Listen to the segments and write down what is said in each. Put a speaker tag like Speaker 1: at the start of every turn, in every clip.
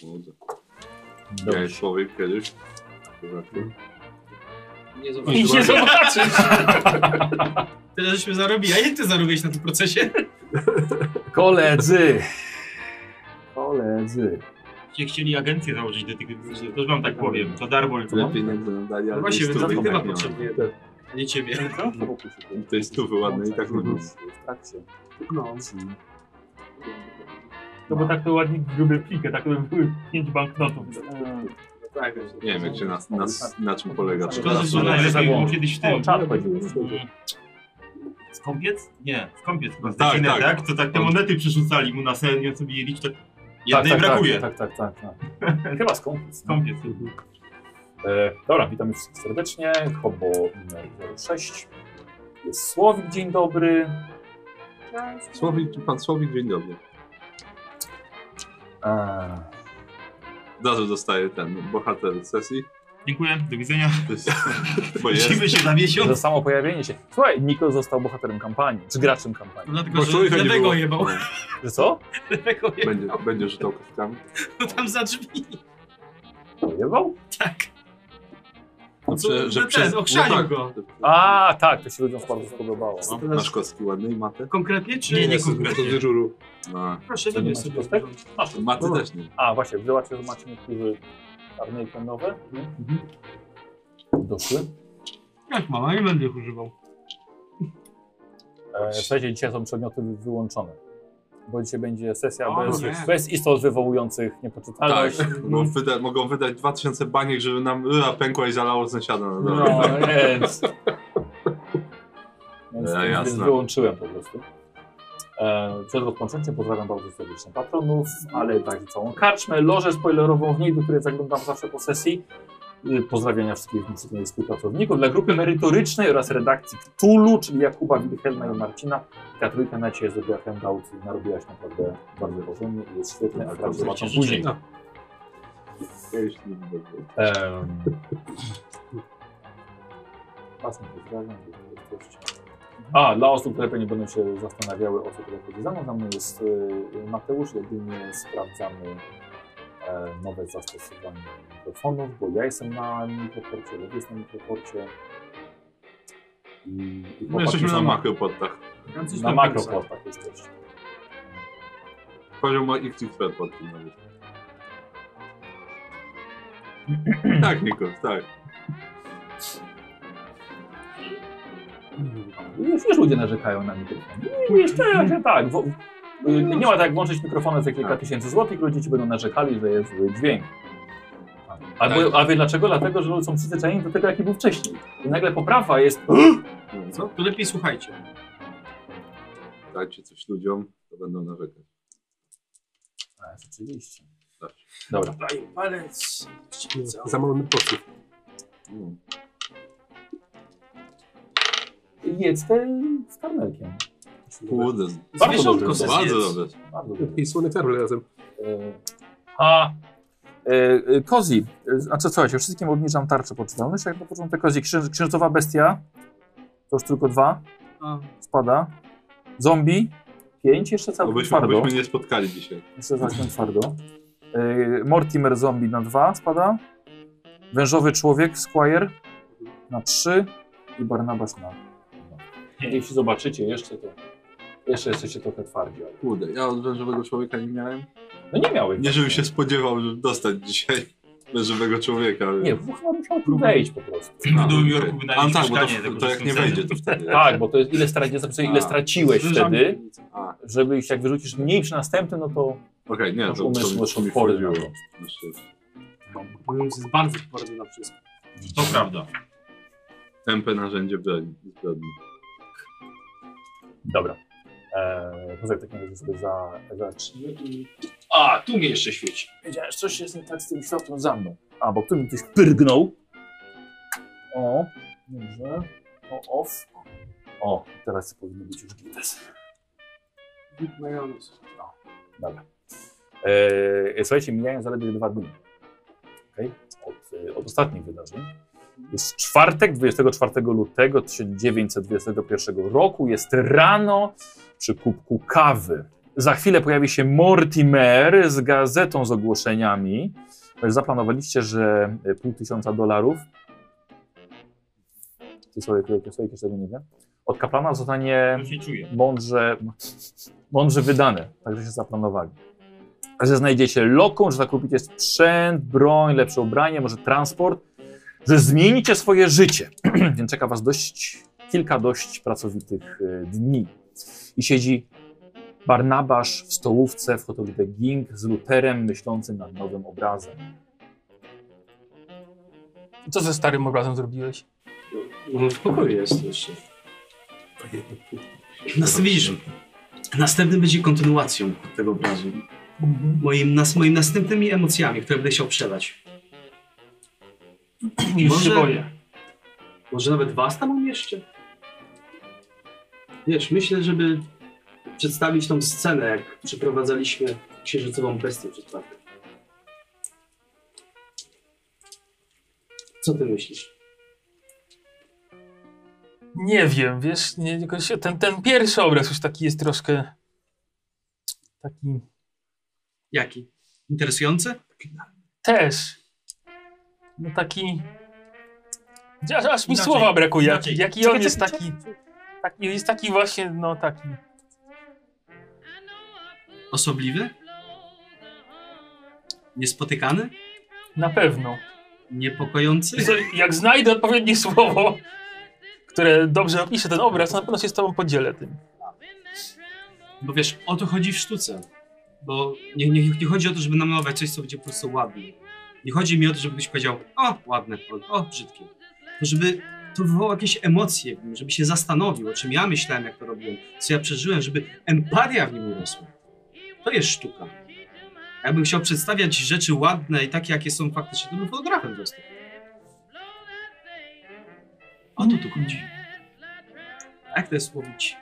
Speaker 1: Kurde.
Speaker 2: Dobrze.
Speaker 1: Miałeś człowiek kiedyś? Człowieku?
Speaker 3: Nie
Speaker 2: I
Speaker 3: zobaczyłem.
Speaker 2: nie zobaczysz.
Speaker 4: Tyle żeśmy zarobili. A ile ty zarobiłeś na tym procesie?
Speaker 2: Koledzy. Koledzy.
Speaker 5: Cię chcieli agencję założyć detektywistyczną, też wam tak powiem. To darmo
Speaker 1: Tyle
Speaker 5: tylko.
Speaker 1: pieniędzy nam dali, ale
Speaker 4: Właśnie,
Speaker 1: tej
Speaker 4: więc
Speaker 1: stówy i
Speaker 4: detektywa
Speaker 1: tak nie ma.
Speaker 4: potrzebuję. A nie ciebie.
Speaker 1: Tej stówy ładnej i tak nie ma.
Speaker 2: No.
Speaker 5: No bo tak to ładnie gruby plikę, tak to by były pięć banknotów.
Speaker 4: Tak, więc-
Speaker 1: Nie wiem, jak się na, na, na czym polega. czy
Speaker 5: Szkoda,
Speaker 1: na-
Speaker 5: że to najlepiej było
Speaker 2: Zagłąb.
Speaker 5: kiedyś w
Speaker 2: O,
Speaker 5: tym.
Speaker 2: czarny. Tak,
Speaker 5: Skąpiec? Nie, skąpiec chyba.
Speaker 1: Tak,
Speaker 5: Tak, tak,
Speaker 1: tak.
Speaker 5: tak. To tak te monety przyrzucali mu na sen, i on sobie je liczył. tak Jednej
Speaker 2: tak,
Speaker 5: brakuje.
Speaker 2: Tak, tak, tak. tak, tak. Chyba skąd?
Speaker 5: Skąpiec.
Speaker 2: E, dobra, witam wszystkich serdecznie. Hobo numer 06. Jest Słowik, dzień dobry.
Speaker 1: Słowik, pan Słowik, dzień dobry.
Speaker 2: E,
Speaker 1: Od razu dostaję ten bohater sesji.
Speaker 5: Dziękuję, do widzenia.
Speaker 1: To jest- Bo jest.
Speaker 5: Widzimy się za miesiąc.
Speaker 2: za samo pojawienie się. Słuchaj, Niko został bohaterem kampanii, czy graczem kampanii.
Speaker 4: Dlatego,
Speaker 1: Bo człowieka
Speaker 4: No że
Speaker 1: No, nie
Speaker 4: lewego
Speaker 1: było. No,
Speaker 4: jebał.
Speaker 2: Że co?
Speaker 4: Lewego jebał No
Speaker 1: Będzie, będzie rzucał kostkami.
Speaker 5: No
Speaker 4: tam za drzwi.
Speaker 2: Pojebał?
Speaker 4: Tak.
Speaker 1: No, tak.
Speaker 4: Że, że przez... Okrzanił go.
Speaker 2: A, tak, to się ludziom bardzo podobało.
Speaker 1: No, masz kostki ładnej matę?
Speaker 4: Konkretnie czy...
Speaker 5: Nie, nie
Speaker 1: Jezu,
Speaker 5: konkretnie.
Speaker 1: To dyżuru. No,
Speaker 4: Proszę,
Speaker 2: To nie
Speaker 4: wybierz
Speaker 2: masz
Speaker 4: sobie.
Speaker 2: kostek?
Speaker 1: maty
Speaker 2: Dobra.
Speaker 1: też nie.
Speaker 2: A, właśnie, zobaczcie, że macie niektórzy czarne ikonowe. Mhm. Doszły.
Speaker 5: Tak,
Speaker 4: Jak mama, nie będę ich używał.
Speaker 2: E, Słuchajcie, dzisiaj są przedmioty wy- wyłączone. Bo dzisiaj będzie sesja
Speaker 4: O,
Speaker 2: bez,
Speaker 4: nie.
Speaker 2: bez istot wywołujących
Speaker 1: Tak,
Speaker 2: niepoczytalność.
Speaker 1: mogą, wyda mogą wydać 2000 baniek, żeby nam ryba pękła i zalało sąsiada na dole.
Speaker 2: No, więc. więc,
Speaker 1: Ja,
Speaker 2: więc
Speaker 1: jasne.
Speaker 2: wyłączyłem po prostu. E, przed rozpoczęciem pozdrawiam bardzo serdecznie patronów, ale także całą karczmę, lożę spoilerową w niej, do której zaglądam zawsze po sesji. Y, Pozdrawiania wszystkich moich współpracowników. Dla grupy merytorycznej oraz redakcji Ktulu, czyli Jakuba, Wilhelma i Marcina. Ta trójka na Ciebie zrobiła hangout i narobiłaś naprawdę bardzo porządnie i jest świetny, a
Speaker 1: to
Speaker 2: tam zobaczą
Speaker 1: życzę.
Speaker 2: później.
Speaker 1: No. Ja już nie będę.
Speaker 2: Em. Was nie pozdrawiam, bo to goście. A, dla osób, które pewnie będą się zastanawiały, o co tutaj chodzi za mną, za mną jest y, Mateusz, jedynie sprawdzamy e, nowe zastosowanie mikrofonów, bo ja jestem na mikroporcie, Lewis jest na mikroporcie. I, i
Speaker 1: No,
Speaker 2: chłopaki
Speaker 1: jesteśmy
Speaker 2: są
Speaker 1: na makropodach.
Speaker 4: Tam coś
Speaker 2: Na
Speaker 4: tam
Speaker 2: makroportach jesteście.
Speaker 1: Poziom ma Y XXP pod tym nawet. Tak, Niko, tak.
Speaker 2: Już, już ludzie narzekają na mikrofon. Już tak, że tak. Wo, y, nie ma tak włączyć mikrofonu za kilka
Speaker 1: No, Tak.
Speaker 2: tysięcy złotych, ludzie ci będą narzekali, że jest zły dźwięk. A,
Speaker 1: Tak.
Speaker 2: bo, a wie dlaczego? Dlatego, że ludzie są przyzwyczajeni do tego, jaki był wcześniej. I nagle poprawa jest.
Speaker 4: pisze. Co? To lepiej słuchajcie.
Speaker 1: Dajcie coś ludziom, to będą narzekać.
Speaker 2: A, rzeczywiście.
Speaker 1: Tak.
Speaker 2: Dobra.
Speaker 4: Daj palec. Co?
Speaker 6: Za mały podsłuch.
Speaker 1: Mm.
Speaker 2: Jedz te z karmelkiem.
Speaker 1: Kurde,
Speaker 2: Bardzo
Speaker 4: Zwierzątko
Speaker 2: dobrze,
Speaker 4: se
Speaker 1: bardzo
Speaker 4: zjedz.
Speaker 1: dobre.
Speaker 2: Bardzo dobry.
Speaker 6: I słony karmel razem.
Speaker 2: E, A e, e, Kozi, e, znaczy słuchajcie, wszystkim obniżam tarczę poczytalność, jak na początek Kozi, księ, księżycowa bestia, to już tylko dwa,
Speaker 4: A,
Speaker 2: spada, zombie, pięć, jeszcze
Speaker 1: No
Speaker 2: całkiem
Speaker 1: byśmy,
Speaker 2: twardo,
Speaker 1: byśmy nie spotkali dzisiaj.
Speaker 2: jeszcze całkiem twardo, e, Mortimer zombie na dwa spada, wężowy człowiek, Squire na trzy i Barnabas na dwa. Jeśli zobaczycie jeszcze, to jeszcze jesteście trochę twardzi, ale...
Speaker 1: Kurde, ja od wężowego człowieka nie miałem.
Speaker 2: No nie miałeś.
Speaker 1: Nie, żebym się spodziewał, żeby dostać dzisiaj wężowego człowieka.
Speaker 2: Nie, chyba musiał tu wejść po prostu.
Speaker 1: A,
Speaker 5: W Nowym
Speaker 1: okej.
Speaker 5: Jorku
Speaker 1: A, No,
Speaker 5: wynajmniej
Speaker 1: tak, bo to,
Speaker 5: mieszkanie. tego,
Speaker 1: to
Speaker 5: że
Speaker 1: jak
Speaker 5: są
Speaker 1: nie
Speaker 5: ceny.
Speaker 1: wejdzie, to wtedy.
Speaker 2: Tak, bo to jest ile, straci, ja zapisuję, ile
Speaker 1: A,
Speaker 2: straciłeś
Speaker 4: zwierzami.
Speaker 2: wtedy,
Speaker 1: A,
Speaker 2: żeby ich jak wyrzucisz mniej przy następnym, no to
Speaker 1: Okej, nie, to,
Speaker 2: masz
Speaker 1: to,
Speaker 2: umysł
Speaker 1: to,
Speaker 2: masz
Speaker 1: to
Speaker 2: no.
Speaker 1: mi Znaczy,
Speaker 2: odpory.
Speaker 3: no.
Speaker 1: wchodziło.
Speaker 2: na to.
Speaker 1: Na szczęście.
Speaker 4: mój umysł jest bardzo twardy na wszystko.
Speaker 5: To prawda.
Speaker 1: Tempę narzędzie broni. zbrodni.
Speaker 2: Dobra. Eee, poza tym takim razie sobie za, zaczniemy i...
Speaker 3: A, tu mnie jeszcze świeci.
Speaker 2: Wiedziałeś, coś jest nie tak z tym światłem za mną. A, bo tu mi ktoś pyrgnął. O, dobrze. O, off. O, teraz powinno być już gites.
Speaker 4: Big majonez.
Speaker 2: Dobra. Eee, słuchajcie, mijają zaledwie dwa dni. Okej? Od, e, od ostatnich wydarzeń. Jest czwartek, 24 lutego 1921 roku. Jest rano przy kubku kawy. Za chwilę pojawi się Mortimer z gazetą z ogłoszeniami. Zaplanowaliście, że y, pół tysiąca dolarów. Ty sobie, ty sobie jeszcze nie wiem. Od kaplana zostanie
Speaker 5: Ja się czuję.
Speaker 2: mądrze, mądrze wydane. Także się zaplanowali. Że znajdziecie lokum, że zakupicie sprzęt, broń, lepsze ubranie, może transport, że zmienicie swoje życie. Więc czeka Was dość, kilka dość pracowitych y, dni. I siedzi Barnabasz w stołówce w hotelu The Ging z Luterem myślącym nad nowym obrazem.
Speaker 7: Co ze starym obrazem zrobiłeś?
Speaker 8: No, w pokoju jest jeszcze.
Speaker 4: Nas widzisz. Następny będzie kontynuacją tego obrazu. Moim, nas, moim następnymi emocjami, które będę chciał przelać.
Speaker 7: Już
Speaker 4: Może-
Speaker 7: się boję.
Speaker 8: Może nawet was tam umieszczę?
Speaker 4: Wiesz, myślę, żeby przedstawić tą scenę, jak przeprowadzaliśmy księżycową bestię przed czwartek. Co ty myślisz?
Speaker 7: Nie wiem, wiesz, nie, jakoś ten, ten pierwszy obraz już taki jest troszkę taki
Speaker 4: Jaki? Interesujący?
Speaker 7: też no taki aż, aż mi
Speaker 5: Inaczej,
Speaker 7: słowa brakuje,
Speaker 5: inaczej.
Speaker 7: jaki, jaki on jest taki, taki jest taki właśnie, no taki
Speaker 4: Osobliwy? Niespotykany?
Speaker 7: na pewno.
Speaker 4: Niepokojący?
Speaker 7: Wiesz co, Jak znajdę odpowiednie słowo, które dobrze opisze ten obraz, na pewno się z tobą podzielę tym.
Speaker 4: Bo wiesz, o to chodzi w sztuce. Bo nie, nie, nie chodzi o to, żeby namalować coś, co będzie po prostu ładne. Nie chodzi mi o to, żeby ktoś powiedział, o, ładne, o, o brzydkie. To żeby to wywołało jakieś emocje, w nim, żeby się zastanowił, o czym ja myślałem, jak to robiłem, co ja przeżyłem, żeby empatia w nim urosła. To jest sztuka. Ja bym chciał przedstawiać rzeczy ładne i takie, jakie są faktycznie, to bym fotografem został. O to tu chodzi. A Jak to jest łowić?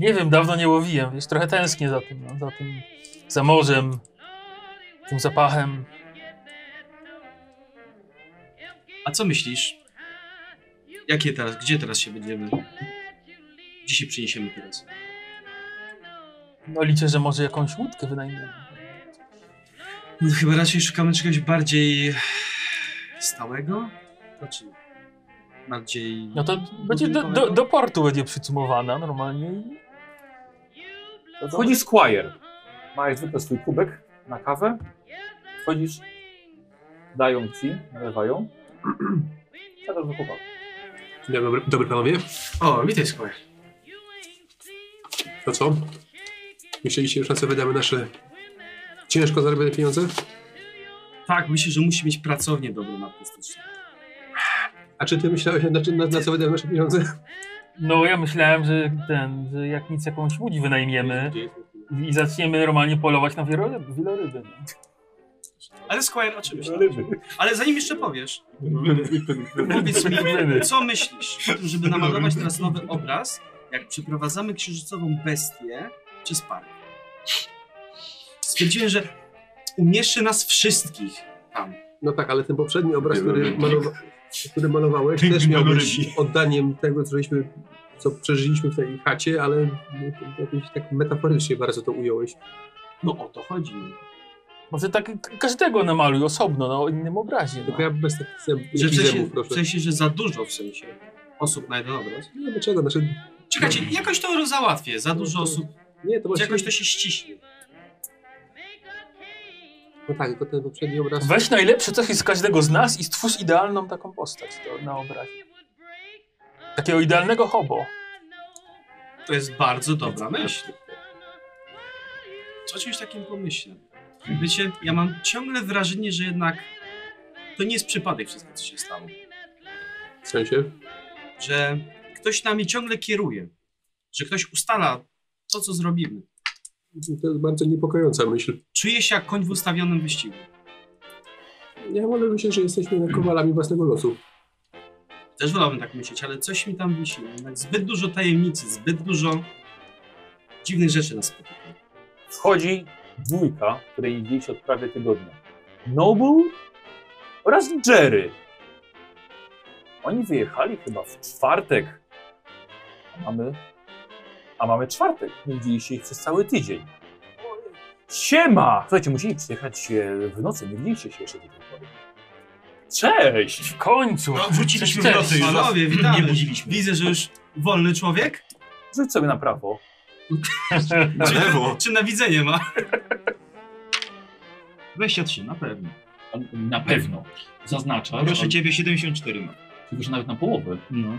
Speaker 7: Nie wiem, dawno nie łowiłem, wiesz, trochę tęsknię za tym, no, za tym, za morzem, tym zapachem.
Speaker 4: A co myślisz? Jakie teraz, gdzie teraz się będziemy? Gdzie się przyniesiemy teraz?
Speaker 7: No liczę, że może jakąś łódkę wynajmiemy.
Speaker 4: No chyba raczej szukamy czegoś bardziej stałego? Znaczy, bardziej...
Speaker 7: No to będzie do, do, do portu będzie przycumowana normalnie i...
Speaker 2: To Wchodzi Squire. Ma jak zwykle swój kubek na kawę. Wchodzisz, dają ci, nalewają. Siadasz do chłopaka.
Speaker 6: Dzień Dobry, dobry panowie,
Speaker 4: O, witaj Squire.
Speaker 6: to co? Myśleliście już na co wydamy nasze ciężko zarobione pieniądze?
Speaker 4: Tak, myślę, że musi mieć pracownię dobrą artystyczną.
Speaker 6: A czy ty myślałeś na, czym- na, na co wydamy nasze pieniądze?
Speaker 7: No ja myślałem, że ten, że jak nic jakąś łódź wynajmiemy i zaczniemy normalnie polować na wieloryby. wieloryby no.
Speaker 4: Ale Squire, oczywiście. Ale zanim jeszcze powiesz, powiedz mi,
Speaker 7: Ryby.
Speaker 4: co myślisz o tym, żeby namalować teraz nowy obraz, jak przeprowadzamy księżycową bestię przez park? Stwierdziłem, że umieszy nas wszystkich tam.
Speaker 6: No tak, ale ten poprzedni obraz, który,
Speaker 1: Wieloryby.
Speaker 6: malowa który malowałeś,
Speaker 5: Piękny
Speaker 6: też miał być
Speaker 5: wielorybi.
Speaker 6: oddaniem tego, co, żeśmy, co przeżyliśmy w tej chacie, ale no, to jakoś tak metaforycznie bardzo to ująłeś.
Speaker 4: No o to chodzi.
Speaker 7: Może tak k- każdego namaluj osobno, na innym obrazie.
Speaker 6: Tylko
Speaker 7: No.
Speaker 6: ja bez takich zem-
Speaker 4: Że w sensie,
Speaker 6: zemów, proszę.
Speaker 4: w sensie, że za dużo w sensie osób na jeden obraz.
Speaker 6: Nie, dlaczego? Znaczy,
Speaker 4: Czekajcie, jakoś to załatwię, za dużo osób,
Speaker 6: nie, to
Speaker 4: czy
Speaker 6: właśnie...
Speaker 4: jakoś to się ściśnie.
Speaker 6: No tak, tylko ten poprzedni obraz...
Speaker 7: Weź najlepsze cechy z każdego z nas i stwórz idealną taką postać do, na obrazie. Takiego idealnego hobo.
Speaker 4: To jest bardzo dobra myśl. Co czymś takim pomyślę? Wiecie, ja mam ciągle wrażenie, że jednak to nie jest przypadek wszystko, co się stało.
Speaker 6: W sensie?
Speaker 4: Że ktoś nami ciągle kieruje. Że ktoś ustala to, co zrobimy.
Speaker 6: To jest bardzo niepokojąca myśl.
Speaker 4: Czuję się jak koń w ustawionym wyścigu.
Speaker 6: Ja wolę myśleć, że jesteśmy kowalami własnego losu.
Speaker 4: Też wolałbym tak myśleć, ale coś mi tam wisi. Jednak zbyt dużo tajemnicy, zbyt dużo dziwnych rzeczy nas spotyka.
Speaker 2: Wchodzi dwójka, której nie widzieliście od prawie tygodnia. Noble oraz Jerry. Oni wyjechali chyba w czwartek. A mamy a mamy czwartek. Nie widzieliście ich przez cały tydzień. Siema! Słuchajcie, musieli przyjechać e, w nocy, nie widzieliście się jeszcze do tej pory. Cześć!
Speaker 7: W końcu!
Speaker 5: No, wróciliśmy w
Speaker 7: Cześć.
Speaker 5: nocy już.
Speaker 4: Panowie, witamy.
Speaker 5: Nie budziliśmy.
Speaker 4: Widzę, że już wolny człowiek.
Speaker 2: Rzuć sobie na prawo.
Speaker 1: Na lewo.
Speaker 4: Czy na widzenie ma?
Speaker 5: 23, na pewno.
Speaker 9: Na pewno. Zaznaczasz.
Speaker 5: Proszę
Speaker 9: albo-
Speaker 5: ciebie, 74 ma.
Speaker 9: Tylko, że nawet na połowę.
Speaker 5: No.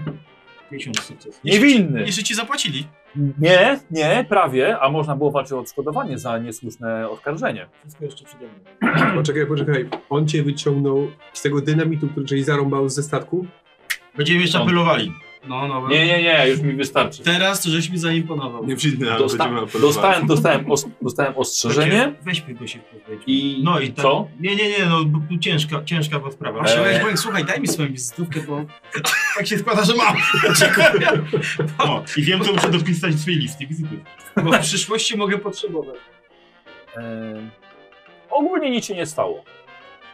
Speaker 5: 50 sukces.
Speaker 2: Niewinny!
Speaker 4: Jeszcze ci zapłacili.
Speaker 2: Nie, nie, prawie, a można było walczyć o odszkodowanie za niesłuszne oskarżenie.
Speaker 5: Wszystko jeszcze przede mną.
Speaker 6: Poczekaj, poczekaj. On cię wyciągnął z tego dynamitu, który żeś zarąbał ze statku?
Speaker 5: Będziemy jeszcze
Speaker 2: On-
Speaker 5: apelowali.
Speaker 4: No, no.
Speaker 2: Nie, nie, nie, już mi wystarczy.
Speaker 4: Teraz to żeś mi zaimponował.
Speaker 1: Nie przyjdę, ale
Speaker 2: Dosta
Speaker 1: będziemy apelować.
Speaker 2: dostałem, dostałem, os dostałem ostrzeżenie
Speaker 5: Takie, Weźmy go się pozbyć.
Speaker 2: i,
Speaker 5: No i tak-
Speaker 2: co?
Speaker 5: Nie, nie, nie, no bo tu ciężka, ciężka była sprawa.
Speaker 4: Właśnie,
Speaker 2: Eee.
Speaker 4: eee. powiem, słuchaj, daj mi swoją wizytówkę, bo
Speaker 5: Tak się składa, że mam. Dziękuję. O, I wiem, co muszę dopisać w swojej liście wizyty.
Speaker 4: Bo w przyszłości mogę potrzebować.
Speaker 2: E, ogólnie nic się nie stało.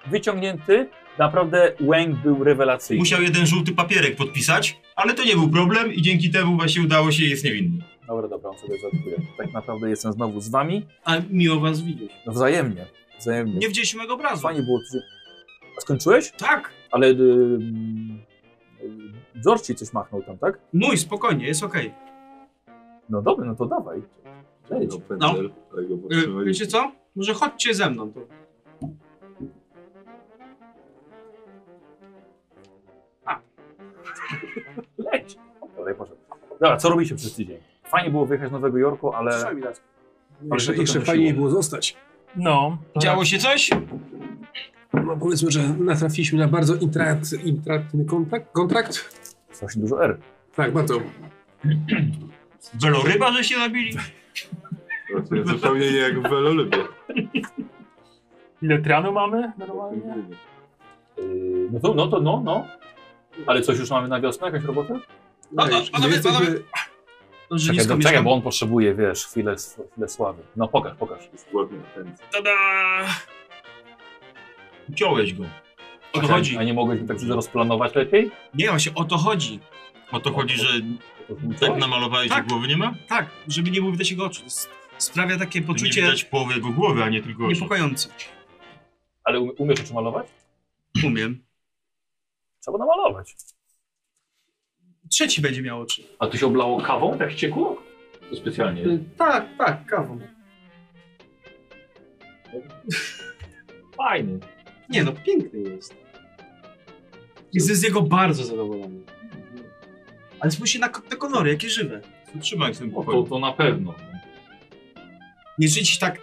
Speaker 2: Wyciągnięty, naprawdę Łęk był rewelacyjny.
Speaker 5: Musiał jeden żółty papierek podpisać, ale to nie był problem i dzięki temu właśnie udało się, jest niewinny.
Speaker 2: Dobra, dobra, on sobie żartuje. Tak naprawdę jestem znowu z wami.
Speaker 4: A miło was widzieć.
Speaker 2: No wzajemnie, wzajemnie.
Speaker 4: Nie widzieliśmy mego obrazu.
Speaker 2: Fajnie było. tu się- A skończyłeś?
Speaker 4: Tak,
Speaker 2: Ale yy, George ci coś machnął tam, tak?
Speaker 4: mój, spokojnie, jest okej.
Speaker 5: Y,
Speaker 2: No dobra, no to dawaj. Leć.
Speaker 1: No, pędzel, tego
Speaker 4: Y,
Speaker 1: powstrzymaliśmy.
Speaker 4: Wiecie co? Może chodźcie ze mną. To.
Speaker 2: Leć. Dobra, poszedł. Dobra, co robicie przez tydzień? Fajnie było wyjechać z Nowego Jorku, ale...
Speaker 6: Jeszcze,
Speaker 2: to
Speaker 6: jeszcze
Speaker 2: to
Speaker 6: fajniej
Speaker 2: siło.
Speaker 6: było zostać.
Speaker 7: No.
Speaker 5: Tak.
Speaker 7: to-
Speaker 4: Działo się coś?
Speaker 6: No powiedzmy, że natrafiliśmy na bardzo intrat, intratny kontrakt, kontrakt.
Speaker 2: Strasznie dużo R.
Speaker 6: Tak, bardzo.
Speaker 5: Weloryba, że się zabili?
Speaker 1: Właśnie, Zupełnie nie jak w Welolubie.
Speaker 7: Ile tranu mamy normalnie?
Speaker 2: Yy, no to, no to, no, no. Ale coś już mamy na wiosnę, jakąś robotę?
Speaker 6: No,
Speaker 4: Panowie,
Speaker 6: już,
Speaker 4: panowie,
Speaker 6: jesteśmy-
Speaker 4: panowie. To, że nisko
Speaker 2: Czekaj,
Speaker 4: mieszkam.
Speaker 2: czekaj, bo on potrzebuje, wiesz, chwilę, chwilę sławy. No pokaż, pokaż.
Speaker 1: Jest ładny pędzel.
Speaker 4: Tada!
Speaker 5: Uciąłeś go.
Speaker 4: O to chodzi.
Speaker 2: A nie mogłeś tak rozplanować lepiej?
Speaker 4: Nie, właśnie o to chodzi.
Speaker 5: O to chodzi, że tak
Speaker 2: Tak,
Speaker 5: namalowałeś, że
Speaker 4: Tak.
Speaker 5: głowy nie ma?
Speaker 4: Tak, żeby nie było widać jego oczu. To jest- Sprawia takie
Speaker 5: Poczucie...
Speaker 4: poczucie
Speaker 5: Nie widać połowy jego głowy, a nie tylko oczu.
Speaker 4: niepokojące.
Speaker 2: Ale um- umiesz oczy malować?
Speaker 4: Umiem.
Speaker 2: Trzeba namalować.
Speaker 4: Trzeci będzie miał oczy.
Speaker 2: A tu się oblało kawą, tak ściekło? To specjalnie.
Speaker 4: Tak, tak, kawą.
Speaker 2: Fajny.
Speaker 4: Nie no, piękny jest. Jestem z jego bardzo zadowolony. Ale spójrzcie na, ko- na kolory, jakie żywe.
Speaker 5: Trzymaj się tym
Speaker 9: O, to,
Speaker 5: pokoju.
Speaker 9: to na pewno.
Speaker 4: Nie żyć tak,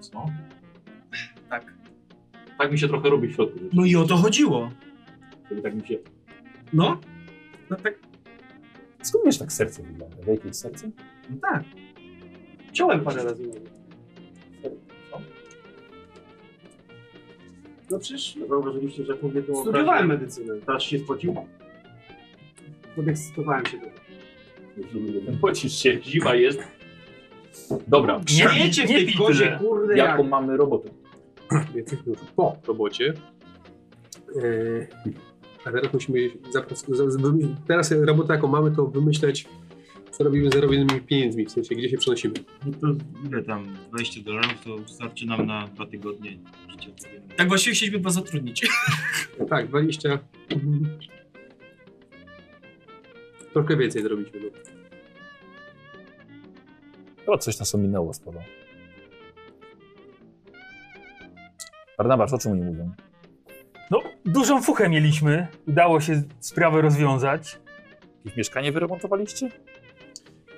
Speaker 9: Co?
Speaker 4: tak.
Speaker 9: Tak mi się trochę robi w środku. rzeczy.
Speaker 4: No i o to chodziło.
Speaker 9: Żeby Tak mi się...
Speaker 4: No. No tak,
Speaker 2: Skąd wiesz tak serce wygląda? W jakiej serce?
Speaker 4: no tak. Ciąłem parę razy. nawet. No przecież no,
Speaker 10: Zauważyliście, że kobietą
Speaker 4: studiowałem medycynę.
Speaker 10: Teraz się spocił?
Speaker 4: Podekscytowałem się do
Speaker 9: Pocisz się, zima jest.
Speaker 2: Dobra,
Speaker 7: Nie,
Speaker 4: Nie wiecie w
Speaker 7: nie
Speaker 4: tej
Speaker 7: pij
Speaker 4: kozie,
Speaker 7: tyle.
Speaker 4: kurde
Speaker 2: jaką
Speaker 4: jak.
Speaker 2: mamy robotę?
Speaker 6: Jesteśmy już tak, no. po robocie. Eee, a teraz musimy zaprac- za- za- wymy- Teraz robotę jaką mamy, to wymyśleć, co robimy z zarobionymi pieniędzmi, w sensie gdzie się przenosimy.
Speaker 5: No to ile tam? 20 dolarów to starczy nam na dwa tygodnie życia.
Speaker 4: Tak właściwie chcieliśmy was zatrudnić.
Speaker 6: Tak, 20. Mhm. Trochę więcej zrobiliśmy. No.
Speaker 2: To coś nas ominęło z tobą. Barnabasz, o czym oni mówią?
Speaker 7: No, dużą fuchę mieliśmy. Udało się sprawę rozwiązać.
Speaker 2: Jakieś mieszkanie wyremontowaliście?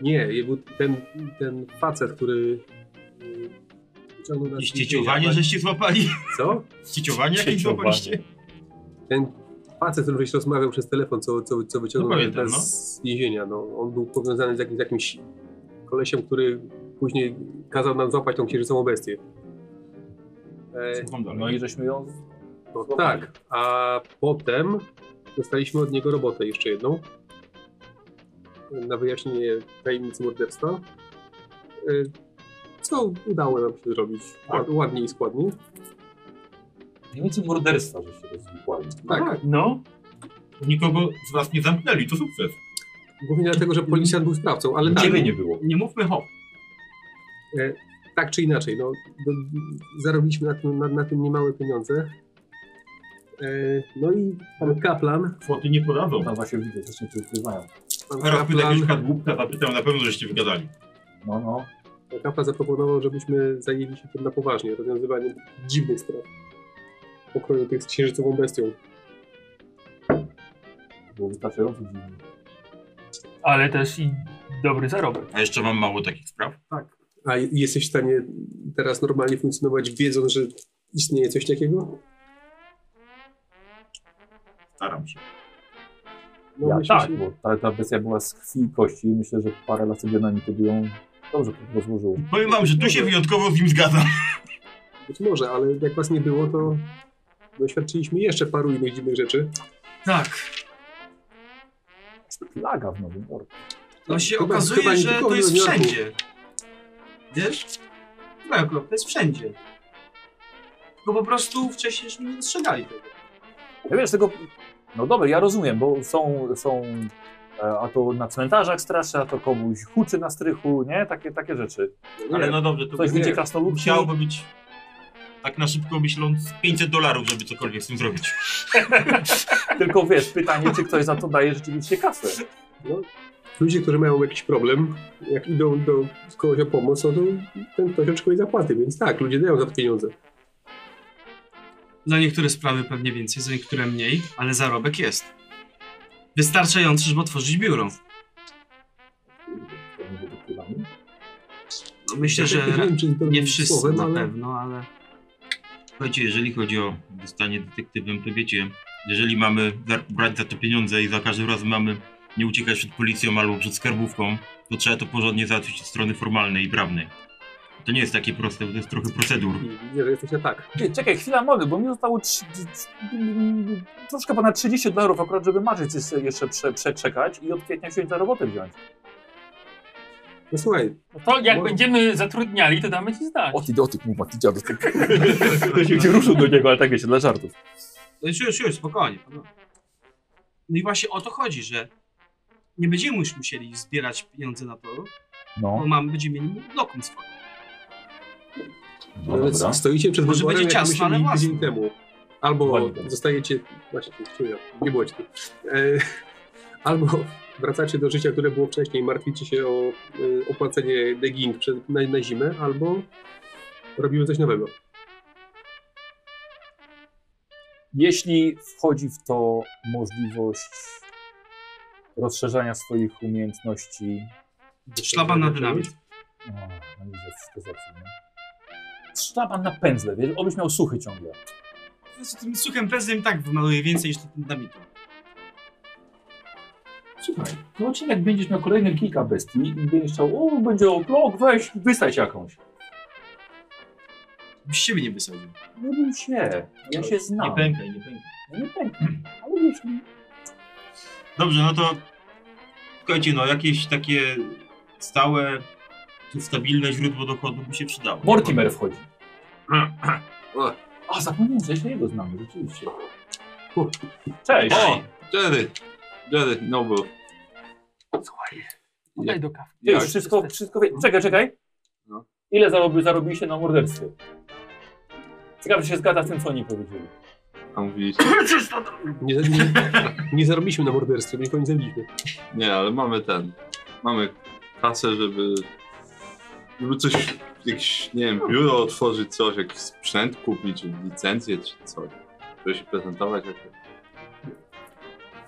Speaker 6: Nie, je- był ten, ten facet, który. y, wyciągnął nas z
Speaker 5: I
Speaker 6: więzienia.
Speaker 5: ścieciowanie żeście złapali?
Speaker 6: Co?
Speaker 5: Ścieciowanie jakieś
Speaker 2: Ścieciowanie.
Speaker 5: złapaliście?
Speaker 6: Ten facet, z którym żeś rozmawiał przez telefon, co, co, co wyciągnął
Speaker 5: No
Speaker 6: no
Speaker 5: pamiętam, no.
Speaker 6: z więzienia. No, on był powiązany z jakimś, z jakimś kolesiem, który później kazał nam złapać tą księżycową bestię. E,
Speaker 5: Słucham dalej.
Speaker 2: No i żeśmy ją...
Speaker 6: no, tak, a potem dostaliśmy od niego robotę jeszcze jedną na wyjaśnienie tajemnicy morderstwa, e, co udało nam się zrobić ład, ładnie i składnie.
Speaker 2: Tajemnicy morderstwa, żeście rozwikłali.
Speaker 6: Tak,
Speaker 7: No,
Speaker 5: Nikogo z was nie zamknęli, to sukces.
Speaker 6: Głównie dlatego, że policjant był sprawcą, ale tak,
Speaker 4: Ciebie
Speaker 11: nie było.
Speaker 4: Nie mówmy hop.
Speaker 6: tak czy inaczej, no, do, zarobiliśmy na tym, na, na tym niemałe pieniądze. E, no i pan kaplan,
Speaker 5: Kwoty nie podadzą.
Speaker 2: Tam właśnie widzę, coś się ukrywają.
Speaker 6: pan
Speaker 5: Teraz pyta
Speaker 6: kaplan,
Speaker 5: jakiegoś kadłubka, zapytają, na pewno żeście wygadali.
Speaker 2: No, no.
Speaker 6: pan kaplan zaproponował, żebyśmy zajęli się tym na poważnie, rozwiązywaniem dziwnych spraw. Pokroju tych z księżycową bestią.
Speaker 2: Było wystarczająco dziwne.
Speaker 7: Ale też i dobry zarobek.
Speaker 5: A jeszcze mam mało takich spraw.
Speaker 6: A i- jesteś w stanie teraz normalnie funkcjonować, wiedząc, że istnieje coś takiego?
Speaker 5: Staram się.
Speaker 6: No,
Speaker 2: ja
Speaker 6: myślę,
Speaker 2: tak,
Speaker 6: że-
Speaker 2: bo ta, ta bestia była z krwi i kości i myślę, że parę lat sobie na nim to by ją dobrze rozłożyło.
Speaker 5: Powiem wam, że tu się wyjątkowo z nim zgadzam.
Speaker 6: Być może, ale jak was nie było, to doświadczyliśmy jeszcze paru innych dziwnych rzeczy.
Speaker 4: Tak.
Speaker 2: Plaga w Nowym Jorku.
Speaker 4: No się
Speaker 6: Chyba-
Speaker 4: okazuje,
Speaker 6: chyba nie
Speaker 4: że
Speaker 6: tylko
Speaker 4: to
Speaker 6: w
Speaker 4: jest
Speaker 6: Nowym Jorku.
Speaker 4: wszędzie. Wiesz? Bełko, to jest wszędzie. Tylko po prostu wcześniej żeśmy nie dostrzegali tego.
Speaker 2: Ja wiesz, tego... No dobra, ja rozumiem, bo są, są e, a to na cmentarzach straszy, a to komuś huczy na strychu, nie? Takie, takie rzeczy.
Speaker 6: No nie,
Speaker 5: Ale no dobrze, to
Speaker 2: Ktoś
Speaker 5: by
Speaker 2: widzi krasnoludki.
Speaker 5: musiałoby być tak na szybko myśląc 500 dolarów, żeby cokolwiek z tym zrobić.
Speaker 2: Tylko wiesz, pytanie, czy ktoś za to daje rzeczywiście kasę.
Speaker 6: Ludzie, którzy mają jakiś problem, jak idą do kogoś o pomoc, no to ten ktoś oczekuje zapłaty, więc tak, ludzie dają za to pieniądze.
Speaker 4: Za niektóre sprawy pewnie więcej, za niektóre mniej, ale zarobek jest. Wystarczający, żeby otworzyć biuro. No myślę, że ra-
Speaker 6: wiem, czy to
Speaker 4: nie wszyscy
Speaker 6: słowem,
Speaker 4: na
Speaker 6: ale
Speaker 4: pewno, ale...
Speaker 5: Słuchajcie, jeżeli chodzi o zostanie detektywem, to wiecie, jeżeli mamy za- brać za to pieniądze i za każdym razem mamy nie uciekać przed policją albo przed skarbówką, to trzeba to porządnie załatwić od strony formalnej i prawnej. To nie jest takie proste, bo to jest trochę procedur.
Speaker 6: widzę, że jesteś na tak.
Speaker 2: Ty, czekaj, chwila mowy, bo mi zostało trz- trz- troszkę ponad 30 dolarów akurat, żeby marzec jeszcze- jeszcze prze, przeczekać i od kwietnia się za robotę wziąć.
Speaker 6: No słuchaj,
Speaker 7: No to jak
Speaker 6: Może-
Speaker 7: będziemy zatrudniali, to damy ci znać.
Speaker 2: O ty do ty, kurwa, ty dziadek. To się cię ruszył do niego, ale tak wiecie, dla żartów.
Speaker 4: No już, już, już, spokojnie. panowie. No i właśnie o to chodzi, że nie będziemy już musieli zbierać pieniądze na to,
Speaker 2: No,
Speaker 4: bo mam, będziemy mieli lokum swoje.
Speaker 2: no
Speaker 6: ale
Speaker 2: dobra.
Speaker 6: stoicie przed
Speaker 4: Może
Speaker 6: wyborem,
Speaker 4: będzie
Speaker 6: jak
Speaker 4: ciasno,
Speaker 6: myśleli
Speaker 4: ale własne.
Speaker 6: tydzień temu. Albo
Speaker 2: Dokładnie.
Speaker 6: zostajecie, właśnie, czuję, nie było ci tu. E, albo wracacie do życia, które było wcześniej, martwicie się o e, opłacenie degging przed, na, na zimę, albo robimy coś nowego.
Speaker 2: Jeśli wchodzi w to możliwość rozszerzania swoich umiejętności...
Speaker 4: Szlaban na dynamit.
Speaker 2: O, no i że wszystko zepsuł, nie? Sztaban na pędzle, wiesz, obyś miał suchy ciągle.
Speaker 4: Z tym suchem pezem i tak wymaluje więcej niż tym dynamitem.
Speaker 2: Słuchaj, no odcinek będziesz miał kolejne kilka bestii i będziesz chciał, o, będzie oblok, weź, wystać jakąś.
Speaker 4: Byś siebie nie wysadził.
Speaker 2: Nie bój się, ja się znam.
Speaker 5: Nie pękaj, nie pękaj.
Speaker 2: Ja nie pękam, ale jeśli...
Speaker 5: Dobrze, no to słuchajcie, no jakieś takie stałe, tu stabilne źródło dochodu by się przydało.
Speaker 2: Mortimer wchodzi.
Speaker 6: O.
Speaker 2: A, zapomniałem, że jeszcze jego znamy, rzeczywiście. Cześć.
Speaker 1: O! Jerry! Jerry, no bo.
Speaker 7: Podaj do kawy.
Speaker 2: Ty już wszystko, wszystko wie... Czekaj, czekaj.
Speaker 1: No.
Speaker 2: Ile zarobi, zarobiliście na morderstwie? Ciekawe, czy się zgadza z tym, co oni powiedzieli.
Speaker 1: A mówiliście.
Speaker 6: Nie, nie, nie zarobiliśmy na morderstwie, nikogo nie zabiliśmy.
Speaker 1: Nie, ale mamy ten. Mamy kasę, żeby. Żeby coś. Jakieś, nie wiem, biuro otworzyć, coś, jakiś sprzęt kupić, licencję czy coś. Żeby się prezentować jako.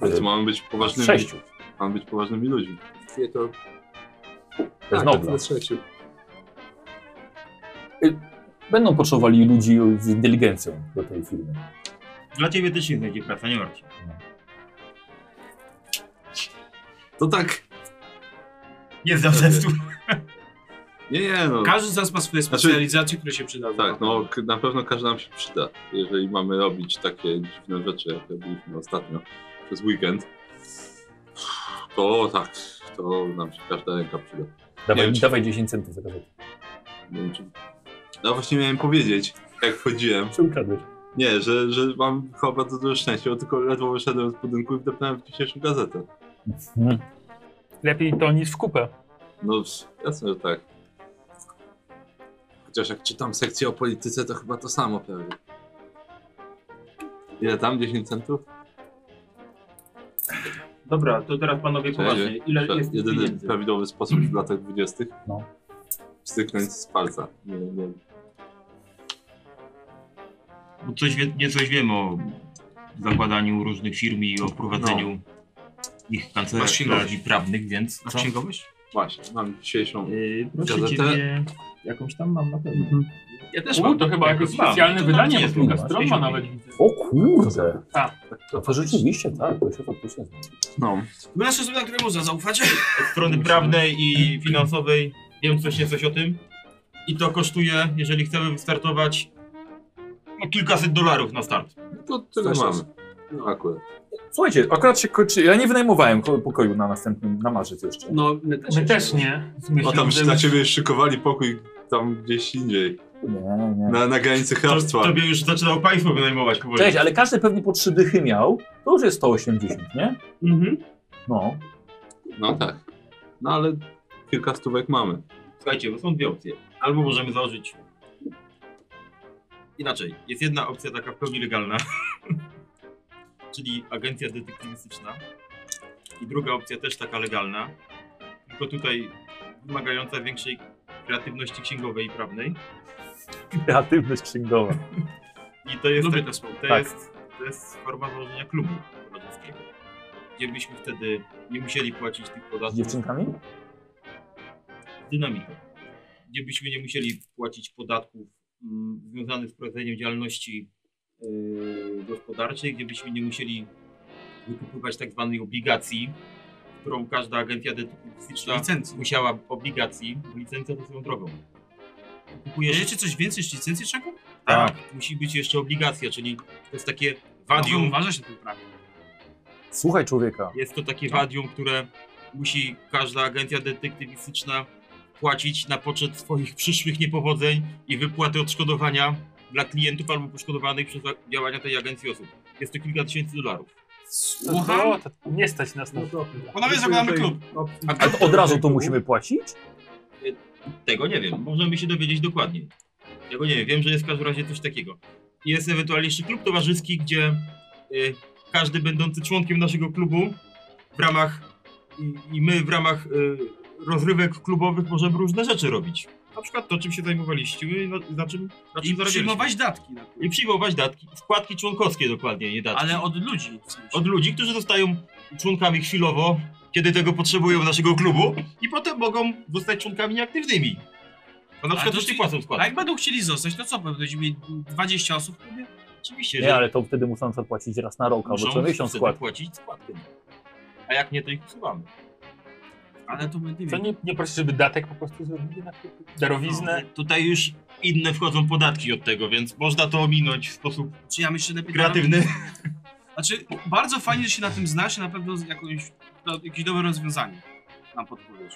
Speaker 1: Ale to mamy być poważnymi.
Speaker 2: Sześciu.
Speaker 1: Mamy być poważnymi ludźmi.
Speaker 6: Nie, to,
Speaker 2: To jest
Speaker 6: tak,
Speaker 2: Nobla.
Speaker 6: to na trzeciu.
Speaker 2: Będą potrzebowali ludzi z inteligencją do tej firmy.
Speaker 5: Dla ciebie też nie znajdzie praca, nie martw się.
Speaker 1: To tak.
Speaker 5: Jest zawsze
Speaker 1: Nie, nie, no.
Speaker 4: Każdy z nas ma swoje
Speaker 1: Znaczy-
Speaker 4: specjalizacje, które się przydadzą.
Speaker 1: Tak, no k- na pewno każdy nam się przyda, jeżeli mamy robić takie dziwne rzeczy, jak robiliśmy ostatnio przez weekend. To tak, to nam się każda ręka przyda.
Speaker 2: Dawaj,
Speaker 1: wiem, czy-
Speaker 2: dawaj 10 centów za gazetę.
Speaker 1: Nie wiem, czy... No właśnie miałem powiedzieć, jak wchodziłem.
Speaker 2: Czy ukradłeś?
Speaker 1: Nie, że, że mam chyba bardzo dużo szczęścia, bo tylko ledwo wyszedłem z budynku i wdepnąłem w dzisiejszą gazetę.
Speaker 7: Lepiej to niż w kupę.
Speaker 1: No jasne, że tak. Chociaż jak czytam sekcję o polityce, to chyba to samo prawie. Ile tam? 10 centów?
Speaker 12: Dobra, to teraz panowie poważnie. Ile
Speaker 1: Prze-
Speaker 12: jest
Speaker 1: Jedyny
Speaker 12: pieniędzy?
Speaker 1: prawidłowy sposób w latach 20.
Speaker 2: No.
Speaker 1: Styknąć z palca. Nie, nie.
Speaker 4: Bo coś wie, nie coś wiem o zakładaniu różnych firm i o prowadzeniu ich
Speaker 1: Masz
Speaker 4: kancelarii
Speaker 1: księgowość?
Speaker 4: prawnych, więc
Speaker 1: Masz
Speaker 4: co?
Speaker 1: księgowość? Właśnie, mam dzisiejszą.
Speaker 4: Yy, proszę
Speaker 1: Gazetę?
Speaker 4: ciebie, jakąś tam mam na pewno.
Speaker 5: Ja też
Speaker 7: U, to chyba jakieś
Speaker 4: Jakoś mam.
Speaker 7: specjalne
Speaker 4: To
Speaker 7: wydanie,
Speaker 4: tam
Speaker 7: bo
Speaker 4: jest,
Speaker 7: kilka
Speaker 4: masz,
Speaker 7: stron ma
Speaker 4: jeździł.
Speaker 7: nawet.
Speaker 2: O kurde!
Speaker 7: Tak.
Speaker 2: No to rzeczywiście, tak, to się faktycznie zna.
Speaker 1: No.
Speaker 5: Była nasza osoba, której można zaufać.
Speaker 4: Od strony prawnej i finansowej wiem coś nie coś o tym. I to kosztuje, jeżeli chcemy wystartować, no kilkaset dolarów na start.
Speaker 1: No to tyle
Speaker 2: Coś
Speaker 1: mamy. No akurat.
Speaker 2: Słuchajcie, akurat się kończy. Ja nie wynajmowałem ko- pokoju na następnym, na marzec jeszcze.
Speaker 13: No, my też,
Speaker 7: My też nie. Z myślą,
Speaker 1: O tam
Speaker 7: że-
Speaker 1: na ciebie szykowali pokój tam gdzieś indziej.
Speaker 2: Nie, nie.
Speaker 1: Na, na granicy
Speaker 4: To,
Speaker 1: hrabstwa.
Speaker 4: tobie już zaczynało państwo wynajmować powoli.
Speaker 2: Cześć, ale każdy pewnie po trzy dychy miał. To już jest 180, nie?
Speaker 5: Mhm.
Speaker 2: No.
Speaker 1: No tak. No ale kilka stówek mamy.
Speaker 4: Słuchajcie, bo są dwie opcje. Albo możemy założyć. Inaczej, jest jedna opcja taka w pełni legalna, czyli agencja detektywistyczna. I druga opcja też taka legalna, tylko tutaj wymagająca większej kreatywności księgowej i prawnej.
Speaker 7: Kreatywność księgowa.
Speaker 4: I to jest,
Speaker 5: Lubię
Speaker 4: to,
Speaker 5: to słowo.
Speaker 4: to
Speaker 7: tak.
Speaker 4: jest, to jest forma założenia klubu rodzicielskiego, gdzie byśmy wtedy nie musieli płacić tych
Speaker 2: Z
Speaker 4: podatków.
Speaker 2: dziewczynkami?
Speaker 4: dynamiką, gdzie byśmy nie musieli płacić podatków mm, związanych z prowadzeniem działalności yy, gospodarczej, gdzie byśmy nie musieli wykupywać tak zwanej obligacji, którą każda agencja detektywistyczna
Speaker 5: Licencji.
Speaker 4: musiała obligacji, bo licencja to swoją drogą. Kupujesz,
Speaker 5: Jeszcze coś więcej niż licencję trzeba kupić?
Speaker 4: tak, musi być jeszcze obligacja, czyli to jest takie
Speaker 5: No,
Speaker 4: wadium,
Speaker 5: uważa się tym prawie.
Speaker 2: Słuchaj człowieka.
Speaker 4: jest to takie
Speaker 5: Tak.
Speaker 4: wadium, które musi każda agencja detektywistyczna płacić na poczet swoich przyszłych niepowodzeń i wypłaty odszkodowania dla klientów albo poszkodowanych przez działania tej agencji osób. Jest to kilka tysięcy dolarów.
Speaker 5: Słucham?
Speaker 7: O, to nie stać nas
Speaker 6: No
Speaker 7: na
Speaker 5: Panowie, zakładamy klub.
Speaker 4: A
Speaker 2: Ale to od razu to musimy płacić?
Speaker 4: Tego nie wiem, możemy się dowiedzieć dokładnie. Tego nie wiem, wiem, że jest w każdym razie coś takiego. Jest ewentualnie jeszcze klub towarzyski, gdzie y, każdy będący członkiem naszego klubu w ramach i, i my w ramach y, rozrywek klubowych możemy różne rzeczy robić. Na przykład to, czym się zajmowaliście i na, na czym, na czym
Speaker 5: I
Speaker 4: zarabialiśmy.
Speaker 5: Znaczy, przyjmować datki na klub.
Speaker 4: I przyjmować datki, składki członkowskie dokładnie, nie datki.
Speaker 5: Ale od ludzi. W sensie.
Speaker 4: Od ludzi, którzy zostają członkami chwilowo, kiedy tego potrzebują naszego klubu i potem mogą zostać członkami nieaktywnymi. Bo na
Speaker 5: A
Speaker 4: przykład
Speaker 5: to
Speaker 4: już nie
Speaker 5: ci- tak?
Speaker 4: płacą
Speaker 5: A
Speaker 4: składki.
Speaker 5: jak będą chcieli zostać, to co? Będziemy mieli 20 osób w klubie?
Speaker 4: Oczywiście,
Speaker 2: Nie, ale to wtedy muszą zapłacić raz na rok albo co miesiąc
Speaker 4: wtedy
Speaker 2: skład.
Speaker 4: płacić składkę. A jak nie, to ich usuwamy.
Speaker 5: Ale to my nie
Speaker 7: To
Speaker 5: wiem.
Speaker 7: nie, nie prosisz, żeby datek po prostu zrobili na darowiznę?
Speaker 4: Tutaj już inne wchodzą podatki od tego, więc można to ominąć w sposób
Speaker 5: Czy ja myślę lepiej...
Speaker 4: kreatywny.
Speaker 5: Znaczy, bardzo fajnie, że się na tym znasz i na pewno z- jakąś, do, jakieś dobre rozwiązanie nam podpowiesz.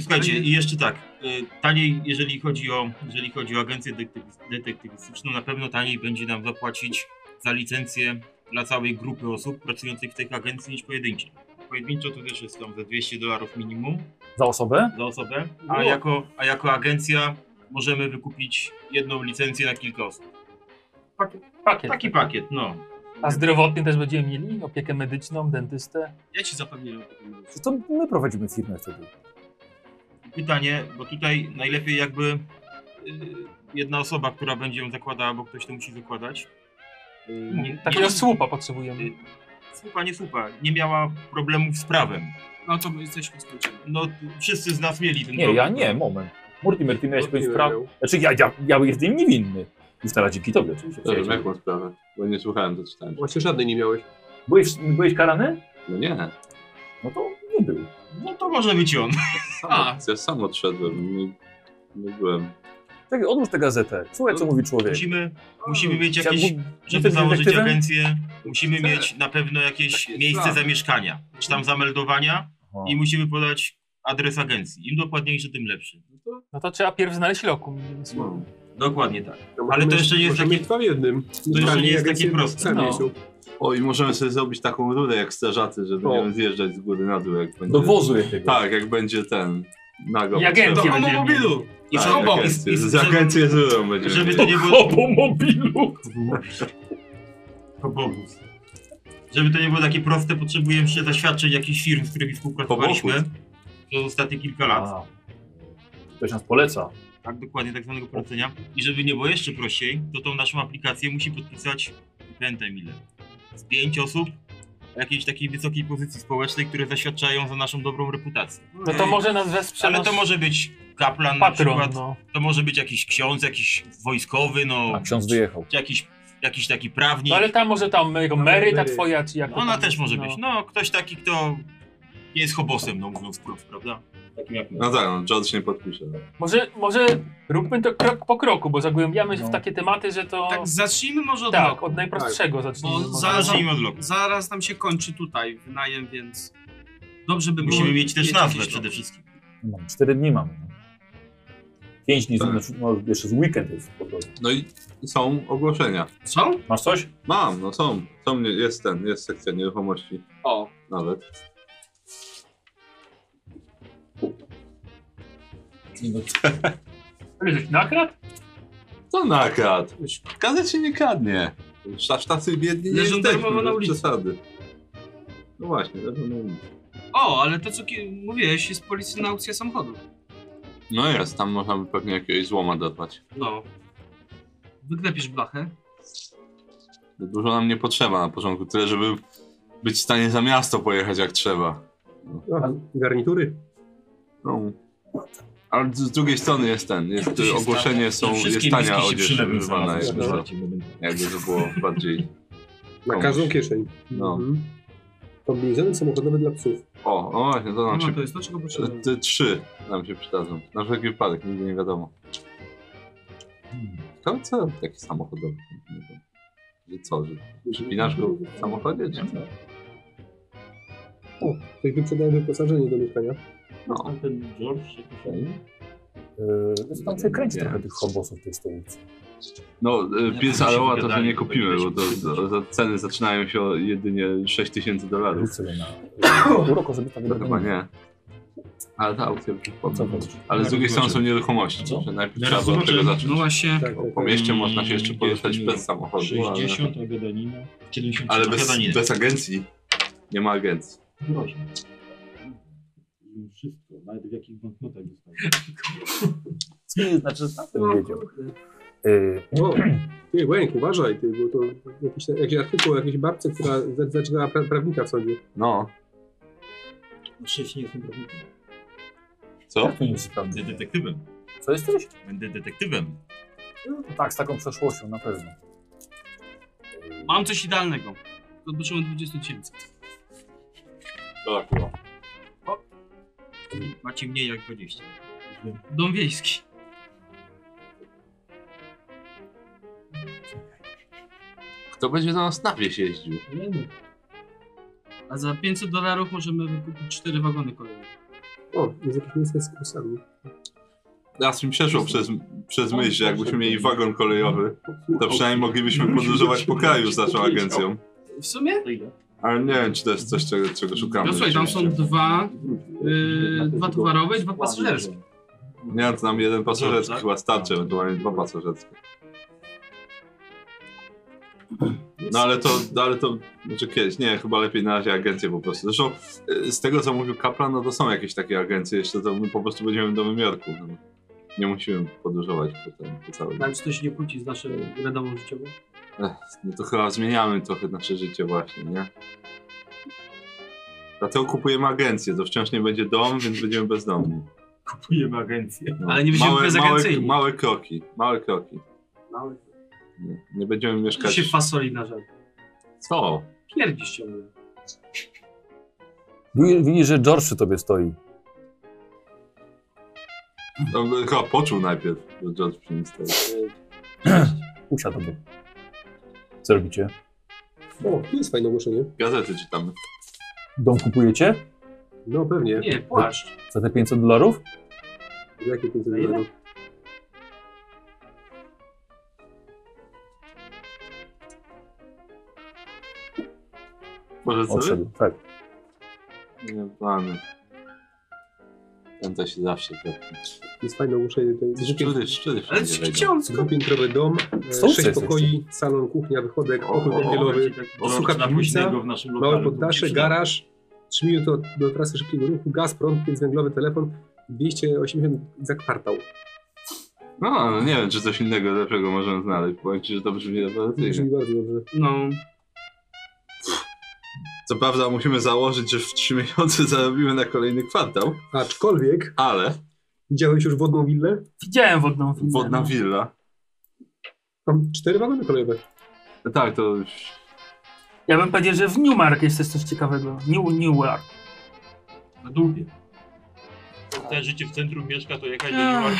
Speaker 4: Słuchajcie, i jeszcze tak, y, taniej, jeżeli chodzi o, jeżeli chodzi o agencję detektyw- detektywistyczną, na pewno taniej będzie nam zapłacić za licencję dla całej grupy osób pracujących w tych agencji niż pojedyncze. Pojedynczo to też jest tam za 200 dolarów minimum
Speaker 2: Za osobę?
Speaker 4: za osobę, a jako, a jako agencja możemy wykupić jedną licencję na kilka osób.
Speaker 7: Pakiet.
Speaker 4: Taki pakiet, no.
Speaker 7: A zdrowotny też będziemy mieli? Opiekę medyczną, dentystę?
Speaker 5: Ja ci zapewniam. o tym.
Speaker 2: Czy to my prowadzimy firmę wtedy?
Speaker 4: Pytanie, bo tutaj najlepiej jakby y, jedna osoba, która będzie ją zakładała, bo ktoś to musi zakładać. Y, nie-
Speaker 7: Takiego słupa potrzebujemy.
Speaker 4: Słupa, nie słupa, nie miała problemów z prawem.
Speaker 5: No to my jesteśmy skończeni.
Speaker 4: No, t- wszyscy z nas mieli ten
Speaker 2: Nie,
Speaker 4: problem.
Speaker 2: ja nie, moment. Mortimer, ty miałeś
Speaker 6: Mortimer
Speaker 2: pewien spraw...
Speaker 6: miał.
Speaker 2: Znaczy ja, ja, ja jestem niewinny. Już teraz dzięki tobie oczywiście.
Speaker 1: Dobrze,
Speaker 2: przyjacielu.
Speaker 1: jaką sprawę? Bo nie słuchałem, co czytałem.
Speaker 6: Właśnie żadnej nie miałeś.
Speaker 2: Byłeś, byłeś karany?
Speaker 1: No nie.
Speaker 2: No to nie był.
Speaker 4: No to może być on.
Speaker 1: Sam,
Speaker 5: A.
Speaker 1: Ja sam odszedłem. Nie, nie byłem.
Speaker 2: Czekaj, odłóż tę gazetę. Słuchaj, co mówi człowiek.
Speaker 4: Musimy, musimy mieć
Speaker 2: Ja
Speaker 4: jakieś,
Speaker 2: mu-
Speaker 4: żeby
Speaker 2: jestem
Speaker 4: założyć
Speaker 2: detektywem?
Speaker 4: agencję, musimy
Speaker 1: Tak.
Speaker 4: mieć na pewno jakieś
Speaker 1: Tak jest
Speaker 4: miejsce
Speaker 1: plan.
Speaker 4: zamieszkania, czy tam zameldowania
Speaker 2: Aha.
Speaker 4: i musimy podać adres agencji. Im dokładniejszy, tym lepszy.
Speaker 7: No to trzeba pierw znaleźć lokum. innymi słowy.
Speaker 4: Dokładnie tak.
Speaker 6: No,
Speaker 4: Ale
Speaker 6: możemy-
Speaker 4: to jeszcze nie jest
Speaker 6: możemy
Speaker 4: takie-
Speaker 6: dwa w jednym.
Speaker 4: jeszcze nie jest
Speaker 6: Agencję
Speaker 4: takie proste.
Speaker 6: w samym
Speaker 7: No.
Speaker 6: miejscu.
Speaker 1: O, i możemy sobie zrobić taką rurę jak strażacy, że będziemy zjeżdżać z góry na dół, jak będzie...
Speaker 14: Do wozu jakiegoś.
Speaker 1: Tak, jak będzie ten... Nago.
Speaker 15: I agencja.
Speaker 4: Do
Speaker 1: Tak,
Speaker 4: homomobilu! I z
Speaker 1: tak,
Speaker 4: obok!
Speaker 1: agencję. Z agencją z rurą będziemy
Speaker 5: Żeby to
Speaker 1: mieli.
Speaker 5: nie było...
Speaker 14: Hobomobilu!
Speaker 5: Hobobus. Żeby to nie było takie proste, potrzebujemy jeszcze zaświadczeń jakichś firm, z którymi współpracowaliśmy przez ostatnie kilka lat.
Speaker 14: A. Ktoś nas poleca.
Speaker 5: Tak, dokładnie, tak zwanego polecenia. I żeby nie było jeszcze prościej, to tą naszą aplikację musi podpisać, nie pamiętam ile, z pięć osób o jakiejś takiej wysokiej pozycji społecznej, które zaświadczają za naszą dobrą reputację.
Speaker 15: No to może nas wesprzeć.
Speaker 5: Ale to może być kaplan na
Speaker 15: patron,
Speaker 5: przykład,
Speaker 15: no.
Speaker 5: to może być jakiś ksiądz, jakiś wojskowy, no...
Speaker 2: Tak.
Speaker 16: A ksiądz wyjechał.
Speaker 5: Czy jakiś, jakiś taki prawnik.
Speaker 15: no. ale tam może tam jego
Speaker 6: No,
Speaker 15: Mary, ta
Speaker 6: Mary.
Speaker 15: twoja, czy jak to
Speaker 5: Ona
Speaker 15: tam
Speaker 5: też
Speaker 15: jest,
Speaker 5: może
Speaker 15: no.
Speaker 5: być. No, ktoś taki, kto nie jest hobosem, no mówiąc wprost, prawda? Takim jak my.
Speaker 1: No tak, no, George nie podpisze. no.
Speaker 15: Może, może róbmy to krok po kroku, bo zagłębiamy się w
Speaker 16: No.
Speaker 15: takie tematy, że to...
Speaker 4: Tak, zacznijmy może od
Speaker 15: Tak,
Speaker 5: no.
Speaker 4: roku.
Speaker 15: od najprostszego zacznijmy.
Speaker 4: Bo
Speaker 15: może.
Speaker 4: za- za- No,
Speaker 5: Zacznijmy od logo.
Speaker 4: Zaraz nam się kończy tutaj wynajem, więc dobrze by było
Speaker 5: Musimy mieć też nazwę
Speaker 4: jakieś
Speaker 5: przede
Speaker 4: logo.
Speaker 5: wszystkim.
Speaker 14: No, cztery dni mamy. no. Pięć dni,
Speaker 1: Tak.
Speaker 14: znaczy, no, jeszcze z weekend jest po drodze.
Speaker 1: No i są ogłoszenia.
Speaker 4: Są?
Speaker 14: Masz coś?
Speaker 1: Mam, no są. są jest ten, jest sekcja nieruchomości
Speaker 4: O,
Speaker 1: nawet.
Speaker 15: Ktoś coś nakradł?
Speaker 1: To nakradł. Gazet się nie kradnie. Aż tacy biedni nie
Speaker 4: Leżą
Speaker 1: jesteśmy,
Speaker 4: darmowo na
Speaker 1: bez
Speaker 4: ulicy.
Speaker 1: przesady. No właśnie, leżą na ulicy.
Speaker 4: o, ale to co ki- mówiłeś, jest policja na aukcję samochodów.
Speaker 1: No jest, tam można by pewnie jakiegoś złoma dodać.
Speaker 4: No. Wyklepisz blachę.
Speaker 1: Dużo nam nie potrzeba na początku, tyle żeby być w stanie za miasto pojechać jak trzeba.
Speaker 6: A, garnitury?
Speaker 1: No. Ale z z drugiej strony jest ten, jest,
Speaker 5: To się
Speaker 1: ogłoszenie
Speaker 5: stało.
Speaker 1: są,
Speaker 5: I
Speaker 1: jest
Speaker 5: wszystkie
Speaker 1: tania
Speaker 5: miski się
Speaker 1: odzież
Speaker 5: przylepią
Speaker 1: używana,
Speaker 5: znalazły,
Speaker 1: jakby,
Speaker 5: słuchajcie, bo będą-
Speaker 1: jakby to było bardziej...
Speaker 6: Na
Speaker 1: Komuś.
Speaker 6: każdą kieszeń.
Speaker 1: No.
Speaker 6: Mhm. Kombinezony samochodowe dla psów.
Speaker 1: O, no właśnie, to nam
Speaker 4: No,
Speaker 1: się...
Speaker 4: to jest to, czego potrzebujemy.
Speaker 1: Te trzy nam się przydadzą. Na wszelki wypadek, nigdy nie wiadomo. Ciekawe co robi taki samochodowy? Nie wiem. Że co, że przypinasz go w samochodzie, czy co?
Speaker 6: Ktoś wyprzedaje wyposażenie do mieszkania.
Speaker 1: No.
Speaker 16: Ten George, jakiś
Speaker 14: Yy, tam się kręci
Speaker 1: Nie.
Speaker 14: trochę tych hobosów w tej stolicy.
Speaker 1: No,
Speaker 5: Nie,
Speaker 1: y, pies
Speaker 5: to się
Speaker 1: Aloha to, że
Speaker 5: wygadali,
Speaker 1: nie kupimy, bo to,
Speaker 5: powinniśmy
Speaker 1: to, to ceny zaczynają się o jedynie 6000 dolarów.
Speaker 14: Rzuć sobie na yy, urok osobista.
Speaker 1: To chyba nie. Ale ta aukcja
Speaker 14: Co
Speaker 1: przypomnę.
Speaker 14: chodzi?
Speaker 1: Ale z drugiej strony są
Speaker 14: Co?
Speaker 1: nieruchomości, że najpierw
Speaker 5: Zaraz
Speaker 1: trzeba było od tego
Speaker 5: zobaczymy.
Speaker 1: zacząć.
Speaker 4: No właśnie.
Speaker 6: Tak, tak,
Speaker 1: Po mieście można się jeszcze
Speaker 5: Mm,
Speaker 1: poruszać
Speaker 5: jest
Speaker 1: bez samochodu, ale,
Speaker 5: 60 Agadanina, 70
Speaker 1: Tak. ale bez,
Speaker 5: Agadanina.
Speaker 1: bez agencji nie ma agencji.
Speaker 5: Groźne. Wszystko, nawet w jakich banknotach zostało.
Speaker 14: Co nie znaczy, że tam
Speaker 4: No,
Speaker 14: ten wiedział. Yy,
Speaker 6: O, ty, Łęk, uważaj, ty, bo to jakiś, jakiś artykuł o jakiejś babce, która za- zaczynała pra, prawnika w sądzie.
Speaker 1: No,
Speaker 5: No, Sześć nie jestem prawnikiem.
Speaker 1: co? Tak.
Speaker 14: jak to nie jest prawda?
Speaker 5: Będę detektywem.
Speaker 14: Co jesteś?
Speaker 5: Będę detektywem.
Speaker 14: No, tak, z taką przeszłością na pewno.
Speaker 4: Mam coś idealnego. Odboczyłem 20 tysięcy.
Speaker 1: Tak,
Speaker 5: no. Macie mniej jak 20.
Speaker 4: Dom wiejski.
Speaker 1: Kto będzie na nas na wieś jeździł?
Speaker 4: A za 500 dolarów możemy wykupić 4 wagony kolejowe.
Speaker 6: O, jest jakieś miejsce z kusami.
Speaker 1: Raz mi przeszło przez, przez
Speaker 4: No,
Speaker 1: myśl, że jakbyśmy mieli wagon kolejowy, to przynajmniej moglibyśmy podróżować po kraju z naszą agencją.
Speaker 4: W sumie?
Speaker 1: Ale nie wiem, czy to jest coś, czego, czego szukamy.
Speaker 4: No słuchaj, tam są dwa, y, dwa towarowe i dwa pasażerskie.
Speaker 16: pasażerskie.
Speaker 1: Nie, to nam jeden pasażerski
Speaker 5: Tak?
Speaker 1: chyba starczy, ewentualnie dwa pasażerskie. No ale to, no, ale to, znaczy kiedyś, nie, chyba lepiej na razie agencje po prostu. Zresztą y, z tego, co mówił Kaplan, no to są jakieś takie agencje jeszcze, to my po prostu będziemy do Nowym Jorku. No. Nie musimy podróżować potem po całym...
Speaker 4: Ale czy to się nie kłóci z naszą redową życiową?
Speaker 1: Ech, no to chyba zmieniamy trochę nasze życie właśnie, nie? Dlatego kupujemy agencję, to wciąż nie będzie dom, więc będziemy bezdomni.
Speaker 5: Kupujemy agencję.
Speaker 1: No.
Speaker 4: Ale nie będziemy
Speaker 1: małe,
Speaker 4: bezagencyjni.
Speaker 1: małe kroki, małe kroki.
Speaker 4: Mały.
Speaker 1: Nie, nie będziemy
Speaker 4: Czy
Speaker 1: mieszkać...
Speaker 4: się fasoli na żel?
Speaker 1: Co?
Speaker 4: Pierdzisz ciągle.
Speaker 14: Wi- Widzisz, że George przy tobie stoi.
Speaker 1: No, by- chyba poczuł najpierw, że George przy nim stoi.
Speaker 14: Usiadł obok. Co robicie?
Speaker 6: O, tu jest fajne ogłoszenie.
Speaker 1: Gazety czytamy.
Speaker 14: Dom kupujecie?
Speaker 6: No pewnie.
Speaker 4: Nie, płaszcz.
Speaker 14: Za te 500 dolarów?
Speaker 6: Za Jakie 500
Speaker 4: Za ile?
Speaker 6: dolarów?
Speaker 1: Może sobie?
Speaker 2: Odszedł, tak.
Speaker 1: Nie plany. Pęta się zawsze tepnąć.
Speaker 6: Jest fajne uszenie tej
Speaker 1: Szczury, szczury
Speaker 4: Ale
Speaker 1: wszędzie
Speaker 4: gdzie
Speaker 1: wejdą.
Speaker 4: on skąd?
Speaker 6: dwupiętrowy dom, e,
Speaker 2: Są
Speaker 6: sześć
Speaker 2: sukcesy
Speaker 6: pokoi, salon, kuchnia, wychodek,
Speaker 1: O,
Speaker 6: pokój
Speaker 1: o, o,
Speaker 6: kąpielowy, sucha
Speaker 5: Osuka
Speaker 6: piwnica,
Speaker 5: późnego w naszym
Speaker 6: małe
Speaker 5: lokalu.
Speaker 6: poddasze, garaż, 3 minuty od, do trasy szybkiego ruchu, gaz, prąd, piec węglowy, telefon, 280 za kwartał.
Speaker 1: No, no nie wiem, czy coś innego lepszego możemy znaleźć. Powiem ci, że to brzmi
Speaker 6: Brzmi
Speaker 1: rewelacyjnie.
Speaker 6: bardzo dobrze.
Speaker 4: No,
Speaker 1: Co prawda musimy założyć, że w trzy miesiące zarobimy na kolejny kwartał,
Speaker 6: Aczkolwiek,
Speaker 1: ale
Speaker 6: widziałeś już wodną willę?
Speaker 7: Widziałem wodną no. filmę.
Speaker 1: wodna willa.
Speaker 6: Tam cztery wagony kolejowe.
Speaker 1: No tak, to już
Speaker 7: Ja bym powiedział, że w Newmark jest też coś ciekawego. New, Newark.
Speaker 5: Na dupie. Całe życie w centrum mieszka, to jakaś do
Speaker 7: Ech.
Speaker 5: Newarku.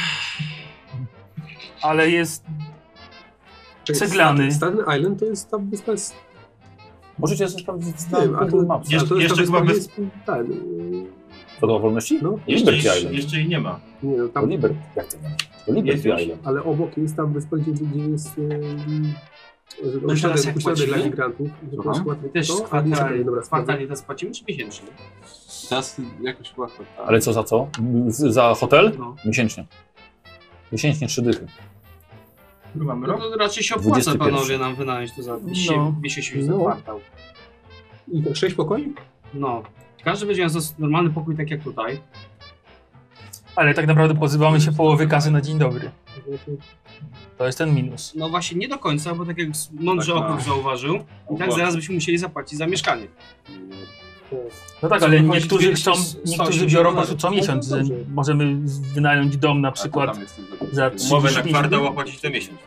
Speaker 7: Ale jest...
Speaker 6: Czekaj,
Speaker 7: Ceglany.
Speaker 6: Staten Staten Island to jest ta wyspa z
Speaker 2: Możecie jeszcze sprawdzić na
Speaker 6: tym, a
Speaker 2: Google
Speaker 6: to,
Speaker 2: Maps.
Speaker 6: a to jest
Speaker 5: Jeszcze
Speaker 6: ta wyspa,
Speaker 5: chyba
Speaker 6: gdzie
Speaker 5: bez-
Speaker 6: jest... Tak, e,
Speaker 2: Co do wolności?
Speaker 6: no,
Speaker 5: Jeszcze,
Speaker 2: Liberty Island.
Speaker 5: jeszcze jej nie ma.
Speaker 6: nie, no,
Speaker 2: To
Speaker 6: tam,
Speaker 2: Liberty, jak to nie? To Liberty
Speaker 5: Jest już?
Speaker 2: Island.
Speaker 6: ale obok jest tam wyspa, gdzie, gdzie jest
Speaker 4: No i teraz
Speaker 6: uśladek,
Speaker 4: jak
Speaker 6: uśladek dla
Speaker 4: płacimy?
Speaker 6: migrantów.
Speaker 1: Słucham?
Speaker 6: Skład-
Speaker 4: też
Speaker 6: to, ale nie
Speaker 4: kwartalnie,
Speaker 6: zagrałem, dobra,
Speaker 4: kwartalnie teraz płacimy czy miesięcznie?
Speaker 1: teraz jakoś chyba kwartał.
Speaker 2: Ale co za co? Z- Za hotel?
Speaker 4: No.
Speaker 2: Miesięcznie. Miesięcznie trzy dychy.
Speaker 5: Który mamy
Speaker 4: No
Speaker 5: rok?
Speaker 4: to raczej się opłaca
Speaker 2: 21.
Speaker 4: panowie nam wynająć to za
Speaker 7: No.
Speaker 4: miesięcznie za
Speaker 6: No.
Speaker 4: kwartał.
Speaker 6: I tak sześć pokoi?
Speaker 4: No. Każdy będzie miał zas- normalny pokój tak jak tutaj.
Speaker 7: Ale tak naprawdę pozbywamy się połowy kasy na dzień dobry. To jest ten minus.
Speaker 4: No właśnie nie do końca, bo tak jak s- mądrze
Speaker 1: Tak,
Speaker 4: okrug
Speaker 1: tak.
Speaker 4: zauważył, i tak zaraz byśmy musieli zapłacić za mieszkanie.
Speaker 7: No tak,
Speaker 4: Co
Speaker 7: ale
Speaker 4: wychodzi
Speaker 7: niektórzy chcą,
Speaker 4: 200,
Speaker 7: niektórzy
Speaker 4: 180
Speaker 7: biorą po prostu
Speaker 4: dolarów.
Speaker 7: co miesiąc. że
Speaker 6: dobrze.
Speaker 7: Możemy wynająć dom na przykład za 30
Speaker 5: Umowę na
Speaker 7: minut.
Speaker 5: kwartał, a płacić co miesiąc.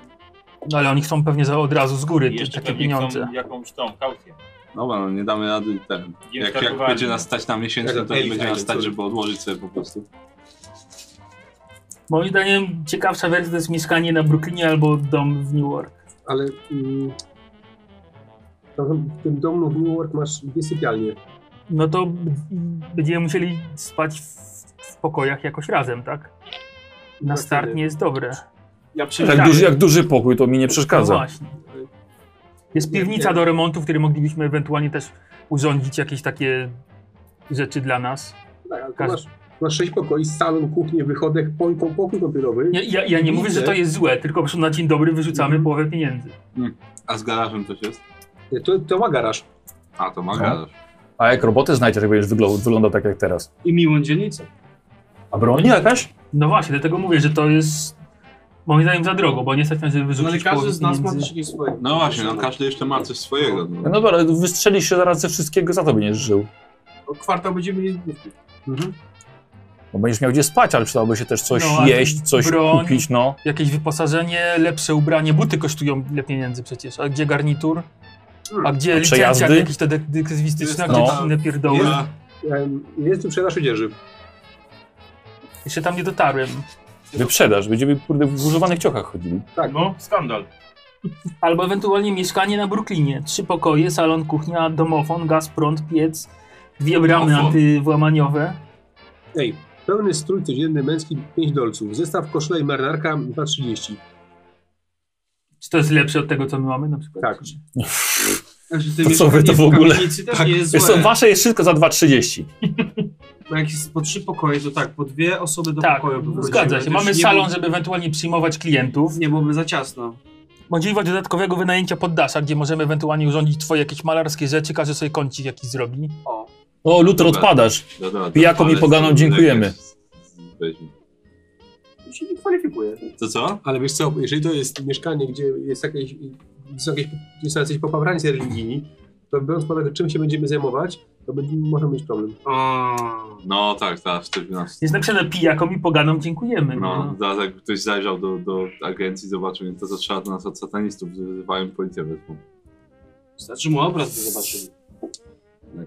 Speaker 7: No ale oni chcą pewnie za, od razu z góry
Speaker 5: I
Speaker 7: te,
Speaker 5: jeszcze
Speaker 7: takie
Speaker 5: pewnie
Speaker 7: pieniądze.
Speaker 5: chcą jakąś tą kaucję.
Speaker 1: Dobra, no nie damy rady ten.
Speaker 5: Jest
Speaker 1: Jak, jak
Speaker 5: kartowalny.
Speaker 1: będzie nas stać na miesięczny, to
Speaker 6: Jak
Speaker 1: nie będzie
Speaker 6: Elite,
Speaker 1: nas stać,
Speaker 6: który-
Speaker 1: żeby odłożyć sobie po prostu.
Speaker 7: Moim zdaniem ciekawsza wersja to jest mieszkanie na Brooklynie albo dom w Newark.
Speaker 6: Ale mm, tam w tym domu w New York masz dwie sypialnie.
Speaker 7: No to b- będziemy musieli spać w, w pokojach jakoś razem, tak? Na start nie jest dobre.
Speaker 4: Ja
Speaker 2: Tak
Speaker 7: Tak.
Speaker 2: duży, jak duży pokój, to mi nie
Speaker 7: No
Speaker 2: przeszkadza.
Speaker 7: właśnie. Jest piwnica do remontu, w której moglibyśmy ewentualnie też urządzić jakieś takie rzeczy dla nas.
Speaker 6: Tak, ale tu
Speaker 7: Każdy-
Speaker 6: masz, masz sześć pokoi, salon, kuchnię, wychodek, pokój, pokój kąpielowy.
Speaker 7: Ja, ja, ja nie mówię, że to jest złe, tylko po prostu na dzień dobry wyrzucamy
Speaker 4: Mhm.
Speaker 7: połowę pieniędzy.
Speaker 1: A z garażem coś jest?
Speaker 6: To, to ma garaż.
Speaker 1: A, to ma
Speaker 2: Co?
Speaker 1: garaż.
Speaker 2: A jak roboty znajdzie, to będziesz wyglądał, wyglądał tak jak teraz.
Speaker 4: I miłą dzielnicę.
Speaker 2: A broń jakaś?
Speaker 7: No właśnie, dlatego mówię, że to jest moim zdaniem za drogo, bo nie stać nas, żeby
Speaker 4: No ale
Speaker 7: wyrzucić
Speaker 4: każdy
Speaker 7: połowę
Speaker 4: z nas ma
Speaker 7: pieniędzy.
Speaker 4: też jakieś swoje.
Speaker 1: No właśnie, no każdy jeszcze ma coś swojego.
Speaker 2: No
Speaker 1: No.
Speaker 2: dobra, ale wystrzelisz się zaraz ze wszystkiego, za to będziesz żył.
Speaker 4: O Kwartał będziemy mieli zbytki.
Speaker 2: No będziesz miał gdzie spać, ale przydałoby się też coś
Speaker 7: No, a
Speaker 2: jeść, coś
Speaker 7: broń-
Speaker 2: kupić, no.
Speaker 7: Jakieś wyposażenie, lepsze ubranie, buty kosztują ile pieniędzy przecież, a gdzie garnitur? A gdzie licencja
Speaker 2: przejazdy?
Speaker 7: jakieś te dek- detektywistyczne, a gdzie
Speaker 2: No.
Speaker 7: te inne pierdoły?
Speaker 1: Ja,
Speaker 6: Em, Jest tu sprzedaż odzieży.
Speaker 7: Jeszcze tam nie dotarłem.
Speaker 2: Wyprzedaż, będziemy kurde w używanych ciochach chodzili.
Speaker 5: No, skandal.
Speaker 7: Albo ewentualnie mieszkanie na Brooklynie. Trzy pokoje, salon, kuchnia, domofon, gaz, prąd, piec, dwie bramy
Speaker 5: Domofon.
Speaker 7: antywłamaniowe.
Speaker 6: Ej, pełny strój codzienny męski, 5 dolców. Zestaw koszula i marynarka, 2,30.
Speaker 7: Czy to jest lepsze od tego, co my mamy na przykład?
Speaker 6: Tak.
Speaker 4: Znaczy,
Speaker 2: To
Speaker 4: te
Speaker 2: co
Speaker 4: mieszkanie
Speaker 2: wy to w
Speaker 4: w
Speaker 2: ogóle?
Speaker 4: kamienicy też
Speaker 2: Tak,
Speaker 4: nie jest
Speaker 2: Jest to
Speaker 4: złe.
Speaker 2: wasze jest wszystko za 2,30.
Speaker 4: Bo jak jest po trzy pokoje, to tak, po dwie osoby do
Speaker 7: Tak,
Speaker 4: pokoju by wchodziły.
Speaker 7: zgadza
Speaker 4: To
Speaker 7: się.
Speaker 4: już
Speaker 7: Mamy
Speaker 4: nie
Speaker 7: salon,
Speaker 4: byłoby-
Speaker 7: żeby ewentualnie przyjmować klientów.
Speaker 4: Nie byłoby za ciasno.
Speaker 7: Możliwość dodatkowego wynajęcia poddasza, gdzie możemy ewentualnie urządzić twoje jakieś malarskie rzeczy, każdy sobie kącik jakiś zrobi.
Speaker 4: O,
Speaker 2: O, Luther
Speaker 1: Dobra.
Speaker 2: odpadasz.
Speaker 1: no dobra, to
Speaker 2: Pijakom i
Speaker 1: palec,
Speaker 2: poganom
Speaker 1: to
Speaker 2: dziękujemy.
Speaker 1: jak jest- weźmie.
Speaker 4: to się nie kwalifikuje.
Speaker 1: To co?
Speaker 6: Ale wiesz co, jeżeli to jest mieszkanie, gdzie jest jakieś, gdzie są jakieś, gdzie są jakieś popabrańcy religijni, to biorąc pod uwagę, czym się będziemy zajmować, to będziemy, możemy mieć problem.
Speaker 4: O,
Speaker 1: No tak, zaraz wtedy nas.
Speaker 7: Jest napisane pijakom i poganom dziękujemy.
Speaker 1: No,
Speaker 7: No.
Speaker 1: zaraz jak ktoś zajrzał do, do agencji, zobaczył, to zaczęła do nas od satanistów, że wzywają policję wezmą.
Speaker 4: Znaczy mu obraz by zobaczył.
Speaker 1: Tak.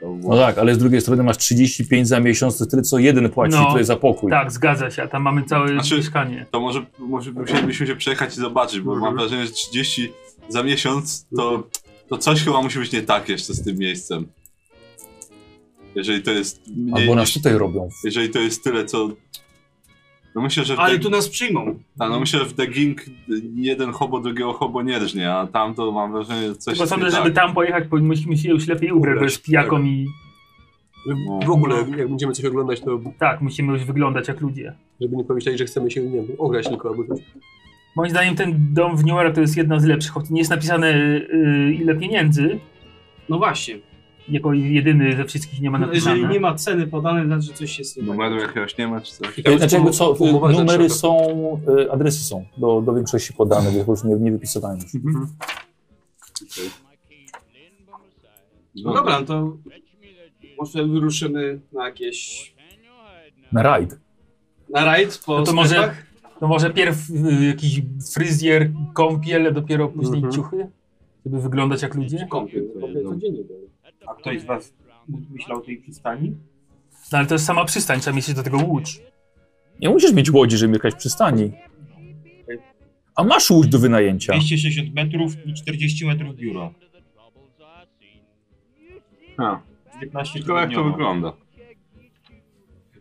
Speaker 1: To było-
Speaker 2: No tak, ale z drugiej strony masz 35 za miesiąc, to tyle co jeden płaci
Speaker 7: No.
Speaker 2: tyle za pokój.
Speaker 7: Tak, zgadza się, a tam mamy całe
Speaker 1: Znaczy-
Speaker 7: mieszkanie.
Speaker 1: To może, może musielibyśmy się przejechać i zobaczyć, bo mam wrażenie, że 30 za miesiąc to, to coś chyba musi być nie tak jeszcze z tym miejscem. Jeżeli to jest mniej
Speaker 2: Albo nas
Speaker 1: niż,
Speaker 2: tutaj robią.
Speaker 1: jeżeli to jest tyle, co No myślę, że w
Speaker 4: Ale
Speaker 1: The-
Speaker 4: tu nas przyjmą.
Speaker 1: Ta, no myślę, że w The Ging jeden hobo drugiego hobo nie rżnie, a tam to mam wrażenie, że coś
Speaker 7: Tylko sądzę,
Speaker 1: nie
Speaker 7: żeby
Speaker 1: tak.
Speaker 7: tam pojechać, powinni- musimy się już lepiej ubrać, bo jest pijaką i
Speaker 1: No.
Speaker 6: W ogóle, jak będziemy coś oglądać, to
Speaker 7: tak, musimy już wyglądać jak ludzie.
Speaker 6: żeby nie pomyśleć, że chcemy się, nie wiem, ograć tylko albo coś.
Speaker 7: Moim zdaniem ten dom w New York to jest jedna z lepszych, choć nie jest napisane yy, ile pieniędzy,
Speaker 4: No właśnie.
Speaker 7: jako jedyny ze wszystkich nie ma
Speaker 4: No, jeżeli
Speaker 7: napisane.
Speaker 4: nie ma ceny podanej, znaczy że coś jest nie tak.
Speaker 1: Numeru jakiegoś nie No ma, czy coś.
Speaker 6: To już
Speaker 2: Znaczy, jakby co, y,
Speaker 6: umowa
Speaker 2: numery
Speaker 6: zaczyna.
Speaker 2: są, y, adresy są do, do większości podane, więc już nie, nie wypisywałem. już.
Speaker 4: No dobra, no to może wyruszymy na jakieś...
Speaker 2: Na rajd.
Speaker 4: na rajd po
Speaker 7: No to
Speaker 4: sklepach?
Speaker 7: może- To może pierw y, jakiś fryzjer, kąpiel, a dopiero później
Speaker 6: Mhm.
Speaker 7: ciuchy, żeby wyglądać jak ludzie.
Speaker 4: Kąpiel, kąpiel codziennie.
Speaker 17: A ktoś z was myślał o tej przystani?
Speaker 7: No ale to jest sama przystań, trzeba mieć do tego łódź.
Speaker 2: Nie musisz mieć łodzi, żeby jechać w przystani. A masz łódź do wynajęcia.
Speaker 5: 260 metrów i 40 metrów biuro.
Speaker 1: A,
Speaker 5: 19
Speaker 1: tylko jak to
Speaker 5: tygodniowo.
Speaker 1: wygląda?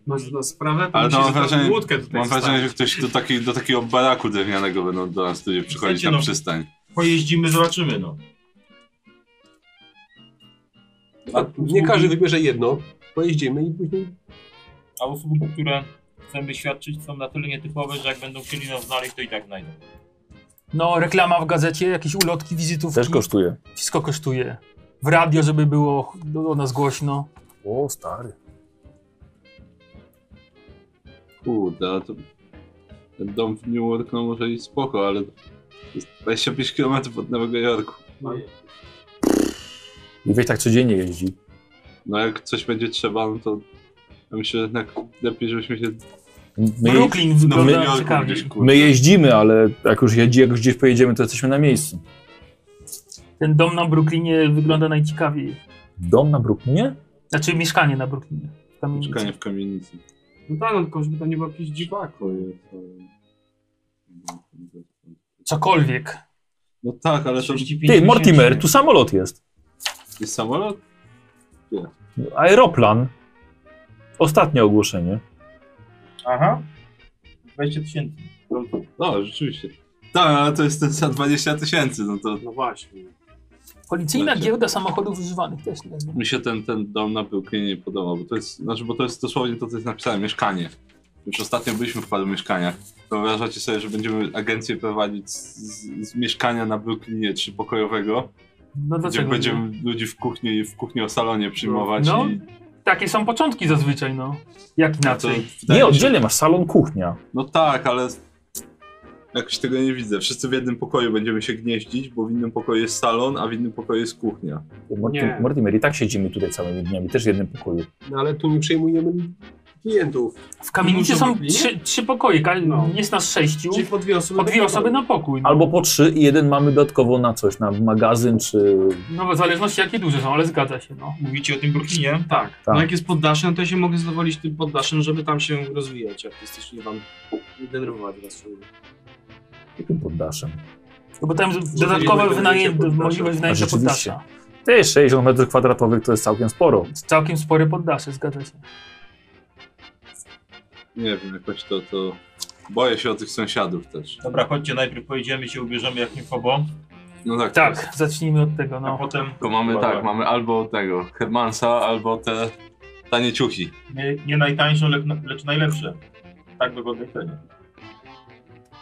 Speaker 4: Masz na sprawę? Tak.
Speaker 1: Ale to mam
Speaker 4: musisz taką
Speaker 1: wrażenie-
Speaker 4: łódkę tutaj
Speaker 1: Mam wrażenie,
Speaker 4: wstawić.
Speaker 1: że ktoś do, taki, do takiego baraku drewnianego będą do nas ludzie przychodzić
Speaker 5: Słuchajcie,
Speaker 1: na
Speaker 5: no.
Speaker 1: przystań.
Speaker 5: Pojeździmy, zobaczymy no.
Speaker 6: A nie każdy wybierze jedno, pojeździmy i później
Speaker 5: A usługi, które chcemy świadczyć są na tyle nietypowe, że jak będą chcieli nas znaleźć, to i tak znajdą.
Speaker 7: No reklama w gazecie, jakieś ulotki, wizytówki.
Speaker 2: Też kosztuje.
Speaker 7: Wszystko kosztuje. W radio, żeby było ch- do, do nas głośno.
Speaker 2: O, stary.
Speaker 1: Kurde, ale to... Ten dom w New York, no może i spoko, ale... to jest 25 km od Nowego Jorku.
Speaker 2: I weź tak codziennie jeździ.
Speaker 1: No jak coś będzie trzeba, no to... Ja myślę, że jednak lepiej, żebyśmy się...
Speaker 2: My, je-
Speaker 7: Brooklyn
Speaker 1: No, w New
Speaker 7: wygląda
Speaker 1: Jorku
Speaker 7: ciekawie.
Speaker 1: gdzieś, kurde.
Speaker 2: my jeździmy, ale jak już jedzie, jak już gdzieś pojedziemy, to jesteśmy na miejscu.
Speaker 7: Ten dom na Brooklynie wygląda najciekawiej.
Speaker 2: Dom na Brooklynie?
Speaker 7: Znaczy mieszkanie na Brooklynie. w kamienicy.
Speaker 1: Mieszkanie w kamienicy.
Speaker 4: No tak, no tylko żeby tam nie było jakichś dziwaków.
Speaker 1: To jest, to...
Speaker 7: Cokolwiek.
Speaker 1: No tak, ale to
Speaker 5: 35
Speaker 2: Ty,
Speaker 5: tysięcy.
Speaker 2: Mortimer, tu samolot jest.
Speaker 1: jest samolot?
Speaker 2: Aeroplan. Ostatnie ogłoszenie.
Speaker 5: Aha. 20 tysięcy.
Speaker 1: No, rzeczywiście. Tak, ale to jest ten za 20 tysięcy, no to
Speaker 4: No właśnie.
Speaker 7: Policyjna
Speaker 1: Znaczy-
Speaker 7: giełda samochodów używanych też nie wiem.
Speaker 1: mi się ten, ten dom na Brooklynie nie podobał, bo to jest, znaczy, bo to jest dosłownie to, co jest napisane, mieszkanie. Już ostatnio byliśmy w paru mieszkaniach. Wyobrażacie sobie, że będziemy agencję prowadzić z, z, z mieszkania na Brooklynie trzypokojowego,
Speaker 7: No
Speaker 1: gdzie
Speaker 7: dlaczego? nie?
Speaker 1: będziemy ludzi w kuchni, w kuchni o salonie przyjmować
Speaker 7: No,
Speaker 1: i...
Speaker 7: Takie są początki zazwyczaj, no.
Speaker 1: to
Speaker 7: Jak inaczej.
Speaker 1: wydaje
Speaker 2: Nie,
Speaker 1: mi się-
Speaker 2: oddzielnie masz salon, kuchnia.
Speaker 1: No tak, ale jakoś tego nie widzę. Wszyscy w jednym pokoju będziemy się gnieździć, bo w innym pokoju jest salon, a w innym pokoju jest kuchnia.
Speaker 2: Morty,
Speaker 4: Nie.
Speaker 2: Mortimer, i tak siedzimy tutaj całymi dniami, też w jednym pokoju.
Speaker 6: No ale tu nie przyjmujemy klientów.
Speaker 7: W kamienicy
Speaker 4: Dużo
Speaker 7: są
Speaker 4: Brooklynie?
Speaker 7: trzy, trzy pokoje, ka-
Speaker 4: No.
Speaker 7: jest nas sześciu,
Speaker 4: Czyli po dwie osoby.
Speaker 7: po dwie osoby na pokój. No.
Speaker 2: Albo po trzy i jeden mamy dodatkowo na coś, na magazyn czy...
Speaker 7: no w zależności jakie duże są, ale zgadza się, no.
Speaker 5: Mówicie o tym Brooklynie?
Speaker 4: Tak.
Speaker 2: Tak.
Speaker 4: No jak jest poddaszem, to ja się mogę zadowolić tym poddaszem, żeby tam się rozwijać artystycznie, wam nie denerwować was.
Speaker 2: Jakim poddaszem?
Speaker 7: No bo tam
Speaker 6: nie
Speaker 7: dodatkowa
Speaker 6: będę
Speaker 7: wynaję,
Speaker 6: się poddasza.
Speaker 7: możliwość wynajęcia
Speaker 2: A rzeczywiście.
Speaker 7: poddasza.
Speaker 2: Ty, 60 metrów kwadratowych to jest całkiem sporo.
Speaker 7: Całkiem spore poddasze, zgadza się.
Speaker 1: Nie wiem, jakoś to, to... Boję się o tych sąsiadów też.
Speaker 5: Dobra, chodźcie, najpierw pojedziemy się, ubierzemy jak nie fobo,
Speaker 1: No tak. to jest.
Speaker 7: Tak, zacznijmy od tego,
Speaker 5: a
Speaker 7: no.
Speaker 5: potem
Speaker 1: Tylko mamy
Speaker 5: Dobra.
Speaker 1: tak, mamy albo tego Hermansa, albo te tanie ciuchi.
Speaker 5: nie, nie najtańsze, lec- lecz najlepsze. Tak wygodne cenie.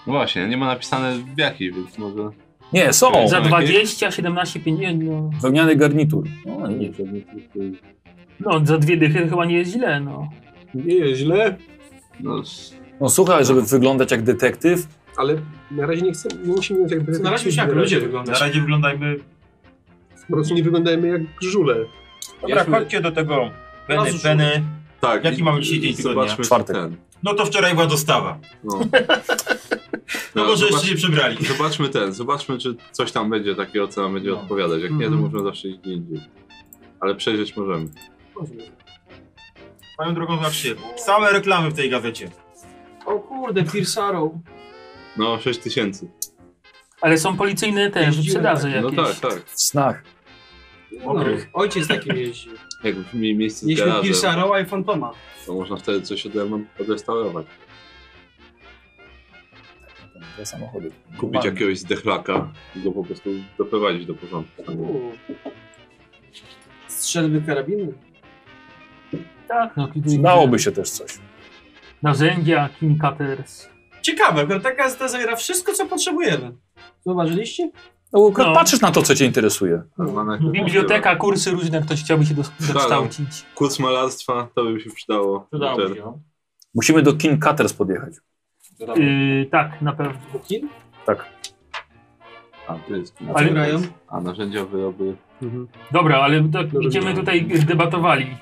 Speaker 1: No właśnie, nie ma napisane w jakiej, więc może...
Speaker 2: Nie, są!
Speaker 1: Za-
Speaker 7: Za
Speaker 1: jakieś-
Speaker 7: 20, 17, 50, no.
Speaker 2: Wełniany garnitur. No, nie.
Speaker 7: no za dwie dychy chyba nie jest źle, no.
Speaker 6: Nie jest źle,
Speaker 1: No, s-
Speaker 2: no słuchaj, żeby wyglądać jak detektyw,
Speaker 6: ale na razie nie chcemy, nie musimy mieć jakby...
Speaker 4: Na razie już jak ludzie
Speaker 5: Na
Speaker 1: Znaczy-
Speaker 4: wyglądają.
Speaker 5: razie wyglądajmy...
Speaker 6: Po prostu nie wyglądajmy jak żule.
Speaker 5: Dobra, chodźcie do tego Beny,
Speaker 4: Razu
Speaker 5: Beny.
Speaker 1: tak.
Speaker 5: Jaki
Speaker 1: i-
Speaker 5: mamy dzisiaj
Speaker 1: i
Speaker 5: dzień tygodnia?
Speaker 1: Zobaczmy
Speaker 2: Czwartek.
Speaker 1: ten.
Speaker 5: No to wczoraj była dostawa.
Speaker 1: No. No,
Speaker 5: No może
Speaker 1: zobacz-
Speaker 5: jeszcze nie przebrali.
Speaker 1: Zobaczmy ten, zobaczmy czy coś tam będzie takiego, co nam będzie
Speaker 5: No.
Speaker 1: odpowiadać. Jak nie, to
Speaker 7: Mhm.
Speaker 1: możemy zawsze iść gdzie indziej. Ale przejrzeć możemy.
Speaker 5: Moją drogą zobaczcie, same reklamy w tej gazecie.
Speaker 4: O kurde, Pierce Arrow.
Speaker 1: No, 6 tysięcy.
Speaker 7: Ale są policyjne te
Speaker 4: Jeździłem
Speaker 7: wyprzedaże
Speaker 1: No
Speaker 7: jakieś.
Speaker 1: tak, tak.
Speaker 2: w snach.
Speaker 4: No, ojciec takim jeździł.
Speaker 1: Jak w mi- miejsce z
Speaker 4: Mieliśmy
Speaker 1: garażem,
Speaker 4: Pierce Arrowa i Fantoma.
Speaker 1: to można wtedy coś ode mną odrestaurować.
Speaker 2: Dwa samochody.
Speaker 1: Kupić jakiegoś zdechlaka i go po prostu doprowadzić do porządku.
Speaker 18: Strzelby karabiny?
Speaker 7: Tak, no,
Speaker 2: Przydałoby się też coś.
Speaker 7: Narzędzia, King Cutters.
Speaker 4: Ciekawe, akurat ta gazeta zawiera wszystko, co potrzebujemy.
Speaker 18: Zauważyliście?
Speaker 2: No, akurat
Speaker 7: No.
Speaker 2: patrzysz na to, co cię interesuje.
Speaker 1: Almanak-
Speaker 7: Biblioteka, kursy różne, ktoś chciałby się dos- dokształcić.
Speaker 1: Kurs malarstwa, to by się przydało.
Speaker 19: Przydało mi się. no.
Speaker 2: Musimy do King Cutters podjechać.
Speaker 19: Przydało.
Speaker 7: Yy, tak, na pewno.
Speaker 18: Do kin?
Speaker 1: A, to jest
Speaker 7: Ale-
Speaker 1: grają? A narzędzia, wyroby.
Speaker 7: Dobra, ale tak
Speaker 6: Dobrze,
Speaker 7: będziemy
Speaker 6: dobra.
Speaker 7: tutaj debatowali.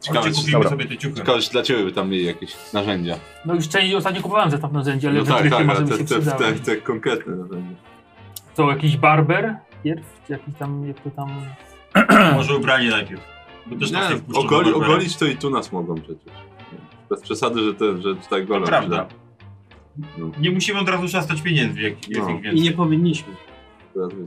Speaker 1: Ciekawe,
Speaker 5: Chodźcie,
Speaker 1: czy-
Speaker 5: kupimy
Speaker 1: dobra.
Speaker 5: sobie te ciuchy.
Speaker 1: ciekawe, czy dla ciebie by tam mieli jakieś narzędzia.
Speaker 7: No już część ostatnio kupowałem zestaw narzędzi, ale
Speaker 1: no
Speaker 7: wytrychy
Speaker 1: tak, tak,
Speaker 7: może
Speaker 1: ale
Speaker 7: by
Speaker 1: te,
Speaker 7: się
Speaker 1: te,
Speaker 7: przydały.
Speaker 1: te, te konkretne narzędzia.
Speaker 7: To jakiś barber pierw, czy jakiś tam, jak to tam...
Speaker 5: Może ubranie najpierw. Bo też nas nie
Speaker 1: Nie,
Speaker 5: wpuszczą
Speaker 1: ogoli,
Speaker 5: do barbera.
Speaker 1: ogolić to i tu nas mogą przecież. Bez przesady, że, te, że tutaj golą.
Speaker 5: Prawda.
Speaker 1: No.
Speaker 5: Nie musimy od razu szastać pieniędzy, jak jest
Speaker 1: No.
Speaker 5: ich
Speaker 4: I
Speaker 5: więcej.
Speaker 4: nie powinniśmy.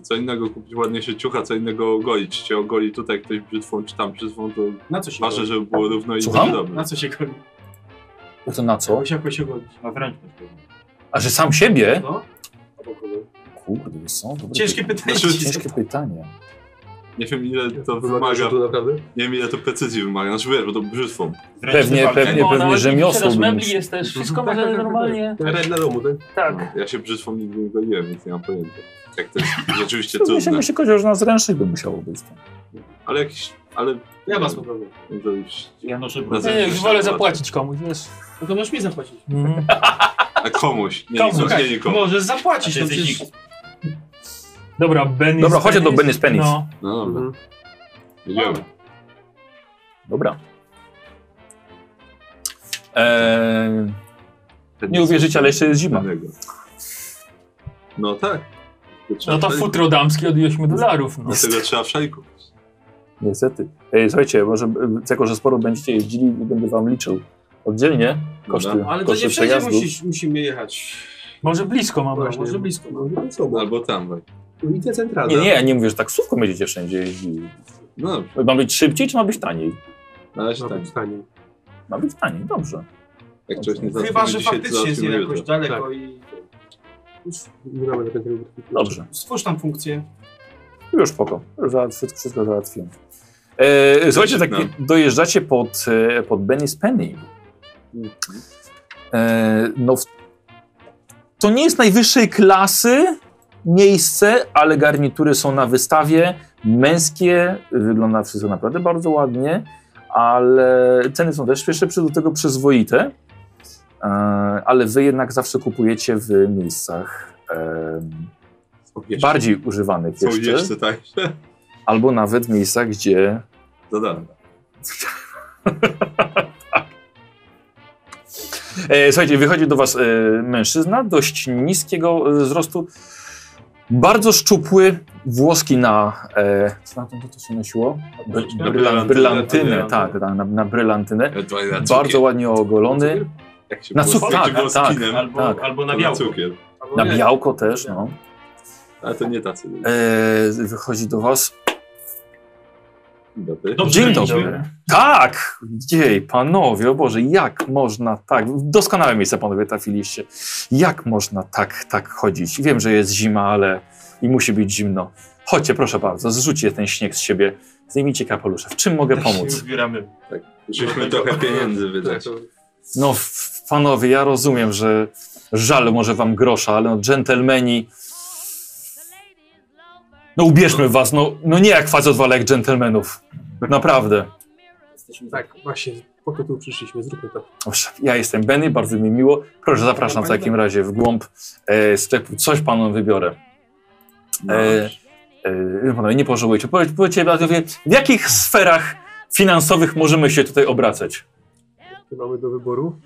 Speaker 1: Co innego kupić ładnie się ciucha, co innego ogolić. Czy Cię ogoli tutaj ktoś brzytwą, czy tam brzytwą, to
Speaker 4: Na co się
Speaker 1: ważne,
Speaker 4: goni?
Speaker 1: żeby było równo i
Speaker 2: Słucham?
Speaker 1: dobre.
Speaker 4: Na co się goni?
Speaker 2: To na co?
Speaker 4: Musiał się gonić.
Speaker 5: Na zręczność. pewnie.
Speaker 2: A że sam siebie?
Speaker 4: No.
Speaker 2: Kurde, są dobre
Speaker 4: Ciężkie
Speaker 2: pytania.
Speaker 4: pytanie.
Speaker 1: Znaczy-
Speaker 2: Ciężkie pytanie.
Speaker 1: Nie wiem ile to
Speaker 6: Wymaga
Speaker 1: wymaga,
Speaker 6: rzutu naprawdę?
Speaker 1: nie wiem ile to precyzji wymaga. Znaczy wiesz, bo to brzytwą.
Speaker 5: Zręczność
Speaker 2: Pewnie,
Speaker 5: walki.
Speaker 2: pewnie.
Speaker 7: O, nawet jakiś
Speaker 2: rzemiosło
Speaker 7: sprzedaż
Speaker 2: by
Speaker 7: mebli
Speaker 2: musiał-
Speaker 7: jest też,
Speaker 1: Mhm.
Speaker 7: wszystko
Speaker 6: Tak, tak,
Speaker 7: może
Speaker 6: tak, tak.
Speaker 7: normalnie...
Speaker 6: Red na domu, tak?
Speaker 7: Tak.
Speaker 1: Ja się brzytwą nigdy nie goliłem, więc nie mam pojęcia. Jak to jest rzeczywiście
Speaker 2: To się
Speaker 1: trudne.
Speaker 2: myśli, kozioł, że na zręcznych by musiało być.
Speaker 1: Ale jakiś, ale
Speaker 18: Ja was poprawię.
Speaker 1: to już...
Speaker 5: Ja noszę
Speaker 1: Na
Speaker 7: Nie,
Speaker 1: zręczność
Speaker 7: już wolę
Speaker 1: tak,
Speaker 7: zapłacić komuś, wiesz.
Speaker 18: No to możesz mi zapłacić.
Speaker 7: Mhm.
Speaker 1: A komuś, nie,
Speaker 7: Komuś.
Speaker 1: komuś. nie,
Speaker 4: Słuchaj,
Speaker 1: nikomu.
Speaker 4: możesz
Speaker 5: A
Speaker 4: zapłacić,
Speaker 5: ty
Speaker 4: no
Speaker 5: jesteś
Speaker 4: przecież...
Speaker 7: Dobra, Benny
Speaker 2: Dobra, chodźcie do Benny's Penis.
Speaker 7: No,
Speaker 1: No dobra,
Speaker 6: Mhm.
Speaker 1: jedziemy.
Speaker 2: Dobra. Eee, nie uwierzycie, ale jeszcze jest zima.
Speaker 1: Żadnego. No tak.
Speaker 7: no to futro damskie od 8 dolarów, no.
Speaker 1: Dlatego trzeba w szajku.
Speaker 2: Niestety. Ej, słuchajcie, może e, jako, że sporo będziecie jeździli, będę wam liczył oddzielnie koszty,
Speaker 1: Dobra.
Speaker 2: ale
Speaker 18: Ale to
Speaker 2: koszty
Speaker 18: nie wszędzie
Speaker 2: przejazdu.
Speaker 18: musisz, musimy jechać.
Speaker 7: Może blisko mam.
Speaker 6: Właśnie.
Speaker 18: Może blisko.
Speaker 6: No, no, co, bo-
Speaker 1: Albo tam, weź.
Speaker 6: I te centralne.
Speaker 2: Nie, nie, ja nie mówię, że taksówką będziecie wszędzie jeździli.
Speaker 1: No dobrze,
Speaker 2: Ma być szybciej, czy ma być taniej?
Speaker 1: na razie
Speaker 6: Ma
Speaker 1: tak.
Speaker 6: być taniej.
Speaker 2: Ma być taniej, dobrze.
Speaker 1: Jak coś nie załatwimy
Speaker 4: Chyba, że
Speaker 1: dzisiaj, to
Speaker 4: faktycznie jest nie
Speaker 1: załatwimy
Speaker 4: jakoś
Speaker 1: jutro.
Speaker 5: Tak.
Speaker 4: daleko i...
Speaker 6: Już nie mamy napiętego grafiku.
Speaker 2: Dobrze,
Speaker 4: Stwórz tam funkcję.
Speaker 2: już spoko. Już załatw- wszystko załatwiłem. E, słuchajcie, tak
Speaker 1: Zaczynam.
Speaker 2: dojeżdżacie pod, e, pod Benny's Penny.
Speaker 1: Mhm.
Speaker 2: E, no, w... to nie jest najwyższej klasy miejsce, ale garnitury są na wystawie. Męskie, wygląda wszystko naprawdę bardzo ładnie, ale ceny są też jeszcze przy- do tego przyzwoite. E, ale wy jednak zawsze kupujecie w miejscach em,
Speaker 1: Są
Speaker 2: tak.
Speaker 1: jeszcze-
Speaker 2: bardziej używanych
Speaker 1: Są
Speaker 2: jeszcze,
Speaker 1: jeszcze tak? tańsze.
Speaker 2: albo nawet w miejscach, gdzie
Speaker 1: Za darmo.
Speaker 2: E, słuchajcie, wychodzi do was e, mężczyzna dość niskiego e, wzrostu, bardzo szczupły, włoski na... E, co na tym to się nosiło? Bry,
Speaker 1: Na brylantynę.
Speaker 2: brylan, brylantynę,
Speaker 1: Brylantynę.
Speaker 2: tak, na, na, na brylantynę.
Speaker 1: Ewentualnie na cukier.
Speaker 2: Bardzo ładnie ogolony,
Speaker 1: Jak się
Speaker 2: na
Speaker 1: było-
Speaker 2: cukier,
Speaker 1: jak się
Speaker 2: tak,
Speaker 1: było z
Speaker 2: tak.
Speaker 1: kinem,
Speaker 5: Albo,
Speaker 2: Tak.
Speaker 5: albo
Speaker 1: to
Speaker 5: na białko.
Speaker 1: cukier.
Speaker 18: Albo
Speaker 2: na
Speaker 18: nie.
Speaker 2: białko też, no.
Speaker 1: Ale to nie tacy.
Speaker 2: E, wychodzi do was...
Speaker 1: Dobry.
Speaker 5: Dobrze,
Speaker 2: Dzień
Speaker 5: dzień
Speaker 2: dobry.
Speaker 5: dobry.
Speaker 2: Tak! Jej, panowie, o Boże, jak można tak... Doskonałe miejsce panowie trafiliście. Jak można tak, tak chodzić? Wiem, że jest zima, ale i musi być zimno. Chodźcie, proszę bardzo, zrzućcie ten śnieg z siebie. Zdejmijcie kapelusze. W czym mogę
Speaker 5: Tak się
Speaker 2: pomóc?
Speaker 5: Zbieramy.
Speaker 1: Musimy trochę pieniędzy wydać.
Speaker 2: No, f- panowie, ja rozumiem, że żal może wam grosza, ale no, dżentelmeni... No ubierzmy was, no, no nie jak facet, ale jak dżentelmenów. Naprawdę.
Speaker 18: Jesteśmy tak.
Speaker 6: Tak, właśnie, po to tu przyszliśmy, zróbmy to.
Speaker 2: Dobrze, ja jestem Benny, bardzo mi miło. Proszę, zapraszam w takim razie w głąb e, sklepu. Coś panom wybiorę.
Speaker 1: No.
Speaker 2: E, e, panowie, nie pożałujecie. Powiedz- Powiedzcie panowie, w jakich sferach finansowych możemy się tutaj obracać?
Speaker 6: Czy mamy do wyboru?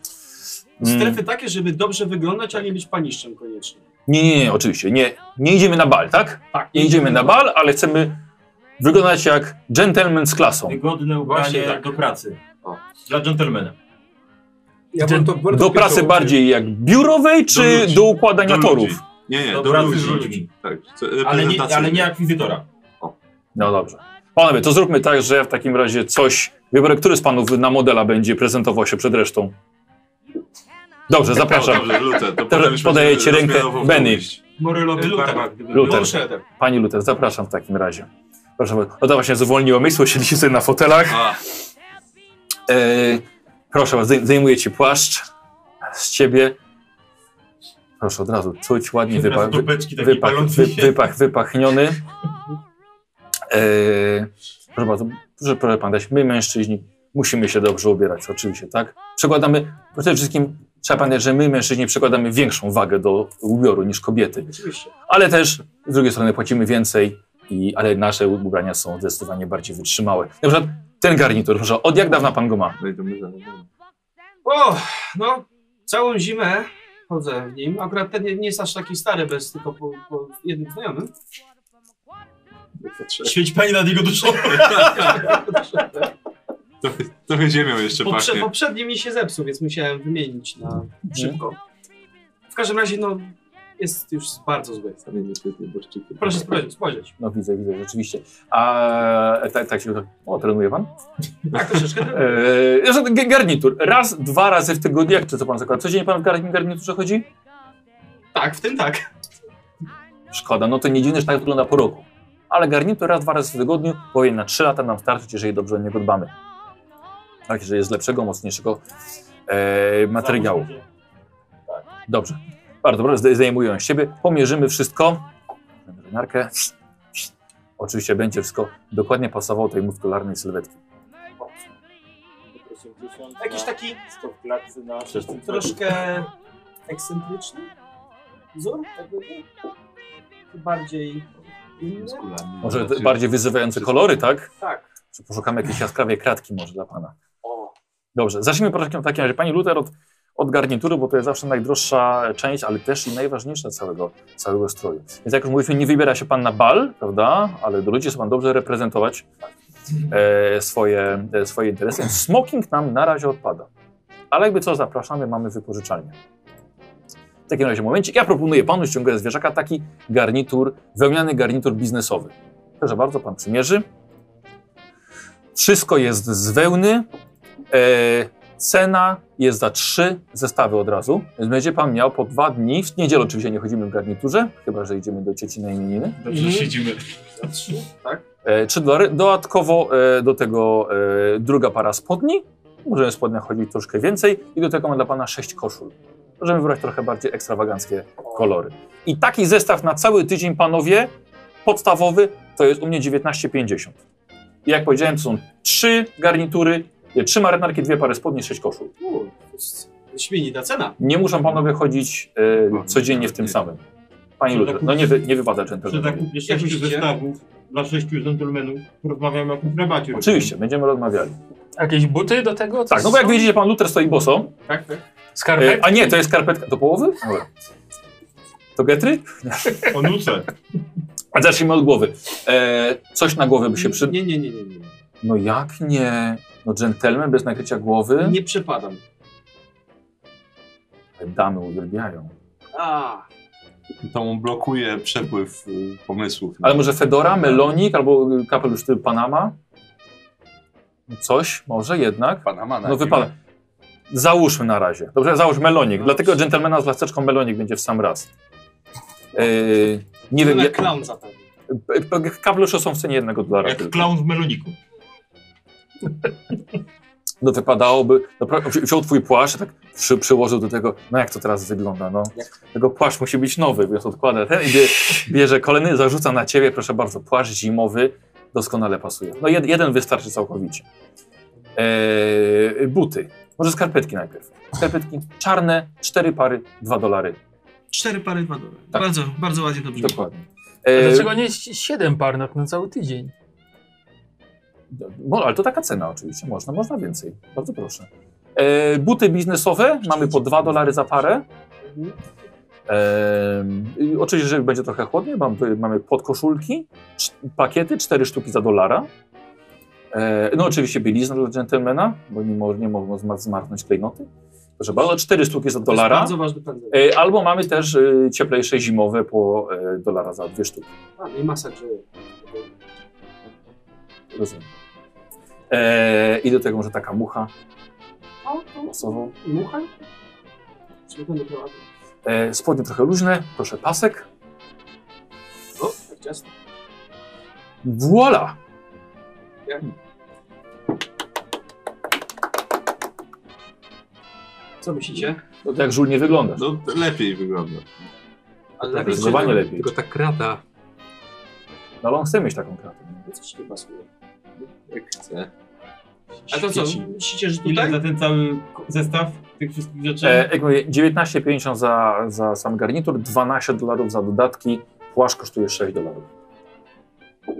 Speaker 2: Mm,
Speaker 4: Strefy takie, żeby dobrze wyglądać, a nie być paniszczem koniecznie.
Speaker 2: Nie, nie, nie, oczywiście. Nie, nie idziemy na bal, tak?
Speaker 4: Tak.
Speaker 2: Nie idziemy na bal, ale chcemy wyglądać jak gentleman z klasą.
Speaker 5: Wygodne ubranie
Speaker 18: Właśnie tak.
Speaker 5: No do pracy.
Speaker 1: O.
Speaker 5: Dla dżentelmena.
Speaker 6: Ja
Speaker 7: Czy
Speaker 6: bym to bardzo
Speaker 2: Do
Speaker 6: pierwszą
Speaker 2: pracy
Speaker 6: opcję.
Speaker 2: bardziej jak biurowej, czy do,
Speaker 1: ludzi.
Speaker 2: układania
Speaker 1: Do ludzi.
Speaker 2: torów?
Speaker 1: Nie, nie,
Speaker 5: Do
Speaker 1: do
Speaker 5: pracy
Speaker 1: ludzi.
Speaker 5: z ludźmi.
Speaker 1: Tak, co-
Speaker 5: Ale nie, ale nie
Speaker 1: reprezentacyjnie.
Speaker 5: akwizytora.
Speaker 2: No dobrze. Panowie, to zróbmy tak, że ja w takim razie coś wybiorę. Który z panów na modela będzie prezentował się przed resztą? Dobrze, zapraszam.
Speaker 1: Dobrze, Luther, to
Speaker 2: Dobrze,
Speaker 1: potem
Speaker 2: podaję ci rękę, Benny.
Speaker 4: Morelowy
Speaker 20: Luther.
Speaker 2: Luther.
Speaker 20: Luther.
Speaker 2: Pani Luther, zapraszam w takim razie. Proszę bardzo. No to właśnie zwolniło miejsce, siedzi sobie na fotelach.
Speaker 1: A,
Speaker 2: E, proszę bardzo, zdej- zdejmuję ci płaszcz z ciebie. Proszę od razu czuć ładnie
Speaker 5: Od razu
Speaker 2: wypa-
Speaker 5: dupeczki takie
Speaker 2: wypach,
Speaker 5: palące
Speaker 2: wy-
Speaker 5: się.
Speaker 2: wypach, wypachniony. E, proszę bardzo, proszę, proszę pan dać, my mężczyźni musimy się dobrze ubierać, oczywiście, tak? Przekładamy, przede wszystkim trzeba pamiętać, że my mężczyźni przekładamy większą wagę do ubioru niż kobiety.
Speaker 3: Oczywiście.
Speaker 2: Ale też z drugiej strony płacimy więcej, i, ale nasze ubrania są zdecydowanie bardziej wytrzymałe. Na przykład ten garnitur, proszę, od jak dawna pan go ma?
Speaker 1: no i to my zaraz.
Speaker 4: O, no, całą zimę chodzę w nim. Akurat ten nie, nie jest aż taki stary, bez tylko po, po jednym znajomym.
Speaker 5: Świeć pani nad jego duszą.
Speaker 1: Trochę, trochę ziemią jeszcze
Speaker 4: Poprze,
Speaker 1: pachnie.
Speaker 4: poprzedni mi się zepsuł, więc musiałem wymienić na
Speaker 2: Mhm.
Speaker 4: szybko. W każdym razie, no, jest już bardzo zły.
Speaker 1: Sami niestety Tak. nieboszczyki.
Speaker 4: Proszę spojrzeć, spojrzeć.
Speaker 2: No widzę, widzę, rzeczywiście. A tak, tak się... O, trenuje pan?
Speaker 4: Tak, troszeczkę.
Speaker 2: Eee, zresztą g- garnitur. Raz, dwa razy w tygodniu, jak to co pan zakłada? Codziennie pan w gar- garniturze chodzi?
Speaker 4: Tak, w tym tak.
Speaker 2: Szkoda, no to nie dziwne, że tak wygląda po roku. Ale garnitur raz, dwa razy w tygodniu powinien na trzy lata nam starczyć, jeżeli dobrze o niego dbamy. Tak, jeżeli jest z lepszego, mocniejszego eee, materiału. Dobrze. Bardzo dobrze, zdej- zdejmuję z siebie. Pomierzymy wszystko. Bierzemy Markę. Oczywiście będzie wszystko dokładnie pasowało tej muskularnej sylwetki.
Speaker 4: Jakiś tak- taki
Speaker 20: Sto w klatce na
Speaker 4: troszkę ekscentryczny wzór, tak jakby. Bardziej inny.
Speaker 2: Może te bardziej wyzywające kolory, tak?
Speaker 4: Tak.
Speaker 2: Czy poszukamy jakiejś jaskrawej kratki może dla Pana? Dobrze, zacznijmy proszę w takim razie. Pani Luther od, od garnituru, bo to jest zawsze najdroższa część, ale też i najważniejsza całego, całego stroju. Więc jak już mówiliśmy, nie wybiera się Pan na bal, prawda? Ale do ludzi chce Pan dobrze reprezentować e, swoje, e, swoje interesy. Więc Smoking nam na razie odpada. Ale jakby co, zapraszamy, mamy wypożyczalnię. W takim razie momencik. Ja proponuję Panu, ściągę z wieżaka taki garnitur, wełniany garnitur biznesowy. Proszę bardzo, Pan przymierzy. Wszystko jest z wełny. E, cena jest za trzy zestawy od razu, więc będzie Pan miał po dwa dni. W niedzielę oczywiście nie chodzimy w garniturze, chyba że idziemy do cioci na imieniny.
Speaker 5: Dobrze, że siedzimy.
Speaker 2: E, 3 dolary. Dodatkowo e, do tego e, druga para spodni. Możemy w spodniach chodzić troszkę więcej. I do tego mam dla Pana sześć koszul. Możemy wybrać trochę bardziej ekstrawaganckie kolory. I taki zestaw na cały tydzień, panowie, podstawowy, to jest u mnie 19,50. I jak powiedziałem, to są trzy garnitury, e, trzy marynarki, dwie pary spodni, sześć koszul.
Speaker 4: U, to jest Śmienita cena.
Speaker 2: Nie muszą panowie chodzić e, codziennie w tym samym. Pani Luther, no nie, wy, nie wypada
Speaker 5: Że
Speaker 2: dżentelmenowi.
Speaker 5: zakupie
Speaker 4: Jak
Speaker 5: sześciu
Speaker 4: myślicie?
Speaker 5: zestawów dla sześciu dżentelmenów. Rozmawiamy o rabacie.
Speaker 2: Oczywiście, będziemy rozmawiali.
Speaker 15: Jakieś buty do tego? Coś
Speaker 2: Tak, no bo jak
Speaker 15: są?
Speaker 2: widzicie, pan Luther stoi boso.
Speaker 4: Tak, tak.
Speaker 2: E,
Speaker 15: Skarpetki?
Speaker 2: a nie, to jest skarpetka. Do połowy? Dobra. To getry?
Speaker 5: O nuce.
Speaker 2: A zacznijmy od głowy. E, coś na głowę by się przydał.
Speaker 4: Nie, nie, nie, nie, nie.
Speaker 2: No jak nie? No dżentelmen bez nakrycia głowy?
Speaker 4: Nie przepadam.
Speaker 2: Damy uwielbiają.
Speaker 4: A,
Speaker 1: To mu blokuje przepływ y, pomysłów.
Speaker 2: Ale może Fedora, Melonik albo y, kapelusz typu Panama? No Coś może jednak?
Speaker 1: Panama na
Speaker 2: No wypada. Załóżmy na razie. Dobrze, załóż
Speaker 4: No.
Speaker 2: Melonik. Dlatego dżentelmena z laseczką Melonik będzie w sam raz. E, nie
Speaker 4: to
Speaker 2: wiem,
Speaker 4: na
Speaker 2: jak, e,
Speaker 4: clown zapewne.
Speaker 2: kapelusze są w cenie jednego dolara.
Speaker 5: Jak
Speaker 2: tylko.
Speaker 5: klaun w meloniku.
Speaker 2: No wypadałoby, no, pra- wzi- wziął twój płaszcz, tak przy, przyłożył do tego, no jak to teraz wygląda, no. Tego płaszcz musi być nowy, więc odkłada ten i bie, bierze kolejny, zarzuca na ciebie, proszę bardzo, płaszcz zimowy doskonale pasuje. No jed, jeden wystarczy całkowicie. Eee, buty, może skarpetki najpierw. Skarpetki czarne, cztery pary, dwa dolary,
Speaker 4: Cztery pary, dwa dobre.
Speaker 2: Tak.
Speaker 4: Bardzo, bardzo ładnie to brzmi.
Speaker 2: dokładnie.
Speaker 15: A
Speaker 2: Eee,
Speaker 15: Dlaczego nie si- siedem par na, na cały tydzień?
Speaker 2: mo- No, ale to taka cena oczywiście, można, można więcej, bardzo proszę. Eee, buty biznesowe, mamy po dwa dolary za parę. Em, i oczywiście, że będzie trochę chłodniej, mam, mamy podkoszulki, cz- pakiety, cztery sztuki za dolara. E, no oczywiście bielizna dla dżentelmena, bo nie, mo, nie mogą zma- zmarnąć klejnoty. Proszę bardzo, cztery sztuki za
Speaker 4: To jest
Speaker 2: dolara.
Speaker 4: bardzo ważny pędzel.
Speaker 2: E, albo mamy też e, cieplejsze zimowe po e, dolara za dwie sztuki.
Speaker 4: A, i masa grzeje.
Speaker 2: Rozumiem. E, I do tego może taka mucha
Speaker 4: O, to
Speaker 2: osobą.
Speaker 4: mucha?
Speaker 3: Czy będę prowadzę?
Speaker 2: E, spodnie trochę luźne, proszę pasek.
Speaker 3: O, tak ciasno.
Speaker 2: Voila!
Speaker 3: Co myślicie?
Speaker 2: No to jak żul nie wyglądasz.
Speaker 1: No lepiej wygląda.
Speaker 3: Ale
Speaker 2: Tak,
Speaker 3: lepiej się-
Speaker 2: zdecydowanie lepiej.
Speaker 6: Tylko ta krata.
Speaker 2: No ale on chce mieć taką kratę.
Speaker 3: Coś nie pasuje.
Speaker 1: Jak chce.
Speaker 3: A to co,
Speaker 5: Świeci.
Speaker 3: myślicie, że
Speaker 5: Ile
Speaker 3: tutaj?
Speaker 5: za ten cały ko- zestaw tych wszystkich rzeczy?
Speaker 2: E, jak mówię, 19,50 za, za sam garnitur, 12 dolarów za dodatki, płaszcz kosztuje 6 dolarów.
Speaker 3: No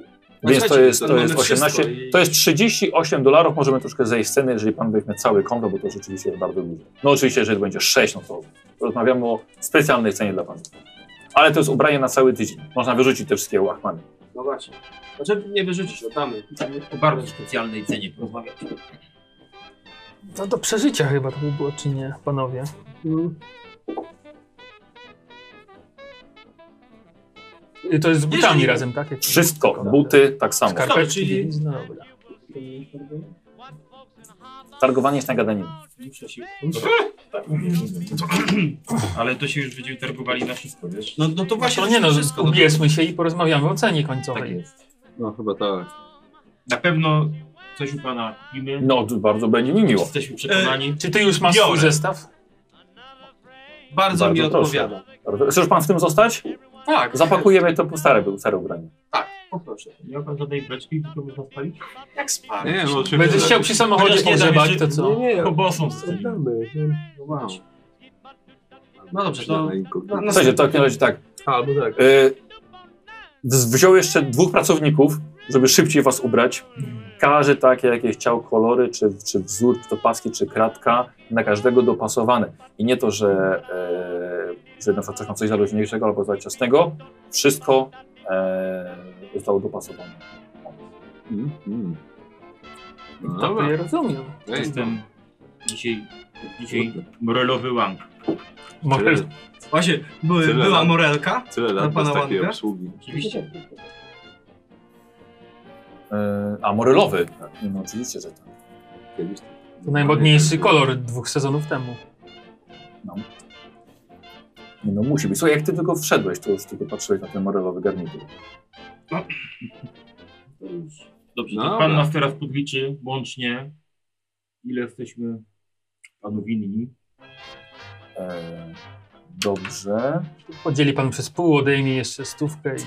Speaker 2: Więc to
Speaker 3: słuchajcie,
Speaker 2: jest,
Speaker 3: to
Speaker 2: to
Speaker 3: mamy
Speaker 2: jest
Speaker 3: wszystko
Speaker 2: 18,
Speaker 3: i-
Speaker 2: to jest 38 dolarów, możemy troszkę zejść z ceny, jeżeli pan weźmie cały kombo, bo to rzeczywiście jest bardzo dużo. No oczywiście, jeżeli będzie 6, no to rozmawiamy o specjalnej cenie dla pana. Ale to jest ubranie na cały tydzień, można wyrzucić te wszystkie łachmany.
Speaker 3: No właśnie. Znaczy nie wyrzucić,
Speaker 4: no,
Speaker 3: oddamy.
Speaker 5: O bardzo specjalnej cenie porozmawiać.
Speaker 7: No do przeżycia chyba to by było, czy nie, panowie? I Y, To jest z butami
Speaker 2: Jeżeli-
Speaker 7: razem, tak? Jak-
Speaker 2: Wszystko, buty tak samo.
Speaker 7: Skarpetki,
Speaker 5: czyli-
Speaker 7: więc no dobra.
Speaker 2: Targowanie jest na gadaninie.
Speaker 5: Ale to się już będziemy targowali na wszystko, wiesz?
Speaker 4: No, no to właśnie
Speaker 7: No nie no,
Speaker 4: wszystko. no to-
Speaker 7: ubierzmy się i porozmawiamy o cenie końcowej.
Speaker 5: Tak jest.
Speaker 1: No chyba tak.
Speaker 5: Na pewno coś u pana kupimy.
Speaker 2: No, to bardzo będzie mi miło.
Speaker 5: Jesteśmy przekonani.
Speaker 7: Czy ty już masz
Speaker 5: Biorę.
Speaker 7: swój zestaw?
Speaker 4: Bardzo, mi
Speaker 2: proszę.
Speaker 4: odpowiada.
Speaker 2: Bardzo- Chcesz pan w tym zostać?
Speaker 7: Tak.
Speaker 2: Zapakujemy to stare, stare ubranie.
Speaker 5: Poproszę. Nie ma E, pan żadnej beczki, tylko można spalić?
Speaker 4: Jak
Speaker 1: Nie,
Speaker 4: spałem.
Speaker 1: nie, no oczywiście.
Speaker 7: Będziesz chciał przy samochodzie
Speaker 5: Chociaż nie dam
Speaker 7: pogrzebać,
Speaker 5: jeszcze-
Speaker 7: to co?
Speaker 6: Nie, nie,
Speaker 5: Kobosą zostawimy.
Speaker 6: zostawimy.
Speaker 1: No, wow.
Speaker 4: No dobrze, to...
Speaker 1: Inkognito.
Speaker 4: No, no,
Speaker 2: Słuchajcie, to w takim razie tak.
Speaker 6: A, albo tak.
Speaker 2: Y, wz- wziął jeszcze dwóch pracowników, żeby szybciej was ubrać. Każdy takie, jakie chciał kolory, czy, czy wzór, czy to paski, czy kratka, na każdego dopasowane. I nie to, że, e, że na przykład ktoś ma coś za luźniejszego albo za ciasnego, wszystko e, zostało dopasowane.
Speaker 1: Mm, mm. No,
Speaker 7: To
Speaker 1: dobra.
Speaker 7: ja rozumiem.
Speaker 1: Ej,
Speaker 5: Jestem dzisiaj, dzisiaj morelowy łang.
Speaker 1: tyle,
Speaker 7: Może
Speaker 4: Właśnie, były,
Speaker 1: Tyle
Speaker 4: była
Speaker 1: lat.
Speaker 4: morelka.
Speaker 1: tyle
Speaker 4: Do
Speaker 1: lat
Speaker 4: pana
Speaker 1: bez takiej
Speaker 4: Łanga?
Speaker 1: obsługi.
Speaker 5: Oczywiście.
Speaker 2: E, a morelowy? Tak, no oczywiście, że tak.
Speaker 1: Kiedyś
Speaker 7: to najmodniejszy kolor dwóch sezonów temu.
Speaker 2: Nie, No musi być. Słuchaj, jak ty tylko wszedłeś, to już tylko patrzyłeś na ten morelowy garnitur.
Speaker 5: Dobrze,
Speaker 1: Dobra.
Speaker 5: to pan nas teraz podliczy łącznie, ile jesteśmy panu winni.
Speaker 2: E, dobrze.
Speaker 7: Podzieli pan przez pół, odejmie jeszcze stówkę i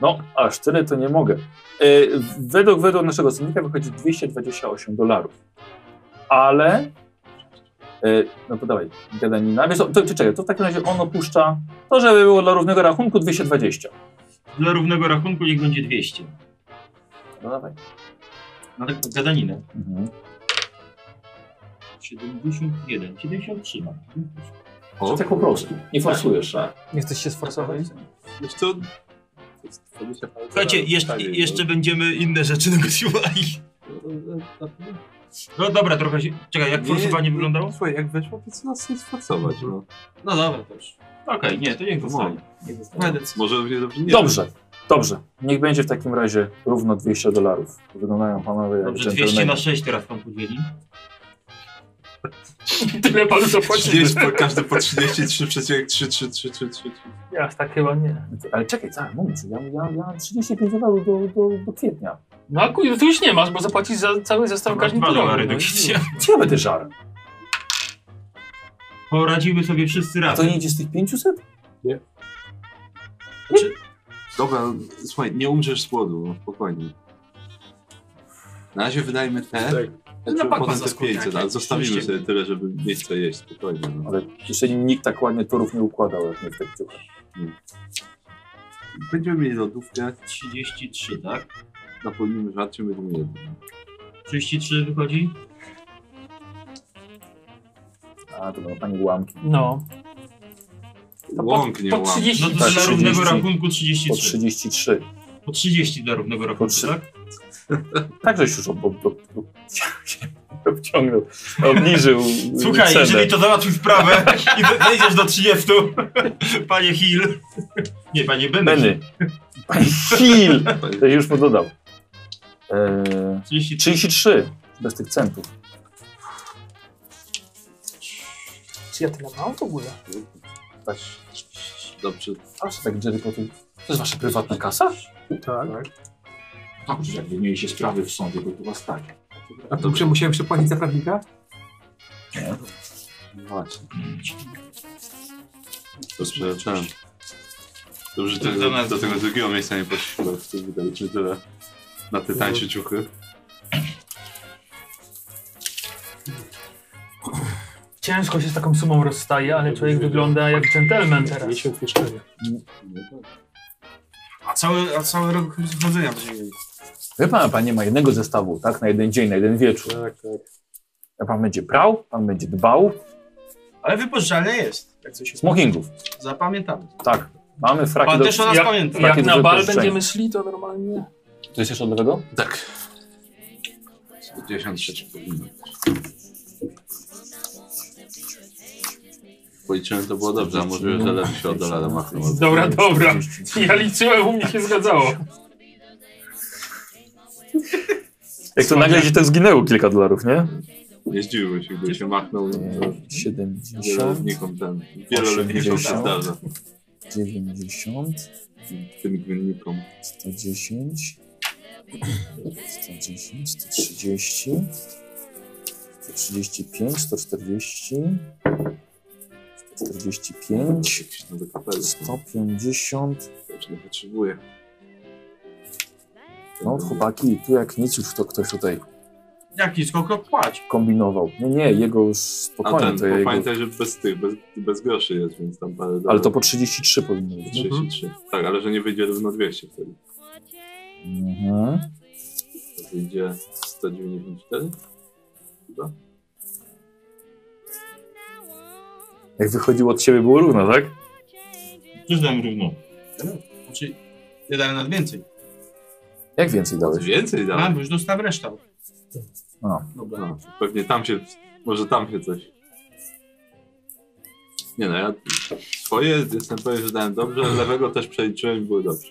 Speaker 2: No, aż tyle to nie mogę. E, według, według naszego cennika wychodzi 228 dolarów. Ale. E, no to dawaj, gadanina. Wiesz, co, to, to, czekaj, to w takim razie on opuszcza. To, żeby było dla równego rachunku 220.
Speaker 5: Dla równego rachunku niech będzie 200.
Speaker 2: No dawaj.
Speaker 5: Na taką gadaninę.
Speaker 2: Mhm.
Speaker 5: 71, 73 mam.
Speaker 1: O,
Speaker 2: Tak po prostu. Nie forsujesz. tak?
Speaker 7: nie chcesz się sforsować?
Speaker 1: Wiesz co?
Speaker 6: To jest 20 parę
Speaker 5: Słuchajcie,
Speaker 6: dolarów
Speaker 5: jeszcze,
Speaker 6: taniej, no.
Speaker 5: jeszcze będziemy inne rzeczy negocjowali. No dobra, trochę się... Czekaj, jak
Speaker 1: Nie,
Speaker 5: forsowanie
Speaker 1: nie,
Speaker 5: wyglądało? Mhm.
Speaker 1: Słuchaj, jak weszło, to co nas nie sforsować, no.
Speaker 4: No dobra, to już.
Speaker 5: Okej, nie, to niech zostanie. Niech zostanie.
Speaker 4: Będę c-
Speaker 1: Może mnie dobrze nie
Speaker 2: Dobrze, dobrze. Niech będzie w takim razie równo 200 dolarów. Wyglądają panowie jak
Speaker 5: Dobrze, 200 na
Speaker 2: dżentelmeni.
Speaker 5: 6 teraz pan podzieli.
Speaker 7: Tyle panu zapłaciłem.
Speaker 1: 30, po, każdy po 33,3333.
Speaker 7: Ja aż tak chyba nie.
Speaker 2: Ale czekaj, tak, moment, ja, ja, ja mam 35 dolarów do, do, do kwietnia.
Speaker 7: No a kuj, tu już nie masz, bo zapłacisz za cały zestaw
Speaker 5: Masz dwa dolary
Speaker 7: garniturowy.
Speaker 5: do
Speaker 7: i-
Speaker 5: kicia.
Speaker 2: Gdzie ja będę żar?
Speaker 5: Poradzimy sobie wszyscy
Speaker 2: A to
Speaker 5: razem.
Speaker 2: nie idzie z tych 500?
Speaker 1: Dobra, słuchaj, nie umrzesz z głodu, no, spokojnie. Na razie wydajmy te,
Speaker 6: Tak.
Speaker 5: No,
Speaker 1: znaczy,
Speaker 4: pakła
Speaker 1: potem te
Speaker 4: zaskoczy
Speaker 1: 500, ale
Speaker 4: jakieś,
Speaker 1: zostawimy
Speaker 4: oczywiście.
Speaker 1: sobie tyle, żeby mieć co jeść, spokojnie. No.
Speaker 2: Ale jeszcze nikt tak ładnie torów nie układał, jak nie w tych ciuchach.
Speaker 1: Będziemy mieli lodówkę,
Speaker 5: 33, tak?
Speaker 1: napełnimy żarciem, będziemy jedli.
Speaker 5: 33 wychodzi?
Speaker 2: A, to była pani łamki.
Speaker 7: No, to po,
Speaker 1: Łąk, nie
Speaker 7: po
Speaker 1: łąk.
Speaker 7: 30
Speaker 5: No to
Speaker 2: Tak,
Speaker 5: dla
Speaker 2: 30.
Speaker 5: równego rachunku
Speaker 2: Po
Speaker 5: 33.
Speaker 2: 33.
Speaker 5: Po 30 dla równego rachunku,
Speaker 2: trzy-
Speaker 5: tak?
Speaker 2: Tak, żeś już ob, ob, ob, obciągnął, obniżył
Speaker 5: Słuchaj,
Speaker 2: cenę.
Speaker 5: jeżeli to załatwi sprawę i wy- wejdziesz do 30, panie Hill. Nie, panie Benny.
Speaker 2: Benny. Pani Hill! To się już mu dodał. Eee,
Speaker 5: 33.
Speaker 2: 33 bez tych centów.
Speaker 7: Czy ja tyle mam w ogóle?
Speaker 1: Tak. Dobrze.
Speaker 2: Patrzę tak, Jericho, to to jest wasza prywatna kasa?
Speaker 6: Tak.
Speaker 16: Tak, że jakby mieli się sprawy w sądzie, bo to was tak.
Speaker 6: A to że musiałem przepłacić za prawnika?
Speaker 2: Właśnie.
Speaker 1: Dobrze, ten. Dobrze,
Speaker 5: To
Speaker 1: ten,
Speaker 5: do
Speaker 1: do,
Speaker 5: nas-
Speaker 1: do tego drugiego miejsca nie poszliśmy. To widać, że tyle. Na te tańsze ciuchy.
Speaker 7: Ciężko się z taką sumą rozstaje, ale człowiek wygląda jak dżentelmen teraz.
Speaker 6: Miesiąc mieszkania.
Speaker 4: A cały, a cały rok chodzenia będziemy mieli.
Speaker 2: Wie pan, pan nie ma jednego zestawu, tak? Na jeden dzień, na jeden wieczór.
Speaker 6: Tak, tak.
Speaker 2: A pan będzie prał, pan będzie dbał.
Speaker 4: Ale wypożyczalnia jest. Jak coś się
Speaker 2: Smokingów,
Speaker 4: Zapamiętamy.
Speaker 2: tak. Mamy fraki
Speaker 4: Pan
Speaker 2: do...
Speaker 4: też o nas
Speaker 2: jak-
Speaker 4: pamięta.
Speaker 2: fraki
Speaker 7: Jak
Speaker 2: do
Speaker 7: na bal
Speaker 2: wypożyczenia.
Speaker 7: będziemy szli, to normalnie.
Speaker 2: To jest jeszcze od nowego?
Speaker 1: Tak. 53 powinno być. Policzyłem, to było dobrze, a może już
Speaker 2: No.
Speaker 1: zalew się od dolara machnął. albo-
Speaker 15: Dobra, dobra. Ja liczyłem, u mnie się zgadzało.
Speaker 2: Jak to nagle gdzieś tak zginęło kilka dolarów, nie?
Speaker 1: Nie zdziwiłbym się, gdyby się machnął. Wielolewnikom ten.
Speaker 2: 70,
Speaker 1: Wielolewnikom się
Speaker 2: 80,
Speaker 1: zdarza.
Speaker 2: 90,
Speaker 1: Tym gminnikom.
Speaker 2: 110, 110, 130, 135, 140, 145,
Speaker 1: Jakiś nowy kapelusz.
Speaker 2: 150.
Speaker 1: Też nie potrzebuję.
Speaker 2: No chłopaki, tu jak nic już to ktoś tutaj
Speaker 4: Jaki skok płać?
Speaker 2: kombinował. Nie, nie, jego już
Speaker 1: A
Speaker 2: spokojnie,
Speaker 1: ten,
Speaker 2: to
Speaker 1: bo
Speaker 2: ja jego...
Speaker 1: pamiętaj, że bez tych, bez, bez groszy jest, więc tam parę
Speaker 2: Ale
Speaker 1: dolarów.
Speaker 2: to po Mhm. 33 powinno być.
Speaker 1: 33. Tak, ale że nie wyjdzie równo 200 wtedy.
Speaker 2: Mhm.
Speaker 1: To wyjdzie 194? Chyba?
Speaker 2: Jak wychodziło od ciebie było równo, tak?
Speaker 5: Też dałem równo.
Speaker 4: Znaczy, nie dałem nad więcej.
Speaker 2: Jak więcej dałeś?
Speaker 1: Więcej
Speaker 4: A,
Speaker 2: Tak.
Speaker 1: dalej.
Speaker 4: bo już dostałem resztę.
Speaker 2: No.
Speaker 1: Dobra. Pewnie tam się, może tam się coś. Nie no, ja swoje jestem pewien, że dałem dobrze, lewego też przeliczyłem i było dobrze.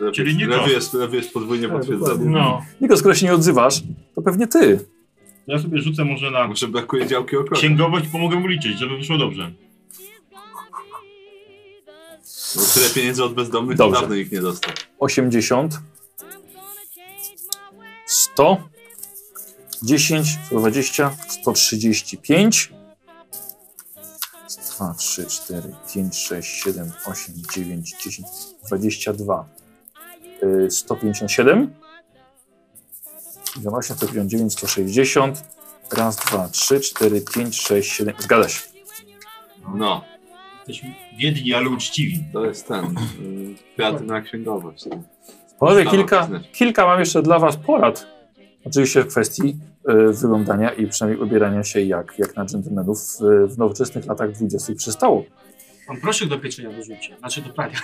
Speaker 1: Lewy,
Speaker 5: Czyli nie
Speaker 1: lewy
Speaker 5: to.
Speaker 1: jest, lewy jest podwójnie
Speaker 6: Tak,
Speaker 1: potwierdzony.
Speaker 6: dokładnie.
Speaker 15: No.
Speaker 2: Niko, skoro się nie odzywasz, to pewnie ty.
Speaker 5: Ja sobie rzucę może na
Speaker 1: Może brakuje działki okrągłej.
Speaker 5: księgowość, pomogę mu liczyć, żeby wyszło dobrze.
Speaker 1: No tyle pieniędzy od bezdomnych
Speaker 2: Dobrze.
Speaker 1: to dawno nikt nie dostał.
Speaker 2: 80, 100, 10, 120, 135, 2, 3, 4, 5, 6, 7, 8, 9, 10, 22, y, 157, 18, 159, 160, raz, dwa, trzy, cztery, pięć, sześć, siedem. Zgadza się.
Speaker 1: No,
Speaker 5: Jesteśmy biedni, ale uczciwi.
Speaker 1: to jest ten. y, Kreatywna księgowość. no.
Speaker 2: Panowie,
Speaker 1: Ustawa
Speaker 2: kilka,
Speaker 1: biznesu.
Speaker 2: kilka mam jeszcze dla Was porad. Oczywiście w kwestii e, wyglądania i przynajmniej ubierania się jak, jak na dżentelmenów w, w nowoczesnych latach 20. przystało.
Speaker 4: Mam proszek do pieczenia dorzucie. Znaczy do prania.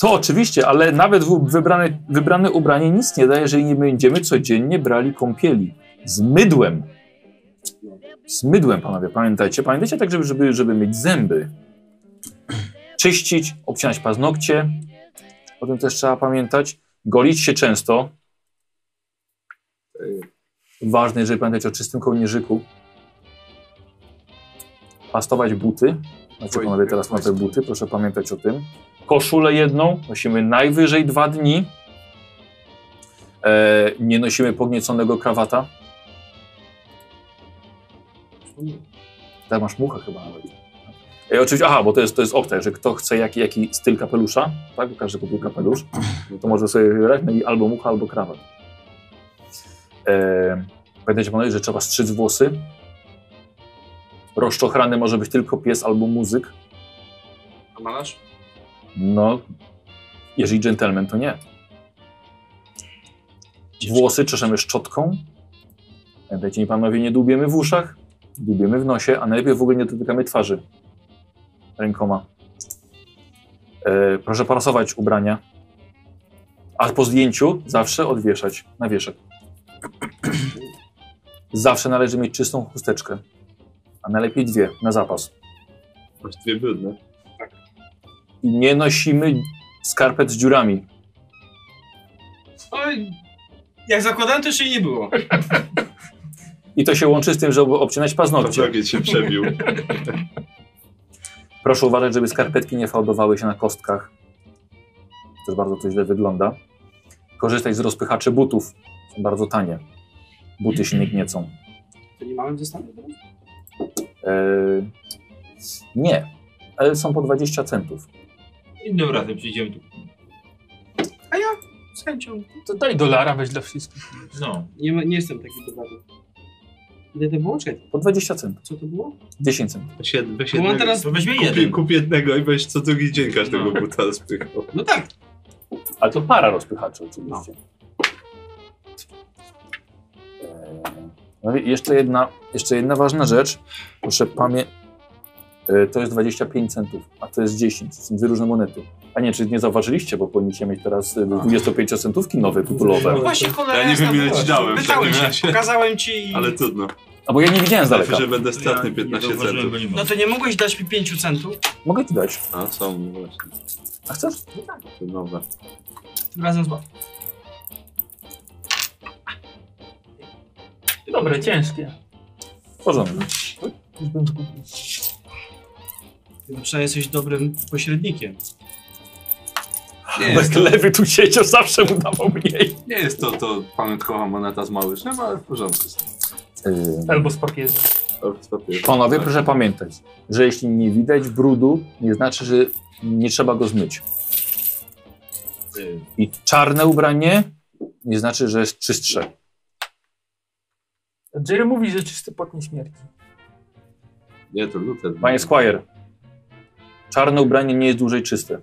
Speaker 2: To oczywiście, ale nawet w- wybrane, wybrane ubranie nic nie da, jeżeli nie będziemy codziennie brali kąpieli. Z mydłem. Z mydłem, panowie, pamiętajcie. Pamiętajcie tak, żeby, żeby, żeby myć zęby. Czyścić, obcinać paznokcie. O tym też trzeba pamiętać. Golić się często. Yy, Ważne, jeżeli pamiętajcie o czystym kołnierzyku. Pastować buty. Macie panowie teraz nowe buty, proszę pamiętać o tym koszulę jedną, nosimy najwyżej dwa dni. E, nie nosimy pognieconego krawata. Teraz Tak, masz muchę chyba nawet. E, oczywiście, aha, bo to jest, to jest opcja, że kto chce jaki, jaki styl kapelusza, tak? Bo każdy kupił kapelusz, to może sobie wybrać no i albo mucha, albo krawat. E, pamiętajcie panowie, że trzeba strzyc włosy. Rozczochrany może być tylko pies albo muzyk.
Speaker 4: A malarz?
Speaker 2: No, jeżeli dżentelmen, to nie. Włosy czeszemy szczotką. Pamiętajcie, mi panowie, nie dłubiemy w uszach, dłubiemy w nosie, a najlepiej w ogóle nie dotykamy twarzy rękoma. E, proszę parasować ubrania, a po zdjęciu zawsze odwieszać na wieszak. zawsze należy mieć czystą chusteczkę, a najlepiej dwie na zapas.
Speaker 1: Właściwie brudne.
Speaker 2: I nie nosimy skarpet z dziurami.
Speaker 4: Oj, jak zakładałem, to jeszcze jej nie było.
Speaker 2: I to się łączy z tym, żeby obcinać paznokcie.
Speaker 1: Paznokcie się przebił.
Speaker 2: Proszę uważać, żeby skarpetki nie fałdowały się na kostkach. Też bardzo to źle wygląda. Korzystać z rozpychaczy butów. Są bardzo tanie. Buty się nie gniecą.
Speaker 3: To nie mamy w zestawie tak? teraz?
Speaker 2: Eee, nie, ale są po 20 centów.
Speaker 5: Innym razem przyjdziemy tu.
Speaker 3: A ja z chęcią.
Speaker 7: To daj dolara, weź dla wszystkich.
Speaker 5: No.
Speaker 3: Nie, ma- nie jestem taki bogaty. Ile to było? Czekaj,
Speaker 2: Po 20 centów.
Speaker 3: co to było?
Speaker 2: 10 centów.
Speaker 1: Weź jed- weź
Speaker 3: Bo mam
Speaker 1: jednego.
Speaker 3: teraz-
Speaker 5: To weźmie
Speaker 1: kup,
Speaker 5: jeden.
Speaker 1: kup jednego i weź co drugi dzień każdego buta spychał.
Speaker 3: No tak,
Speaker 2: Ale to para rozpychaczy oczywiście. Eee, No. i jeszcze, jedna, jeszcze jedna ważna rzecz. Proszę pamię... Eee, To jest 25 centów, a to jest 10. Są dwie różne monety. A nie, czy nie zauważyliście, bo powinniście mieć teraz
Speaker 1: Tak.
Speaker 2: e, 25 centówki nowe, populowe.
Speaker 4: No właśnie, cholera
Speaker 1: Ja nie
Speaker 4: jasna,
Speaker 1: wiem, ile ci
Speaker 4: wydałem.
Speaker 1: dałem w
Speaker 4: Wydałem
Speaker 1: takim
Speaker 4: się,
Speaker 1: razie.
Speaker 4: pokazałem ci i...
Speaker 1: Ale trudno.
Speaker 2: A bo ja nie widziałem z daleka.
Speaker 1: Znaczy, że będę stratny 15
Speaker 5: zauważyłem,
Speaker 1: centów.
Speaker 5: bo nie ma.
Speaker 4: No to nie mogłeś dać mi pięciu centów?
Speaker 2: Mogę ci dać.
Speaker 1: A są no właśnie
Speaker 2: A chcesz?
Speaker 1: te nowe.
Speaker 4: Tym Razem z... ba-
Speaker 7: Dobre, ciężkie.
Speaker 2: W porządku.
Speaker 4: Ty Przynajmniej jesteś dobrym pośrednikiem.
Speaker 1: Nie
Speaker 2: Bez
Speaker 1: jest, to,
Speaker 2: lewy tu siedział, zawsze mu dawał mniej.
Speaker 1: nie jest to, to pamiątkowa moneta z małyszem, ale w porządku. E,
Speaker 7: Albo z papieru.
Speaker 1: Tak.
Speaker 2: Panowie, proszę pamiętać, że jeśli nie widać brudu, nie znaczy, że nie trzeba go zmyć. I czarne ubranie nie znaczy, że jest czystsze.
Speaker 7: Jerry mówi, że czysty pot nie śmierci.
Speaker 1: Nie, to no. Luther.
Speaker 2: Panie Squire, czarne ubranie nie jest dłużej czyste.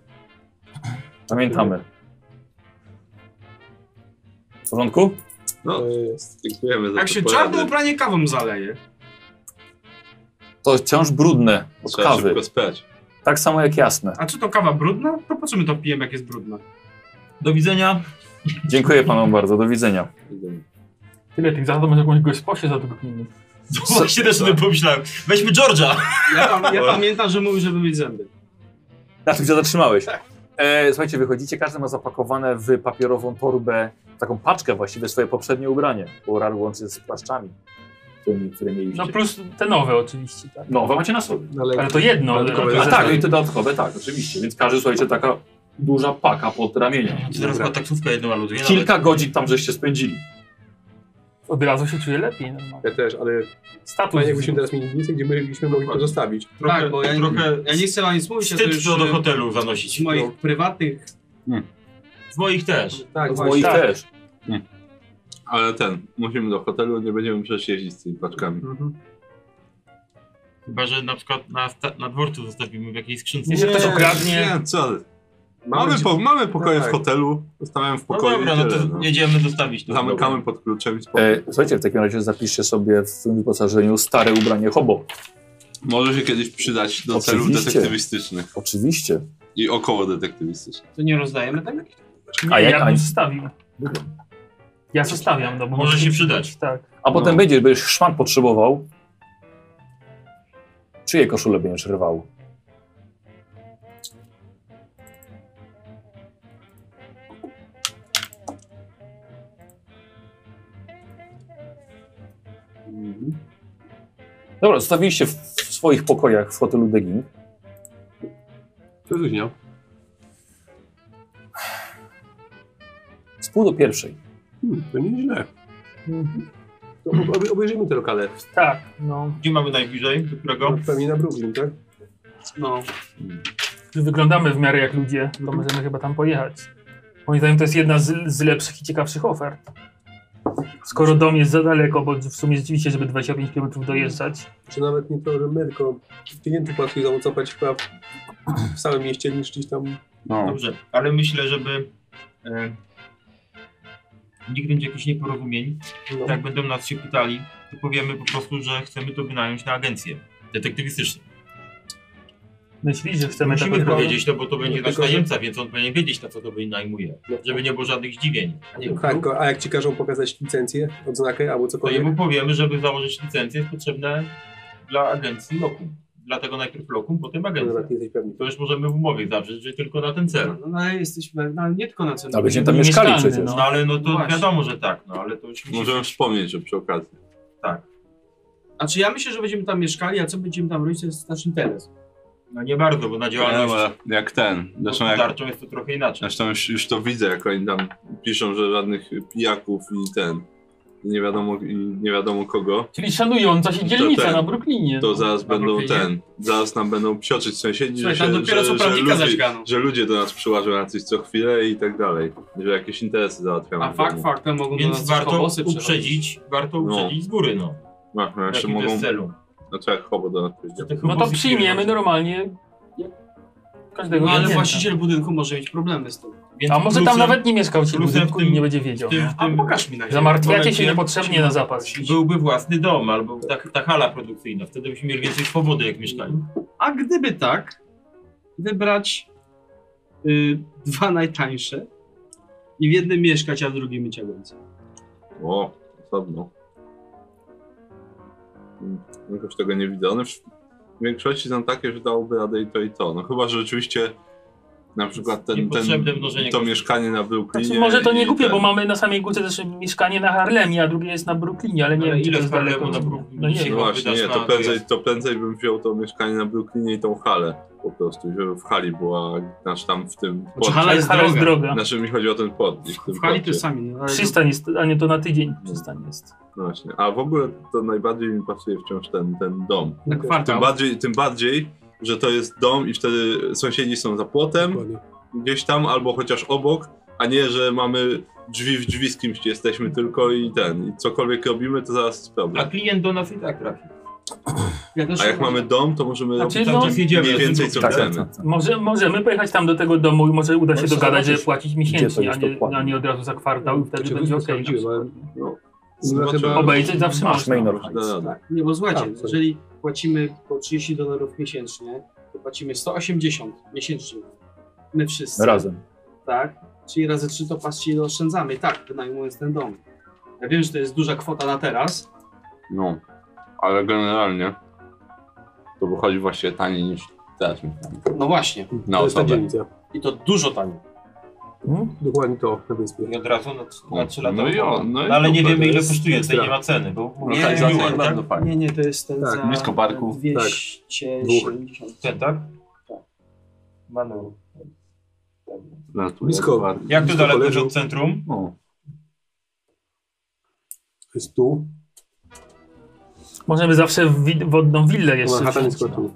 Speaker 2: Pamiętamy. W porządku?
Speaker 1: No,
Speaker 6: To jest.
Speaker 1: dziękujemy za
Speaker 4: Jak
Speaker 1: to
Speaker 4: się
Speaker 1: porady.
Speaker 4: czarne ubranie kawą zaleje.
Speaker 2: To wciąż brudne od
Speaker 1: Trzeba
Speaker 2: kawy.
Speaker 1: szybko spać.
Speaker 2: Tak samo jak jasne.
Speaker 4: A czy to kawa brudna? To po co my to pijemy, jak jest brudna?
Speaker 5: Do widzenia.
Speaker 2: Dziękuję panom bardzo, do widzenia.
Speaker 7: Tyle tych zadań, może jakąś gosposię zatrudnimy.
Speaker 5: To No właśnie też o tym pomyślałem. Weźmy George'a.
Speaker 4: Ja, pam- ja pamiętam, że mówił, żeby mieć zęby.
Speaker 2: Na tym się zatrzymałeś. E, słuchajcie, wychodzicie, każdy ma zapakowane w papierową torbę, taką paczkę właściwie, swoje poprzednie ubranie, bo rar łączy z płaszczami, którymi, które mieliście.
Speaker 7: No plus te nowe oczywiście, tak?
Speaker 2: Nowe macie na sobie.
Speaker 6: no, Ale,
Speaker 7: Ale to jedno. ale-
Speaker 6: Dodatkowe
Speaker 2: A
Speaker 6: Dodatkowe.
Speaker 2: tak, i te dodatkowe, tak, oczywiście. Więc każdy, słuchajcie, taka duża paka pod ramieniem.
Speaker 5: Teraz ma taksówkę jedną albo dwie.
Speaker 2: Kilka godzin tam żeście spędzili.
Speaker 7: Od razu się czuję lepiej. normalnie.
Speaker 6: Ja też, ale
Speaker 7: Status.
Speaker 6: fajnie jakbyśmy teraz mieli miejsce, gdzie my byśmy mogli to zostawić.
Speaker 5: Trochę,
Speaker 4: tak, bo ja,
Speaker 5: trochę
Speaker 4: ja nie chcę wam nic mówić, a to
Speaker 5: wstyd
Speaker 4: już
Speaker 5: to do
Speaker 4: do
Speaker 5: hotelu zanosić.
Speaker 4: z moich prywatnych...
Speaker 5: Z moich też.
Speaker 6: Tak,
Speaker 2: Z moich
Speaker 6: tak.
Speaker 2: No, też.
Speaker 1: Ale ten, musimy do hotelu, nie będziemy przecież jeździć z tymi paczkami.
Speaker 6: Mhm.
Speaker 5: Chyba, że na przykład na, sta- na dworcu zostawimy w jakiejś skrzynce.
Speaker 7: Jeśli ktoś okradnie,
Speaker 1: Nie, co? ty.
Speaker 6: Mamy
Speaker 1: Mamy,
Speaker 6: ci-
Speaker 1: po, mamy pokoje
Speaker 6: tak.
Speaker 1: w hotelu, zostawiam w
Speaker 5: No
Speaker 1: pokoju
Speaker 5: dobra,
Speaker 1: i
Speaker 5: no
Speaker 1: tyle,
Speaker 5: to
Speaker 1: no.
Speaker 5: jedziemy zostawić. to.
Speaker 1: Zamykamy pod kluczem i spokój.
Speaker 2: E, słuchajcie, w takim razie zapiszcie sobie w swoim wyposażeniu stare ubranie hobo.
Speaker 1: Może się kiedyś przydać do celów
Speaker 2: Oczywiście.
Speaker 1: detektywistycznych
Speaker 2: Oczywiście.
Speaker 1: i około detektywistycznych.
Speaker 4: To nie rozdajemy tak? tego?
Speaker 2: A
Speaker 7: a
Speaker 2: jak-
Speaker 7: ja
Speaker 2: a-
Speaker 7: bym zostawił. Ja zostawiam, no bo
Speaker 5: Może się przydać.
Speaker 7: Tak.
Speaker 2: A potem będziesz, będziesz szmat potrzebował. Czyje koszulę będziesz rwał? Dobra, zostawiliście w w swoich pokojach w hotelu Degin.
Speaker 6: Przeluźniał.
Speaker 2: Z pół do pierwszej.
Speaker 6: Hmm, to nieźle. To ob- obejrzyjmy te lokale.
Speaker 7: Tak, no.
Speaker 5: Gdzie mamy najbliżej? Do którego?
Speaker 6: Pewnie na Brooklyn, tak?
Speaker 4: No.
Speaker 7: Wyglądamy w miarę jak ludzie, to możemy chyba tam pojechać. Moim zdaniem to jest jedna z, z lepszych i ciekawszych ofert. Skoro dom jest za daleko, bo w sumie rzeczywiście, żeby 25 km dojeżdżać,
Speaker 6: Czy nawet nie to, że my, tylko klientów łatwiej zamocować chyba w samym mieście niż gdzieś tam.
Speaker 1: No.
Speaker 5: Dobrze, ale myślę, żeby e, nikt będzie jakichś nieporozumień.
Speaker 6: No.
Speaker 4: Tak,
Speaker 5: Jak będą nas się pytali, to powiemy po prostu, że chcemy to wynająć na agencję detektywistyczną.
Speaker 7: myśli, że chcemy
Speaker 5: Musimy
Speaker 7: taką-
Speaker 5: powiedzieć to, no bo to będzie nasz
Speaker 6: Tylko, że-
Speaker 5: najemca, więc on powinien wiedzieć, na co to wynajmuje. Żeby nie było żadnych zdziwień. A nie,
Speaker 6: Tak, tylko- a jak ci każą pokazać licencję, odznakę albo
Speaker 5: to
Speaker 6: cokolwiek?
Speaker 5: jemu powiemy, żeby założyć licencję, jest potrzebne dla agencji lokum. Dlatego najpierw lokum, potem
Speaker 6: To
Speaker 5: agencja.
Speaker 6: nawet nie jesteś pewny.
Speaker 5: To już możemy w umowie zawrzeć, że tylko na ten cel.
Speaker 4: No, no ale jesteśmy, no, ale nie tylko na celu.
Speaker 2: A będziemy tam mieszkali
Speaker 7: Mieszkalny,
Speaker 2: przecież.
Speaker 5: No ale no to
Speaker 4: Właśnie.
Speaker 5: wiadomo, że tak, no ale to już musi
Speaker 1: Możemy wspomnieć, że przy okazji.
Speaker 5: Tak.
Speaker 4: Znaczy ja myślę, że będziemy tam mieszkali, a co będziemy tam robić, to jest nasz interes.
Speaker 5: No nie bardzo, bo na działalność
Speaker 1: Nie, no, jak ten. Zresztą, jak,
Speaker 5: gospodarczą jest to trochę inaczej.
Speaker 1: zresztą już, już to widzę, jak oni tam piszą, że żadnych pijaków i ten. I nie wiadomo, i nie wiadomo kogo.
Speaker 7: Czyli szanująca się
Speaker 1: To
Speaker 7: dzielnica
Speaker 1: ten.
Speaker 7: na Brooklynie.
Speaker 1: To
Speaker 7: no.
Speaker 1: zaraz
Speaker 7: Na
Speaker 1: będą
Speaker 7: Brooklynie.
Speaker 1: ten. Zaraz nam będą psioczyć sąsiedzi,
Speaker 4: Słuchaj,
Speaker 1: że,
Speaker 4: tam
Speaker 1: się,
Speaker 4: dopiero co
Speaker 1: że, że,
Speaker 4: prawnika
Speaker 1: ludzie,
Speaker 4: zaćgano.
Speaker 1: że ludzie do nas przyłażą na coś co chwilę i tak dalej. Że jakieś interesy załatwiamy.
Speaker 4: A
Speaker 1: w
Speaker 4: fakt
Speaker 1: domu.
Speaker 4: faktem mogą do
Speaker 5: Więc
Speaker 7: No,
Speaker 4: nas
Speaker 5: warto
Speaker 4: chobosy przechodzić.
Speaker 5: uprzedzić, warto
Speaker 1: No.
Speaker 5: uprzedzić z góry, no.
Speaker 1: Aha,
Speaker 5: W
Speaker 1: jeszcze
Speaker 5: jakim to
Speaker 1: mogą.
Speaker 5: jest celu.
Speaker 1: No to jak chobo do nas przyjdzie.
Speaker 7: No to przyjmiemy normalnie każdego
Speaker 4: No ale
Speaker 7: klienta.
Speaker 4: właściciel budynku może mieć problemy z tym.
Speaker 5: Więc
Speaker 7: A może tam
Speaker 5: plusem-
Speaker 7: nawet nie mieszkał ci
Speaker 5: plusem w
Speaker 7: budynku i
Speaker 5: tym-
Speaker 7: nie będzie wiedział.
Speaker 5: w tym- w
Speaker 4: A
Speaker 5: tym-
Speaker 4: pokaż mi na niego.
Speaker 7: Zamartwiacie się
Speaker 5: momencie-
Speaker 7: niepotrzebnie na zapas.
Speaker 5: byłby własny dom albo ta, ta hala produkcyjna. Wtedy byśmy mieli więcej swobody, jak mieszkali.
Speaker 4: A gdyby tak, wybrać y, dwa najtańsze i w jednym mieszkać, a w drugim mieć agencję.
Speaker 1: O, osobno. Mm, Jakoś tego nie widzę. One w w większości są takie, że dałoby radę i to i to. No chyba, że rzeczywiście na przykład ten, ten,
Speaker 5: Niepotrzebne mnożenie
Speaker 1: to
Speaker 5: kosztów.
Speaker 1: mieszkanie na Bełklinie...
Speaker 7: Znaczy, może to
Speaker 1: i
Speaker 7: nie głupie,
Speaker 1: ten-
Speaker 7: bo mamy na samej górze też mieszkanie na Harlemie, a drugie jest na Brooklynie, ale nie
Speaker 5: Ale
Speaker 7: wiem, czy
Speaker 5: ile
Speaker 7: to jest
Speaker 5: z Harlemu
Speaker 7: daleko.
Speaker 5: na Brooklyn
Speaker 7: No nie
Speaker 5: dzisiaj
Speaker 1: No
Speaker 7: wiem.
Speaker 1: właśnie,
Speaker 5: wydasz
Speaker 1: nie,
Speaker 5: na
Speaker 1: to prędzej,
Speaker 5: dojazd.
Speaker 1: to prędzej bym wziął to mieszkanie na Brooklinie i tą halę po prostu, żeby w hali była nasz tam w tym...
Speaker 4: Znaczy, hala
Speaker 7: Ale
Speaker 4: jest
Speaker 7: Hala jest
Speaker 4: droga.
Speaker 7: droga.
Speaker 1: Znaczy mi chodzi o ten podnik.
Speaker 4: W hali to
Speaker 1: podnik.
Speaker 4: sami. no, ale-
Speaker 7: Przystań jest, a nie to na tydzień przystań jest.
Speaker 1: No właśnie. A w ogóle to najbardziej mi pasuje wciąż ten, ten dom.
Speaker 4: Na
Speaker 6: Tak,
Speaker 1: Tym
Speaker 4: kwartał.
Speaker 1: bardziej, tym bardziej, że to jest dom i wtedy sąsiedzi są za płotem,
Speaker 6: Dokładnie.
Speaker 1: gdzieś tam albo chociaż obok, a nie, że mamy drzwi w drzwi z kimś jesteśmy tylko i ten. I cokolwiek robimy, to zaraz jest
Speaker 5: A
Speaker 1: problem.
Speaker 5: klient do nas i tak trafi.
Speaker 4: Ja też
Speaker 1: A jak mamy dom, to możemy
Speaker 7: Znaczy,
Speaker 1: robić
Speaker 7: no,
Speaker 5: Cały czas jedziemy.
Speaker 1: mniej więcej co
Speaker 2: Tak,
Speaker 1: chcemy.
Speaker 2: tak, tak.
Speaker 7: Może, możemy pojechać tam do tego domu i może uda się
Speaker 2: Możesz
Speaker 7: dogadać,
Speaker 2: zobaczyć,
Speaker 7: żeby
Speaker 2: gdzie
Speaker 7: płacić
Speaker 2: to
Speaker 7: miesięcznie, a
Speaker 2: jest
Speaker 7: nie,
Speaker 2: dokładnie.
Speaker 7: a nie od razu za kwartał i wtedy
Speaker 6: Znaczy,
Speaker 7: będzie
Speaker 6: to
Speaker 7: okej. na
Speaker 6: sprawdziłem, ale-
Speaker 7: przykład.
Speaker 1: No.
Speaker 6: No,
Speaker 1: Zobaczymy.
Speaker 6: chyba- No
Speaker 7: Obejrzeć zawsze
Speaker 2: Masz
Speaker 7: można.
Speaker 2: main
Speaker 1: Da radę.
Speaker 4: Tak, nie, bo
Speaker 6: A,
Speaker 4: słuchajcie,
Speaker 6: sorry.
Speaker 4: jeżeli płacimy po 30 dolarów miesięcznie, to płacimy 180 miesięcznie. My wszyscy.
Speaker 2: Razem.
Speaker 4: Tak? Czyli razy 3 to patrzcie ile oszczędzamy. Tak, wynajmując ten dom. Ja wiem, że to jest duża kwota na teraz.
Speaker 1: No, ale generalnie to wychodzi właśnie taniej niż teraz. mi tam.
Speaker 4: No właśnie.
Speaker 1: Na
Speaker 6: to jest ta
Speaker 1: osobę.
Speaker 6: dzielnica. No,
Speaker 4: I to dużo taniej.
Speaker 6: Dokładnie to na wyspie.
Speaker 5: I od razu na, na 3 lata.
Speaker 1: No i o, no i
Speaker 5: ale nie
Speaker 1: super,
Speaker 5: wiemy
Speaker 1: to
Speaker 5: ile
Speaker 1: jest No,
Speaker 5: kosztuje, tutaj
Speaker 6: ekstra.
Speaker 5: nie ma ceny, bo
Speaker 4: Nie,
Speaker 5: tak,
Speaker 4: nie,
Speaker 5: miło,
Speaker 4: nie,
Speaker 5: tak?
Speaker 1: fajnie.
Speaker 4: Nie, nie, to jest ten
Speaker 6: Tak,
Speaker 4: za
Speaker 1: blisko parku. Tak.
Speaker 4: 270.
Speaker 5: Ten, tak?
Speaker 4: Tak.
Speaker 5: Manu.
Speaker 1: No, tu
Speaker 6: Blisko.
Speaker 1: jest ładnie.
Speaker 5: Jak to
Speaker 6: Blisko
Speaker 5: daleko jest
Speaker 6: leżą.
Speaker 5: od centrum?
Speaker 1: O,
Speaker 6: To jest tu.
Speaker 7: Możemy zawsze wi- wodną willę jeszcze
Speaker 6: Manhattan jest
Speaker 7: wziąć.
Speaker 6: chyba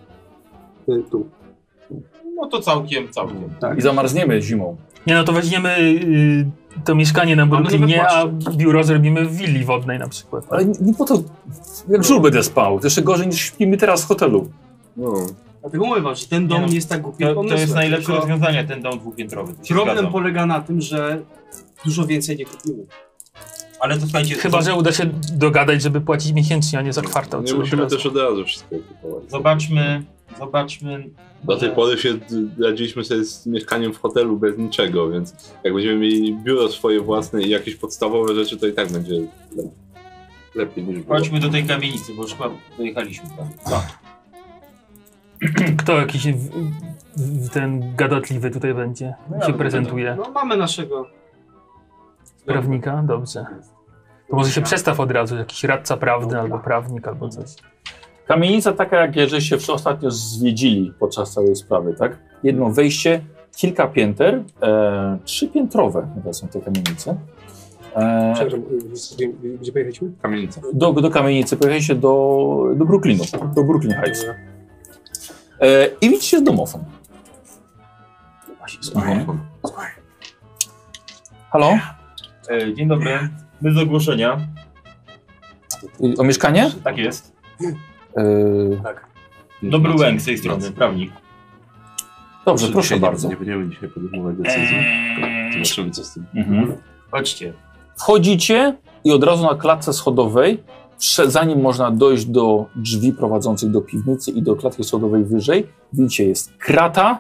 Speaker 6: tu.
Speaker 7: no.
Speaker 6: Y, Tu.
Speaker 5: No to całkiem, całkiem.
Speaker 2: I zamarzniemy zimą.
Speaker 7: Nie no, to weźmiemy y, to mieszkanie na
Speaker 4: nowe
Speaker 7: Brooklynie, a
Speaker 4: płaszcze.
Speaker 7: biuro zrobimy w willi wodnej na przykład.
Speaker 2: Ale nie, nie po to, jak żul będę spał. To jeszcze gorzej niż śpimy teraz w hotelu.
Speaker 1: no.
Speaker 4: Dlatego mówię wam, że ten dom
Speaker 5: Nie
Speaker 4: nie,
Speaker 5: no,
Speaker 4: jest tak głupi
Speaker 5: To, to
Speaker 4: pomysłem,
Speaker 5: jest najlepsze
Speaker 4: tylko
Speaker 5: rozwiązanie, ten dom dwupiętrowy. Tu się
Speaker 4: Problem
Speaker 5: zgadzam.
Speaker 4: polega na tym, że dużo więcej nie kupimy.
Speaker 5: Ale to słuchajcie,
Speaker 7: Chyba,
Speaker 5: to-
Speaker 7: że uda się dogadać, żeby płacić miesięcznie, a nie za kwartał.
Speaker 1: nie
Speaker 7: czy od
Speaker 1: musimy
Speaker 7: razu.
Speaker 1: też od razu wszystko kupować.
Speaker 5: zobaczmy, zobaczmy.
Speaker 1: Do tej
Speaker 5: że-
Speaker 1: pory się radziliśmy sobie z mieszkaniem w hotelu bez niczego, więc jak będziemy mieli biuro swoje własne i jakieś podstawowe rzeczy, to i tak będzie le- lepiej niż było.
Speaker 5: Chodźmy do tej kamienicy, bo już chyba dojechaliśmy tam.
Speaker 7: Kto jakiś w, w, ten gadatliwy tutaj będzie?
Speaker 5: No ja
Speaker 7: się
Speaker 5: będę
Speaker 7: prezentuje.
Speaker 4: No mamy naszego.
Speaker 7: Prawnika? Dobrze. To może się przestaw od razu, jakiś radca prawny albo prawnik albo coś.
Speaker 2: Kamienica taka, jak jeżeli się ostatnio zwiedzili podczas całej sprawy, tak? Jedno wejście, kilka pięter, e, trzypiętrowe chyba są te kamienice. E,
Speaker 6: Przepraszam, y, y, y, gdzie pojechaliśmy?
Speaker 1: Kamienica.
Speaker 2: do, do kamienicy pojechaliście do, do Brooklynu, do Brooklyn
Speaker 1: Tak.
Speaker 6: Y,
Speaker 2: Heights. E, I widzicie domofon.
Speaker 6: No.
Speaker 2: Halo?
Speaker 5: E, Dzień dobry. My z ogłoszenia.
Speaker 2: Y, O mieszkanie?
Speaker 5: Tak jest.
Speaker 2: E,
Speaker 5: Dobry Łęk z tej strony, prawnik.
Speaker 2: dobrze, proszę
Speaker 1: Dzisiaj
Speaker 2: bardzo. E,
Speaker 1: Nie, nie będziemy dzisiaj podejmować decyzji.
Speaker 2: Eee.
Speaker 1: Zobaczymy co z tym.
Speaker 2: Mhm.
Speaker 5: Chodźcie.
Speaker 2: Wchodzicie i od razu na klatce schodowej, prze- zanim można dojść do drzwi prowadzących do piwnicy i do klatki schodowej wyżej, widzicie, jest krata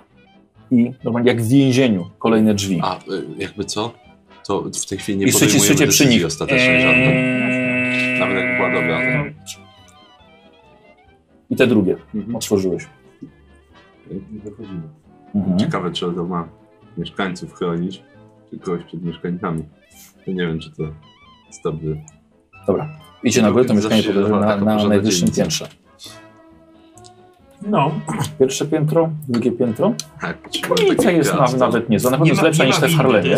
Speaker 2: i normalnie jak w więzieniu kolejne drzwi.
Speaker 1: A y, jakby co? To w tej chwili nie
Speaker 2: I
Speaker 1: podejmujemy
Speaker 2: słyszycie przy
Speaker 1: decyzji
Speaker 2: nich. Eee,
Speaker 1: ostatecznej żadnej. Nawet jak była dobra. to-
Speaker 2: I te drugie
Speaker 1: Mhm.
Speaker 2: otworzyłeś.
Speaker 5: Wychodzimy.
Speaker 2: Mhm.
Speaker 1: Ciekawe czy to ma mieszkańców chronić, czy kogoś przed mieszkańcami. Ja nie wiem czy to jest dobry
Speaker 2: Dobra. Idzie na górę, to mieszkanie
Speaker 1: Zawsze
Speaker 2: podejrzewam na,
Speaker 1: taka
Speaker 2: na
Speaker 1: porządna
Speaker 2: najwyższym
Speaker 1: dzielnica.
Speaker 2: piętrze.
Speaker 7: No.
Speaker 2: Pierwsze piętro, drugie piętro.
Speaker 1: Tak.
Speaker 2: Ulica jest na, nawet niezła, na pewno jest lepsza niż te w Harlemie.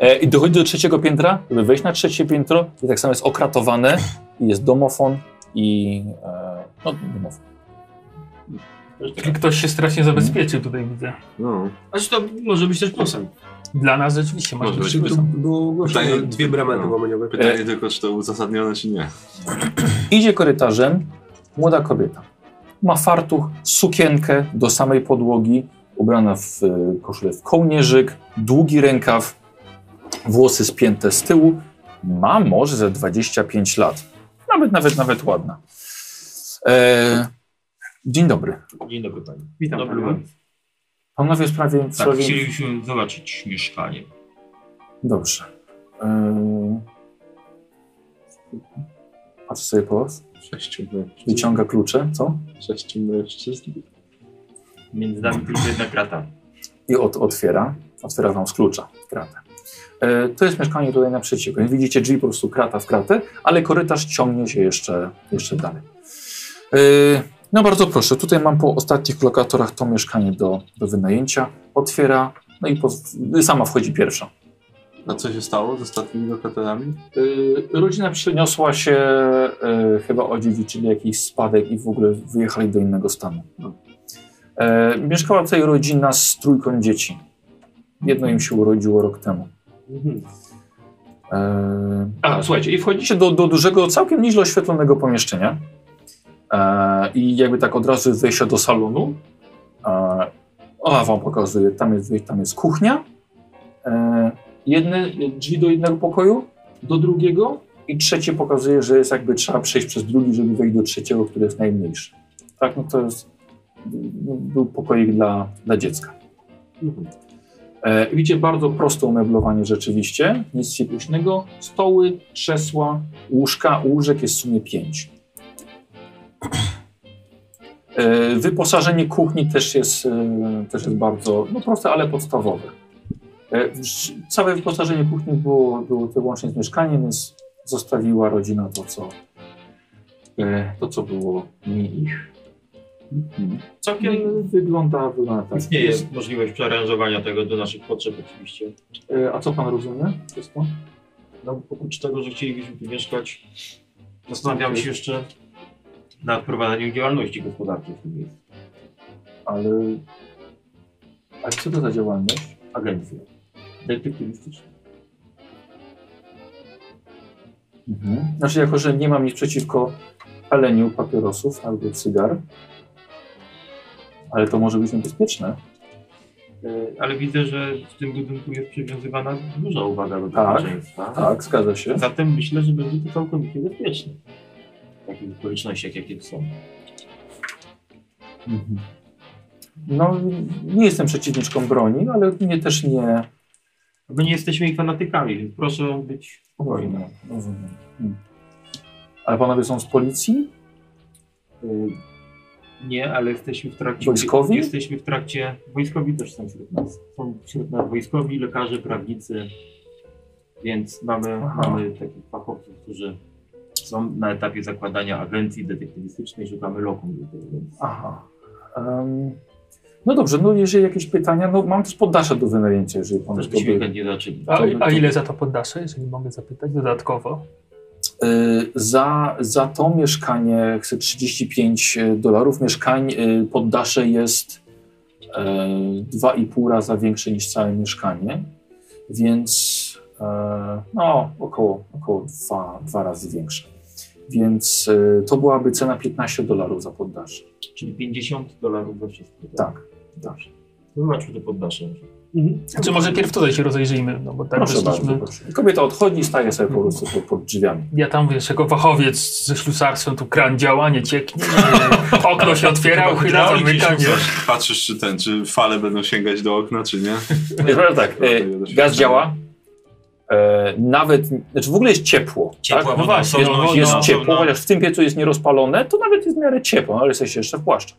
Speaker 2: E, I dochodzi do trzeciego piętra, żeby wejść na trzecie piętro i tak samo jest okratowane i jest domofon i e, no domofon.
Speaker 7: Ktoś się strasznie zabezpieczył tutaj, widzę.
Speaker 1: No.
Speaker 4: A czy to może być też plusem?
Speaker 7: Dla nas rzeczywiście masz
Speaker 1: Może być
Speaker 7: tu-
Speaker 1: plus.
Speaker 7: tu-
Speaker 6: Było ogłoszone
Speaker 1: Pytanie-
Speaker 6: dwie bramy
Speaker 1: no.
Speaker 6: antyłamaniowe.
Speaker 2: E-
Speaker 1: Pytanie tylko, czy to uzasadnione, czy nie.
Speaker 2: Idzie korytarzem młoda kobieta. Ma fartuch, sukienkę do samej podłogi, ubrana w e, koszulę w kołnierzyk, długi rękaw, włosy spięte z tyłu. Ma może ze 25 lat. Nawet, nawet, nawet ładna. E, dzień dobry.
Speaker 5: Dzień dobry pani.
Speaker 4: Witam
Speaker 5: Dobry
Speaker 4: panią.
Speaker 5: pan.
Speaker 2: Panowie w sprawie... w
Speaker 5: Tak,
Speaker 2: sprawie-
Speaker 5: chcielibyśmy zobaczyć mieszkanie.
Speaker 2: Dobrze. Ym... Patrz sobie po was.
Speaker 1: Sześciu mężczyzn.
Speaker 2: Wyciąga klucze, co?
Speaker 1: Sześciu mężczyzn.
Speaker 5: Między nami tylko jedna krata.
Speaker 2: I od, otwiera. Otwiera wam z klucza kratę. E, to jest mieszkanie tutaj naprzeciwko. Jak Widzicie drzwi po prostu krata w kratę, ale korytarz ciągnie się jeszcze, jeszcze dalej. E, no bardzo proszę, tutaj mam po ostatnich lokatorach to mieszkanie do, do wynajęcia. Otwiera, no i poz- sama wchodzi pierwsza.
Speaker 1: A co się stało z ostatnimi lokatorami?
Speaker 2: Y, Rodzina przeniosła się, y, chyba odziedziczyli jakiś spadek i w ogóle wyjechali do innego stanu. Y, mieszkała tutaj rodzina z trójką dzieci. Jedno im się urodziło rok temu. Y, Mhm. a, słuchajcie, i wchodzicie do, do dużego, całkiem nieźle oświetlonego pomieszczenia. Y, I jakby tak od razu jest wejście do salonu. Y, ona wam pokazuje, tam jest, tam jest kuchnia. Y, jedne drzwi do jednego pokoju, do drugiego i trzecie pokazuje, że jest jakby trzeba przejść przez drugi, żeby wejść do trzeciego, który jest najmniejszy. Tak, no to jest no, był pokoik dla, dla dziecka. E, widzicie bardzo proste umeblowanie rzeczywiście, nic ciekawego. Stoły, krzesła, łóżka, łóżek jest w sumie pięć. E, wyposażenie kuchni też jest, e, też jest bardzo no, proste, ale podstawowe. E, wsz- Całe wyposażenie kuchni było, było to łącznie z mieszkaniem, więc zostawiła rodzina to, co, e, to, co było mi ich. Całkiem wygląda, wygląda tak.
Speaker 5: Więc nie jest możliwość przearanżowania tego do naszych potrzeb oczywiście.
Speaker 2: E, A co pan rozumie przez to?
Speaker 5: No, oprócz tego, że chcielibyśmy tu mieszkać, zastanawiamy się jeszcze nad prowadzeniem działalności gospodarczej w tym miejscu.
Speaker 2: Ale... A co to za działalność?
Speaker 5: Agencja. Detektywistyczna.
Speaker 2: Mhm. Znaczy, jako że nie mam nic przeciwko paleniu papierosów albo cygar, ale to może być niebezpieczne.
Speaker 5: E, Ale widzę, że w tym budynku jest przywiązywana duża uwaga do
Speaker 2: Tak,
Speaker 5: bezpieczeństwa.
Speaker 2: Tak, zgadza się.
Speaker 5: Zatem myślę, że będzie to całkowicie bezpieczne. W takich okolicznościach, jakie są.
Speaker 2: Mhm. No, nie jestem przeciwniczką broni, ale mnie też nie.
Speaker 5: My nie jesteśmy ich fanatykami, więc proszę być spokojnym.
Speaker 2: Rozumiem. Mm. Ale panowie są z policji?
Speaker 5: Y, Nie, ale jesteśmy w trakcie.
Speaker 2: Wojskowi?
Speaker 5: Jesteśmy w trakcie. Wojskowi też są wśród nas. Są wśród nas wojskowi, lekarze, prawnicy. Więc mamy,
Speaker 2: Aha.
Speaker 5: mamy takich fachowców, którzy są na etapie zakładania agencji detektywistycznej, szukamy lokum do tego. Więc
Speaker 2: Aha. Em, no dobrze, no jeżeli jakieś pytania, no mam też poddasze do wynajęcia, jeżeli pan
Speaker 5: też byśmy chętnie zaczęli.
Speaker 7: A,
Speaker 2: To by-
Speaker 7: a
Speaker 2: to-
Speaker 7: ile za to poddasze, jeżeli mogę zapytać dodatkowo?
Speaker 2: Y, za, za to mieszkanie chcę 35 dolarów. Mieszkań y, poddasze jest y, 2,5 raza większe niż całe mieszkanie, więc y, no, około, około 2, dwa razy większe. Więc y, to byłaby cena 15 dolarów za poddasze.
Speaker 5: Czyli 50 dolarów za wszystko.
Speaker 2: Tak, dobrze.
Speaker 5: Zobaczmy to poddasze.
Speaker 7: Czy Znaczy, może pierw tutaj się rozejrzyjmy, no bo tak
Speaker 2: Proszę bardzo,
Speaker 7: wyszliśmy.
Speaker 2: proszę. Kobieta odchodzi i staje sobie po prostu pod, pod drzwiami.
Speaker 7: Ja tam wiesz, jako fachowiec ze ślusarstwem, tu kran działa, nie cieknie, okno się otwiera, uchyla, zamyka, nie?
Speaker 1: Patrzysz, czy ten, czy fale będą sięgać do okna, czy nie?
Speaker 2: Prawda tak, e, gaz działa. E, nawet, znaczy w ogóle jest ciepło.
Speaker 5: Ciepła
Speaker 2: tak?
Speaker 5: woda,
Speaker 2: właśnie,
Speaker 5: osobno,
Speaker 2: jest,
Speaker 5: woda
Speaker 2: jest
Speaker 5: osobno.
Speaker 2: ciepło, chociaż w tym piecu jest nierozpalone, to nawet jest w miarę ciepło, no, ale jesteście jeszcze w płaszczach.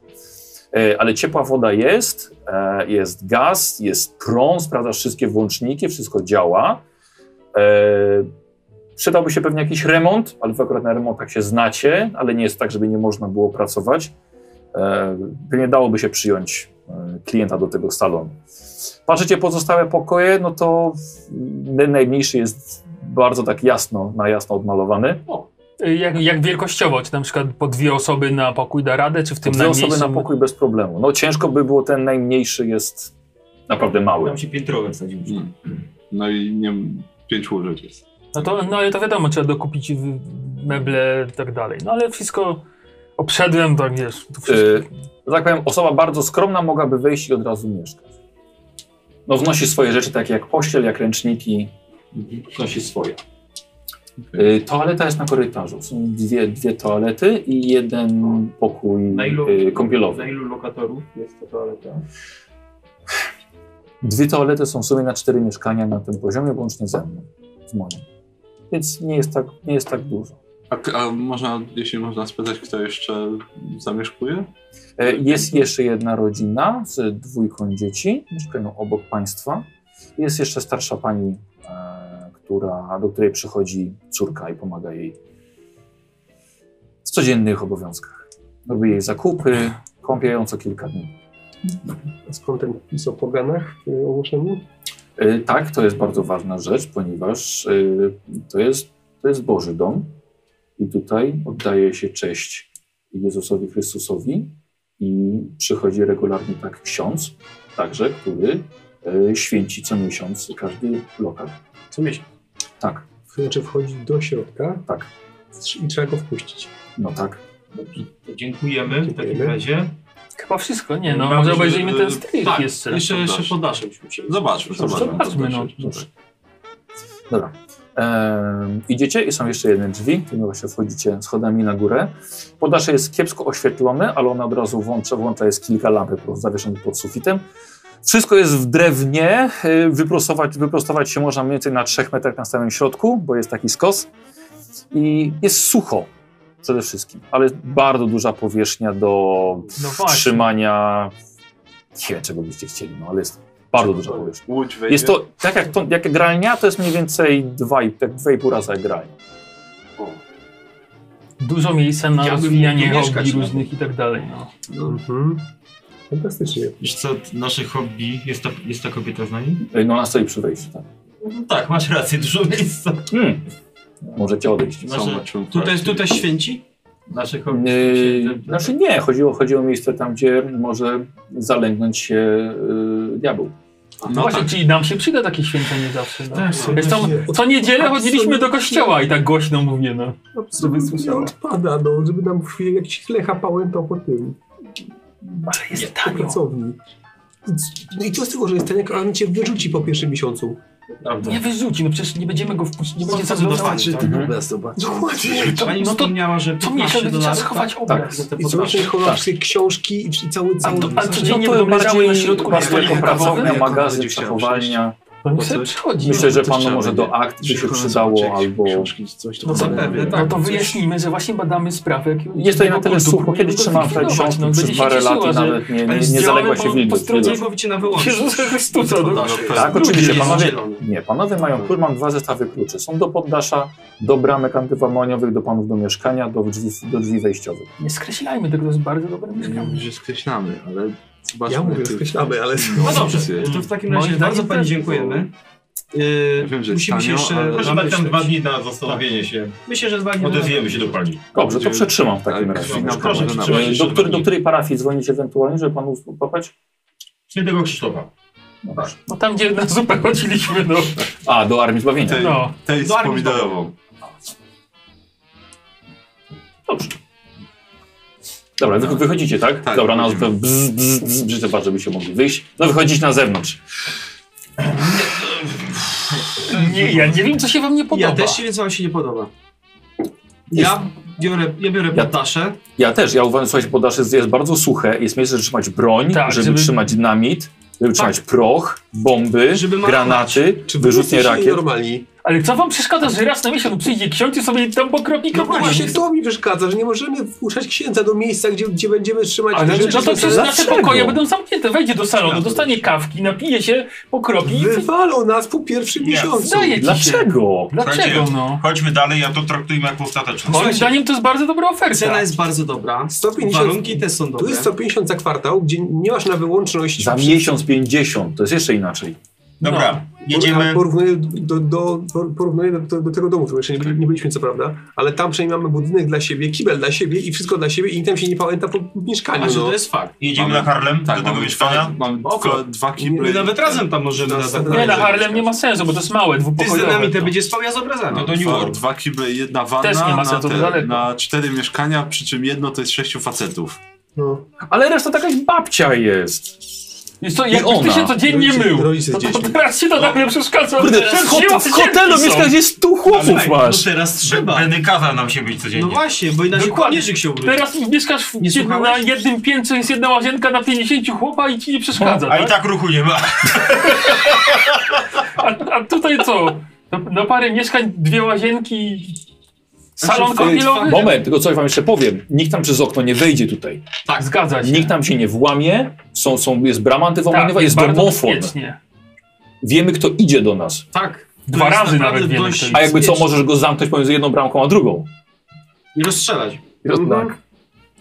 Speaker 2: E, ale ciepła woda jest, e, jest gaz, jest prąd, sprawdzasz wszystkie włączniki, wszystko działa. E, E, przydałby się pewnie jakiś remont, ale wy akurat na remontach się znacie, ale nie jest tak, żeby nie można było pracować. E, pewnie dałoby się przyjąć e, klienta do tego salonu. Patrzycie pozostałe pokoje, no to ten najmniejszy jest bardzo tak jasno, na jasno odmalowany.
Speaker 7: Jak, jak wielkościowo? Czy na przykład po dwie osoby na pokój da radę, czy w tym
Speaker 2: Dwie osoby na
Speaker 7: najmniejszym-
Speaker 2: pokój bez problemu. No ciężko by było, ten najmniejszy jest naprawdę mały.
Speaker 5: Tam się piętrowe wsadził.
Speaker 1: No i nie pięć łóżek jest.
Speaker 7: No to, no ale to wiadomo, trzeba dokupić w- meble i tak dalej. No ale wszystko obszedłem, tak wiesz. To wszystko.
Speaker 2: Y, że tak powiem, osoba bardzo skromna mogłaby wejść i od razu mieszkać. No wnosi swoje rzeczy, takie jak pościel, jak ręczniki, wnosi swoje. Y, Toaleta jest na korytarzu. Są dwie, dwie toalety i jeden pokój y, kąpielowy.
Speaker 20: Na ilu lokatorów jest to toaleta?
Speaker 2: Dwie toalety są w sumie na cztery mieszkania na tym poziomie, łącznie ze mną, z moją. Więc nie jest tak, nie jest tak dużo.
Speaker 1: A, k- a można, jeśli można spytać, kto jeszcze zamieszkuje?
Speaker 2: E, Jest jeszcze jedna rodzina z dwójką dzieci, mieszkają obok państwa. Jest jeszcze starsza pani, e, która, do której przychodzi córka i pomaga jej w codziennych obowiązkach. Robi jej zakupy, kąpie ją co kilka dni.
Speaker 6: A Skąd ten pis o poganach y, ogłoszeniu?
Speaker 2: E, Tak, to jest bardzo ważna rzecz, ponieważ e, to jest, to jest Boży dom i tutaj oddaje się cześć Jezusowi Chrystusowi i przychodzi regularnie tak ksiądz, także, który e, święci co miesiąc każdy lokal.
Speaker 6: Co miesiąc?
Speaker 2: Tak,
Speaker 6: Znaczy wchodzi do środka
Speaker 2: tak.
Speaker 6: i trzeba go wpuścić.
Speaker 2: no tak.
Speaker 5: Dziękujemy w takim razie.
Speaker 7: Chyba wszystko, nie no,
Speaker 5: Mam
Speaker 7: może
Speaker 5: nadzieję,
Speaker 7: obejrzyjmy
Speaker 5: że-
Speaker 2: y-
Speaker 7: ten strip
Speaker 5: tak,
Speaker 7: jeszcze.
Speaker 5: jeszcze- jeszcze
Speaker 1: podaszem się. Zobaczmy, zobaczmy.
Speaker 7: Zobaczmy, no.
Speaker 2: Dobra. Em, idziecie i są jeszcze jedne drzwi, tymi właśnie wchodzicie schodami na górę. Podasze jest kiepsko oświetlone, ale ona od razu włącza, włącza jest kilka lampy po prostu zawieszonych pod sufitem. Wszystko jest w drewnie, y, wyprostować, wyprostować się można mniej więcej na 3 metrach na samym środku, bo jest taki skos. I jest sucho przede wszystkim, ale jest bardzo duża powierzchnia do
Speaker 7: No właśnie.
Speaker 2: trzymania, nie wiem czego byście chcieli, no ale jest bardzo duża powierzchnia.
Speaker 1: Łódź wejdzie.
Speaker 2: Jest to, tak jak, to, jak gralnia, to jest mniej więcej 2,5 razy jak gralnia.
Speaker 7: Dużo miejsca na
Speaker 5: Chciałbym
Speaker 7: rozwijanie
Speaker 5: tu mieszkać
Speaker 7: hobby
Speaker 5: nawet.
Speaker 7: różnych i tak dalej. No.
Speaker 6: Mhm. Fantastycznie.
Speaker 5: Wiesz co, nasze hobby, jest ta, jest ta kobieta z nami?
Speaker 2: Y, No ona stoi przy wejściu, tak.
Speaker 5: No tak, masz rację, dużo miejsca.
Speaker 2: Hmm. Możecie odejść.
Speaker 5: Nasze,
Speaker 4: Tutaj, tutaj święci?
Speaker 5: nasze hobby.
Speaker 2: Yy, znaczy nie, chodziło, chodziło o miejsce tam, gdzie może zalęgnąć się yy, diabeł.
Speaker 7: No, właśnie,
Speaker 1: tak.
Speaker 2: tak.
Speaker 7: czyli nam się przyda takie święcenie zawsze. No.
Speaker 6: Tak,
Speaker 7: Wiesz, tam,
Speaker 6: właśnie.
Speaker 7: co niedzielę
Speaker 6: Absolutnie.
Speaker 7: chodziliśmy do kościoła i tak głośno mówię, no.
Speaker 6: Absolutnie nie odpada, no, żeby nam w chwili jakiś lecha pałętał po tym.
Speaker 7: Ale jest
Speaker 6: po pracowni. I c- No i co z tego, że jest ten, jak on cię wyrzuci po pierwszym miesiącu?
Speaker 7: Nie wyrzuci, no przecież nie będziemy go wpuścić, nie będzie
Speaker 4: co
Speaker 7: zaglądał.
Speaker 4: zobaczy,
Speaker 7: Mhm.
Speaker 6: Dokładnie.
Speaker 7: To-
Speaker 4: Pani
Speaker 7: no to
Speaker 4: wspomniała, że
Speaker 7: co miesiąc
Speaker 4: 15
Speaker 7: będzie trzeba
Speaker 4: dolarów,
Speaker 7: schować
Speaker 4: tak?
Speaker 7: obraz.
Speaker 6: I co jeszcze chowa wszystkie książki i i cały, cały...
Speaker 7: to- a codziennie
Speaker 6: No to
Speaker 7: będą
Speaker 6: bardziej-
Speaker 7: leżały na środku
Speaker 6: bardziej
Speaker 7: na
Speaker 6: jako
Speaker 7: stoliku
Speaker 6: pracownia,
Speaker 2: Pracownia,
Speaker 7: pracownym,
Speaker 6: magazyn.
Speaker 2: magazyn, zachowalnia.
Speaker 7: To mi
Speaker 1: Po
Speaker 7: sobie
Speaker 1: coś?
Speaker 7: przychodzi. no.
Speaker 2: Myślę, że
Speaker 1: to
Speaker 2: panu
Speaker 1: trzeba
Speaker 2: może
Speaker 1: będzie.
Speaker 2: do akt by się
Speaker 1: Przychodzą
Speaker 2: przydało
Speaker 1: zobaczyć
Speaker 2: albo...
Speaker 1: książki, coś tam.
Speaker 2: No
Speaker 4: zapewne, tak.
Speaker 7: No to wyjaśnijmy, że właśnie badamy sprawę jakiego
Speaker 2: Jest to na tyle
Speaker 7: kultu,
Speaker 2: sucho, kiedy
Speaker 7: próbujemy go
Speaker 2: trzymam te
Speaker 7: zlikwidować,
Speaker 2: książki
Speaker 7: no, będzie
Speaker 2: przez
Speaker 7: się
Speaker 2: parę lat
Speaker 7: cieszyła,
Speaker 2: i
Speaker 7: że
Speaker 2: nawet nie, nie, nie
Speaker 4: Działamy
Speaker 2: zaległa się
Speaker 4: po-
Speaker 2: w wilgoć.
Speaker 4: Po stronie
Speaker 2: wiedzą.
Speaker 4: głowicie na wyłącz.
Speaker 7: Jezusa Chrystusa, no.
Speaker 2: Tak,
Speaker 4: Drugi
Speaker 2: oczywiście,
Speaker 4: jest
Speaker 2: panowie,
Speaker 4: zielony.
Speaker 2: nie, Tak. panowie mają klucz, mam dwa zestawy kluczy. Są do poddasza, do bramek antywamoniowych, do panów do mieszkania, do drzwi, do drzwi wejściowych.
Speaker 7: Nie skreślajmy tego, to jest bardzo dobre
Speaker 1: Nie
Speaker 7: mieszkanie.
Speaker 1: mówię, że skreślamy, ale zobaczmy.
Speaker 6: Ja mówię,
Speaker 1: jak to-
Speaker 6: skreślamy, ale...
Speaker 4: No dobrze,
Speaker 1: Opcje.
Speaker 4: to w takim
Speaker 7: Moim
Speaker 4: razie
Speaker 7: zdaniem
Speaker 4: bardzo
Speaker 7: też,
Speaker 4: Pani
Speaker 7: bo-
Speaker 4: dziękujemy. Yy,
Speaker 1: Ja wiem, że jest
Speaker 4: musimy się
Speaker 1: tanio,
Speaker 4: jeszcze
Speaker 1: ale-
Speaker 5: Mamy tam
Speaker 4: rozmyśleć.
Speaker 5: dwa dni na zastanowienie się.
Speaker 4: Myślę, że z wami
Speaker 5: Odezwiemy się do pani.
Speaker 2: Dobrze, tak, to
Speaker 1: Będzie-
Speaker 2: przetrzymam w takim
Speaker 1: Ale
Speaker 2: razie.
Speaker 1: krwi nam
Speaker 5: Proszę,
Speaker 1: pomoże na-
Speaker 5: trzymaj się.
Speaker 2: Do, której- do której parafii dzwonić ewentualnie, żeby panu popać?
Speaker 5: Świętego Krzysztofa.
Speaker 2: Tak.
Speaker 7: No tam, gdzie na zupę chodziliśmy, no.
Speaker 2: A, do Armii Zbawienia.
Speaker 1: Tej,
Speaker 7: no.
Speaker 1: tej z
Speaker 4: Do armii
Speaker 1: pomidorową.
Speaker 2: Dobra, wy, wychodzicie, tak?
Speaker 1: Tak,
Speaker 2: Dobra, na
Speaker 1: wychodzimy.
Speaker 2: bzz, bzz, bzz, bzz, trzeba, żebyście mogli wyjść. No wychodzić na zewnątrz.
Speaker 7: Nie, ja nie wiem, co się wam nie podoba.
Speaker 4: Ja też się więcej wam się nie podoba. Ja biorę, ja biorę
Speaker 2: Ja-
Speaker 4: potaszę.
Speaker 2: Ja też, ja uważam, słuchajcie, podaż jest, jest bardzo suche, jest miejsce, żeby trzymać broń,
Speaker 7: Tak,
Speaker 2: żeby,
Speaker 7: żeby- Tak.
Speaker 2: trzymać dynamit, żeby trzymać proch, bomby,
Speaker 4: Żeby malować.
Speaker 2: granaty,
Speaker 6: Czy wy
Speaker 2: wyrzutnie
Speaker 6: jesteście
Speaker 2: rakiet.
Speaker 6: normalni?
Speaker 7: Ale co wam przeszkadza, że raz na miesiąc przyjdzie ksiądz i sobie tam pokropi
Speaker 6: No
Speaker 7: kropelami?
Speaker 6: właśnie to mi przeszkadza, że nie możemy wpuszczać księdza do miejsca, gdzie, gdzie będziemy trzymać
Speaker 7: Ale
Speaker 6: rzeczy,
Speaker 7: no to
Speaker 6: które są-
Speaker 7: przecież nasze
Speaker 6: Dlaczego?
Speaker 7: pokoje będą zamknięte. Wejdzie do salonu, dostanie kawki, napije się, pokropi i...
Speaker 6: Wywalą nas po pierwszym
Speaker 7: Nie,
Speaker 6: miesiącu.
Speaker 7: zdaje ci się. Dlaczego? Dlaczego,
Speaker 5: Słuchajcie,
Speaker 7: no?
Speaker 5: Chodźmy dalej, ja to traktujmy jako ostateczne. Słuchajcie,
Speaker 7: zdaniem to jest bardzo dobra oferta.
Speaker 4: Cena jest bardzo dobra.
Speaker 6: 150
Speaker 4: Warunki te są dobre.
Speaker 6: Tu jest 150 za kwartał, gdzie nie masz na wyłączność...
Speaker 2: Za miesiąc 50, to jest jeszcze inaczej.
Speaker 5: Dobra,
Speaker 6: jedziemy. Porównuję do, do, do- porównuję do, do, do tego domu, w którym jeszcze nie, byli- nie byliśmy, co prawda, ale tam przynajmniej mamy budynek dla siebie, kibel dla siebie i wszystko dla siebie i nikt tam się nie pamięta po mieszkaniu.
Speaker 4: A że
Speaker 6: no.
Speaker 4: to jest fakt.
Speaker 5: Jedziemy
Speaker 4: Mamy-
Speaker 5: na Harlem, do tego
Speaker 4: mamy
Speaker 5: mieszkania.
Speaker 4: dwa- Mamy dwa, dwa kible. My nawet razem tam możemy na zakupy.
Speaker 7: Nie, na Harlem nie ma sensu, bo to jest małe,
Speaker 4: Ty z
Speaker 7: dwupokojowe.
Speaker 4: nami te będzie spał, ja z
Speaker 7: tak, no
Speaker 4: obrazami.
Speaker 1: dwa, dwa kible i jedna wanna
Speaker 7: Też nie ma
Speaker 1: na,
Speaker 7: sensu, to daleko.
Speaker 1: na cztery mieszkania, przy czym jedno to jest sześciu facetów.
Speaker 6: No.
Speaker 2: Ale reszta taka jak babcia jest.
Speaker 7: Wiesz co,
Speaker 2: I
Speaker 7: jakbyś ty
Speaker 2: ona.
Speaker 7: się codziennie
Speaker 2: Rodzice-
Speaker 7: mył, No
Speaker 2: rodzice z
Speaker 7: to, to
Speaker 2: dziećmi.
Speaker 7: teraz ci to tak nie przeszkadza.
Speaker 2: Kurde,
Speaker 7: Teraz
Speaker 2: w hota- w
Speaker 7: dzieci
Speaker 2: hotelu
Speaker 7: są.
Speaker 2: mieszkasz, jest stu chłopów
Speaker 5: Ale
Speaker 2: masz.
Speaker 5: No teraz trzeba. Będę kazał nam się być codziennie.
Speaker 4: No właśnie, bo inaczej kołnierzyk się ubrudzi.
Speaker 7: Teraz mieszkasz w,
Speaker 4: Nie
Speaker 7: jednym- na
Speaker 4: słuchałeś?
Speaker 7: jednym piętrze, jest jedna łazienka na 50 chłopa i ci nie przeszkadza,
Speaker 5: A i
Speaker 7: tak?
Speaker 5: tak ruchu nie ma.
Speaker 7: A, a tutaj co? No, no parę mieszkań, dwie łazienki, salon
Speaker 2: Znaczy,
Speaker 7: kąpielowy.
Speaker 2: Moment, tylko coś wam jeszcze powiem. Nikt tam przez okno nie wejdzie tutaj.
Speaker 7: Tak, zgadza się.
Speaker 2: Nikt tam się nie włamie, są, są, jest brama antywomaniowa,
Speaker 7: Tak,
Speaker 2: jest
Speaker 7: bardzo
Speaker 2: domofon.
Speaker 7: bezpiecznie.
Speaker 2: Wiemy, kto idzie do nas.
Speaker 4: Tak.
Speaker 2: Dwa
Speaker 7: jest
Speaker 2: razy
Speaker 7: naprawdę
Speaker 2: nawet wiemy.
Speaker 7: dość
Speaker 2: kto idzie. A jakby co,
Speaker 7: bezpiecznie.
Speaker 2: możesz go zamknąć pomiędzy jedną bramką a drugą.
Speaker 4: I rozstrzelać.
Speaker 6: Mhm.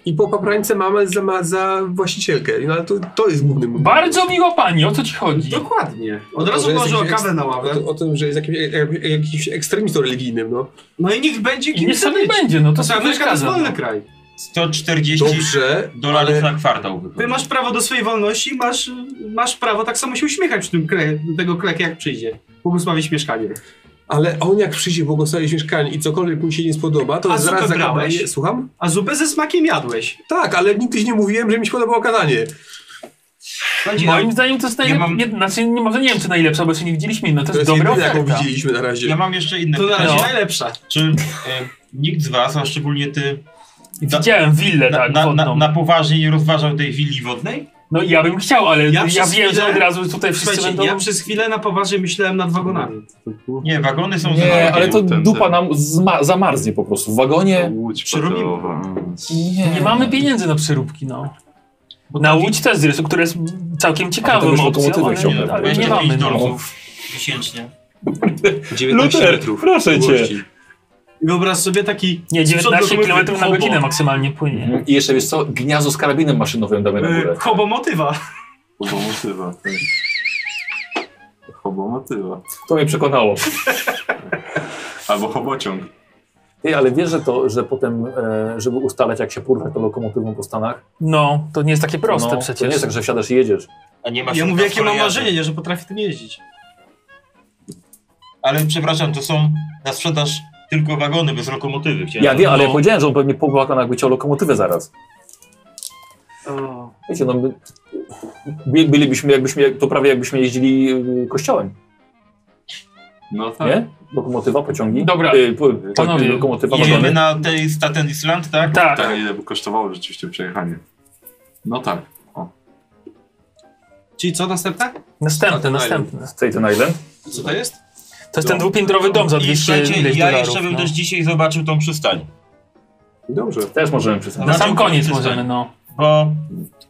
Speaker 6: I po paprańce mamy za, ma za właścicielkę, no ale to, to jest główny motyw.
Speaker 7: Bardzo miła pani, o co ci chodzi?
Speaker 4: No Dokładnie. Od
Speaker 6: To,
Speaker 4: razu
Speaker 6: że No jest
Speaker 4: położył
Speaker 6: jakiś
Speaker 4: kawę
Speaker 6: ekst-
Speaker 4: na ławę.
Speaker 6: O, o tym, że jest jakimś, jak- jakimś ekstremistą religijnym, no.
Speaker 4: No i niech będzie kim
Speaker 7: niech
Speaker 4: chce
Speaker 7: sobie
Speaker 4: być.
Speaker 7: będzie, no to
Speaker 4: Ta
Speaker 7: sobie
Speaker 4: Ameryka to jest
Speaker 7: przeszkadza,
Speaker 4: wolny
Speaker 7: no.
Speaker 4: kraj.
Speaker 5: 140
Speaker 6: Dobrze,
Speaker 5: dolarów
Speaker 6: ale-
Speaker 5: na kwartał.
Speaker 4: Ty masz prawo do swojej wolności, masz, masz prawo tak samo się uśmiechać w tym kre, tego kleka jak przyjdzie. Błogosławić mieszkanie.
Speaker 6: Ale on jak przyjdzie błogosławić mieszkanie i cokolwiek mu się nie spodoba, to
Speaker 4: A
Speaker 6: zaraz
Speaker 4: zupę
Speaker 6: zakłada-
Speaker 4: brałeś?
Speaker 6: Nie, Słucham?
Speaker 4: A zupę ze smakiem jadłeś.
Speaker 6: Tak, ale nigdy nie mówiłem, że mi się podobało kadanie.
Speaker 7: Moim zdaniem to jest
Speaker 5: Ja
Speaker 7: najlepsza,
Speaker 5: mam-
Speaker 7: nie, znaczy, nie, może nie wiem czy najlepsza, bo jeszcze nie widzieliśmy, no to,
Speaker 6: To
Speaker 7: jest
Speaker 6: jest
Speaker 7: dobra
Speaker 6: jedyne, jaką
Speaker 7: oferta.
Speaker 6: widzieliśmy na razie.
Speaker 5: Ja mam jeszcze inne
Speaker 4: To na
Speaker 5: pytanie.
Speaker 4: razie najlepsza.
Speaker 5: Czy e, nikt z was, a szczególnie ty,
Speaker 7: Widziałem willę
Speaker 5: na,
Speaker 7: tak,
Speaker 5: na,
Speaker 7: wodną.
Speaker 5: na, na poważnie nie rozważał tej willi wodnej?
Speaker 7: No ja bym chciał, ale ja,
Speaker 4: przez
Speaker 7: wiem, że
Speaker 4: chwilę-
Speaker 7: od razu tutaj wszyscy
Speaker 4: Słuchajcie,
Speaker 7: będą...
Speaker 4: Ja przez chwilę na poważnie myślałem nad wagonami.
Speaker 5: Nie, wagony są za
Speaker 2: Nie,
Speaker 5: małe.
Speaker 2: ale to
Speaker 1: ten-
Speaker 2: dupa nam zma- zamarznie po prostu. W wagonie...
Speaker 1: Łódź Mm,
Speaker 5: Przerobimy.
Speaker 1: patrowa.
Speaker 2: Nie,
Speaker 7: Nie mamy pieniędzy na przeróbki, no.
Speaker 5: Bo
Speaker 7: Na
Speaker 5: to-
Speaker 7: Łódź też jest, które jest całkiem ciekawą
Speaker 2: już
Speaker 7: opcją,
Speaker 2: lokomotywę
Speaker 7: ale,
Speaker 2: chciałbym.
Speaker 7: nie- ale nie
Speaker 5: 25
Speaker 7: mamy. No.
Speaker 5: dolców miesięcznie.
Speaker 6: 19
Speaker 2: Luther,
Speaker 6: metrów.
Speaker 2: proszę cię.
Speaker 6: długości.
Speaker 4: Wyobraź sobie taki...
Speaker 7: Nie,
Speaker 4: z przodu
Speaker 7: 19
Speaker 4: lokomotywy
Speaker 7: km na
Speaker 4: hobo.
Speaker 7: godzinę maksymalnie płynie.
Speaker 2: I jeszcze wiesz co, gniazdo z karabinem maszynowym damy na
Speaker 4: E,
Speaker 2: górę.
Speaker 4: Hobomotywa.
Speaker 1: Hobomotywa. tak. Hobomotywa.
Speaker 2: To mnie przekonało.
Speaker 1: Albo hobociąg.
Speaker 2: Ej, ale wiesz, że to, że potem, e, żeby ustalać jak się porwać tą lokomotywą po Stanach,
Speaker 7: No, to nie jest takie proste
Speaker 2: no, to
Speaker 7: przecież.
Speaker 2: nie jest tak, że wsiadasz i jedziesz.
Speaker 5: A nie ma
Speaker 4: Ja
Speaker 5: środka
Speaker 4: mówię, jakie mam
Speaker 5: kolejarza.
Speaker 4: marzenie, nie, że potrafię tym jeździć.
Speaker 5: Ale przepraszam, to są na sprzedaż tylko wagony bez lokomotywy.
Speaker 2: Ja wiem, ale ja
Speaker 7: No.
Speaker 2: powiedziałem, że on pewnie pobłakał, jakby chciał lokomotywę zaraz.
Speaker 4: O.
Speaker 2: Wiecie, no my, by- bylibyśmy, jakbyśmy, to prawie jakbyśmy jeździli y, kościołem,
Speaker 1: No tak.
Speaker 2: nie? Lokomotywa, pociągi.
Speaker 7: Dobra,
Speaker 2: y, po,
Speaker 7: panowie,
Speaker 2: lokomotywa,
Speaker 5: Jedziemy
Speaker 2: wagony.
Speaker 5: na tej Staten Island, tak?
Speaker 7: Tak,
Speaker 1: Tak, ile by kosztowało rzeczywiście przejechanie. No tak. O.
Speaker 4: Czyli co, następna?
Speaker 7: następne, następne.
Speaker 2: Staten Island. No.
Speaker 4: Co to jest?
Speaker 7: To jest ten dwupiętrowy dom za
Speaker 5: I
Speaker 7: 200
Speaker 5: słuchajcie,
Speaker 7: ileś
Speaker 5: ja
Speaker 7: dolarów.
Speaker 5: jeszcze bym
Speaker 7: no.
Speaker 5: też dzisiaj zobaczył tą przystań.
Speaker 6: Dobrze.
Speaker 2: Też możemy przystać.
Speaker 7: Na
Speaker 5: zobaczył
Speaker 7: sam koniec
Speaker 5: tą przystań,
Speaker 7: możemy, no.
Speaker 5: Bo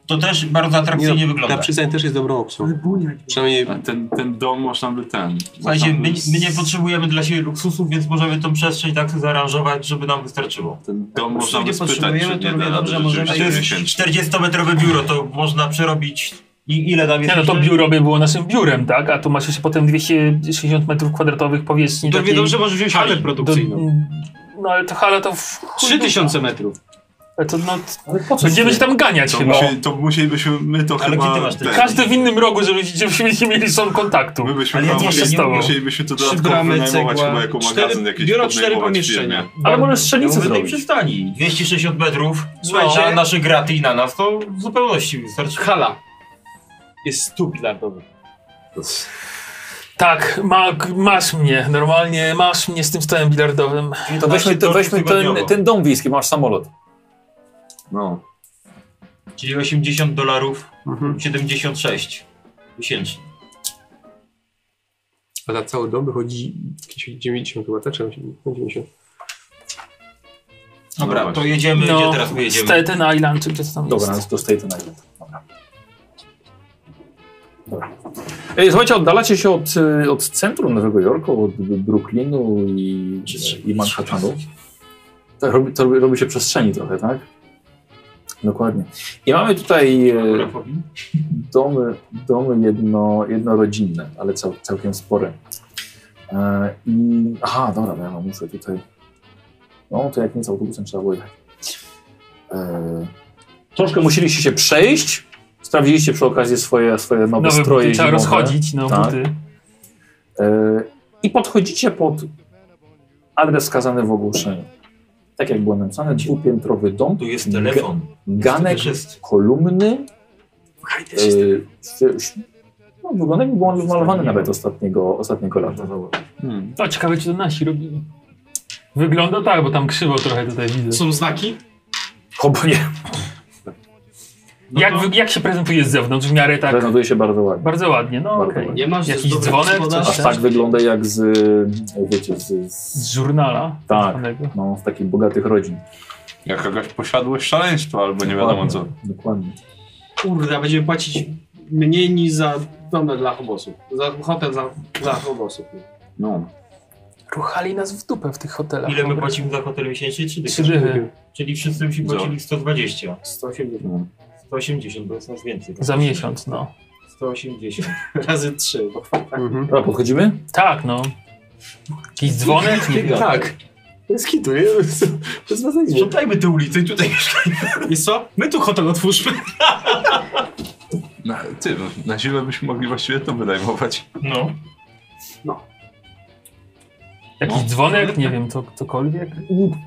Speaker 5: to też bardzo atrakcyjnie
Speaker 6: Nie, no,
Speaker 5: wygląda.
Speaker 6: Ta przystań też jest dobrą opcją. Przynajmniej
Speaker 1: A ten, ten dom można by ten.
Speaker 5: Słuchajcie,
Speaker 1: można by
Speaker 5: my,
Speaker 1: s-
Speaker 5: my nie potrzebujemy dla siebie luksusu, więc możemy tą przestrzeń tak zaaranżować, żeby nam wystarczyło.
Speaker 1: Ten dom
Speaker 4: Jak
Speaker 1: można by
Speaker 4: nie
Speaker 1: spytać,
Speaker 4: potrzebujemy,
Speaker 1: czy
Speaker 4: to
Speaker 1: nie
Speaker 4: równie
Speaker 1: da
Speaker 4: dobrze
Speaker 1: rady
Speaker 4: możemy-
Speaker 5: A
Speaker 1: rzeczywiście
Speaker 5: to jest
Speaker 1: miesięcznie.
Speaker 5: 40-metrowe biuro, to można przerobić... I ile tam
Speaker 7: Nie
Speaker 5: jest
Speaker 7: no, to
Speaker 5: jeszcze?
Speaker 7: biuro by było naszym biurem, tak? A tu masz jeszcze potem 260 metrów kwadratowych powierzchni
Speaker 4: To
Speaker 7: takiej...
Speaker 4: wiadomo, że możesz wziąć halę
Speaker 5: Do-
Speaker 7: do,
Speaker 4: produkcyjną.
Speaker 7: No ale to hala to... w chuj
Speaker 4: 3000 metrów.
Speaker 7: Ale to no...
Speaker 2: Ale po co
Speaker 7: Będziemy się tam ganiać
Speaker 1: To,
Speaker 7: chyba.
Speaker 1: musieli, to musielibyśmy my to
Speaker 5: Ale
Speaker 1: chyba...
Speaker 5: kiedy masz ten-
Speaker 1: ten-
Speaker 7: Każdy w innym rogu, żeby, żebyśmy nie mieli są kontaktu.
Speaker 1: My byśmy
Speaker 5: Ale ja
Speaker 1: chyba
Speaker 5: nie
Speaker 1: musieli,
Speaker 7: się z tobą.
Speaker 1: musielibyśmy to
Speaker 4: Trzy
Speaker 1: dodatkowo
Speaker 4: bramy,
Speaker 1: wynajmować
Speaker 4: cegła,
Speaker 1: chyba jako
Speaker 4: cztery-
Speaker 1: magazyn jakiś
Speaker 4: biuro, cztery
Speaker 1: podnajmować
Speaker 4: pomieszczenia.
Speaker 1: firmie.
Speaker 2: Ale możesz
Speaker 5: Ja
Speaker 2: strzelnicę
Speaker 5: mówię tej
Speaker 2: zrobić.
Speaker 5: przystani. 260 metrów.
Speaker 4: Słuchajcie.
Speaker 5: na nasze graty i na nas to w zupełności wystarczy.
Speaker 4: Hala. Jest stóp bilardowy.
Speaker 7: Tak, ma, masz mnie, normalnie masz mnie z tym stołem bilardowym.
Speaker 2: To weźmy, Tak, to weźmy ten, ten dom wiejski, masz samolot.
Speaker 1: No.
Speaker 5: Czyli 80 dolarów 76 miesięcznie.
Speaker 6: A za cały dom wychodzi jakieś 90 chyba, tak? Czy 90?
Speaker 5: Dobra, to jedziemy, No, gdzie teraz my jedziemy?
Speaker 7: No, Staten Island, czy gdzieś tam
Speaker 2: Dobra, no
Speaker 7: jest.
Speaker 2: to Staten Island. Dobra. Dobra. Ej, słuchajcie, oddalacie się od, y, od centrum Nowego Jorku, od Brooklynu i, i Manhattanu. To robi, to robi- robi się przestrzeni trochę, tak? Dokładnie. I mamy tutaj e, domy, domy jedno, jednorodzinne, ale cał, całkiem spore. E, I, aha, dobra, bo ja mam- muszę tutaj... No, to jak nic autobusem trzeba było jechać. E, Troszkę musieliście się przejść. Sprawdziliście przy okazji swoje, swoje nowe,
Speaker 7: Nowe buty
Speaker 2: stroje
Speaker 7: trzeba
Speaker 2: zimowe. Tak.
Speaker 7: rozchodzić, no, buty.
Speaker 2: E, I podchodzicie pod adres wskazany w ogłoszeniu. Tak jak było napisane, dwupiętrowy dom. Tu jest
Speaker 5: telefon.
Speaker 2: Ganek, kolumny. E, ś- ś- no, wygląda jakby był on wymalowany nawet ostatniego, ostatniego lata.
Speaker 7: To ciekawe, czy to nasi robili. Wygląda tak, bo tam krzywo trochę tutaj widzę.
Speaker 4: Są znaki?
Speaker 2: Obo nie.
Speaker 5: no
Speaker 7: jak, wy- jak się prezentuje z zewnątrz w miarę tak?
Speaker 2: Prezentuje się bardzo ładnie.
Speaker 7: Bardzo ładnie, no
Speaker 2: Bardzo
Speaker 7: okej.
Speaker 2: ładnie.
Speaker 7: Nie masz Jakiś dzwonek, coś
Speaker 2: Aż
Speaker 7: tam?
Speaker 2: tak wygląda jak z, e, wiecie, z, z
Speaker 7: Z żurnala.
Speaker 2: Tak, no, z takich bogatych rodzin.
Speaker 1: Jak jakaś posiadłość szaleństwa albo nie wiadomo co.
Speaker 2: Dokładnie.
Speaker 4: Kurde, będziemy płacić mniej niż za domy dla hobosów. Za hotel za, dla hobosów.
Speaker 1: No.
Speaker 7: Ruchali nas w dupę w tych hotelach.
Speaker 5: Ile my płacimy za hotel miesięcznie? Trzy dychy.
Speaker 7: Trzy dychy.
Speaker 5: Czyli wszyscy musi
Speaker 7: Za-
Speaker 5: płacili 120. 180. 180, bo jest nas więcej. tak?
Speaker 7: Za miesiąc, no.
Speaker 5: 180.
Speaker 4: Razy trzy. Bo tak.
Speaker 6: Mhm.
Speaker 2: Dobra, podchodzimy?
Speaker 7: Tak, no. Jakiś dzwonek? Nie wiem.
Speaker 6: Tak. Bez kitu, nie?
Speaker 5: Sprzątajmy tę ulicę i tutaj mieszkajmy.
Speaker 4: I co? My tu hotel otwórzmy.
Speaker 1: Na, ty, no, na siłę byśmy mogli właściwie to wynajmować.
Speaker 5: No.
Speaker 7: Jakiś dzwonek? Nie wiem, co, cokolwiek.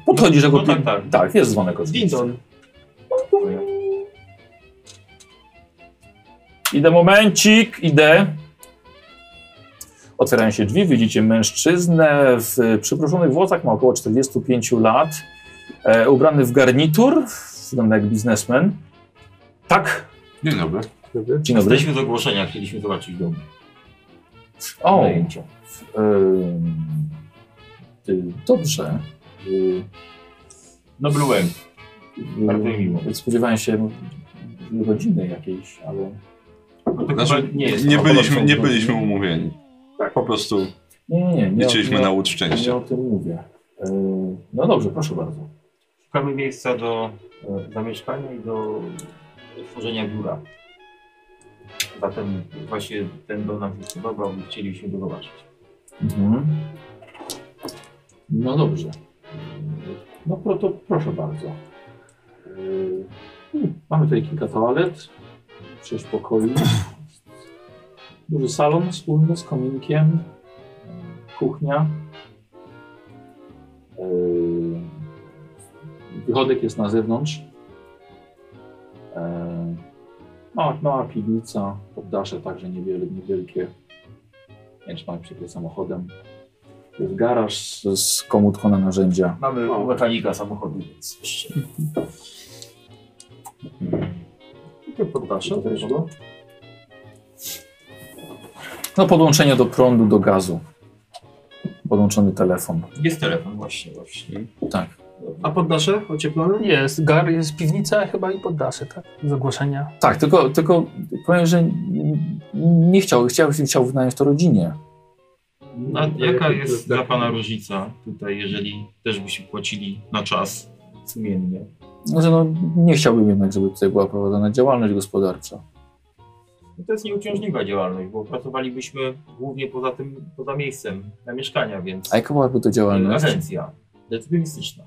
Speaker 2: Podchodzisz jako... No, tak, tak. tak, jest dzwonek oczywiście.
Speaker 4: Dindon.
Speaker 2: Idę momencik, idę. Otwierają się drzwi, widzicie mężczyznę w przyproszonych włosach, ma około 45 lat, e, ubrany w garnitur, wygląda jak biznesmen. Tak?
Speaker 1: Dzień dobry.
Speaker 2: Dzień dobry.
Speaker 5: Jesteśmy z ogłoszenia, chcieliśmy zobaczyć dom.
Speaker 2: O,
Speaker 5: Zajęcia.
Speaker 2: ym, y, dobrze. Y,
Speaker 5: No byłem. Bardzo
Speaker 2: y,
Speaker 5: miło.
Speaker 2: Spodziewałem się rodziny jakiejś, ale...
Speaker 5: No
Speaker 1: Znaczy, nie, nie, byliśmy, nie byliśmy umówieni. Po prostu
Speaker 2: Nie, nie, nie.
Speaker 1: nie chcieliśmy
Speaker 2: nie,
Speaker 1: na łód
Speaker 2: Nie
Speaker 1: szczęścia.
Speaker 2: o tym mówię. Y, No dobrze, proszę bardzo.
Speaker 5: Szukamy miejsca do e, zamieszkania i do tworzenia biura. Zatem właśnie ten dom nam się podobał i chcieliśmy go zobaczyć.
Speaker 2: Mhm. No dobrze. No pro, to proszę bardzo. Yy, hmm, Mamy tutaj kilka toalet, sześć pokoi, duży salon wspólny z kominkiem, yy, kuchnia. Yy, Wychodek jest na zewnątrz. Yy, Mała, mała piwnica, poddasze także niewiele, niewielkie. Jęczmark przypie samochodem. Jest garaż z, z komódką na narzędzia.
Speaker 5: Mamy mechanika samochodu, więc jeszcze.
Speaker 2: Poddasze No podłączenie do prądu, do gazu. Podłączony telefon.
Speaker 5: Jest telefon właśnie, właśnie.
Speaker 2: Tak.
Speaker 4: A poddasze ocieplone?
Speaker 7: Jest gar, jest piwnica chyba i poddasze, tak? Z ogłoszenia.
Speaker 2: Tak, tylko, tylko powiem, że nie chciał, chciał, chciał wynająć to rodzinie.
Speaker 5: A jaka jest dla Pana różnica tutaj, jeżeli też byśmy płacili na czas sumiennie?
Speaker 2: Znaczy, no, nie chciałbym jednak, żeby tutaj była prowadzona działalność gospodarcza.
Speaker 5: No to jest nieuciążliwa działalność, bo pracowalibyśmy głównie poza tym, poza miejscem na mieszkania, więc
Speaker 2: A jaka byłaby to działalność?
Speaker 5: agencja decydenistyczna.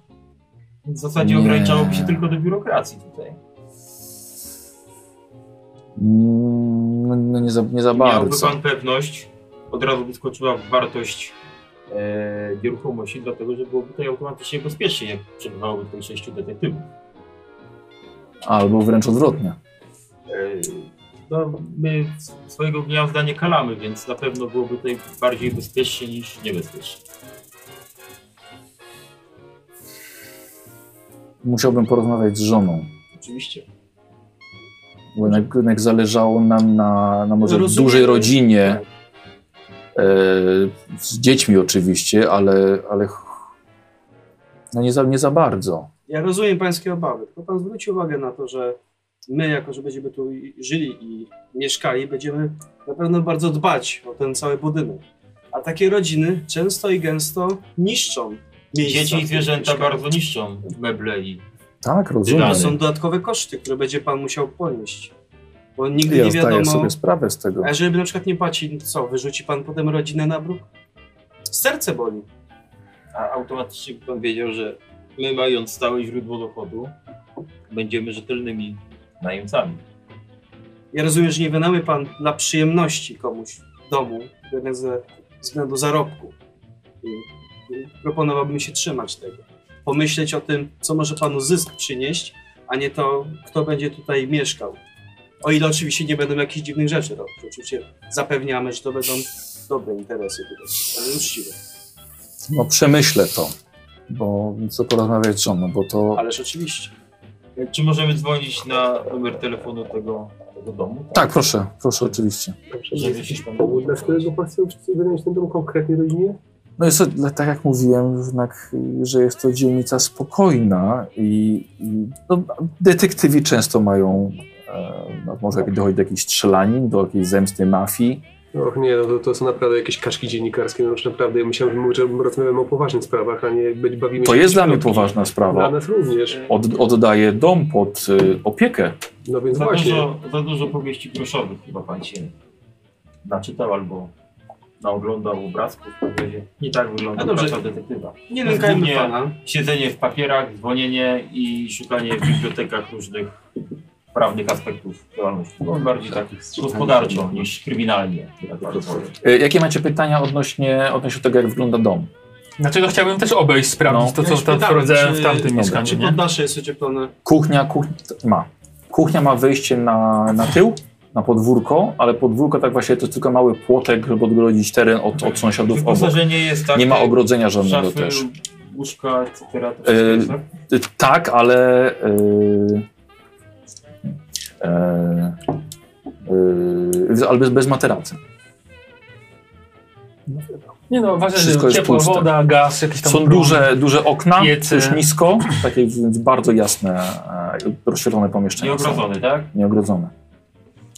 Speaker 5: W zasadzie
Speaker 2: Nie.
Speaker 5: ograniczałoby się tylko do biurokracji tutaj.
Speaker 2: Mm, No, no nie za, nie za
Speaker 5: Miałby
Speaker 2: bardzo.
Speaker 5: Pan pewność, od razu by skoczyła wartość e, nieruchomości, dlatego że byłoby tutaj automatycznie bezpiecznie, jak przebywałoby tutaj sześciu detektywów.
Speaker 2: Albo wręcz odwrotnie.
Speaker 5: E, No, my s- swojego gniazda nie kalamy, więc na pewno byłoby tutaj bardziej bezpiecznie niż niebezpiecznie.
Speaker 2: Musiałbym porozmawiać z żoną.
Speaker 5: Oczywiście.
Speaker 2: Bo jednak, jednak zależało nam na, na może
Speaker 5: Rozumiem.
Speaker 2: dużej rodzinie. E, z dziećmi oczywiście, ale, ale ch- no nie, za, nie za bardzo.
Speaker 4: Ja rozumiem pańskie obawy, tylko pan zwróci uwagę na to, że my, jako że będziemy tu i- żyli i mieszkali, będziemy na pewno bardzo dbać o ten cały budynek. A takie rodziny często i gęsto niszczą miejsca.
Speaker 5: Dzieci i
Speaker 4: w których
Speaker 5: zwierzęta
Speaker 4: mieszkają.
Speaker 5: bardzo niszczą meble i
Speaker 2: Tak,
Speaker 4: To
Speaker 2: rozumiem.
Speaker 4: są dodatkowe koszty, które będzie pan musiał ponieść. Bo nigdy
Speaker 2: Ja
Speaker 4: nie
Speaker 2: zdaję
Speaker 4: wiadomo.
Speaker 2: sobie sprawę z tego.
Speaker 4: A jeżeli by na przykład nie płaci, no co, wyrzuci pan potem rodzinę na bruk? Serce boli.
Speaker 5: A automatycznie by pan wiedział, że my mając stałe źródło dochodu, będziemy rzetelnymi najemcami.
Speaker 4: Ja rozumiem, że nie wynajmie pan dla przyjemności komuś domu, jednak ze względu zarobku. I i proponowałbym się trzymać tego. Pomyśleć o tym, co może panu zysk przynieść, a nie to, kto będzie tutaj mieszkał. O ile oczywiście nie będą jakichś dziwnych rzeczy robić. Oczywiście zapewniamy, że to będą dobre interesy tutaj, ale uczciwe.
Speaker 2: No przemyślę to, bo chcę porozmawiać z żoną, bo to...
Speaker 4: Ależ oczywiście.
Speaker 5: Czy możemy dzwonić na numer telefonu tego, tego domu?
Speaker 2: Tak, proszę, proszę, oczywiście.
Speaker 6: Dla którego pan chce wynająć ten dom konkretnie rodzinie?
Speaker 2: No jest to, dla- tak jak mówiłem, jednak, y, że jest to dzielnica spokojna i, i no, detektywi często mają, e, no, może jak dochodzi do jakichś strzelanin, do jakiejś zemsty mafii.
Speaker 6: Och nie, no to, to są naprawdę jakieś kaszki dziennikarskie. No, już naprawdę ja myślałem, że my rozmawiamy o poważnych sprawach, a nie być- bawimy
Speaker 2: To
Speaker 6: się
Speaker 2: jest
Speaker 6: w
Speaker 2: dla mnie
Speaker 6: środki.
Speaker 2: poważna
Speaker 6: Dla
Speaker 2: sprawa.
Speaker 6: nas również.
Speaker 2: Od, oddaję dom pod y, opiekę.
Speaker 6: No więc
Speaker 5: Za
Speaker 6: właśnie.
Speaker 5: dużo, za dużo powieści groszowych chyba pan się naczytał albo naoglądał obrazków. powiedzie. Nie tak wygląda
Speaker 4: A dobrze.
Speaker 5: praca detektywa.
Speaker 7: No,
Speaker 4: Nie nękajmy
Speaker 5: Głównie
Speaker 4: pana.
Speaker 5: Siedzenie w papierach, dzwonienie i szukanie w bibliotekach różnych prawnych aspektów działalności. No, bardziej takich gospodarczo niż kryminalnie. Tak bardzo.
Speaker 2: Y, jakie macie pytania odnośnie, odnośnie tego, jak wygląda dom?
Speaker 7: Dlaczego chciałbym też obejść, sprawdzić to, co tam
Speaker 4: No. pytałem,
Speaker 7: wprowadzałem
Speaker 4: czy-
Speaker 7: w tamtym
Speaker 4: czy
Speaker 7: mieszkaniu,
Speaker 4: Czy
Speaker 7: nie?
Speaker 4: poddasze jest ocieplone?
Speaker 2: Kuchnia, kuchnia ma. Kuchnia ma wyjście na, na tył, na podwórko, ale podwórko tak właśnie to jest tylko mały płotek, żeby odgrodzić teren od, od sąsiadów obok.
Speaker 5: Wyposażenie jest takie.
Speaker 2: Nie ma ogrodzenia żadnego
Speaker 5: szafy,
Speaker 2: też.
Speaker 5: Łóżka, etc. To wszystko
Speaker 2: E,
Speaker 5: jest, tak?
Speaker 2: y, tak, ale. Yy, y, ale bez, bez materacy.
Speaker 7: Nie no, ważne, że
Speaker 2: Wszystko jest
Speaker 7: ciepła
Speaker 2: puste.
Speaker 7: woda, gaz, jakieś tam
Speaker 2: Są
Speaker 7: prąd.
Speaker 2: duże, duże okna,
Speaker 7: piecy.
Speaker 2: też nisko, takie więc bardzo jasne, e, rozświetlone pomieszczenia. są.
Speaker 5: Nieogrodzone, tak?
Speaker 2: Nieogrodzone.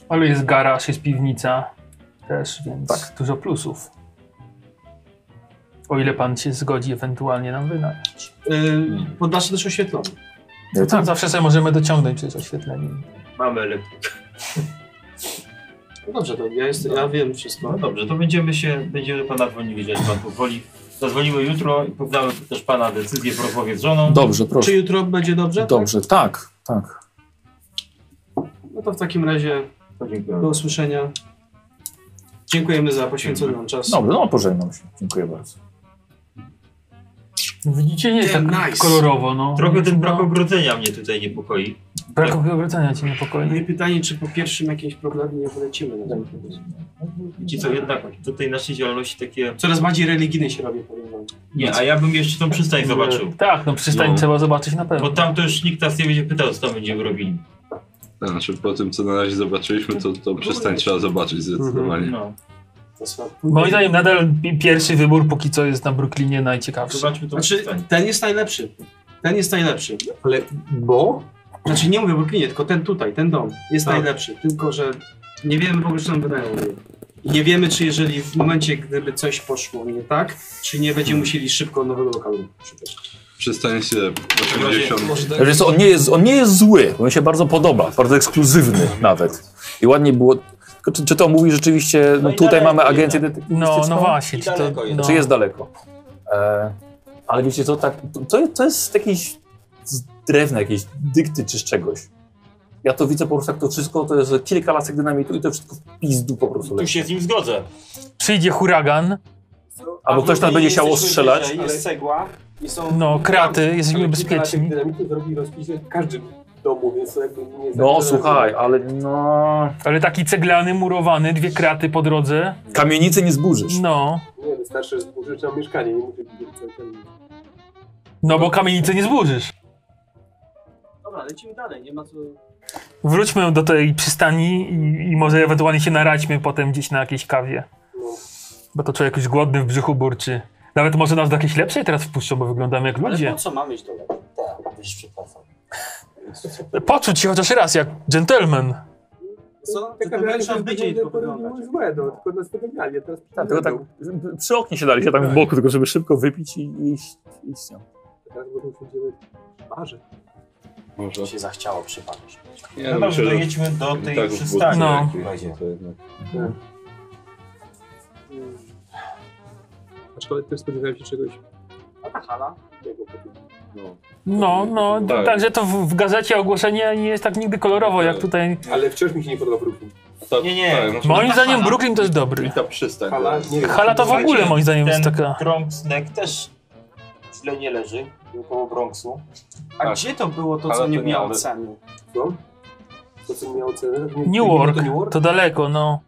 Speaker 7: Ale jest garaż, jest piwnica też, więc dużo plusów. O ile pan się zgodzi ewentualnie nam wynająć.
Speaker 4: Yy, poddasze też oświetlone.
Speaker 2: No
Speaker 7: tak. Zawsze sobie możemy dociągnąć przecież oświetleniem.
Speaker 5: Mamy elektrykę.
Speaker 4: No dobrze, to ja, jest, ja wiem wszystko.
Speaker 5: No dobrze, to będziemy się, będziemy do pana dzwonili, jeżeli pan pozwoli. Zadzwonimy jutro i poznamy też pana decyzję w rozmowie z żoną.
Speaker 2: no Dobrze, proszę.
Speaker 4: Czy jutro będzie dobrze?
Speaker 2: Dobrze, tak, tak.
Speaker 4: No to w takim razie
Speaker 5: To dziękuję.
Speaker 4: do usłyszenia. Dziękujemy za poświęcony nam czas.
Speaker 2: Dobrze, no pożegnam się. Dziękuję bardzo.
Speaker 7: Widzicie, nie jest tak
Speaker 4: Damn nice.
Speaker 7: kolorowo, no.
Speaker 5: Trochę ten brak ogrodzenia mnie tutaj niepokoi.
Speaker 7: Brak ogrodzenia cię niepokoi.
Speaker 4: No i pytanie, czy po pierwszym jakimś problemie nie wylecimy
Speaker 2: Tak,
Speaker 4: na ten temat.
Speaker 5: Ci co jednak do tej naszej działalności takie...
Speaker 4: Coraz bardziej religijny się robi, powiem wam.
Speaker 5: Nie, a ja bym jeszcze tą przystań zobaczył.
Speaker 7: Tak, no przystań
Speaker 5: No.
Speaker 7: trzeba zobaczyć na pewno.
Speaker 5: Bo tam to już nikt nas nie będzie pytał, co tam będziemy robili.
Speaker 1: Znaczy po tym, co na razie zobaczyliśmy, to, to przestań trzeba zobaczyć zdecydowanie.
Speaker 5: No.
Speaker 4: To są-
Speaker 7: Moim zdaniem nadal pi- pierwszy wybór póki co jest na Brooklynie najciekawszy.
Speaker 5: Zobaczmy to
Speaker 4: Znaczy, ten jest najlepszy. Ten jest najlepszy.
Speaker 6: Ale bo?
Speaker 4: Znaczy nie mówię o Brooklynie, tylko ten tutaj, ten dom jest
Speaker 6: Tak.
Speaker 4: najlepszy. Tylko, że nie wiemy w ogóle, czy nam wydają. I nie wiemy, czy jeżeli w momencie, gdyby coś poszło nie tak, czy nie będziemy musieli szybko nowego lokalu szukać.
Speaker 1: Przystań się 80.
Speaker 2: Wiesz co, on, nie jest, on nie jest zły, on mi się bardzo podoba, bardzo ekskluzywny nawet. I ładnie było. Tylko Czy, czy to mówi rzeczywiście, no tutaj mamy agencję detektywistyczną?
Speaker 7: No, no właśnie. Czy to,
Speaker 2: Daleko
Speaker 7: no.
Speaker 2: Czy jest daleko? E, ale wiecie co, tak, to, to jest jakiś z drewna, jakieś dykty czy z czegoś. Ja to widzę po prostu tak to wszystko, to jest kilka lasek dynamitu i to wszystko w pizdu po prostu
Speaker 5: Tu
Speaker 2: leci.
Speaker 5: się z nim zgodzę.
Speaker 7: Przyjdzie huragan,
Speaker 2: Albo ktoś nas będzie chciał ostrzelać.
Speaker 4: Jest cegła i są...
Speaker 7: no kraty, jesteśmy bezpieczni.
Speaker 6: Dynamitu zrobi rozpisie w każdym domu, więc to jakby nie jest
Speaker 2: No
Speaker 6: tak, że-
Speaker 2: słuchaj, ale no...
Speaker 7: Ale taki ceglany, murowany, dwie kraty po drodze.
Speaker 2: Kamienicy nie zburzysz.
Speaker 7: No,
Speaker 6: Nie, wystarczy zburzyć nam mieszkanie, nie musi być ten...
Speaker 7: no bo kamienicy nie zburzysz.
Speaker 4: Dobra, lecimy dalej, nie ma co...
Speaker 7: Wróćmy do tej przystani i, i może ewentualnie się naraćmy potem gdzieś na jakiejś kawie. Bo to człowiek już głodny w brzuchu burczy. Nawet może nas do jakiejś lepszej teraz wpuszczą, bo wyglądamy jak
Speaker 21: Ale
Speaker 7: ludzie.
Speaker 21: po co mamy iść do lewej? Tak, będziesz przepraszam.
Speaker 7: Poczuć się chociaż raz jak gentleman.
Speaker 4: Co?
Speaker 6: Taka
Speaker 4: Tylko
Speaker 6: miarka
Speaker 4: trzeba
Speaker 6: w
Speaker 4: wyjdzie i tylko wyglądać.
Speaker 6: było złe, no, tylko nas wyganiali, a teraz
Speaker 2: Tak, tylko tak przy oknie się dali się tam w boku, tylko żeby szybko wypić i i iść, iść nią.
Speaker 6: Teraz bo tu siedzimy w barze.
Speaker 1: Może.
Speaker 21: Mi się zachciało przypadać. no
Speaker 1: Ja myślę,
Speaker 21: dobrze,
Speaker 1: że
Speaker 21: dojedźmy do tej
Speaker 1: tak,
Speaker 21: przystani.
Speaker 1: No.
Speaker 21: Będzie.
Speaker 1: To jednak.
Speaker 6: Aczkolwiek też spodziewałem się czegoś.
Speaker 21: A ta hala?
Speaker 1: No.
Speaker 7: No, no, d-
Speaker 6: Tak.
Speaker 7: także to w, w gazecie ogłoszenie nie jest tak nigdy kolorowo jak tutaj.
Speaker 6: Ale wciąż mi się nie podoba Brooklyn.
Speaker 1: nie, nie.
Speaker 7: Moim zdaniem Brooklyn to jest dobry.
Speaker 1: no, Ta przystań.
Speaker 6: Hala, nie wiem.
Speaker 7: Hala to w ogóle moim zdaniem
Speaker 21: ten
Speaker 7: jest taka.
Speaker 21: Bronx Neck też źle nie leży, był koło Bronxu. A
Speaker 1: Tak.
Speaker 21: gdzie to było to,
Speaker 1: Ale
Speaker 21: co
Speaker 1: to
Speaker 21: nie
Speaker 1: nie,
Speaker 21: miało
Speaker 1: ale-
Speaker 21: ceny?
Speaker 6: No. To co miało cenę? Nie-
Speaker 7: New
Speaker 6: nie było
Speaker 7: York,
Speaker 6: to New York?
Speaker 7: to daleko, no.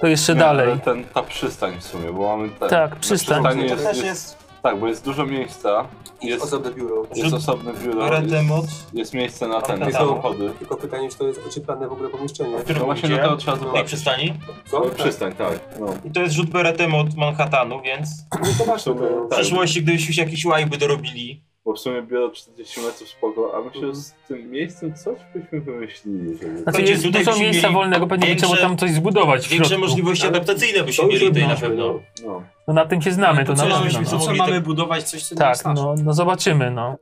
Speaker 7: To jeszcze
Speaker 1: Nie, ale
Speaker 7: dalej.
Speaker 1: Ten, ta przystań w sumie, bo mamy ten,
Speaker 7: Tak,
Speaker 1: na
Speaker 7: przystań.
Speaker 1: przystani
Speaker 7: To
Speaker 1: Jest,
Speaker 7: też
Speaker 1: jest, Tak, bo jest dużo miejsca. Jest osobne biuro. Jest
Speaker 6: Wśród-
Speaker 1: osobne biuro.
Speaker 6: Parę
Speaker 1: jest,
Speaker 6: temat.
Speaker 1: jest miejsce na ten, na
Speaker 6: Tylko-
Speaker 1: samochody.
Speaker 6: Tylko pytanie, czy to jest ocieplane w ogóle pomieszczenie.
Speaker 1: No właśnie na to trzeba zobaczyć.
Speaker 5: przystani?
Speaker 6: Co?
Speaker 1: Tak. Przystań, tak. No.
Speaker 5: I to jest rzut beretem od Manhattanu, więc
Speaker 6: No Zobaczmy
Speaker 5: w przyszłości, gdybyś już jakieś łajby dorobili.
Speaker 1: Bo w sumie biuro 40 metrów spoko, a
Speaker 2: Mhm.
Speaker 1: myślę, że z tym miejscem coś byśmy wymyślili. Żeby...
Speaker 7: Znaczy jest
Speaker 5: tutaj
Speaker 7: dużo
Speaker 5: byśmy
Speaker 7: miejsca
Speaker 5: mieli
Speaker 7: wolnego, pewnie by trzeba
Speaker 5: większe-
Speaker 7: tam coś zbudować w
Speaker 5: Większe
Speaker 7: środku.
Speaker 5: możliwości adaptacyjne byśmy mieli tutaj na pewno.
Speaker 1: No.
Speaker 7: No na tym się znamy, to
Speaker 5: co
Speaker 7: na
Speaker 5: byśmy
Speaker 7: pewno.
Speaker 5: mogli
Speaker 7: no.
Speaker 5: te-
Speaker 4: budować coś, co
Speaker 7: Tak, no, no zobaczymy, no.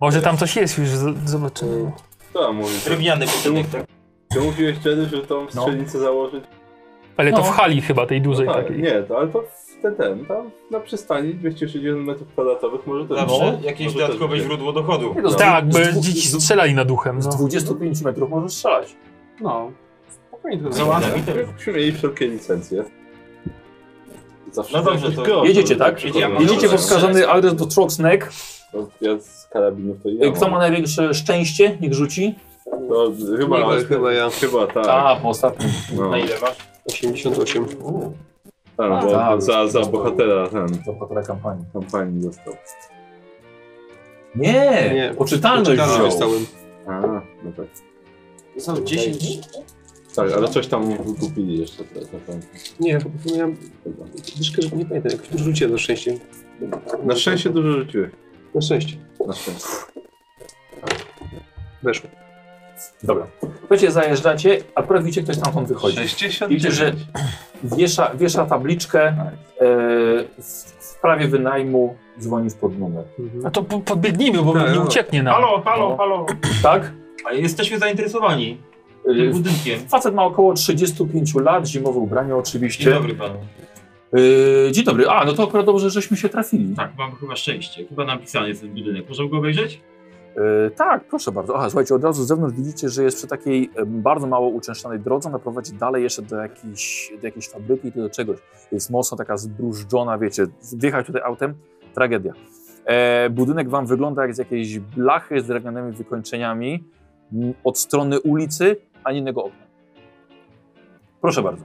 Speaker 7: Może tam coś jest już, z- zobaczymy.
Speaker 1: To mówię.
Speaker 5: Drewniany budynek,
Speaker 1: tak. Ty mówiłeś wtedy, że
Speaker 2: No.
Speaker 1: tą strzelnicę założyć?
Speaker 7: Ale to
Speaker 1: No.
Speaker 7: w hali chyba, tej dużej
Speaker 1: tak,
Speaker 7: takiej.
Speaker 1: Nie, to, ale to w ten, ten, tam na przystani 260 metrów kwadratowych może też
Speaker 5: Zawsze
Speaker 1: no,
Speaker 5: jakieś
Speaker 1: może
Speaker 5: dodatkowe
Speaker 1: też być.
Speaker 5: źródło dochodu.
Speaker 2: no.
Speaker 7: Tak, bo dzieci strzelali no. na duchem.
Speaker 2: Z 25 metrów możesz strzelać.
Speaker 1: No, spokojnie to
Speaker 5: Załatwi
Speaker 1: zrobimy. Jakbyśmy mieli wszelkie licencje. Zawsze
Speaker 5: No dobrze,
Speaker 1: jakiś
Speaker 5: to-
Speaker 1: gorzej,
Speaker 2: Jedziecie,
Speaker 1: na
Speaker 2: tak?
Speaker 1: przykład.
Speaker 2: Jedziecie po wskazany adres do Troxneck.
Speaker 1: To No, Ja z karabinów to ja
Speaker 2: Kto
Speaker 1: mam.
Speaker 2: ma największe szczęście, niech rzuci.
Speaker 1: To No, chyba,
Speaker 2: Nie,
Speaker 1: chyba ja. Chyba tak.
Speaker 2: A, po ostatnim.
Speaker 1: No.
Speaker 5: Na ile masz?
Speaker 6: 88.
Speaker 1: Tam,
Speaker 2: A,
Speaker 1: bo
Speaker 2: tak.
Speaker 1: za, za bohatera ten.
Speaker 2: Za bohatera kampanii.
Speaker 1: Kampanii dostał.
Speaker 2: Nie,
Speaker 6: Nie,
Speaker 2: poczytalność
Speaker 6: poczytalność
Speaker 2: wziął.
Speaker 6: dostałem.
Speaker 1: A, no tak.
Speaker 21: Są 10.
Speaker 1: Tak, ale coś tam mu wykupili jeszcze. Te, te, te.
Speaker 6: Nie, po prostu miałem... Troszkę, nie pamiętam, jakoś dużo rzuciłem na szczęście.
Speaker 1: Na szczęście dużo rzuciłeś.
Speaker 6: Na szczęście.
Speaker 1: Na szczęście.
Speaker 6: Weszło.
Speaker 2: Dobra. Słuchajcie, zajeżdżacie, a prawie widzicie, ktoś stamtąd wychodzi.
Speaker 1: 69.
Speaker 2: Widzicie, że wiesza, wiesza tabliczkę e, w w sprawie wynajmu dzwonisz pod numer.
Speaker 1: Mhm.
Speaker 7: No to po- podbiegnijmy, bo nie ucieknie nam.
Speaker 5: Halo, halo, halo.
Speaker 2: Tak?
Speaker 5: A jesteśmy zainteresowani
Speaker 2: Y,
Speaker 5: tym budynkiem.
Speaker 2: Facet ma około 35 lat, zimowe ubranie oczywiście.
Speaker 5: Dzień dobry panu.
Speaker 2: Y, dzień dobry. A, no to akurat dobrze, żeśmy się trafili.
Speaker 5: Tak, mam chyba szczęście. Chyba napisany jest ten budynek. Możemy go obejrzeć?
Speaker 2: E, tak, proszę bardzo. Aha, słuchajcie, od razu z zewnątrz widzicie, że jest przy takiej em, bardzo mało uczęszczanej drodze, ona prowadzi dalej jeszcze do jakiejś, do jakiejś fabryki, do czegoś. Jest mocno taka zbrużdżona, wiecie, wjechać tutaj autem, tragedia. E, budynek wam wygląda jak z jakiejś blachy z drewnianymi wykończeniami m, od strony ulicy, ani innego okna. Proszę bardzo.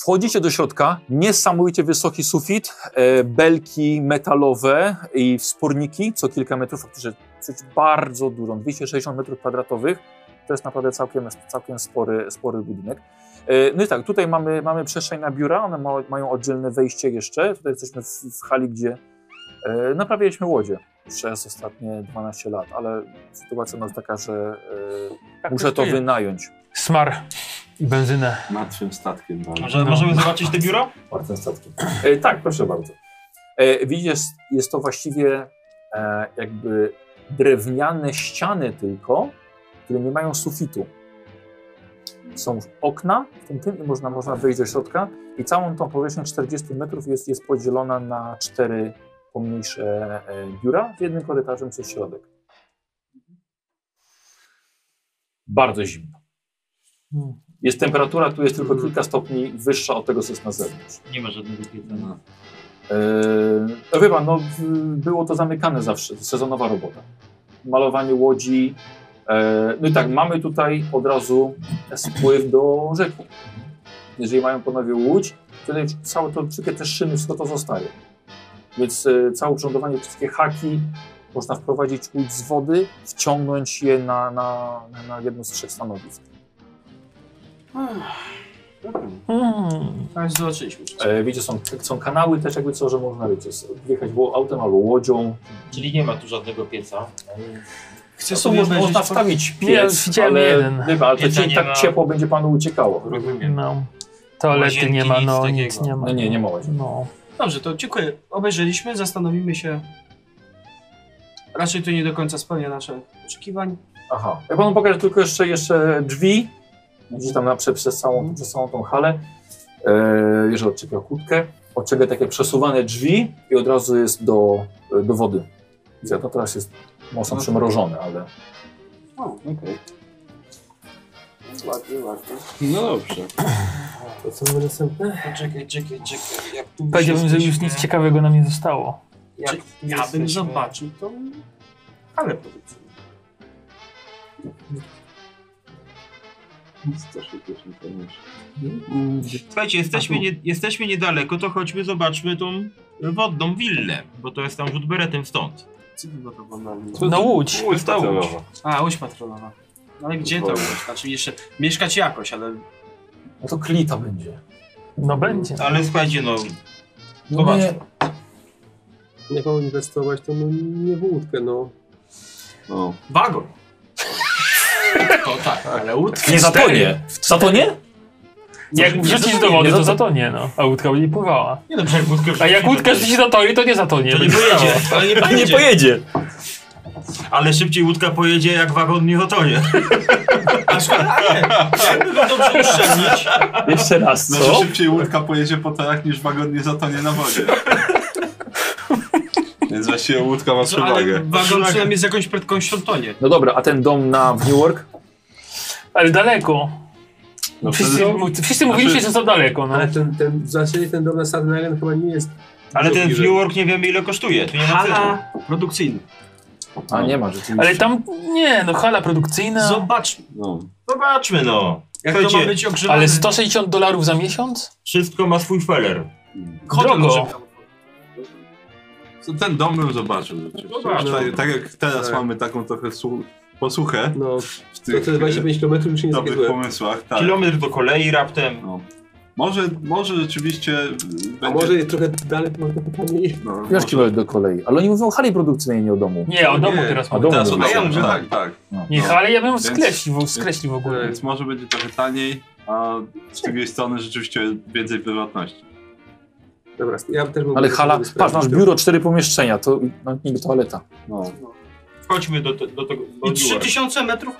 Speaker 2: Wchodzicie do środka, niesamowicie wysoki sufit, e, belki metalowe i sporniki co kilka metrów, faktycznie dosyć bardzo dużą, 260 metrów kwadratowych. To jest naprawdę całkiem, całkiem spory, spory budynek. E, No i tak, tutaj mamy, mamy przestrzeń na biura, one ma, mają oddzielne wejście jeszcze. Tutaj jesteśmy w, w hali, gdzie e, naprawialiśmy łodzie przez ostatnie 12 lat, ale sytuacja nas taka, że e,
Speaker 7: Tak
Speaker 2: muszę
Speaker 7: też
Speaker 2: to
Speaker 7: to jest.
Speaker 2: wynająć.
Speaker 7: Smar i benzynę.
Speaker 1: Martwym statkiem dalej.
Speaker 5: Może, Możemy zobaczyć te biuro?
Speaker 2: Martwym statkiem. E, tak, proszę bardzo. E, widzisz, jest to właściwie e, jakby drewniane ściany tylko, które nie mają sufitu. Są okna w tym tym i można, można wejść do środka i całą tą powierzchnię 40 metrów jest, jest podzielona na cztery pomniejsze e, biura z jednym korytarzem przez środek. Bardzo zimno. Jest temperatura, tu jest tylko kilka stopni wyższa od tego, co jest na zewnątrz.
Speaker 5: Nie ma żadnego piętra.
Speaker 2: Eee, No wie pan, no, w- było to zamykane zawsze, sezonowa robota. Malowanie łodzi. eee, No i tak, mamy tutaj od razu spływ do rzeki. Jeżeli mają panowie łódź, tutaj całe to, wszystkie te szyny, wszystko to zostaje. Więc e, całe urządowanie, wszystkie haki, można wprowadzić łódź z wody, wciągnąć je na, na, na- na jedno z trzech stanowisk.
Speaker 7: Mm,
Speaker 4: A już tak, zobaczyliśmy.
Speaker 2: E, wiecie, są, są kanały też jakby co, że można wiecie, wjechać było autem albo łodzią.
Speaker 21: Czyli nie ma tu żadnego pieca.
Speaker 2: Chcę sobie można,
Speaker 21: obejrzeć
Speaker 2: można
Speaker 21: po-
Speaker 2: wstawić
Speaker 21: Nie,
Speaker 2: piec,
Speaker 21: widziałem
Speaker 2: ale,
Speaker 21: jeden.
Speaker 2: Chyba, ale to
Speaker 21: Pieca
Speaker 2: cie,
Speaker 21: nie
Speaker 2: tak
Speaker 21: ma.
Speaker 2: ciepło będzie panu uciekało.
Speaker 21: Rozumiem.
Speaker 7: No. Toalety
Speaker 4: Łazienki,
Speaker 7: nie ma,
Speaker 4: nic
Speaker 7: no
Speaker 4: takiego.
Speaker 7: nic nie ma.
Speaker 2: No nie, nie ma łazienki.
Speaker 7: No.
Speaker 4: Dobrze, to dziękuję. Obejrzeliśmy, zastanowimy się. Raczej to nie do końca spełnia nasze oczekiwań.
Speaker 2: Aha. Ja panu pokażę tylko jeszcze, jeszcze drzwi. Widzicie tam na, prze, przez, całą, przez całą tą halę. E, Jerzy odczepia kłódkę. Odczepia takie przesuwane drzwi i od razu jest do, do wody. Ja to teraz jest mocno przymrożone, ale...
Speaker 3: O, okej. No, Ładnie, ładnie.
Speaker 1: No dobrze.
Speaker 6: To co mamy następne?
Speaker 4: No,
Speaker 21: Czekaj, czekaj, czekaj. Jak tu
Speaker 7: Powiedziałbym, że już
Speaker 21: jesteśmy-
Speaker 7: nic ciekawego nam nie zostało.
Speaker 21: Jak tu
Speaker 4: Ja
Speaker 21: jesteśmy-
Speaker 4: bym zobaczył to. Ale powiedzmy.
Speaker 5: Słuchajcie, jesteśmy, nie, jesteśmy niedaleko, to chodźmy zobaczmy tą wodną willę, bo to jest tam rzut beretem stąd.
Speaker 4: Co to było to na
Speaker 7: Na No Łódź.
Speaker 5: Łódź, ta Łódź.
Speaker 4: No. A, łódź patrolowa. No ale gdzie to
Speaker 5: Pozwolę.
Speaker 4: łódź? Znaczy jeszcze mieszkać jakoś, ale
Speaker 2: No to klita będzie.
Speaker 7: No będzie.
Speaker 5: Ale słuchajcie, no...
Speaker 2: No nie,
Speaker 6: Jak mam inwestować, to no nie w łódkę, no.
Speaker 1: No.
Speaker 4: wagon.
Speaker 21: To tak, ale łódka.
Speaker 2: nie zatonie. Zatonie?
Speaker 7: Jak
Speaker 2: Nie
Speaker 7: wrzucisz do
Speaker 2: zatonie,
Speaker 7: wody,
Speaker 2: nie
Speaker 7: to
Speaker 2: zatonie.
Speaker 7: zatonie, no. A łódka będzie pływała.
Speaker 21: Nie dobrze, jak łódkę
Speaker 7: A jak łódka
Speaker 5: wrzucisz
Speaker 7: wrzucisz do tory, to nie No. zatonie.
Speaker 5: To nie pojedzie,
Speaker 7: będzie
Speaker 5: ale
Speaker 7: pływała.
Speaker 5: nie
Speaker 2: A nie
Speaker 5: pojedzie.
Speaker 2: pojedzie.
Speaker 5: Ale szybciej łódka pojedzie, jak wagon nie zatonie.
Speaker 4: A szkoda, nie. Jakby go dobrze uszczelnić.
Speaker 2: Jeszcze raz,
Speaker 1: Znaczy
Speaker 2: co?
Speaker 1: szybciej łódka pojedzie po torach niż wagon nie zatonie na wodzie. Więc właściwie łódka ma
Speaker 4: No, ale
Speaker 1: przewagę.
Speaker 4: wagon przynajmniej z jakąś prędką świątonie.
Speaker 2: No dobra, a ten dom na w Newark?
Speaker 7: Ale daleko.
Speaker 1: No
Speaker 7: Wszyscy,
Speaker 1: wtedy-
Speaker 7: mu- wszyscy mówiliście, że za daleko, no.
Speaker 6: Ale ten, ten, w zasadzie ten dom na Staten Island chyba nie jest...
Speaker 5: Ale ten
Speaker 6: drogi,
Speaker 5: w
Speaker 6: że-
Speaker 5: New York nie wiemy ile kosztuje, tu nie ma celu.
Speaker 4: Hala produkcyjna.
Speaker 2: A nie ma rzeczywiście.
Speaker 7: Ale tam, nie, no hala produkcyjna.
Speaker 4: Zobaczmy.
Speaker 1: No.
Speaker 5: Zobaczmy no.
Speaker 4: Jak to ma
Speaker 5: Słuchajcie,
Speaker 4: być ogrzewane?
Speaker 7: Ale 160 dolarów za miesiąc?
Speaker 5: wszystko ma swój feller.
Speaker 4: Hotel
Speaker 7: drogo.
Speaker 4: może-
Speaker 1: Co ten dom bym zobaczył. rzeczywiście.
Speaker 5: Zobacz,
Speaker 1: Tak-
Speaker 6: no.
Speaker 1: Tak jak teraz
Speaker 6: Tak.
Speaker 1: mamy taką trochę su- posłuchę
Speaker 6: No,
Speaker 1: w
Speaker 6: to
Speaker 1: tych
Speaker 6: te 25 km już nie
Speaker 1: e,
Speaker 6: jest takie
Speaker 1: dobrych
Speaker 6: złe.
Speaker 1: pomysłach. Tak.
Speaker 5: Kilometr do kolei raptem.
Speaker 1: No. Może, może rzeczywiście y, będzie...
Speaker 6: A może jest trochę dalej, może trochę taniej.
Speaker 1: No,
Speaker 2: Wiesz, kilometr do kolei. Ale oni mówią o hali produkcyjnej, nie o domu.
Speaker 7: Nie, o domu
Speaker 1: Nie,
Speaker 7: teraz
Speaker 2: A
Speaker 7: mam.
Speaker 2: domu
Speaker 1: Teraz
Speaker 2: mówią.
Speaker 1: od
Speaker 4: ja
Speaker 1: razu,
Speaker 4: mówię
Speaker 1: tak, tak.
Speaker 7: Nie,
Speaker 1: No.
Speaker 7: ale ja bym
Speaker 1: Więc-
Speaker 7: skreślił, skreślił w ogóle.
Speaker 1: Więc może będzie trochę taniej, a z drugiej strony rzeczywiście więcej prywatności.
Speaker 6: Dobra, ja też bym
Speaker 2: Ale
Speaker 6: mógł
Speaker 2: hala,
Speaker 6: sobie sprawdzić
Speaker 2: patrz, masz
Speaker 6: to.
Speaker 2: biuro, cztery pomieszczenia, to no, niby toaleta.
Speaker 1: No.
Speaker 5: Chodźmy do, te- do tego.
Speaker 4: I
Speaker 5: Do New York.
Speaker 4: 3000 metrów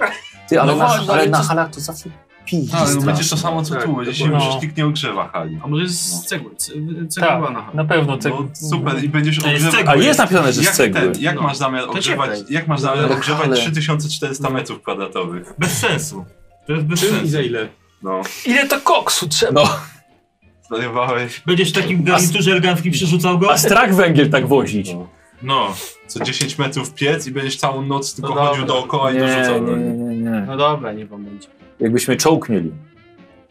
Speaker 2: Ty, ale,
Speaker 7: No
Speaker 2: na,
Speaker 7: właśnie,
Speaker 2: ale
Speaker 7: ale
Speaker 2: na
Speaker 7: to-
Speaker 2: halach to zawsze pij.
Speaker 1: Ale no będzie to samo co
Speaker 6: Tak,
Speaker 1: tu,
Speaker 6: dokładnie.
Speaker 1: dzisiaj
Speaker 7: No.
Speaker 1: przecież nikt nie ogrzewa hali.
Speaker 4: A może z cegły, ce- cegła na
Speaker 7: Tak,
Speaker 4: hali.
Speaker 7: na pewno. Te...
Speaker 1: No, super, i będziesz
Speaker 5: To jest
Speaker 1: ogrzewał...
Speaker 5: cegły.
Speaker 2: Ale jest napisane, że
Speaker 1: Jak,
Speaker 2: z cegły.
Speaker 1: ten, jak masz zamiar ogrzewać, jak masz zamiar
Speaker 2: Ale
Speaker 1: ogrzewać
Speaker 2: hale.
Speaker 1: 3400 metrów kwadratowych?
Speaker 5: Bez sensu. To jest bez
Speaker 6: Czym i
Speaker 5: sensu.
Speaker 6: za ile?
Speaker 1: No,
Speaker 7: Ile to koksu trzeba?
Speaker 2: No,
Speaker 1: zwariowałeś.
Speaker 5: Będziesz w takim garniturze eleganckim przerzucał go?
Speaker 2: a strach węgiel tak wozić.
Speaker 1: No.
Speaker 5: No.
Speaker 1: Co 10 metrów piec i będziesz całą noc tylko
Speaker 4: No dobra.
Speaker 1: chodził dookoła i
Speaker 2: Nie,
Speaker 1: dorzucał.
Speaker 2: nie,
Speaker 1: do
Speaker 2: nie,
Speaker 1: niej.
Speaker 2: nie, nie.
Speaker 4: No dobra, nie pomyśl.
Speaker 2: Jakbyśmy czołg mieli,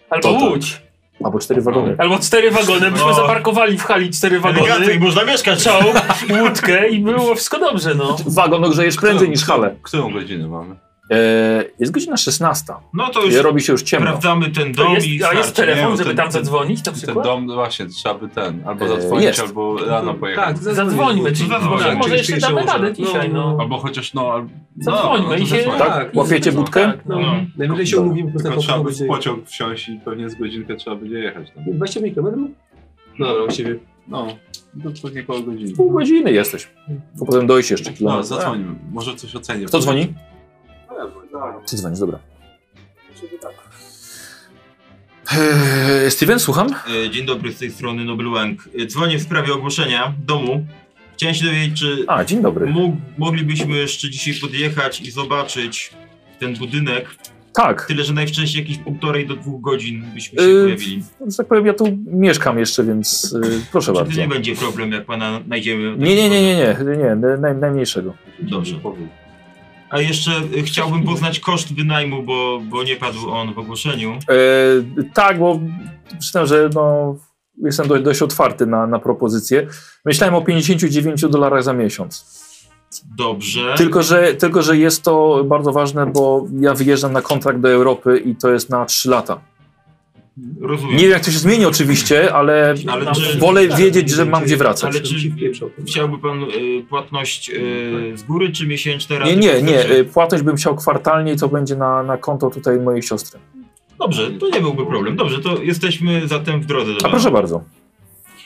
Speaker 7: Albo
Speaker 2: To tak.
Speaker 7: łódź.
Speaker 2: albo cztery wagony.
Speaker 7: Albo cztery wagony. Byśmy
Speaker 5: No.
Speaker 7: zaparkowali w hali cztery
Speaker 5: Elegancko i
Speaker 7: wagony,
Speaker 5: można mieszkać.
Speaker 7: czołg, łódkę i było wszystko dobrze, no.
Speaker 2: Wagon ogrzejesz prędzej niż halę.
Speaker 1: Którą godzinę mamy?
Speaker 2: E, jest godzina 16.
Speaker 5: No to już
Speaker 2: I robi się już ciemno.
Speaker 5: sprawdzamy ten
Speaker 7: To
Speaker 5: dom
Speaker 7: jest,
Speaker 5: i
Speaker 7: a jest
Speaker 5: starczy.
Speaker 7: telefon,
Speaker 1: Nie,
Speaker 7: żeby
Speaker 1: ten-
Speaker 7: tam
Speaker 1: ten-
Speaker 7: zadzwonić na
Speaker 1: Ten
Speaker 7: przykład?
Speaker 1: dom, no właśnie, trzeba by ten, albo
Speaker 2: E,
Speaker 1: zadzwonić,
Speaker 2: jest.
Speaker 1: albo rano pojechać.
Speaker 6: Tak,
Speaker 7: Zadzwońmy, czyli
Speaker 1: No,
Speaker 7: może,
Speaker 1: dobra,
Speaker 7: może
Speaker 1: czyli
Speaker 7: jeszcze damy
Speaker 6: może.
Speaker 7: radę
Speaker 6: No,
Speaker 7: dzisiaj, no.
Speaker 1: Albo chociaż no... al- no
Speaker 7: Zadzwońmy
Speaker 1: no to
Speaker 7: i się-
Speaker 1: zadzwoń.
Speaker 2: Tak? Łapiecie budkę?
Speaker 7: No.
Speaker 5: No.
Speaker 6: Najwyżej się
Speaker 2: Dobra.
Speaker 6: umówimy po prostu
Speaker 1: Tylko trzeba
Speaker 6: na
Speaker 1: by w
Speaker 6: godzinę.
Speaker 1: pociąg wsiąść i pewnie z godzinkę trzeba będzie jechać tam.
Speaker 6: 25 km? No dobra, u siebie.
Speaker 1: No, to pewnie koło godziny.
Speaker 2: Pół godziny jesteś. Bo potem dojść jeszcze
Speaker 1: No,
Speaker 2: kilometr.
Speaker 1: zadzwonimy, może coś ocenię.
Speaker 2: Kto dzwoni?
Speaker 3: Tak,
Speaker 2: Ty dzwonisz, dobra.
Speaker 3: żeby tak.
Speaker 2: Eee, Steven, słucham?
Speaker 5: E, Dzień dobry, z tej strony Nobel Łęk. E, Dzwonię w sprawie ogłoszenia domu. Chciałem się dowiedzieć, czy
Speaker 2: A, dzień dobry.
Speaker 5: mógł, moglibyśmy jeszcze dzisiaj podjechać i zobaczyć ten budynek.
Speaker 2: Tak.
Speaker 5: Tyle, że najwcześniej jakieś półtorej do dwóch godzin byśmy się
Speaker 2: Yy,
Speaker 5: pojawili.
Speaker 2: że tak powiem, ja tu mieszkam jeszcze, więc y, proszę
Speaker 5: Czy to
Speaker 2: bardzo.
Speaker 5: nie będzie problem, jak pana znajdziemy?
Speaker 2: Nie, nie, nie, nie, nie, nie, naj, najmniejszego.
Speaker 5: Dobrze. A jeszcze e, chciałbym poznać koszt wynajmu, bo, bo nie padł on w ogłoszeniu.
Speaker 2: E, tak, bo przyznam, że no, jestem dość, dość otwarty na, na propozycje. Myślałem o 59 dolarach za miesiąc.
Speaker 5: Dobrze.
Speaker 2: Tylko że, tylko, że jest to bardzo ważne, bo ja wyjeżdżam na kontrakt do Europy i to jest na 3 lata.
Speaker 5: Rozumiem.
Speaker 2: Nie wiem, jak to się zmieni oczywiście, ale,
Speaker 5: Ale czy-
Speaker 2: wolę wiedzieć, że mam gdzie wracać.
Speaker 5: Ale czy chciałby pan y, płatność y, z góry, czy miesięczne Znaczy, raty?
Speaker 2: Nie, nie, nie. y, Płatność bym chciał kwartalnie i to będzie na, na konto tutaj mojej siostry.
Speaker 5: Dobrze, to nie byłby problem. Dobrze, to jesteśmy zatem w drodze do
Speaker 2: A
Speaker 5: pana.
Speaker 2: proszę bardzo.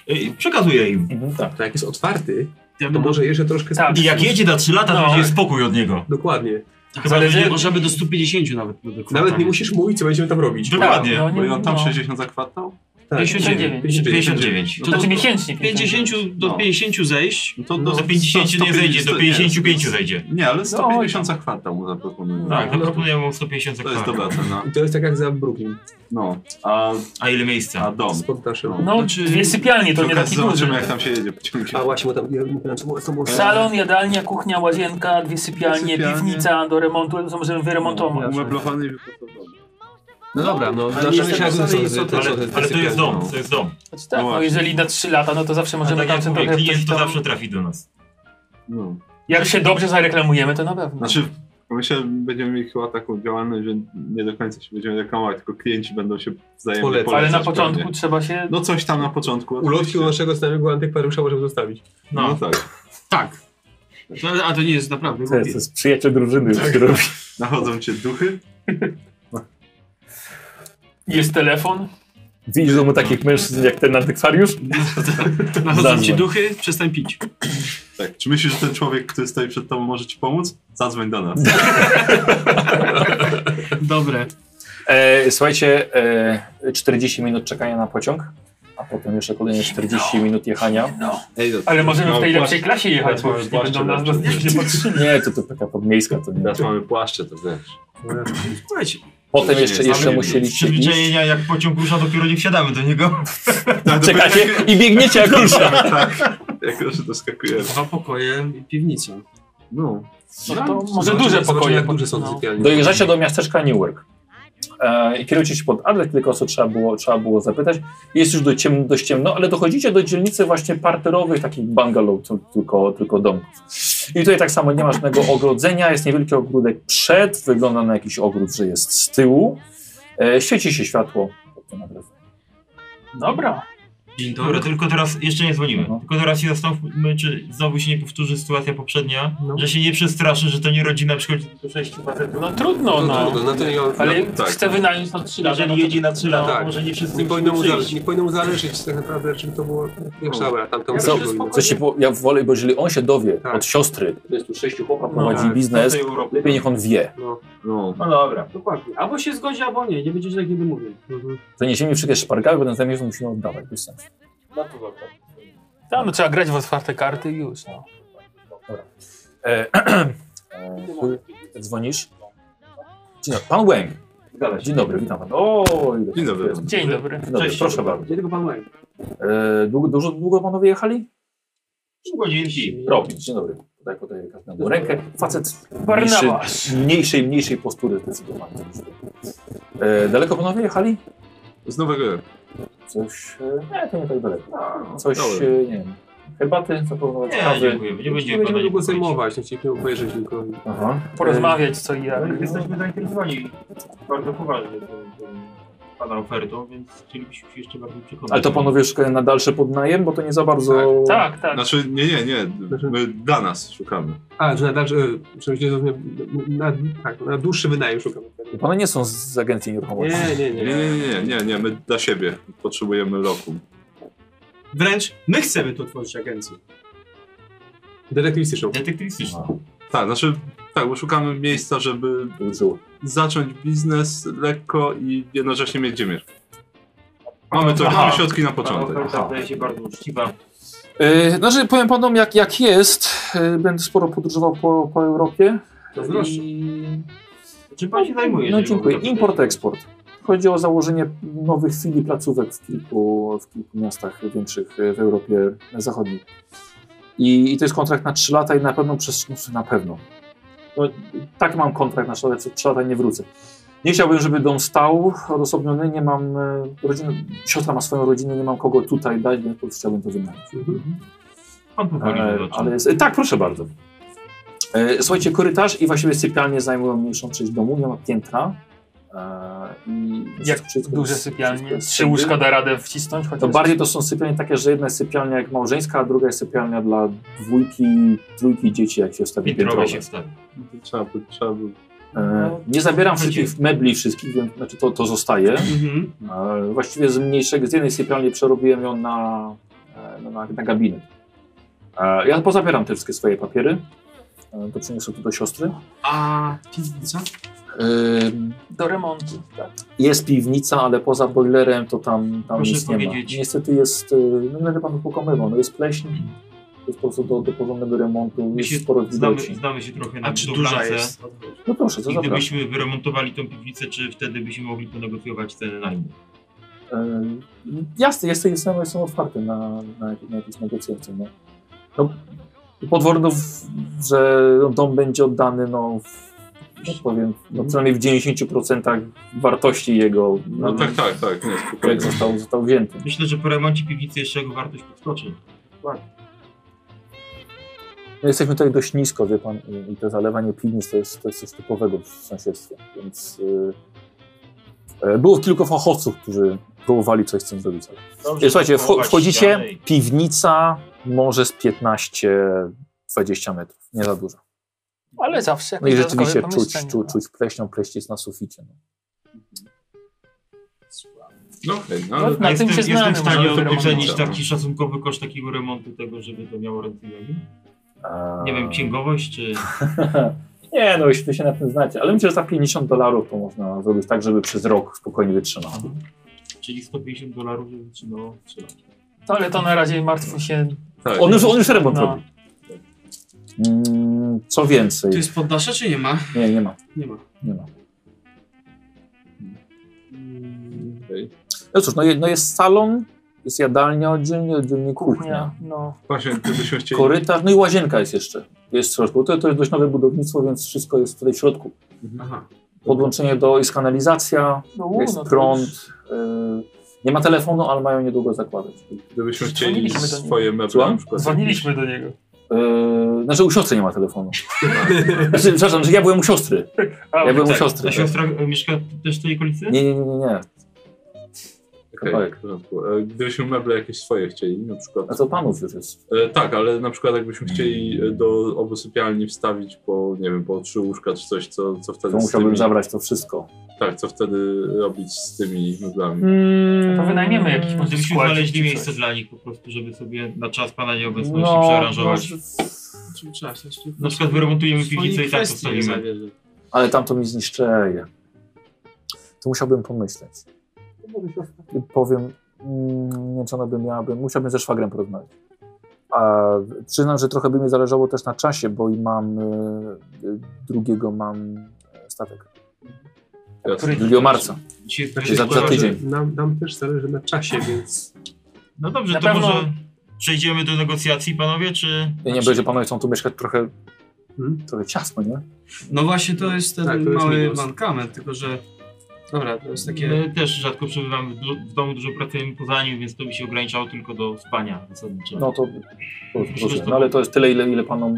Speaker 5: Y, Przekazuję im.
Speaker 2: tak.
Speaker 6: To jak jest otwarty, to tak, może jeszcze troszkę...
Speaker 5: No. I jak jedzie na 3 lata, to będzie spokój od niego.
Speaker 6: Dokładnie.
Speaker 5: Chyba, że nie
Speaker 4: możemy do 150 nawet.
Speaker 6: Nawet nie musisz mówić, co będziemy tam robić.
Speaker 7: Tak,
Speaker 5: Dokładnie.
Speaker 1: Tak,
Speaker 7: no
Speaker 1: Bo on tam 60 za kwartał?
Speaker 6: Tak.
Speaker 4: 59.
Speaker 5: 59.
Speaker 4: To
Speaker 15: Znaczy
Speaker 4: do-
Speaker 15: miesięcznie.
Speaker 4: 50 do
Speaker 1: No.
Speaker 4: 50 zejść.
Speaker 1: To do
Speaker 5: Za 50 nie zejdzie, do 55
Speaker 1: nie,
Speaker 5: zejdzie.
Speaker 1: Nie, ale 150 za kwartał mu zaproponuję.
Speaker 5: Tak, to proponuję mu 150 za
Speaker 1: To jest
Speaker 5: kwartał.
Speaker 1: dobra cena.
Speaker 6: I to jest tak jak za Brooklyn.
Speaker 1: No, a,
Speaker 5: a ile miejsca?
Speaker 1: A dom.
Speaker 6: Pod naszym.
Speaker 15: No, dwie sypialnie, to
Speaker 1: Przy
Speaker 15: nie
Speaker 1: okazji
Speaker 15: taki duży.
Speaker 1: Zobaczymy, jak tam się jedzie pociągiem.
Speaker 6: A właśnie, bo tam... Ja, ja, co było- co było-
Speaker 5: Tak.
Speaker 15: Salon, jadalnia, kuchnia, łazienka, dwie sypialnie,
Speaker 1: Sypialnie.
Speaker 15: piwnica do remontu, co możemy wyremontować.
Speaker 1: No, Umeblowany i wyprostowany.
Speaker 6: No dobra, no...
Speaker 15: Ale nie jestem
Speaker 6: są-
Speaker 15: oceny,
Speaker 6: są-
Speaker 15: co to-
Speaker 6: są-
Speaker 5: Ale,
Speaker 6: są-
Speaker 5: ale to jest dom,
Speaker 6: no.
Speaker 5: to jest dom.
Speaker 15: Znaczy, tak, no, jeżeli na 3 lata, no to zawsze
Speaker 5: A
Speaker 15: możemy
Speaker 5: tak
Speaker 15: tam
Speaker 5: jak
Speaker 15: ten
Speaker 5: mówię,
Speaker 15: trochę
Speaker 5: klient
Speaker 15: ktoś
Speaker 5: to
Speaker 15: tam...
Speaker 5: zawsze trafi do nas.
Speaker 1: No.
Speaker 15: Jak się dobrze zareklamujemy, to na pewno.
Speaker 1: Znaczy, myślę, że będziemy mieli chyba taką działalność, że nie do końca się będziemy reklamować, tylko klienci będą się wzajemnie
Speaker 6: Polecać.
Speaker 1: polecać.
Speaker 6: Ale na
Speaker 15: początku
Speaker 1: pewnie.
Speaker 15: trzeba się...
Speaker 1: No coś tam na początku.
Speaker 6: Ulotki u naszego znajomego antykwariusza możemy zostawić.
Speaker 1: No, tak.
Speaker 4: Tak. To, no, a to nie jest naprawdę.
Speaker 2: To jest, to jest przyjaciel drużyny,
Speaker 5: Tak.
Speaker 2: już się robi.
Speaker 1: Nachodzą cię duchy.
Speaker 15: Jest telefon.
Speaker 2: Widzisz domu takich mężczyzn jak ten antykwariusz?
Speaker 4: Nachodzą
Speaker 2: Zadzwoń.
Speaker 4: ci duchy, przestań pić.
Speaker 1: Tak. Czy myślisz, że ten człowiek, który stoi przed tobą, może ci pomóc? Zadzwoń do nas.
Speaker 4: Dobre.
Speaker 2: E, słuchajcie, e, 40 minut czekania na pociąg, a potem jeszcze kolejne
Speaker 5: No.
Speaker 2: 40 minut jechania.
Speaker 1: Ej, to-
Speaker 15: Ale możemy w tej
Speaker 1: płaszcz-
Speaker 15: lepszej klasie jechać,
Speaker 1: teraz
Speaker 15: bo
Speaker 1: mamy
Speaker 15: już nie
Speaker 1: płaszcze
Speaker 15: będą nas
Speaker 1: lepsze,
Speaker 15: dosyć nie patrzyli.
Speaker 2: Nie, to to taka podmiejska, to nie.
Speaker 1: Teraz mamy płaszcze, to wiesz.
Speaker 5: Słuchajcie.
Speaker 2: Potem jeszcze,
Speaker 5: Mamy
Speaker 2: jeszcze musieliście iść.
Speaker 5: Przyzwyczajenia, jak pociąg rusza, dopiero nie wsiadamy do niego.
Speaker 2: Czekacie i biegniecie jak rusza.
Speaker 1: Tak, jak już doskakujemy.
Speaker 4: Dwa pokoje i piwnica.
Speaker 1: No.
Speaker 15: No to może duże pokoje.
Speaker 6: jak duże są
Speaker 15: no.
Speaker 6: sypialnie.
Speaker 2: Dojeżdżacie do miasteczka Newark. E, I kierujecie się pod Adlet, tylko o co trzeba było, trzeba było zapytać. Jest już do ciemno, dość ciemno, ale dochodzicie do dzielnicy właśnie parterowych, takich bungalow, tu- tylko, tylko domków. I tutaj tak samo nie ma żadnego ogrodzenia, jest niewielki ogródek przed, wygląda na jakiś ogród, że jest z tyłu. E, świeci się światło.
Speaker 15: Dobra.
Speaker 5: Dzień dobry. Dobra, tylko teraz jeszcze nie dzwonimy. Tylko teraz się zastanówmy, czy znowu się nie powtórzy sytuacja poprzednia, że się nie przestraszy, że to nie rodzina przychodzi tylko 6 facetów.
Speaker 15: No trudno,
Speaker 6: No
Speaker 15: no.
Speaker 6: trudno, no to nie-
Speaker 15: Ale
Speaker 6: no tak.
Speaker 15: chcę wynająć na 3 lata. no
Speaker 5: Jeżeli jedzie na 3 lata,
Speaker 6: Tak.
Speaker 5: może no nie wszyscy
Speaker 6: Nie powinno mu
Speaker 5: przyjść.
Speaker 6: zależeć, No. nie powinno mu zależeć tak naprawdę, czym to było. Wiesz, dobra, tam to
Speaker 2: Co, co się, po- ja wolę, bo jeżeli on się dowie od siostry,
Speaker 21: To jest tu sześciu
Speaker 4: No
Speaker 21: chłopak.
Speaker 2: prowadzi
Speaker 5: tak.
Speaker 2: biznes, lepiej niech on wie.
Speaker 6: No.
Speaker 1: No.
Speaker 5: No dobra.
Speaker 4: Dokładnie. Albo się zgodzi, albo nie. Nie będziesz tak nigdy mówił.
Speaker 6: Mhm.
Speaker 2: Zaniesiemy wszystkie szpargały, bo następnie już musimy oddawać, bez sensu.
Speaker 15: Tam no, trzeba grać w otwarte karty i już, no.
Speaker 2: E, e, dzwonisz? Dzień dobry. Pan Łęk. Dzień dobry, witam pana. O, ile
Speaker 1: Dzień dobry.
Speaker 2: Dzień
Speaker 15: Dzień dobry.
Speaker 2: dobry, proszę bardzo.
Speaker 4: Gdzie tego pan Łęk?
Speaker 2: E, długo, dużo, długo panowie jechali?
Speaker 5: Godzinki.
Speaker 2: Robić, dzień dobry. Tutaj podaję każdemu rękę. Facet
Speaker 15: Barnabas.
Speaker 2: mniejszy, mniejszej, mniejszej postury zdecydowanie. E, daleko panowie jechali?
Speaker 1: Z Nowego Jorku.
Speaker 2: Coś, e, nie, to nie tak daleko. Coś,
Speaker 1: dobra.
Speaker 2: e, nie wiem, herbaty zaproponować,
Speaker 5: Nie,
Speaker 2: kawy.
Speaker 5: dziękujemy. Nie
Speaker 6: Nie
Speaker 5: będziemy
Speaker 6: będziemy
Speaker 5: badać.
Speaker 6: długo zajmować, nie chcieliśmy pojeżdżać No tylko.
Speaker 2: Aha.
Speaker 15: Porozmawiać co i jak.
Speaker 5: Tak, Jesteśmy zainteresowani bardzo poważnie tą, tą pana ofertą, więc chcielibyśmy się jeszcze bardziej przekonać.
Speaker 2: Ale to panowie szukają na dalszy podnajem, bo to nie za bardzo...
Speaker 15: Tak, tak.
Speaker 1: Znaczy, nie, nie, nie. My dla nas szukamy.
Speaker 6: A, że na dalszy, przecież na, na, tak, na dłuższy wynajem szukamy.
Speaker 2: No One nie są z- z agencji nieruchomości.
Speaker 6: Nie, nie,
Speaker 1: Nie, nie,
Speaker 6: nie.
Speaker 1: nie, nie, nie, nie. My dla siebie potrzebujemy lokum.
Speaker 4: Wręcz my chcemy tu tworzyć agencję.
Speaker 6: Detektywistyczną.
Speaker 5: Detektywistyczną.
Speaker 1: Tak, znaczy, tak, bo szukamy miejsca, żeby zacząć biznes lekko i jednocześnie mieć gdzie mieszkać. Mamy to,
Speaker 5: Aha.
Speaker 1: mamy środki na początek.
Speaker 5: Pana oferta wydaje się bardzo uczciwa.
Speaker 2: Yy, znaczy, powiem panom, jak, jak jest, yy, będę sporo podróżował po, po Europie.
Speaker 5: To proszę.
Speaker 2: I-
Speaker 5: Czym pan się zajmuje?
Speaker 2: No
Speaker 5: jeżeli
Speaker 2: dziękuję.
Speaker 5: mogę
Speaker 2: Import, eksport. Chodzi o założenie nowych filii placówek w kilku, w kilku miastach większych y, w Europie Zachodniej. I, I to jest kontrakt na 3 lata i na pewno przez... no, Na pewno. No, tak mam kontrakt na 3 lata, przez 3 lata nie wrócę. Nie chciałbym, żeby dom stał odosobniony, nie mam e, rodziny, siostra ma swoją rodzinę, nie mam kogo tutaj dać, więc po prostu chciałbym to wynająć.
Speaker 5: Pan powoli
Speaker 2: E,
Speaker 5: zobaczy.
Speaker 2: ale jest, e, tak, proszę bardzo. E, Słuchajcie, korytarz i właściwie sypialnie zajmują mniejszą część domu, nie ma piętra. E, E, I
Speaker 7: Jak
Speaker 2: wszystko
Speaker 7: duże
Speaker 2: jest-
Speaker 7: sypialnie?
Speaker 2: wszystko jest
Speaker 7: Trzy
Speaker 2: wtedy.
Speaker 7: łóżka da radę wcisnąć chociaż?
Speaker 2: No bardziej to są sypialnie takie, że jedna jest sypialnia jak małżeńska, a druga jest sypialnia dla dwójki, trójki dzieci, jak się wstawi
Speaker 5: Piętrowe
Speaker 2: piętrowe.
Speaker 5: się wstawi.
Speaker 1: Trzeba by, trzeba by.
Speaker 2: E, Nie
Speaker 5: No,
Speaker 2: zabieram wszystkich mebli wszystkich, więc znaczy to, to zostaje.
Speaker 4: Mhm.
Speaker 2: E, Właściwie z mniejszego, z jednej sypialni przerobiłem ją na, e, no, na, na gabinet. E, Ja pozabieram te wszystkie swoje papiery. E, To przyniosę tu do siostry.
Speaker 4: A piwnica?
Speaker 2: Ym,
Speaker 7: Do remontu, tak?
Speaker 2: Jest piwnica, ale poza boilerem to tam, tam
Speaker 7: Proszę
Speaker 2: nic nie ma.
Speaker 7: powiedzieć. Mhm.
Speaker 2: Niestety jest, y, no będę panu pokonywał, no jest pleśń, jest po prostu do, do porządnego remontu, jest sporo
Speaker 5: Znamy,
Speaker 2: widoci.
Speaker 5: znamy się trochę na
Speaker 2: A czy
Speaker 5: budowlance.
Speaker 2: duża jest? No proszę, to
Speaker 5: I
Speaker 2: zapraszam.
Speaker 5: Gdybyśmy wyremontowali tą piwnicę, czy wtedy byśmy mogli ponegocjować cenę najmu?
Speaker 2: Y, Jasne, jestem, jestem, jestem otwarty na, na, na jakieś negocjacje. No. No, podworno, w, że dom będzie oddany, no, w, no powiem, no, przynajmniej w 90% wartości jego.
Speaker 1: No tak, tak, tak. Nie,
Speaker 2: Jak
Speaker 1: spokojnie.
Speaker 2: został, został wzięty.
Speaker 5: Myślę, że po remoncie piwnicy jeszcze jego wartość podskoczy.
Speaker 2: No jesteśmy tutaj dość nisko, wie pan, i- i to zalewanie piwnic to jest, to jest coś typowego w sąsiedztwie, więc y, e, było kilku fachowców, którzy próbowali coś z tym zrobić.
Speaker 5: Dobrze,
Speaker 2: Y, Słuchajcie,
Speaker 5: to
Speaker 2: wcho-
Speaker 5: połowa
Speaker 2: wchodzicie,
Speaker 5: ściany i-
Speaker 2: piwnica może z 15-20 metrów, nie za dużo.
Speaker 7: Ale zawsze
Speaker 2: No i
Speaker 7: jakieś
Speaker 2: rzeczywiście
Speaker 7: dodatkowe
Speaker 2: czuć,
Speaker 7: pomieszczenie.
Speaker 2: czuć, czuć pleśnią, pleść jest na suficie. No.
Speaker 1: No, okej, no,
Speaker 7: No,
Speaker 1: ale-
Speaker 7: na tym się
Speaker 5: jestem
Speaker 7: znamy,
Speaker 5: w stanie
Speaker 7: możemy
Speaker 5: ocenić
Speaker 7: wyremontować.
Speaker 5: taki szacunkowy koszt takiego remontu tego, żeby to miało ręce i nogi?
Speaker 2: Eee.
Speaker 5: Nie wiem, księgowość czy...
Speaker 2: Nie, no jeśli wy się na tym znacie, ale myślę, że za 50 dolarów to można zrobić tak, żeby przez rok spokojnie wytrzymało.
Speaker 5: Czyli 150 dolarów, żeby trzymało 3 lata.
Speaker 7: No ale to na razie martw się.
Speaker 2: Tak. On już- on już remont
Speaker 7: No.
Speaker 2: robi. Mm, Co więcej?
Speaker 4: To jest poddasze, czy nie ma?
Speaker 2: Nie, nie ma.
Speaker 4: Nie ma.
Speaker 2: Nie ma.
Speaker 1: okej.
Speaker 2: No cóż, no, je, no jest salon, jest jadalnia oddzielnie, oddzielnie kuchnia.
Speaker 7: No.
Speaker 1: Właśnie, gdybyśmy chcieli.
Speaker 2: Korytarz, no i łazienka jest jeszcze. Jest w środku. To, to jest dość nowe budownictwo, więc wszystko jest tutaj w środku.
Speaker 4: Aha.
Speaker 2: Podłączenie do, jest kanalizacja,
Speaker 7: No, u,
Speaker 2: jest
Speaker 7: no to
Speaker 2: prąd. y, nie ma telefonu, ale mają niedługo zakładać.
Speaker 1: Gdybyśmy chcieli
Speaker 2: Dzwoniliśmy do niego.
Speaker 1: swoje meble
Speaker 2: Słucham?
Speaker 1: na przykład.
Speaker 7: Dzwoniliśmy do niego.
Speaker 2: Yy, znaczy u siostry nie ma telefonu. Znaczy, przepraszam, że ja byłem u siostry. Ja byłem u
Speaker 5: tak.
Speaker 2: siostry.
Speaker 5: Ta
Speaker 2: tak.
Speaker 5: siostra e, mieszka też w tej okolicy?
Speaker 2: Nie, nie, nie, nie, nie.
Speaker 1: Okej, w porządku. E, Gdybyśmy meble jakieś swoje chcieli, na przykład.
Speaker 2: A co panów już jest?
Speaker 1: Tak, ale na przykład jakbyśmy chcieli e, do obu sypialni wstawić po, nie wiem, po trzy łóżka czy coś, co, co wtedy
Speaker 2: To
Speaker 1: z
Speaker 2: musiałbym
Speaker 1: tymi-
Speaker 2: zabrać to wszystko.
Speaker 1: Tak, co wtedy robić z tymi meblami?
Speaker 2: Mm,
Speaker 7: To wynajmiemy jakiś może
Speaker 5: Gdybyśmy
Speaker 7: składzik
Speaker 5: znaleźli
Speaker 7: czy
Speaker 5: miejsce
Speaker 7: coś.
Speaker 5: dla nich po prostu, żeby sobie na czas pana nieobecności
Speaker 2: No,
Speaker 5: przearanżować.
Speaker 4: Czym trzeba się jeszcze-
Speaker 5: Na przykład wyremontujemy
Speaker 4: Swoich
Speaker 5: piwnicę i tak
Speaker 4: kwestii
Speaker 5: postawimy.
Speaker 4: nie zabierze.
Speaker 2: Ale tamto mi zniszczeje. To musiałbym pomyśleć. I powiem, mm, nie wiem, czy ona by miałaby, musiałbym ze szwagrem porozmawiać. A, przyznam, że trochę by mi zależało też na czasie, bo i mam y, y, drugiego mam e, statek.
Speaker 1: Jasne.
Speaker 2: 2 marca.
Speaker 5: Dzisiaj jest
Speaker 2: Znaczy za, za tydzień.
Speaker 6: Nam, nam też zależy na czasie, więc
Speaker 5: No dobrze,
Speaker 7: Na
Speaker 5: to
Speaker 7: pewno-
Speaker 5: może przejdziemy do negocjacji, panowie, czy...
Speaker 2: Nie, nie będzie panowie chcą tu mieszkać trochę, trochę ciasno, nie?
Speaker 4: No właśnie, to jest ten
Speaker 5: Tak, to jest
Speaker 4: mały
Speaker 5: minus.
Speaker 4: mankament, tylko że... Dobra, to jest takie...
Speaker 5: My też rzadko przebywamy w, du- w domu, dużo pracujemy poza nim, więc to by się ograniczało tylko do spania zasadniczo.
Speaker 2: No to
Speaker 5: Myślę, że
Speaker 2: no, ale to jest tyle, ile, ile panom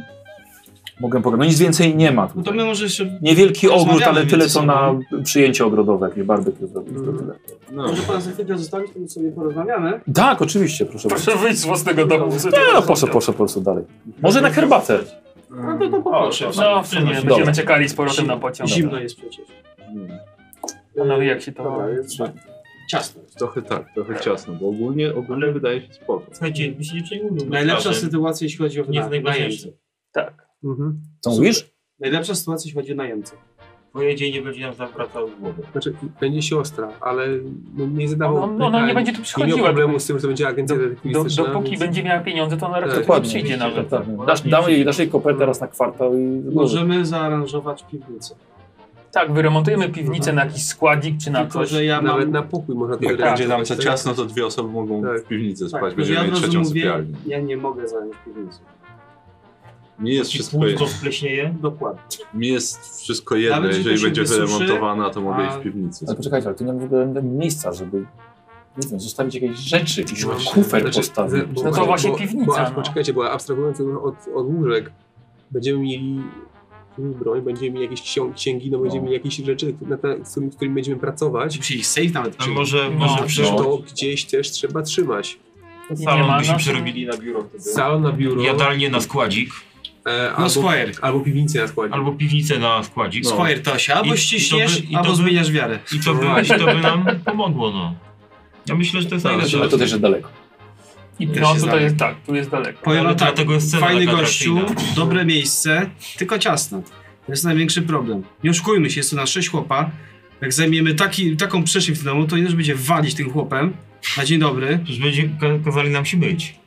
Speaker 2: mogę pogadać. No nic więcej nie ma.
Speaker 4: No to my może jeszcze...
Speaker 2: Niewielki ogród, ale
Speaker 4: porozmawiamy
Speaker 2: tyle
Speaker 4: między
Speaker 2: co na przyjęcie ogrodowe, jakieś barbecue zrobić, to
Speaker 4: Mm.
Speaker 2: tyle.
Speaker 1: No.
Speaker 3: Może pan za chwilkę zostawić, to my sobie porozmawiamy.
Speaker 2: Tak, oczywiście, proszę bardzo.
Speaker 7: Proszę wyjść z własnego domu.
Speaker 2: Nie, no proszę, proszę, proszę dalej. Może na herbatę.
Speaker 3: No to, to poproszę.
Speaker 7: No w sumie
Speaker 2: Dobra.
Speaker 7: będziemy czekali z powrotem na pociąg.
Speaker 3: Zimno jest przecież.
Speaker 2: Hmm.
Speaker 7: Panowie, jak się to...
Speaker 3: Dobra, jest ciasno.
Speaker 1: Trochę tak, trochę ciasno, bo ogólnie, ogólnie wydaje się spoko.
Speaker 5: Słuchajcie, my się nie przejmujmy.
Speaker 3: Najlepsza
Speaker 5: naprawdę.
Speaker 3: sytuacja, jeśli chodzi o
Speaker 5: Nie
Speaker 3: wynajem.
Speaker 5: znajdujemy.
Speaker 7: Tak.
Speaker 6: Mhm.
Speaker 2: Co mówisz?
Speaker 3: Najlepsza sytuacja, jeśli chodzi o najemcę.
Speaker 5: Pojedzie i nie będzie nam zawracał głowy.
Speaker 6: znaczy, będzie siostra, ale no, nie zadawał.
Speaker 7: Ona- ona nie będzie
Speaker 6: Tak.
Speaker 7: tu
Speaker 6: Nie
Speaker 7: przychodziła.
Speaker 6: miał problemu z tym, że to będzie agencja
Speaker 7: Do,
Speaker 6: detektywistyczna.
Speaker 7: dopóki
Speaker 6: więc-
Speaker 7: będzie miała pieniądze, to ona raczej tu nie
Speaker 2: Dokładnie.
Speaker 7: przyjdzie nawet.
Speaker 2: Dokładnie. Dasz, damy jej, dasz jej
Speaker 4: Mm.
Speaker 2: kopertę raz na kwartał i
Speaker 3: Możemy zaaranżować piwnicę.
Speaker 7: Tak, wyremontujemy piwnicę na jakiś składzik czy na
Speaker 3: Tylko,
Speaker 7: coś.
Speaker 3: że ja mam...
Speaker 6: Nawet na pokój można Tak.
Speaker 1: Jak
Speaker 6: to
Speaker 1: będzie nam za ciasno, to dwie osoby mogą
Speaker 6: Tak.
Speaker 1: w piwnicy spać.
Speaker 3: Tak,
Speaker 2: no
Speaker 1: Będziemy
Speaker 3: ja od
Speaker 1: mieli
Speaker 3: razu
Speaker 1: trzecią
Speaker 3: mówię,
Speaker 1: sypialnię.
Speaker 3: Ja nie mogę zająć piwnicy.
Speaker 1: Mi jest wszystko,
Speaker 5: to spleśnieje.
Speaker 3: Dokładnie.
Speaker 1: mi jest wszystko jedno.
Speaker 3: Nawet jeżeli
Speaker 1: Jeżeli
Speaker 3: to się
Speaker 1: będzie
Speaker 3: wysuszy,
Speaker 1: wyremontowana, to mogę
Speaker 3: a-
Speaker 1: iść w piwnicy.
Speaker 2: Ale poczekajcie, ale tu nie ma w ogóle miejsca, żeby nie wiem, zostawić jakieś rzeczy, jakiś
Speaker 6: Właśnie,
Speaker 2: kufer
Speaker 6: znaczy,
Speaker 2: postawić.
Speaker 6: ze- bo-
Speaker 7: No to właśnie
Speaker 6: bo-
Speaker 7: piwnica,
Speaker 6: Bo, aż
Speaker 7: no.
Speaker 6: poczekajcie, bo abstrahując już od, od łóżek, będziemy mieli kupimy broń, będziemy mieli jakieś ksią- księgi, no będziemy mieli jakieś rzeczy, na te, z którymi, z którymi będziemy pracować.
Speaker 4: Musieli safe nawet
Speaker 5: A może- może
Speaker 6: no.
Speaker 5: przyszło-
Speaker 6: To gdzieś też trzeba trzymać.
Speaker 5: I Salon nie ma byśmy nas- przerobili
Speaker 6: na biuro Salon na biuro.
Speaker 5: Jadalnię na składzik.
Speaker 3: No,
Speaker 6: E,
Speaker 1: No
Speaker 6: albo-
Speaker 5: Squire.
Speaker 6: Albo piwnicę na składzik.
Speaker 5: Albo piwnicę na składzik.
Speaker 6: No. Squire, to się albo
Speaker 5: I- i
Speaker 6: ściśniesz, albo
Speaker 5: by-
Speaker 6: zmieniasz wiarę.
Speaker 5: I to, by, I to by nam pomogło, no. Ja myślę, że to jest
Speaker 2: No,
Speaker 5: najlepsze.
Speaker 16: Ale to też jest daleko.
Speaker 7: I
Speaker 5: Też
Speaker 7: no,
Speaker 5: się
Speaker 7: tutaj
Speaker 5: zna.
Speaker 7: jest tak, tu jest daleko.
Speaker 5: Powiem
Speaker 7: Ale
Speaker 5: wam tak,
Speaker 7: dlatego jest cena
Speaker 4: Fajny
Speaker 7: taka
Speaker 4: gościu,
Speaker 7: atrakcyjna.
Speaker 4: dobre miejsce, tylko ciasno. To jest największy problem. Nie oszukujmy się, jest to na sześć chłopa. Jak zajmiemy taki, taką przestrzeń w tym domu, to już będzie walić tym chłopem. Na dzień dobry.
Speaker 5: Już będzie kazali nam się myć.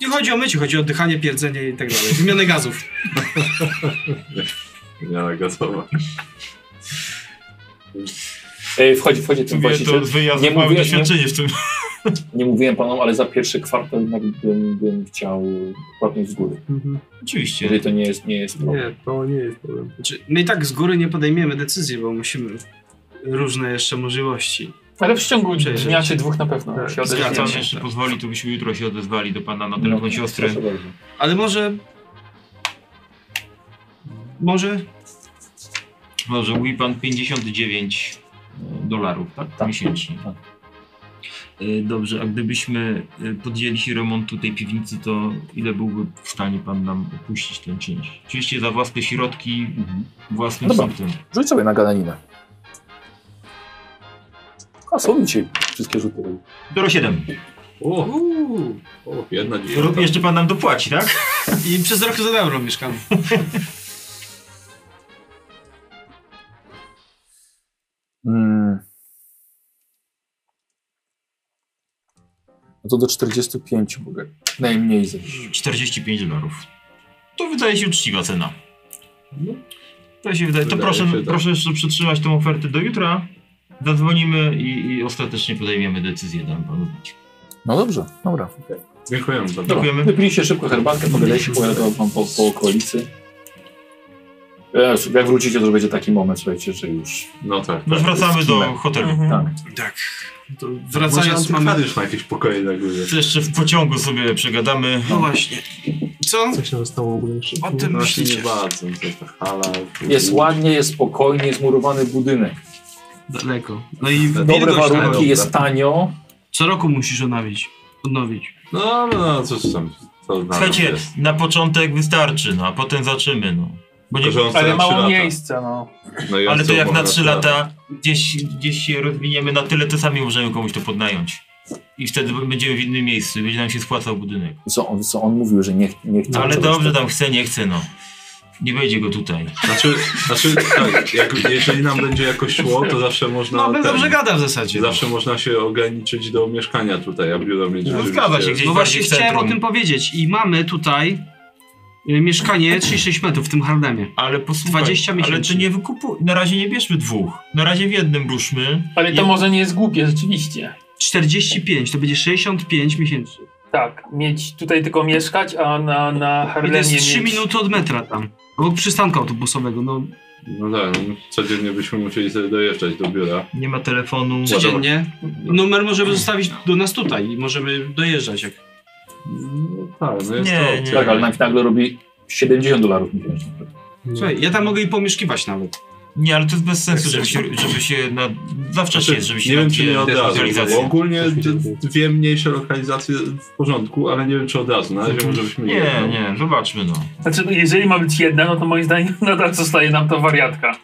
Speaker 4: Nie chodzi o mycie, chodzi o oddychanie, pierdzenie i tak dalej. Wymianę gazów.
Speaker 1: Miała gotowa.
Speaker 2: E,
Speaker 16: Ej, wchodzi, wchodzi ten
Speaker 5: Mówię,
Speaker 16: właściciel.
Speaker 5: to wyjazd
Speaker 16: nie
Speaker 5: mamy
Speaker 16: mówiłem,
Speaker 5: doświadczenie
Speaker 16: nie,
Speaker 5: w tym.
Speaker 16: nie mówiłem panom, ale za pierwszy kwartał jednak bym, bym chciał płatność z góry.
Speaker 6: Mhm.
Speaker 5: Oczywiście.
Speaker 16: Jeżeli to nie jest, nie jest problem.
Speaker 6: Nie, to nie jest problem.
Speaker 4: Znaczy, my i tak z góry nie podejmiemy decyzji, bo musimy różne jeszcze możliwości.
Speaker 7: Ale w ciągu
Speaker 4: Przejrzeć.
Speaker 7: dnia czy dwóch na pewno
Speaker 4: Tak,
Speaker 7: się
Speaker 4: zgadzam
Speaker 5: Tam No,
Speaker 7: odezwiemy.
Speaker 5: jeszcze pozwoli, to byśmy jutro się odezwali do pana na telefon siostry.
Speaker 16: proszę bardzo.
Speaker 4: Ale może... Może...
Speaker 5: Może mówi pan 59 dolarów, tak? Miesięcznie. Y, Dobrze, a gdybyśmy y, podjęli się remontu tej piwnicy, to ile byłby w stanie pan nam opuścić tę część? Oczywiście za własne środki, własnym
Speaker 2: Dobra.
Speaker 5: sumptem.
Speaker 2: Rzuć sobie na gadaninę. A są dzisiaj wszystkie rzuty.
Speaker 5: Doro 7.
Speaker 1: O, o jedna
Speaker 5: Rób
Speaker 1: dziewiąta.
Speaker 5: jeszcze pan nam dopłaci, tak?
Speaker 4: I przez rok za euro mieszkam.
Speaker 2: Mm. No to do 45 mogę najmniej zejść.
Speaker 5: 45 dolarów. To wydaje się uczciwa cena. To się wydaje. To
Speaker 2: Wydaje
Speaker 5: proszę,
Speaker 2: się, tak.
Speaker 5: proszę jeszcze przetrzymać tą ofertę do jutra. Zadzwonimy i, i ostatecznie podejmiemy decyzję. Dam panu znać.
Speaker 2: No dobrze, dobra.
Speaker 1: Dziękujemy bardzo.
Speaker 5: Dziękujemy.
Speaker 16: Wypiliście szybko herbatkę, pogadaliście, pogadał pan po, po okolicy. Jezu, Jak wrócicie, to będzie taki moment, słuchajcie, że już...
Speaker 1: No tak.
Speaker 5: No już wracamy do
Speaker 16: Skimem.
Speaker 5: hotelu.
Speaker 7: Mhm.
Speaker 16: Tak.
Speaker 4: Tak. To
Speaker 1: Wracając
Speaker 4: wracając
Speaker 1: Może
Speaker 4: mamy...
Speaker 1: mamy... ma jakieś pokoje na górze.
Speaker 5: To jeszcze w pociągu sobie przegadamy.
Speaker 4: No właśnie. Co?
Speaker 6: Coś nam zostało ogólnie.
Speaker 4: O tym
Speaker 1: No się
Speaker 4: myślicie.
Speaker 1: nie bardzo, to jest ta hala.
Speaker 16: Jest ładnie, jest spokojnie, jest murowany budynek.
Speaker 4: Daleko. No i
Speaker 16: Dobre
Speaker 4: wilgoć
Speaker 16: warunki,
Speaker 4: daleko.
Speaker 16: jest tanio.
Speaker 4: Co roku musisz odnawić. Odnowić.
Speaker 1: No, no, no, coś tam. To na
Speaker 5: Słuchajcie, na początek wystarczy, no, a potem zaczymy, no. Bo
Speaker 1: Tylko, że on chce
Speaker 7: Ale
Speaker 1: na
Speaker 7: mało
Speaker 1: trzy lata.
Speaker 7: miejsca, no.
Speaker 1: No i on
Speaker 5: Ale to
Speaker 1: chce
Speaker 5: jak na
Speaker 1: pomagać
Speaker 5: 3 lata gdzieś, gdzieś się rozwiniemy na tyle, to sami możemy komuś to podnająć. I wtedy będziemy w innym miejscu, będzie nam się spłacał budynek.
Speaker 2: Co on, co on mówił, że nie, nie chce.
Speaker 5: No, ale
Speaker 2: czegoś
Speaker 5: dobrze,
Speaker 2: takiego.
Speaker 5: tam chce, nie chce, no. Nie wejdzie go tutaj.
Speaker 1: Znaczy, znaczy tak, jak, jeżeli nam będzie jakoś szło, to zawsze można...
Speaker 5: No, ale dobrze gada w zasadzie.
Speaker 1: Zawsze można się ograniczyć do mieszkania tutaj, a biuro mieć...
Speaker 5: No,
Speaker 1: rzeczywiście-
Speaker 5: zgadza się, gdzieś
Speaker 4: No właśnie
Speaker 5: bardziej w
Speaker 4: chciałem o tym
Speaker 5: centrum.
Speaker 4: powiedzieć. I mamy tutaj y, mieszkanie 36 metrów w tym Harlemie.
Speaker 5: Ale posłuchaj,
Speaker 4: 20
Speaker 5: ale
Speaker 4: miesięcznie.
Speaker 5: czy nie wykupuj... Na razie nie bierzmy dwóch. Na razie w jednym ruszmy.
Speaker 7: Ale to
Speaker 5: Jed-
Speaker 7: może nie jest głupie, rzeczywiście.
Speaker 4: 45, to będzie 65 miesięcznie.
Speaker 7: Tak, mieć tutaj tylko mieszkać, a na, na
Speaker 4: I to
Speaker 7: Harlemie
Speaker 4: jest 3
Speaker 7: mieć...
Speaker 4: minuty od metra tam. Obok przystanku autobusowego, no
Speaker 1: No tak, no, codziennie byśmy musieli sobie dojeżdżać do biura.
Speaker 5: Nie ma telefonu.
Speaker 4: codziennie. Numer możemy zostawić do nas tutaj i możemy dojeżdżać jak...
Speaker 1: No tak, no jest
Speaker 4: Nie,
Speaker 1: to opcja.
Speaker 16: Tak, ale nam nagle robi 70 dolarów miesięcznie.
Speaker 4: Słuchaj, ja tam mogę i pomieszkiwać nawet.
Speaker 5: Nie, ale to jest bez sensu, żeby się, żeby się na... Zawsze
Speaker 1: Znaczy,
Speaker 5: jest, żeby się
Speaker 1: nie wiem,
Speaker 5: na-
Speaker 1: czy nie od
Speaker 5: na
Speaker 1: razu, bo
Speaker 5: socjalizację.
Speaker 1: ogólnie d- dwie mniejsze lokalizacje w porządku, ale nie wiem, czy od razu. Na razie może byśmy
Speaker 5: Nie,
Speaker 1: jedną.
Speaker 5: nie, zobaczmy, no.
Speaker 7: Znaczy, no, jeżeli ma być jedna, no to moim zdaniem nadal zostaje nam to wariatka.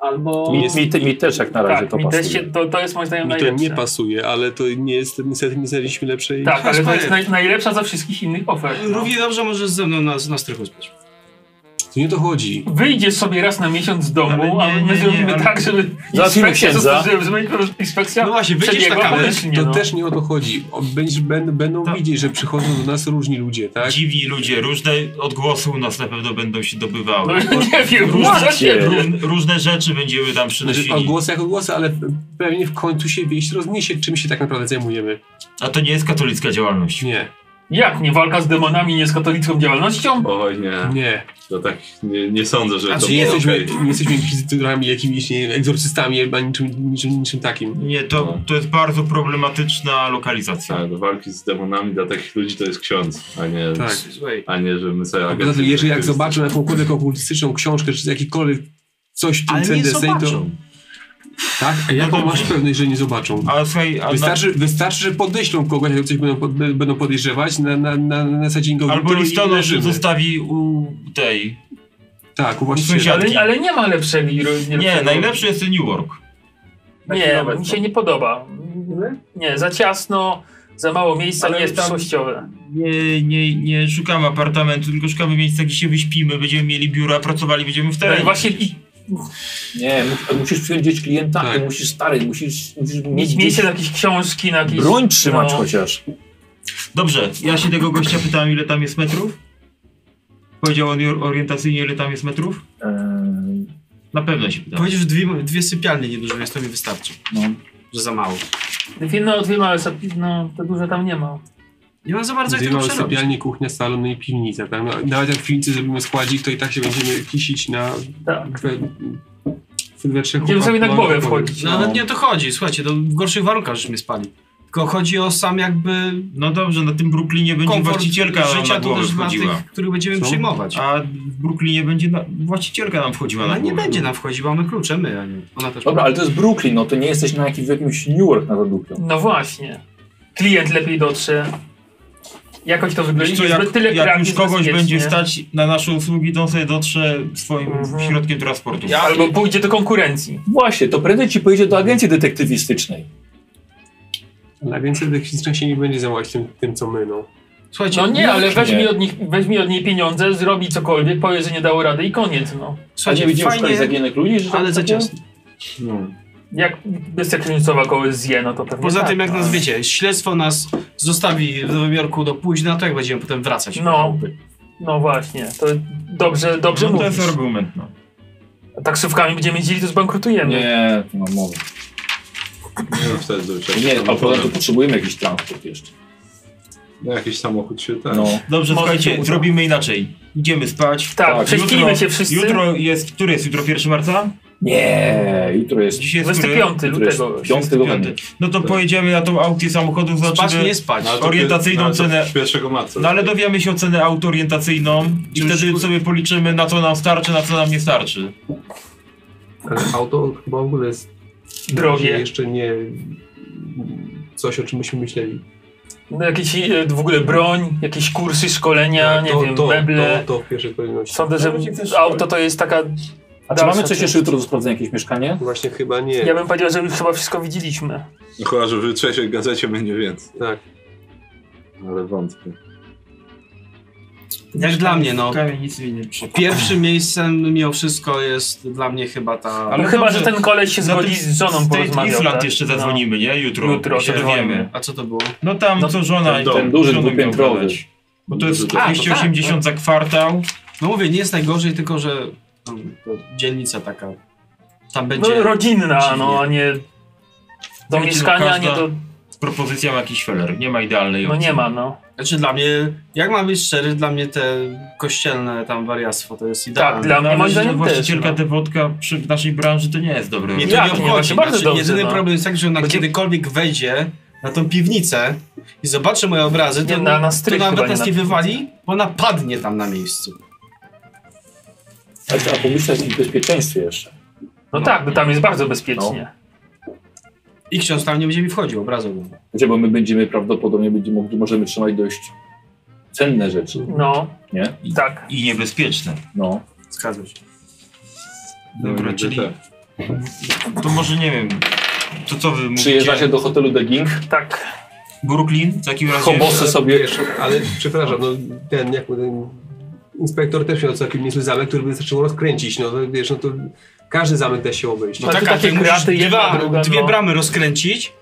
Speaker 7: Albo...
Speaker 2: Mi, mi, te- mi też jak na razie
Speaker 7: tak,
Speaker 2: to
Speaker 7: mi
Speaker 2: pasuje.
Speaker 7: Też się, to, to jest moim zdaniem
Speaker 6: Mi to
Speaker 7: No najlepsze.
Speaker 6: nie pasuje, ale to nie jest, niestety nie znaleźliśmy lepszej...
Speaker 7: tak, ale to jest naj, najlepsza ze wszystkich innych
Speaker 5: Tak,
Speaker 7: ofert. No.
Speaker 4: Równie dobrze możesz ze mną na, na strychu spać.
Speaker 6: To nie to chodzi.
Speaker 7: Wyjdziesz sobie raz na miesiąc z domu,
Speaker 5: Ale nie,
Speaker 7: a my
Speaker 5: nie,
Speaker 7: zrobimy
Speaker 5: nie, ale-
Speaker 7: tak, żeby
Speaker 2: Załatwimy
Speaker 7: inspekcja
Speaker 2: księdza.
Speaker 7: zosta- Żeby, żeby inspekcja
Speaker 4: No właśnie, wyjdziesz
Speaker 7: przebiegła
Speaker 4: na kawę.
Speaker 7: koniecznie,
Speaker 6: To
Speaker 7: no. Tak.
Speaker 6: też nie o to chodzi. O, Będziesz, będą będą widzieć, że przychodzą do nas różni ludzie, tak?
Speaker 5: Dziwi ludzie, różne odgłosy u nas na pewno będą się dobywały.
Speaker 7: No, nie wiem,
Speaker 5: Różne,
Speaker 7: właśnie.
Speaker 5: ró- różne rzeczy będziemy tam
Speaker 6: Znaczy,
Speaker 5: przynosili.
Speaker 6: odgłosy jak odgłosy, ale pewnie w końcu się wieść rozniesie, czym się tak naprawdę zajmujemy.
Speaker 5: A to nie jest katolicka działalność.
Speaker 6: Nie.
Speaker 7: Jak nie walka z demonami, nie z katolicką działalnością?
Speaker 1: Oj nie.
Speaker 6: Nie.
Speaker 1: To tak nie, nie sądzę, że
Speaker 6: A
Speaker 1: to
Speaker 6: czy nie
Speaker 1: było
Speaker 6: jesteśmy,
Speaker 1: okej.
Speaker 6: nie jesteśmy inkwizytorami jakimiś, nie wiem, egzorcystami, albo niczym, niczym, niczym takim.
Speaker 5: Nie, to, to jest bardzo problematyczna lokalizacja.
Speaker 1: Tak, do walki z demonami dla takich ludzi to jest ksiądz, a nie,
Speaker 6: Tak.
Speaker 1: a nie że my sobie
Speaker 6: Poza tym, jeżeli jak zobaczą jakąkolwiek okultystyczną książkę, czy jakikolwiek coś w tym
Speaker 5: Ale nie
Speaker 6: CDC, to...
Speaker 5: zobaczą.
Speaker 6: Tak? A jaką masz pewność, że nie zobaczą?
Speaker 5: Ale słuchaj, a na,
Speaker 6: Wystarczy, wystarczy, że podeślą kogoś, jak coś będą, pod, będą podejrzewać na, na, na, na zasadzie
Speaker 5: albo listonosz zostawi u tej.
Speaker 6: Tak, u
Speaker 5: właściciela.
Speaker 7: Ale, ale nie ma lepszego. i ro-
Speaker 5: Nie,
Speaker 7: lepszego-
Speaker 5: najlepszy no. jest New York.
Speaker 7: Nie, mi się nie podoba. Nie, za ciasno, za mało miejsca, nie jest
Speaker 5: tam
Speaker 7: przyszłościowe.
Speaker 5: Nie, nie, nie szukamy apartamentu, tylko szukamy miejsca, gdzie się wyśpimy, będziemy mieli biura, pracowali, będziemy w terenie.
Speaker 7: No właśnie
Speaker 16: Nie, mu- musisz przyjąć gdzieś klienta,
Speaker 5: Tak.
Speaker 16: musisz stary, musisz, musisz
Speaker 7: Mieć miejsce na jakieś książki, na jakieś...
Speaker 16: Broń trzymać
Speaker 7: no.
Speaker 16: chociaż.
Speaker 5: Dobrze, ja się tego gościa pytałem, ile tam jest metrów. Powiedział on orientacyjnie, ile tam jest metrów. Na pewno się pytałem.
Speaker 4: Powiedział, że dwie, dwie sypialnie nieduże jest, to mi wystarczy. Że za mało.
Speaker 7: Dwie, no, dwie małe sapi- no, to dużo tam nie ma.
Speaker 4: Nie ma za
Speaker 6: Gdzie mamy sypialnię, kuchnia, salon i piwnica. Tak? No, Nawet jak w piwnicy zrobimy składzik, to i tak się będziemy kisić na...
Speaker 7: Tak.
Speaker 6: We, we trzech
Speaker 7: Będziemy sobie na głowę wchodzić.
Speaker 4: No, Nawet nie o to chodzi, słuchajcie, to w gorszych warunkach żeśmy spali. Tylko chodzi o sam jakby
Speaker 5: No dobrze, na tym Brooklynie będzie
Speaker 4: komfort
Speaker 5: właścicielka
Speaker 4: życia
Speaker 5: na
Speaker 4: to
Speaker 5: głowę
Speaker 4: też dla
Speaker 5: wchodziła.
Speaker 4: tych, których będziemy
Speaker 5: Co?
Speaker 4: przyjmować.
Speaker 5: A w Brooklynie będzie na... właścicielka nam wchodziła
Speaker 4: Ona
Speaker 5: na głowę.
Speaker 4: nie będzie nam wchodziła, mamy klucze my, a nie. Ona też
Speaker 16: Dobra, ale to jest Brooklyn, no to nie jesteś na jakim, w jakimś New York nawet dupio.
Speaker 7: No właśnie. Klient lepiej dotrze. Jakoś to wygląda.
Speaker 5: Wiesz co,
Speaker 7: Jest
Speaker 5: jak,
Speaker 7: zbyt No tyle
Speaker 5: jak
Speaker 7: krat,
Speaker 5: już
Speaker 7: jest
Speaker 5: kogoś
Speaker 7: bezpiecznie.
Speaker 5: będzie stać na nasze usługi, to on sobie dotrze swoim
Speaker 1: Mhm.
Speaker 5: środkiem transportu.
Speaker 7: Albo pójdzie do konkurencji.
Speaker 16: Właśnie, to prędzej ci pojedzie do agencji detektywistycznej.
Speaker 6: Na więcej no. tych historii się nie będzie zajmować tym, tym co my, no.
Speaker 4: Słuchajcie,
Speaker 7: No nie, ale weźmij
Speaker 6: nie.
Speaker 7: od, nich, weźmij od niej pieniądze, zrobi cokolwiek, powie, że nie dało rady i koniec, no.
Speaker 4: Słuchajcie, A nie widzimy fajnie, szkoły zaginiętych ludzi, że tak ale za takie? ciasno.
Speaker 1: No,
Speaker 7: Jak bestia księżycowa kogoś zje, no to pewnie
Speaker 4: Poza
Speaker 7: tak,
Speaker 4: tym, jak
Speaker 7: no.
Speaker 4: nas wiecie, śledztwo nas zostawi w Nowym Jorku do późna, to jak będziemy potem wracać?
Speaker 7: No, no właśnie, to dobrze, dobrze
Speaker 5: No to
Speaker 7: mówisz.
Speaker 5: jest argument, no.
Speaker 7: A Taksówkami będziemy jeździli, to zbankrutujemy.
Speaker 16: Nie, no mowa.
Speaker 1: tak
Speaker 16: Nie, a potem to potrzebujemy jakiś transport jeszcze.
Speaker 1: No jakiś samochód się tak.
Speaker 16: No.
Speaker 5: Dobrze,
Speaker 1: Może się
Speaker 5: słuchajcie,
Speaker 1: uda.
Speaker 5: zrobimy inaczej. Idziemy spać.
Speaker 7: Tak,
Speaker 5: Jutro-
Speaker 7: prześpijmy się wszyscy.
Speaker 5: Jutro jest, który jest jutro 1 marca?
Speaker 16: Nie, jutro jest.
Speaker 5: Dzisiaj jest
Speaker 7: 25
Speaker 5: który?
Speaker 7: lutego.
Speaker 5: Jutro jest 25. No to pojedziemy na tą aukcję samochodów, zobaczymy
Speaker 4: nie spać.
Speaker 1: No, ale Tak. to
Speaker 5: orientacyjną
Speaker 1: pi- no, ale to
Speaker 5: cenę.
Speaker 1: 1 marca.
Speaker 5: No ale dowiemy się o cenę aut orientacyjną i wtedy sobie policzymy na co nam starczy, na co nam nie starczy.
Speaker 6: Ale auto chyba w ogóle jest...
Speaker 7: Drogie.
Speaker 6: Jeszcze nie... Coś, o czym myśmy myśleli.
Speaker 7: No jakieś e, w ogóle broń, jakieś kursy, szkolenia, nie
Speaker 6: Tak, to,
Speaker 7: wiem,
Speaker 6: to,
Speaker 7: meble.
Speaker 6: To, to w pierwszej kolejności.
Speaker 7: Sądzę, że auto to jest taka...
Speaker 16: A czy mamy coś jeszcze jutro do sprawdzenia, jakieś mieszkanie?
Speaker 6: Właśnie chyba nie.
Speaker 7: Ja bym powiedział, że już chyba wszystko widzieliśmy.
Speaker 1: No Chyba, że w jutrzejszej gazecie będzie więcej.
Speaker 6: Tak.
Speaker 1: Ale wątpię.
Speaker 4: Jak dla mnie, no.
Speaker 5: Kamienicy mnie nie przekonał.
Speaker 4: Pierwszym miejscem mimo wszystko jest dla mnie chyba ta...
Speaker 5: Ale
Speaker 7: No, chyba,
Speaker 5: dobrze,
Speaker 7: że ten koleś się
Speaker 5: na
Speaker 7: zgodzi
Speaker 5: tym
Speaker 7: No z żoną
Speaker 5: State
Speaker 7: porozmawiał.
Speaker 5: Island
Speaker 7: tak?
Speaker 5: jeszcze zadzwonimy, nie? Jutro.
Speaker 7: Jutro
Speaker 5: się
Speaker 7: się
Speaker 5: dowiemy.
Speaker 4: A co to było?
Speaker 5: No tam, co żona...
Speaker 16: ten dom, duży
Speaker 5: żoną miał
Speaker 16: dwupiętrowy.
Speaker 5: gadać. Bo to jest
Speaker 4: A,
Speaker 5: 280 za kwartał.
Speaker 4: No mówię, nie jest najgorzej, tylko że um, to dzielnica taka. Tam będzie.
Speaker 7: No, rodzinna,
Speaker 4: dziwnie.
Speaker 7: no, a nie do
Speaker 5: Wiecie, no,
Speaker 7: mieszkania, nie
Speaker 5: każda
Speaker 7: do...
Speaker 5: Z propozycją jakiś feller. Nie ma idealnej
Speaker 7: No
Speaker 5: opcji.
Speaker 7: nie ma, no.
Speaker 4: Znaczy dla mnie, jak mam być szczery, dla mnie te kościelne tam wariactwo to jest idealne.
Speaker 5: No,
Speaker 7: Tak, dla mnie
Speaker 4: Nawet
Speaker 7: moim
Speaker 4: jeżeli
Speaker 7: zdaniem no.
Speaker 5: Właścicielka dewotka przy, w naszej branży to nie jest dobre.
Speaker 4: Mnie to
Speaker 7: Jak
Speaker 4: nie
Speaker 7: nie?
Speaker 4: obchodzi. Znaczy,
Speaker 7: Właśnie bardzo dobrze,
Speaker 4: jedyny
Speaker 7: no.
Speaker 4: problem jest taki, że ona kiedykolwiek wejdzie na tą piwnicę i zobaczy moje obrazy, to,
Speaker 7: Nie, na- na
Speaker 4: to
Speaker 7: strych chyba
Speaker 4: nawet
Speaker 7: nie
Speaker 4: nas
Speaker 7: na
Speaker 4: nie
Speaker 7: piwnicę.
Speaker 4: wywali, bo ona padnie tam na miejscu.
Speaker 16: A trzeba pomyśleć o bezpieczeństwie jeszcze.
Speaker 7: No, tak, bo tam jest bardzo bezpiecznie.
Speaker 4: I ksiądz tam nie będzie mi wchodził obrazowo.
Speaker 16: Wiecie, Znaczy, bo my będziemy prawdopodobnie będziemy, mogli- możemy trzymać dość cenne rzeczy,
Speaker 7: No,
Speaker 16: nie?
Speaker 7: tak.
Speaker 5: I niebezpieczne.
Speaker 16: No.
Speaker 4: Zgadzam się.
Speaker 5: Dobra, czyli...
Speaker 16: tak.
Speaker 5: To może nie wiem, to co wy mówicie?
Speaker 16: Przyjeżdżacie do hotelu The King.
Speaker 7: Tak.
Speaker 5: Brooklyn, w takim razie...
Speaker 16: Hobosy sobie...
Speaker 6: Wiesz, ale przepraszam, no ten, jak mu ten inspektor też miał całkiem niezły zamek, który by zaczął rozkręcić, no to wiesz, no to każdy zamek da się obejść.
Speaker 4: No tak,
Speaker 7: takie
Speaker 4: takie
Speaker 7: kraty,
Speaker 4: kraty,
Speaker 7: jedna,
Speaker 4: dwa,
Speaker 7: druga,
Speaker 4: dwie
Speaker 7: no.
Speaker 4: bramy rozkręcić,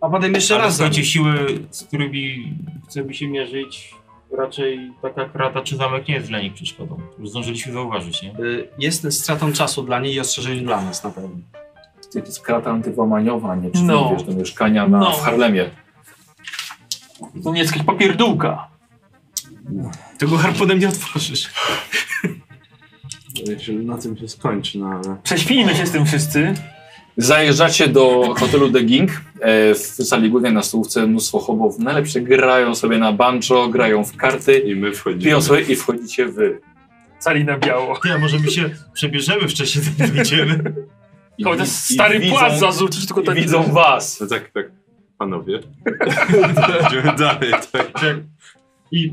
Speaker 4: a potem jeszcze
Speaker 5: Ale
Speaker 4: raz.
Speaker 5: słuchajcie, siły, z którymi chcemy się mierzyć, raczej taka krata czy zamek nie jest dla nich przeszkodą. Już zdążyliśmy zauważyć, nie?
Speaker 4: Y, Jest stratą czasu dla niej i ostrzeżeniem dla nas na pewno.
Speaker 16: To jest krata antywłamaniowa, nie? Czy
Speaker 7: No.
Speaker 16: wiesz, do mieszkania na,
Speaker 7: No.
Speaker 16: w Harlemie.
Speaker 7: No nie jest jakaś papierdółka.
Speaker 4: Tego harpunem nie otworzysz.
Speaker 1: Jeśli na tym się skończy, no ale...
Speaker 7: Prześpijmy się z tym wszyscy.
Speaker 2: Zajeżdżacie do hotelu The Ging. E, w sali głównej na stołówce mnóstwo hobów najlepsze grają sobie na banjo, grają w karty.
Speaker 1: I my wchodzimy.
Speaker 2: Piją sobie i wchodzicie wy.
Speaker 7: Cali na biało.
Speaker 5: Ja może my się przebierzemy wcześniej, zanim wyjdziemy.
Speaker 1: I- To jest i stary widzą- płaszcz
Speaker 7: zarzucić, tylko
Speaker 1: tak- widzą
Speaker 2: was.
Speaker 1: No tak, tak. Panowie. Idziemy dalej, tak.
Speaker 5: I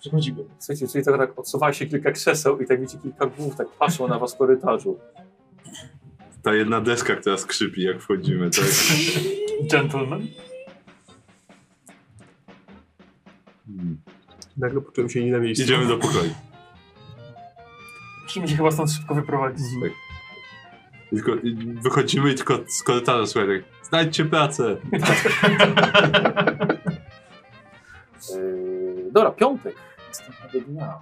Speaker 5: przechodzimy.
Speaker 22: Słuchajcie, czyli tak, tak odsuwa się kilka krzeseł i tak widzicie kilka głów, tak patrzą na was w korytarzu.
Speaker 1: Ta jedna deska, która skrzypi, jak wchodzimy, tak.
Speaker 7: Gentleman.
Speaker 6: Nagle poczułem się nie na miejscu.
Speaker 1: Idziemy do pokoju.
Speaker 7: Musimy się chyba stąd szybko wyprowadzić.
Speaker 1: I tylko, i wychodzimy i tylko z korytarza słuchaj, tak. Znajdźcie pracę.
Speaker 22: Yy, dobra, piątek. Następnego dnia.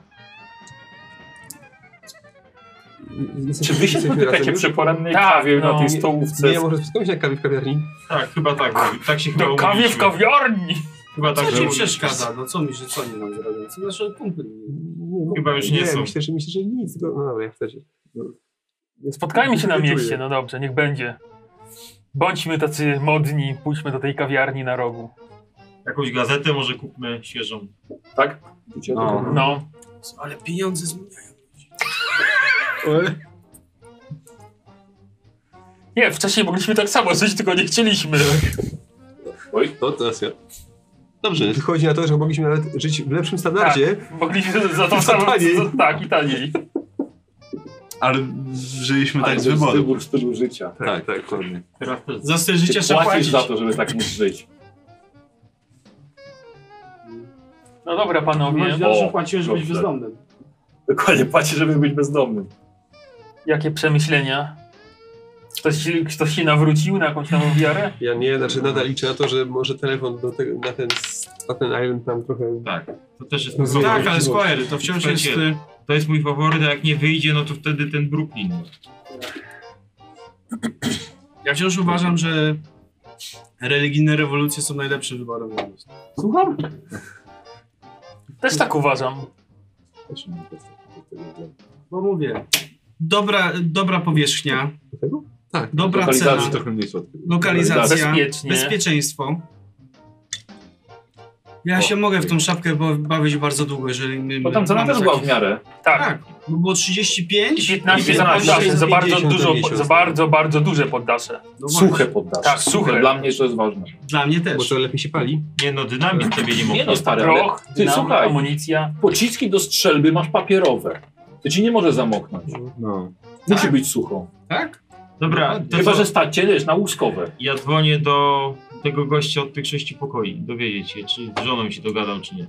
Speaker 22: Czy wy się spotykacie przy porannej
Speaker 7: Tak,
Speaker 22: kawie na tej stołówce?
Speaker 6: Nie, nie może spotkamy się na kawie w kawiarni.
Speaker 5: Tak, chyba tak. Tak się
Speaker 7: Do kawie w kawiarni!
Speaker 5: Chyba
Speaker 4: Co
Speaker 5: tak, że
Speaker 4: ci
Speaker 5: mówisz.
Speaker 4: przeszkadza? No co mi, że co oni nam zrobią? Co nasze kumpy?
Speaker 6: Nie,
Speaker 5: Chyba już nie są.
Speaker 6: Myślę, że, myślę, że nic. No, no dobra, ja wtedy.
Speaker 7: Spotkajmy się na mieście, no dobrze, niech będzie. Bądźmy tacy modni, pójdźmy do tej kawiarni na rogu.
Speaker 5: Jakąś gazetę może kupmy świeżą.
Speaker 22: Tak?
Speaker 1: No.
Speaker 7: No.
Speaker 4: Ale pieniądze zmieniają.
Speaker 7: Nie, wcześniej mogliśmy tak samo żyć, tylko nie chcieliśmy.
Speaker 1: Oj, to teraz ja. Dobrze.
Speaker 6: Wychodzi na to, że mogliśmy nawet żyć w lepszym standardzie.
Speaker 7: Tak, mogliśmy za tą samą... za- Tak, i taniej.
Speaker 1: Ale żyliśmy tak z wyboru.
Speaker 2: Wybór stylu życia.
Speaker 1: Tak, tak, dokładnie.
Speaker 5: Teraz też. Za styl życia
Speaker 2: Ty
Speaker 5: trzeba
Speaker 2: płacisz
Speaker 5: płacić.
Speaker 2: za to, żeby tak móc żyć.
Speaker 7: No dobra, panowie.
Speaker 2: O, dobrze. Dokładnie, płacisz, żeby być bezdomnym.
Speaker 7: Jakie przemyślenia? Ktoś, ktoś się nawrócił na jakąś nową wiarę?
Speaker 6: Ja nie, znaczy nadal liczę na to, że może telefon do tego, na, ten, na ten island nam trochę...
Speaker 5: Tak, to też jest...
Speaker 6: Rozumiem.
Speaker 4: Tak, ale Squire, to wciąż jest...
Speaker 5: Słuchajcie,
Speaker 4: y,
Speaker 5: To jest mój faworyt, a jak nie wyjdzie, no to wtedy ten Brooklyn.
Speaker 4: Ja wciąż uważam, że religijne rewolucje są najlepszym wyborem. dla nas.
Speaker 7: Słucham? Też tak uważam.
Speaker 4: Bo mówię, dobra, dobra powierzchnia,
Speaker 6: Tak,
Speaker 4: dobra
Speaker 1: Lokalizacja
Speaker 4: cena,
Speaker 1: trochę mniej słodka.
Speaker 4: lokalizacja,
Speaker 7: Bezpiecznie.
Speaker 4: bezpieczeństwo. Ja się mogę w tą szafkę ba- bawić bardzo długo, jeżeli... my-
Speaker 2: Bo tam cena
Speaker 4: mamy
Speaker 2: też była
Speaker 4: taki-
Speaker 2: w miarę.
Speaker 7: Tak.
Speaker 4: Tak, bo było 35
Speaker 7: 15 za poddasze, za bardzo dużo, za bardzo, bardzo duże poddasze.
Speaker 4: No właśnie.
Speaker 2: Suche poddasz.
Speaker 7: Tak, suche.
Speaker 2: Dla mnie to jest ważne.
Speaker 4: Dla mnie też.
Speaker 6: Bo to lepiej się pali.
Speaker 5: Nie no, dynamit tobie nie
Speaker 2: Nie
Speaker 5: mógł.
Speaker 2: no stary, ale
Speaker 7: Proch,
Speaker 2: ty
Speaker 7: dynamit,
Speaker 2: słuchaj,
Speaker 7: amunicja.
Speaker 2: pociski do strzelby masz papierowe. To ci nie może zamoknąć.
Speaker 1: No.
Speaker 2: Musi być sucho.
Speaker 4: Tak?
Speaker 5: Dobra, to
Speaker 2: Chyba,
Speaker 5: co?
Speaker 2: że stać cię, wiesz, na łuskowe.
Speaker 5: Ja dzwonię do tego gościa od tych sześciu pokoi. Dowiedzieć się, czy z żoną się dogadał, czy nie.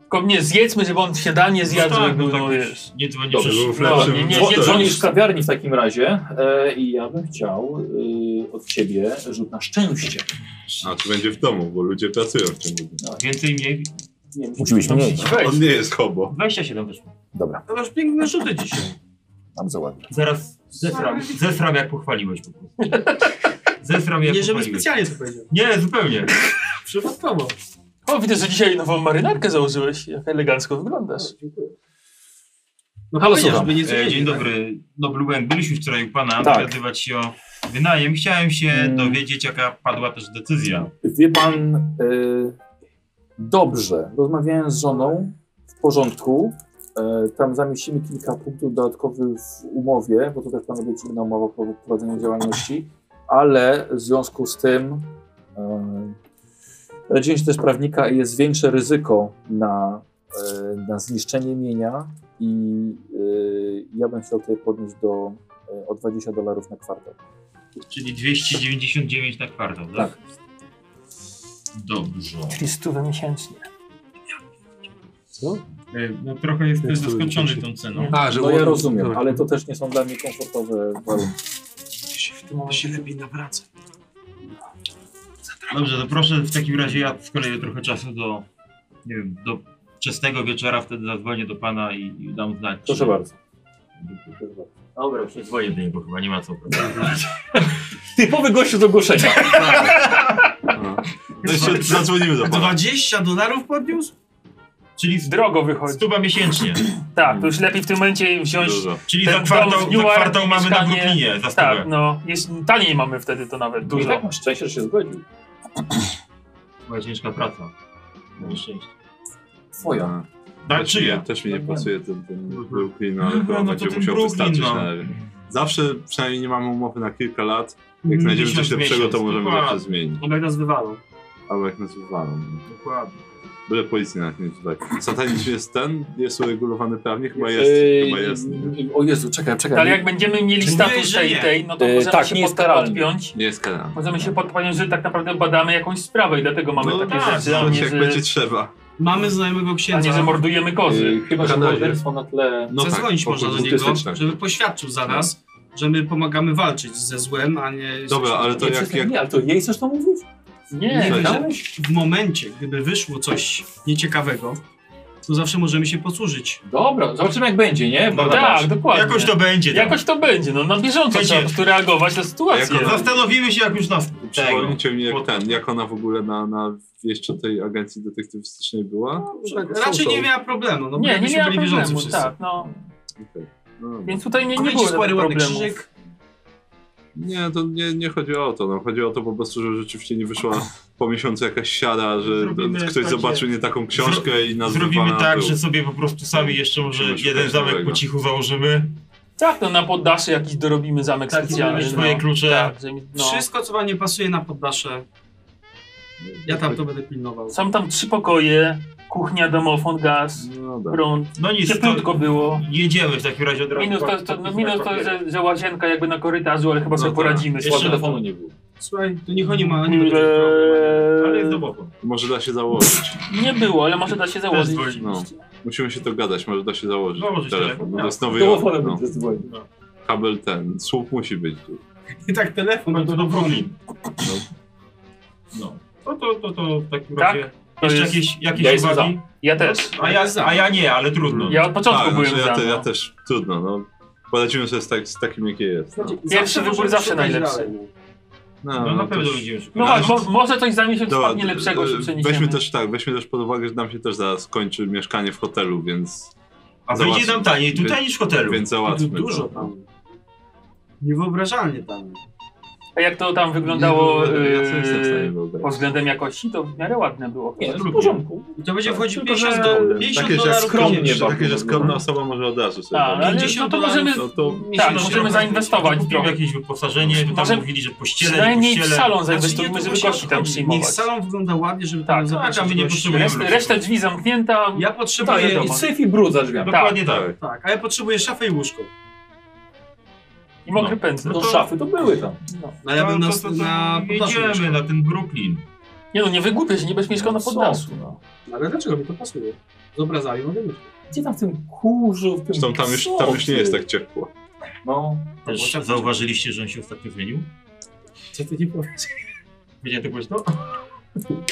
Speaker 7: Tylko nie zjedzmy, żeby on śniadanie zjadł.
Speaker 5: tak,
Speaker 7: żeby
Speaker 5: no
Speaker 7: było,
Speaker 5: tak.
Speaker 7: wiesz.
Speaker 5: Nie dzwonię No,
Speaker 2: Dobrze,
Speaker 5: przecież-
Speaker 1: był lepszym
Speaker 7: nie, nie,
Speaker 2: Dzwo-
Speaker 1: wyborem.
Speaker 2: Dzwonisz z kawiarni w takim razie e, i ja bym chciał e, od ciebie rzut na szczęście.
Speaker 1: A to będzie w domu, bo ludzie pracują w ciągu dnia.
Speaker 5: Więcej mniej.
Speaker 2: Nie,
Speaker 22: Musi być mniej.
Speaker 7: Tak.
Speaker 1: On nie jest hobo.
Speaker 5: 27 wyszło.
Speaker 22: Dobra,
Speaker 4: To masz piękne rzuty dzisiaj.
Speaker 22: bardzo ładnie.
Speaker 5: Zaraz zesram, zesram jak pochwaliłeś po prostu. Zesram jak
Speaker 4: Nie, żeby
Speaker 5: pochwaliłeś.
Speaker 4: specjalnie to powiedział.
Speaker 5: Nie, zupełnie.
Speaker 4: Przypadkowo.
Speaker 7: O, widzę, że dzisiaj nową marynarkę założyłeś. Jak elegancko wyglądasz.
Speaker 4: No
Speaker 2: Halo,
Speaker 4: fajnie,
Speaker 2: słucham.
Speaker 4: żeby nie
Speaker 5: E,
Speaker 4: zrobić.
Speaker 5: dzień dobry. Dobry Łęk. Byliśmy wczoraj u pana
Speaker 2: Tak.
Speaker 5: dogadywać się o wynajem. Chciałem się
Speaker 4: Mm.
Speaker 5: dowiedzieć, jaka padła też decyzja.
Speaker 22: Wie pan,
Speaker 2: E, dobrze, rozmawiałem z żoną, w porządku. E, tam zamieścimy kilka punktów dodatkowych w umowie, bo to też panu być inna umowa po prowadzeniu działalności, ale w związku z tym e, radziłem się też prawnika i jest większe ryzyko na, e, na zniszczenie mienia i e, ja bym chciał tutaj podnieść do e, o 20 dolarów na kwartał.
Speaker 5: Czyli 299 na kwartał, tak?
Speaker 2: Tak.
Speaker 5: Dobrze.
Speaker 7: Czyli stówę miesięcznie.
Speaker 6: Co?
Speaker 5: E, No trochę jestem
Speaker 6: Jak to
Speaker 5: zaskoczony
Speaker 6: będzie?
Speaker 5: tą ceną.
Speaker 6: A, że
Speaker 2: No ja
Speaker 6: ładnie-
Speaker 2: rozumiem,
Speaker 6: dobra.
Speaker 2: ale to też nie są dla mnie komfortowe warunki.
Speaker 4: To się lepiej nawraca.
Speaker 5: Dobrze, to proszę w takim razie ja z kolei trochę czasu do, nie wiem, do wczesnego wieczora wtedy zadzwonię do pana i, i dam znać.
Speaker 2: Proszę
Speaker 5: czy-
Speaker 2: bardzo.
Speaker 5: Dobra, już nie dzwonię do niego chyba, nie ma co.
Speaker 2: Typowy gościu z ogłoszenia.
Speaker 1: No jeszcze zadzwonimy do pana.
Speaker 4: 20 dolarów podniósł?
Speaker 5: Czyli
Speaker 7: drogo wychodzi.
Speaker 5: Stuba miesięcznie.
Speaker 7: tak, to już lepiej w tym momencie wziąć.
Speaker 5: Dużo. Czyli
Speaker 7: ten
Speaker 5: za kwartał-
Speaker 7: dom w
Speaker 5: za
Speaker 7: Newark,
Speaker 5: kwartał mamy na
Speaker 7: mieszkanie.
Speaker 5: Brooklynie za stówę.
Speaker 7: Tak, no. Jest, taniej mamy wtedy to nawet dużo.
Speaker 5: tak
Speaker 7: masz szczęście, że się zgodził.
Speaker 5: Była ciężka praca. Na szczęście.
Speaker 1: Twoja.
Speaker 5: Tak,
Speaker 1: też,
Speaker 5: czyja?
Speaker 1: mi- też mi nie
Speaker 5: Tak,
Speaker 1: pasuje ten, ten Brooklyn, ale
Speaker 5: Mhm,
Speaker 1: chyba
Speaker 5: no to
Speaker 1: będzie
Speaker 5: ten
Speaker 1: musiał
Speaker 5: Brooklyn,
Speaker 1: wystarczyć
Speaker 5: no.
Speaker 1: na razie. Zawsze przynajmniej nie mamy umowy na kilka lat. Jak
Speaker 5: Mhm.
Speaker 4: Mm,
Speaker 1: znajdziemy
Speaker 4: miesiąc,
Speaker 1: coś lepszego, to
Speaker 4: miesiąc,
Speaker 1: możemy
Speaker 4: dokładnie.
Speaker 1: zawsze zmienić.
Speaker 4: Albo jak tak nas wywalą.
Speaker 1: Albo jak nas wywalą.
Speaker 5: Dokładnie.
Speaker 1: Byle policji nawet nie tutaj. Satanizm jest ten? Jest uregulowany prawnie? Chyba
Speaker 16: Jest.
Speaker 1: jest.
Speaker 16: Yy,
Speaker 1: Chyba jest.
Speaker 16: O Jezu, czekaj, czekaj.
Speaker 7: Ale jak będziemy mieli
Speaker 16: Czy
Speaker 7: status
Speaker 16: mówiłeś, że
Speaker 7: tej,
Speaker 16: nie?
Speaker 7: tej, no to
Speaker 16: Yy,
Speaker 7: możemy
Speaker 16: tak,
Speaker 7: się
Speaker 16: nie jest
Speaker 7: pod to
Speaker 16: karalny.
Speaker 7: odpiąć.
Speaker 1: Nie jest kanał.
Speaker 7: Możemy się podpiąć, że tak naprawdę badamy jakąś sprawę i dlatego mamy
Speaker 1: No
Speaker 7: takie
Speaker 1: tak,
Speaker 7: rzeczy, a nie,
Speaker 1: jak
Speaker 7: że...
Speaker 1: będzie trzeba.
Speaker 4: Mamy znajomego księdza.
Speaker 7: A nie, że mordujemy kozy.
Speaker 2: y,
Speaker 7: Yy, chyba, że morderstwo
Speaker 16: na tle...
Speaker 1: No tak,
Speaker 4: Zadzwonić można do
Speaker 1: pokój
Speaker 4: niego,
Speaker 1: autystyczny.
Speaker 4: żeby poświadczył za nas, że my pomagamy walczyć ze złem, a nie... z
Speaker 1: Dobra, ale to
Speaker 4: księdzem.
Speaker 1: jak-
Speaker 16: Przestań, Nie, ale to jej chcesz to mówić?
Speaker 4: Nie,
Speaker 16: nie,
Speaker 4: że w momencie, gdyby wyszło coś nieciekawego, to zawsze możemy się posłużyć.
Speaker 16: Dobra, zobaczymy jak będzie, nie?
Speaker 4: No
Speaker 7: tak, dokładnie.
Speaker 5: Jakoś to będzie. tak. Tam.
Speaker 7: Jakoś to będzie, no na bieżąco
Speaker 5: Będzie.
Speaker 7: trzeba po prostu reagować na sytuację.
Speaker 1: Jako-
Speaker 5: Zastanowimy się, jak już nas. tego.
Speaker 1: Przypomnijcie mi jak ten, jak ona w ogóle na, na wieście tej agencji detektywistycznej była?
Speaker 4: Raczej nie miała problemu, no bo
Speaker 7: nie, nie
Speaker 4: jakbyśmy
Speaker 7: miała
Speaker 4: byli wierzący
Speaker 7: problemu,
Speaker 4: wszyscy.
Speaker 7: tak, no.
Speaker 1: Okej. No,
Speaker 7: Więc tutaj nie, nie
Speaker 4: Kupicie
Speaker 7: było
Speaker 4: spory,
Speaker 7: żadnych
Speaker 4: ładny
Speaker 7: problemów.
Speaker 4: krzyżyk.
Speaker 1: Nie, to nie, nie chodzi o to. No. Chodzi o to po prostu, że rzeczywiście nie wyszła po miesiącu jakaś siada, że
Speaker 5: Zrobimy
Speaker 1: ktoś
Speaker 5: takie-
Speaker 1: zobaczył nie taką książkę i nas
Speaker 5: Zrobimy
Speaker 1: wywala na
Speaker 5: tak,
Speaker 1: pył.
Speaker 5: że sobie po prostu sami jeszcze może
Speaker 1: Musimy
Speaker 5: jeden
Speaker 1: szukać
Speaker 5: zamek
Speaker 1: nowego.
Speaker 5: po cichu założymy.
Speaker 7: Tak, no na poddasze jakiś dorobimy zamek
Speaker 5: Tak,
Speaker 7: specjalny.
Speaker 5: mieć swoje
Speaker 7: no.
Speaker 5: klucze.
Speaker 7: Tak, że mi- no.
Speaker 4: Wszystko, co wam nie pasuje na poddasze, ja tam to będę pilnował.
Speaker 7: Są tam trzy pokoje, kuchnia, domofon, gaz,
Speaker 1: dobra.
Speaker 7: prąd.
Speaker 5: No nic,
Speaker 7: Cieplutko było.
Speaker 5: Jedziemy w takim razie od razu.
Speaker 7: Minus to, to, no minus to że, że łazienka jakby na korytarzu, ale chyba
Speaker 5: No
Speaker 7: sobie
Speaker 5: tak.
Speaker 7: poradzimy.
Speaker 5: Jeszcze
Speaker 7: Słabo.
Speaker 5: telefonu
Speaker 16: nie było.
Speaker 4: Słuchaj, to niech oni mają, nie
Speaker 7: Eee,
Speaker 4: będzie
Speaker 5: Ale jest domofon.
Speaker 1: Może da się założyć.
Speaker 7: Nie było, ale może da się założyć.
Speaker 1: No. Musimy się dogadać, może da się założyć.
Speaker 5: Założyć
Speaker 1: telefon.
Speaker 5: telefon,
Speaker 1: No, to
Speaker 5: tak.
Speaker 1: jest Nowy Jork.
Speaker 16: Telefonem
Speaker 1: No.
Speaker 16: będzie dzwonił.
Speaker 1: Kabel ten, słup musi być.
Speaker 4: I tak telefon.
Speaker 5: No to do Brooklyn. No. No to, to, to w takim
Speaker 7: Tak?
Speaker 5: razie.
Speaker 7: To
Speaker 5: Jeszcze
Speaker 7: jest-
Speaker 5: jakieś, jakieś
Speaker 7: Ja jestem
Speaker 5: uwagi?
Speaker 7: Ja też.
Speaker 5: A ja, a ja nie, ale trudno.
Speaker 7: Ja od początku
Speaker 1: Tak,
Speaker 7: byłem
Speaker 1: znaczy ja,
Speaker 7: za.
Speaker 1: te, ja
Speaker 7: no.
Speaker 1: też, trudno. No. Polecimy sobie z, tak, z takim, jakie jest. No.
Speaker 7: Pierwszy wybór zawsze najlepszy.
Speaker 1: No,
Speaker 5: No na
Speaker 1: to
Speaker 5: pewno
Speaker 1: już-
Speaker 5: będziemy szukać.
Speaker 7: No
Speaker 1: Ale-
Speaker 7: właśnie, mo- może coś za miesiąc
Speaker 1: Dobra,
Speaker 7: spadnie lepszego,
Speaker 1: e,
Speaker 7: że przeniesiemy.
Speaker 1: Weźmy też tak, weźmy też pod uwagę, że nam się też zaraz kończy mieszkanie w hotelu, więc.
Speaker 5: A wyjdzie nam taniej tutaj
Speaker 1: więc-
Speaker 5: niż w hotelu. Tak, no,
Speaker 1: Więc załatwmy.
Speaker 4: Dużo
Speaker 1: to.
Speaker 4: tam. Niewyobrażalnie tam.
Speaker 7: A jak to tam wyglądało
Speaker 1: Nie,
Speaker 5: y,
Speaker 1: ja sobie jestem w stanie
Speaker 7: yy,
Speaker 1: wyobrazić.
Speaker 7: pod względem jakości, to w miarę ładne było.
Speaker 1: No,
Speaker 16: Nie,
Speaker 7: chyba.
Speaker 16: w porządku.
Speaker 4: I to będzie
Speaker 1: Tak.
Speaker 4: wchodzić
Speaker 7: Tylko,
Speaker 4: 50
Speaker 7: że-
Speaker 4: do 50
Speaker 1: Takie, że
Speaker 4: dolarów
Speaker 1: skromnie,
Speaker 4: miesięcznie.
Speaker 1: takie, że skromna osoba może od razu sobie.
Speaker 7: Tak, ale
Speaker 1: wyobrazić.
Speaker 7: no
Speaker 4: 50
Speaker 7: to możemy,
Speaker 1: No to-
Speaker 7: tak,
Speaker 5: Myślę, że
Speaker 7: możemy zainwestować
Speaker 5: Kupimy
Speaker 7: trochę.
Speaker 5: jakieś wyposażenie, bo tam
Speaker 7: Może-
Speaker 5: mówili, że pościele,
Speaker 7: Przynajmniej w
Speaker 5: pościele.
Speaker 7: salon
Speaker 4: Znaczy nie,
Speaker 7: zainwestujmy,
Speaker 4: to
Speaker 7: żeby
Speaker 4: właśnie
Speaker 7: gości tam
Speaker 4: chodzi.
Speaker 7: przyjmować.
Speaker 4: Niech salon wygląda ładnie, żeby
Speaker 1: No,
Speaker 4: tam
Speaker 7: Tak,
Speaker 4: zobaczyć.
Speaker 5: a my nie
Speaker 4: gości.
Speaker 5: potrzebujemy
Speaker 7: Reszta, reszta drzwi zamknięta.
Speaker 4: Ja
Speaker 7: Tak,
Speaker 4: potrzebuję...
Speaker 7: wiadomo.
Speaker 16: Syf i brud za drzwiami.
Speaker 5: Dokładnie tak.
Speaker 4: Tak, a ja potrzebuję szafę i łóżko.
Speaker 7: I mokry
Speaker 5: No.
Speaker 7: pędzel.
Speaker 16: No
Speaker 5: to-
Speaker 16: szafy to były tam.
Speaker 4: A ja bym
Speaker 5: to,
Speaker 4: na,
Speaker 5: to, to,
Speaker 4: na poddasze
Speaker 5: jedziemy
Speaker 4: mieszkał.
Speaker 5: na ten Brooklyn.
Speaker 7: Nie no, nie wygłupię się, nie będziesz mieszkał na
Speaker 16: Są,
Speaker 7: poddasu.
Speaker 16: no.
Speaker 4: Ale dlaczego mi to pasuje? Z obrazami mogę myśleć.
Speaker 16: Gdzie tam w tym kurzu, w tym
Speaker 1: Zresztą tam już, tam już nie jest tak ciepło.
Speaker 16: No.
Speaker 5: Też
Speaker 4: tak-
Speaker 5: zauważyliście, że on się ostatnio zmienił?
Speaker 4: Co ty nie powiesz?
Speaker 5: Widziałem to głośno?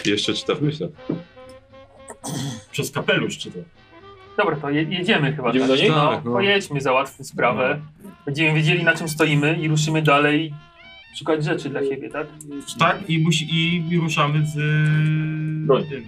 Speaker 1: Jeszcze tak czyta w myślach.
Speaker 5: Przez kapelusz czy to?
Speaker 7: Dobra, to je, jedziemy chyba.
Speaker 16: Idziemy
Speaker 7: tak.
Speaker 16: do niej?
Speaker 7: No,
Speaker 1: Tak, no.
Speaker 7: Pojedźmy, załatwmy sprawę. Będziemy wiedzieli na czym stoimy i ruszymy dalej szukać rzeczy dla siebie, tak?
Speaker 5: Tak, i, musi, i, i ruszamy z, e,
Speaker 16: Broń.
Speaker 5: tym,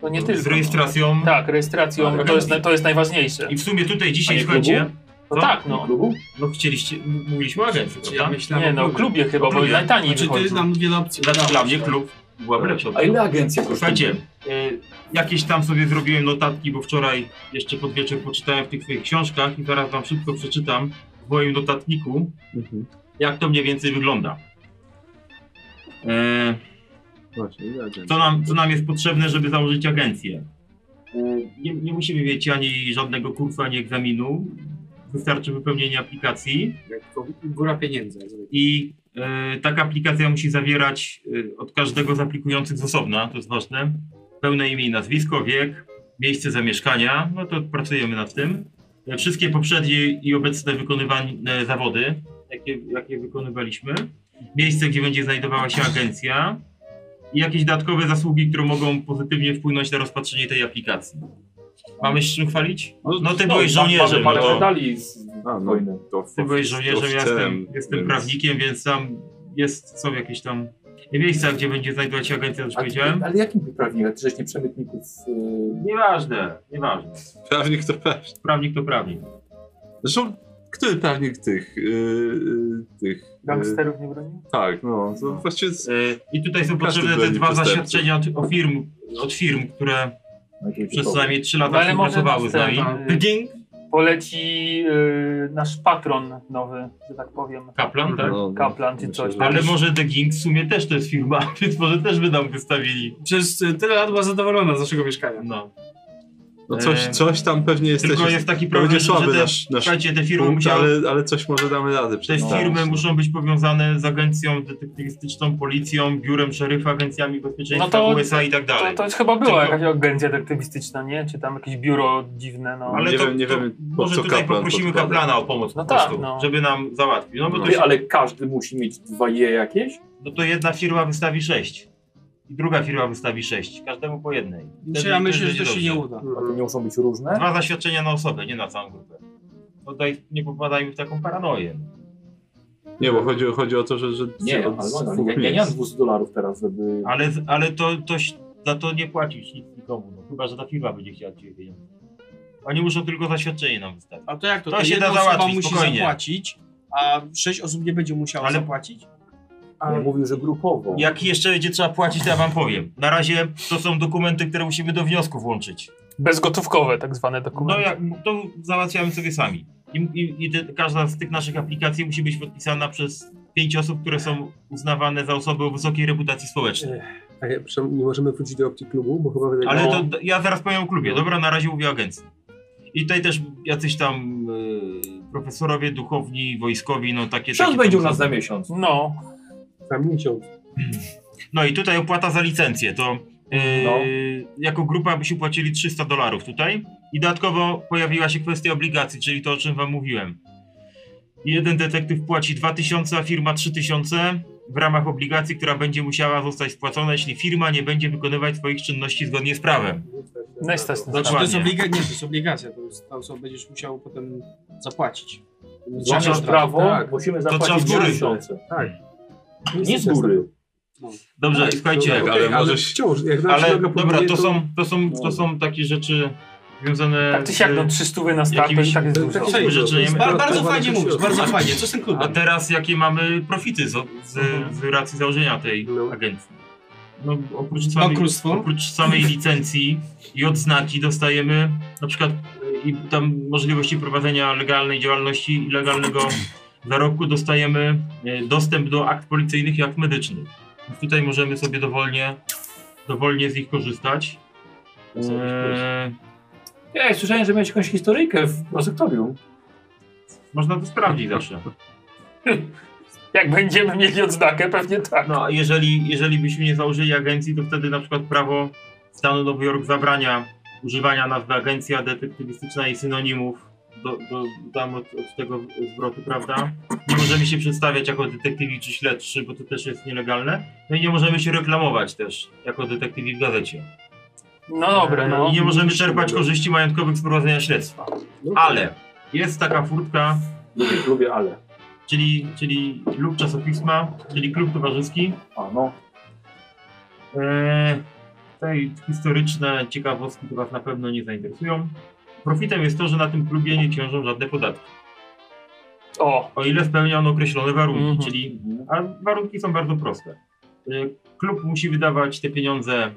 Speaker 7: To nie tylko.
Speaker 5: z rejestracją.
Speaker 7: No. Tak, rejestracją,
Speaker 5: Ale-
Speaker 7: to jest, na- to jest najważniejsze.
Speaker 5: I w sumie tutaj dzisiaj,
Speaker 16: A nie
Speaker 5: słuchajcie,
Speaker 16: klubu?
Speaker 7: No
Speaker 5: co?
Speaker 7: tak, no.
Speaker 16: Klubu?
Speaker 5: no chcieliście, m- mówiliśmy o agencji,
Speaker 4: Czy ja
Speaker 5: prawda?
Speaker 4: myślałem
Speaker 7: Nie
Speaker 4: o
Speaker 7: no, o
Speaker 4: klubie.
Speaker 7: klubie chyba, bo
Speaker 5: klubie.
Speaker 7: najtaniej
Speaker 4: Znaczy ty
Speaker 7: wychodzi.
Speaker 4: nam wiele opcji
Speaker 5: Dla,
Speaker 4: dałeś,
Speaker 5: dla mnie
Speaker 4: tak?
Speaker 5: klub była lepsza.
Speaker 16: A ile agencja kosztuje?
Speaker 5: Słuchajcie, y, jakieś tam sobie zrobiłem notatki, bo wczoraj jeszcze pod wieczór poczytałem w tych swoich książkach i zaraz wam szybko przeczytam w moim notatniku,
Speaker 1: Mhm.
Speaker 5: jak to mniej więcej wygląda. E,
Speaker 1: Właśnie, ja
Speaker 5: co, nam, co nam jest potrzebne, żeby założyć agencję? E, nie, nie musimy mieć ani żadnego kursu, ani egzaminu. Wystarczy wypełnienie aplikacji.
Speaker 4: Jak to Góra pieniędzy. jak zwykle.
Speaker 5: I e, taka aplikacja musi zawierać e, od każdego z aplikujących z osobna, to jest ważne, pełne imię i nazwisko, wiek, miejsce zamieszkania, no to pracujemy nad tym. E, wszystkie poprzednie i obecne wykonywane zawody, jakie, jakie wykonywaliśmy, miejsce, gdzie będzie znajdowała się agencja i jakieś dodatkowe zasługi, które mogą pozytywnie wpłynąć na rozpatrzenie tej aplikacji. Mamy się czym chwalić? No ty byłeś żołnierzem, no
Speaker 16: Parę
Speaker 5: to...
Speaker 16: medali z
Speaker 1: A, no,
Speaker 16: wojny.
Speaker 1: to,
Speaker 5: Ty byłeś żołnierzem, ja
Speaker 1: chciałem,
Speaker 5: jestem, jestem
Speaker 1: więc-
Speaker 5: prawnikiem, więc tam jest, są jakieś tam Miejsca, gdzie będzie znajdować się agencja, już
Speaker 16: A ty-
Speaker 5: powiedziałem.
Speaker 16: Ale jakim ty prawnikiem? Ty żeś nie przemytników... Yy...
Speaker 5: Nieważne, nieważne.
Speaker 1: Prawnik to prawnik.
Speaker 5: Prawnik to prawnik.
Speaker 1: Zresztą, który prawnik tych... Yy, yy, tych yy,
Speaker 7: Gangsterów nie broni?
Speaker 1: Tak, no. To właściwie...
Speaker 5: Yy, I tutaj są
Speaker 1: Każdy
Speaker 5: potrzebne te
Speaker 1: broni
Speaker 5: dwa
Speaker 1: przestępców.
Speaker 5: zaświadczenia od, o firm, od firm, które przez co najmniej 3
Speaker 7: No,
Speaker 5: lata
Speaker 7: ale może
Speaker 5: współpracowały z
Speaker 7: nas
Speaker 5: nami.
Speaker 7: ten, y,
Speaker 5: Pyging,
Speaker 7: Poleci y, nasz patron nowy, że tak powiem.
Speaker 5: Kaplan,
Speaker 1: No,
Speaker 5: tak?
Speaker 7: Kaplan czy coś. tak?
Speaker 5: Ale może The Ging w sumie też to jest firma, więc może też by nam wystawili.
Speaker 4: Przez y, tyle lat była zadowolona z naszego mieszkania.
Speaker 5: No.
Speaker 1: No coś,
Speaker 5: Eee,
Speaker 1: coś tam pewnie jesteś.
Speaker 5: tylko jest taki
Speaker 1: to
Speaker 5: problem,
Speaker 1: będzie
Speaker 5: że
Speaker 1: słaby
Speaker 5: te-
Speaker 1: nasz, nasz
Speaker 5: słuchajcie, te firmy
Speaker 1: punkt,
Speaker 5: musiały-
Speaker 1: ale, ale coś może damy radę
Speaker 5: Te
Speaker 1: przeczytać.
Speaker 5: firmy muszą być powiązane z agencją detektywistyczną, policją, biurem szeryfa, agencjami bezpieczeństwa USA i tak dalej.
Speaker 7: No To, to jest chyba była
Speaker 5: Tylko-
Speaker 7: jakaś agencja detektywistyczna, nie? Czy tam jakieś biuro dziwne, no.
Speaker 5: Ale to, to może tutaj poprosimy kaplana o pomoc
Speaker 7: No
Speaker 5: po prostu,
Speaker 7: tak, no.
Speaker 5: żeby nam załatwił. No, bo to
Speaker 16: Ty,
Speaker 5: się,
Speaker 16: ale każdy musi mieć dwa je jakieś?
Speaker 5: no to jedna firma wystawi sześć. I druga firma wystawi sześć. Każdemu po jednej.
Speaker 4: Znaczy,
Speaker 5: Wtedy
Speaker 4: ja
Speaker 5: też
Speaker 4: myślę, że
Speaker 5: będzie
Speaker 4: to się nie
Speaker 5: dobrze.
Speaker 4: uda.
Speaker 6: No.
Speaker 16: A to nie muszą być różne?
Speaker 5: Dwa zaświadczenia na osobę, nie na całą grupę. Tutaj nie popadajmy w taką paranoję.
Speaker 1: Nie, bo chodzi, chodzi o to, że. że
Speaker 16: Nie,
Speaker 1: od
Speaker 16: ale no,
Speaker 1: dwóch
Speaker 16: ja, ja nie mam
Speaker 1: miejsc.
Speaker 16: 200 dolarów teraz, żeby...
Speaker 5: Ale, ale to, to ś- za to nie płacisz nic nikomu, no, chyba że ta firma będzie chciała od ciebie pieniądze. Oni muszą tylko zaświadczenie nam wystawić.
Speaker 4: A to jak to?
Speaker 5: To
Speaker 4: to
Speaker 5: się
Speaker 4: jedna
Speaker 5: da
Speaker 4: osoba
Speaker 5: załatwić,
Speaker 4: musi
Speaker 5: spokojnie.
Speaker 4: zapłacić, a sześć osób nie będzie musiało
Speaker 5: Ale-
Speaker 4: zapłacić?
Speaker 16: Ale mówił, że grupowo.
Speaker 5: Jak jeszcze będzie trzeba płacić, to ja wam powiem. Na razie to są dokumenty, które musimy do wniosku włączyć.
Speaker 7: Bezgotówkowe tak zwane
Speaker 5: No
Speaker 7: dokumenty.
Speaker 5: jak, to załatwiamy sobie sami. I, i, i te, każda z tych naszych aplikacji musi być podpisana przez pięć osób, które są uznawane za osoby o wysokiej reputacji społecznej.
Speaker 6: A ja, przepraszam, Tak, nie możemy wrócić do opcji klubu, bo chyba wydaje No,
Speaker 5: Ale to, to ja zaraz powiem o klubie. Dobra, na razie mówię o agencji. I tutaj też jacyś tam y, profesorowie, duchowni, wojskowi, no takie...
Speaker 16: Ksiądz
Speaker 5: takie
Speaker 16: będzie
Speaker 5: tam
Speaker 16: u nas
Speaker 5: osoby.
Speaker 16: za miesiąc.
Speaker 7: No.
Speaker 6: Za miesiąc.
Speaker 5: No i tutaj opłata za licencję, to yy, jako grupa byśmy płacili 300 dolarów tutaj i dodatkowo pojawiła się kwestia obligacji, czyli to o czym wam mówiłem. Jeden detektyw płaci 2000, a firma 3000 w ramach obligacji, która będzie musiała zostać spłacona, jeśli firma nie będzie wykonywać swoich czynności zgodnie z prawem.
Speaker 7: No i stać na
Speaker 5: Dokładnie.
Speaker 4: Znaczy, to jest obliga... Nie, to jest obligacja, to jest to, co będziesz musiał potem zapłacić.
Speaker 16: Złamiesz
Speaker 4: Trzeba-
Speaker 16: prawo,
Speaker 4: tak.
Speaker 16: musimy
Speaker 4: To
Speaker 16: zapłacić
Speaker 4: trzeba z góry.
Speaker 16: miesiące.
Speaker 6: Tak.
Speaker 16: Nie z góry.
Speaker 5: Dobrze,
Speaker 6: Tak,
Speaker 5: słuchajcie,
Speaker 6: tak,
Speaker 5: okej,
Speaker 6: ale
Speaker 5: ale-
Speaker 6: możesz- wciąż, jak nam się
Speaker 5: ale
Speaker 6: noga
Speaker 5: dobra,
Speaker 6: podnieje,
Speaker 5: to
Speaker 6: to-
Speaker 5: są, to, są, to są takie rzeczy związane
Speaker 7: Tak czy siak, no 300 stówy na start, to i tak jest dużo.
Speaker 5: Jakimiś rzeczy, nie?
Speaker 4: Bar- bardzo fajnie mówisz, bardzo fajnie. Co z tym
Speaker 7: no,
Speaker 4: klubem?
Speaker 5: A teraz jakie mamy profity z, z, z racji założenia tej agencji? No, oprócz, samej,
Speaker 4: Bankructwo?
Speaker 5: oprócz samej licencji i odznaki dostajemy na przykład y, i tam możliwości prowadzenia legalnej działalności i legalnego zarobku dostajemy y, dostęp do akt policyjnych i akt medycznych. Więc tutaj możemy sobie dowolnie, dowolnie z nich korzystać.
Speaker 7: Mm.
Speaker 5: Eee,
Speaker 16: Ja słyszałem, że miałeś jakąś historyjkę w prosektorium.
Speaker 5: można to sprawdzić zawsze.
Speaker 7: Jak będziemy mieli odznakę, pewnie tak.
Speaker 5: No, a jeżeli, jeżeli byśmy nie założyli agencji, to wtedy na przykład prawo stanu Nowy Jork zabrania używania nazwy agencja detektywistyczna i synonimów do, do, tam od, od tego zwrotu, prawda? Nie możemy się przedstawiać jako detektywi czy śledczy, bo to też jest nielegalne. No i nie możemy się reklamować też jako detektywi w gazecie.
Speaker 7: No dobra, no.
Speaker 5: E, I nie możemy czerpać korzyści majątkowych z prowadzenia śledztwa. Ale jest taka furtka.
Speaker 16: Lubię, lubię ale.
Speaker 5: Czyli, czyli lub czasopisma, czyli klub towarzyski.
Speaker 16: A no.
Speaker 5: Eee, tutaj historyczne ciekawostki to Was na pewno nie zainteresują. Profitem jest to, że na tym klubie nie ciążą żadne podatki.
Speaker 7: O,
Speaker 5: O ile spełnia on określone warunki,
Speaker 7: Mhm.
Speaker 5: czyli. A warunki są bardzo proste. Eee, klub musi wydawać te pieniądze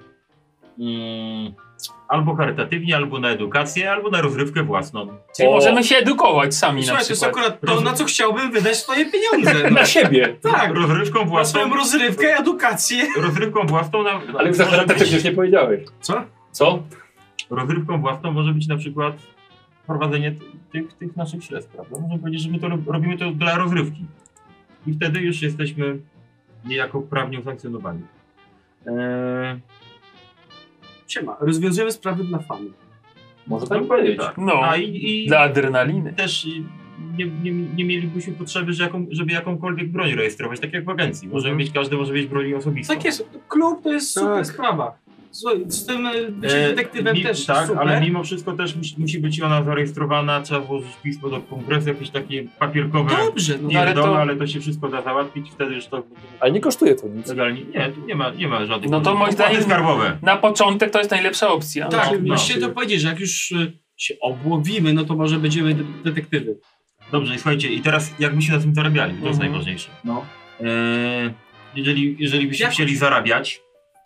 Speaker 5: mm, albo charytatywnie, albo na edukację, albo na rozrywkę własną.
Speaker 7: Czyli
Speaker 5: O,
Speaker 7: możemy się edukować sami na
Speaker 4: Słuchaj, to jest
Speaker 7: przykład.
Speaker 4: akurat to, na co chciałbym wydać swoje pieniądze. No.
Speaker 16: Na siebie.
Speaker 4: Tak,
Speaker 5: Rozrywką
Speaker 4: na
Speaker 5: własną.
Speaker 4: swoją rozrywkę, edukację.
Speaker 5: Rozrywką własną na.
Speaker 16: Ale już na
Speaker 5: może
Speaker 16: tak
Speaker 5: być-
Speaker 16: już nie powiedziałeś.
Speaker 4: Co?
Speaker 16: Co?
Speaker 5: rozrywką własną może być na przykład prowadzenie ty- tych, tych naszych śledztw, prawda? Możemy powiedzieć, że my to rob- robimy to dla rozrywki. I wtedy już jesteśmy niejako prawnie usankcjonowani. Eee,
Speaker 4: Siema, rozwiązujemy sprawy dla fanów.
Speaker 16: Może
Speaker 5: tak być.
Speaker 7: No,
Speaker 5: A i, i
Speaker 7: dla adrenaliny.
Speaker 5: też i nie, nie, nie mielibyśmy potrzeby, że jaką, żeby jakąkolwiek broń rejestrować, tak jak w agencji. Możemy mieć, każdy może mieć broń osobistą.
Speaker 4: Tak jest, klub to jest super sprawa. Słuchaj, z tym e, bycie detektywem
Speaker 5: Eee, mi-
Speaker 4: też
Speaker 5: Tak,
Speaker 4: super.
Speaker 5: ale mimo wszystko też musi, musi być ona zarejestrowana, trzeba włożyć pismo do kongresu, jakieś takie papierkowe.
Speaker 4: Dobrze, no
Speaker 5: ale,
Speaker 4: ale
Speaker 5: to...
Speaker 4: to-
Speaker 5: ale to się wszystko da załatwić, wtedy już to będzie
Speaker 2: Ale nie kosztuje to nic.
Speaker 5: legalnie. Nie, tu nie ma, nie ma żadnych.
Speaker 7: No to moim
Speaker 5: Opłaty
Speaker 7: zdaniem
Speaker 5: skarbowe.
Speaker 7: na początek to jest najlepsza opcja. No.
Speaker 4: Tak, właśnie to powiedzieć, że jak już e, się obłowimy, no to może będziemy de- detektywy.
Speaker 5: Dobrze, i słuchajcie, i teraz jak byśmy na tym zarabiali, to jest
Speaker 7: Mhm.
Speaker 5: najważniejsze.
Speaker 2: No.
Speaker 5: Eee, jeżeli, jeżeli byśmy chcieli zarabiać,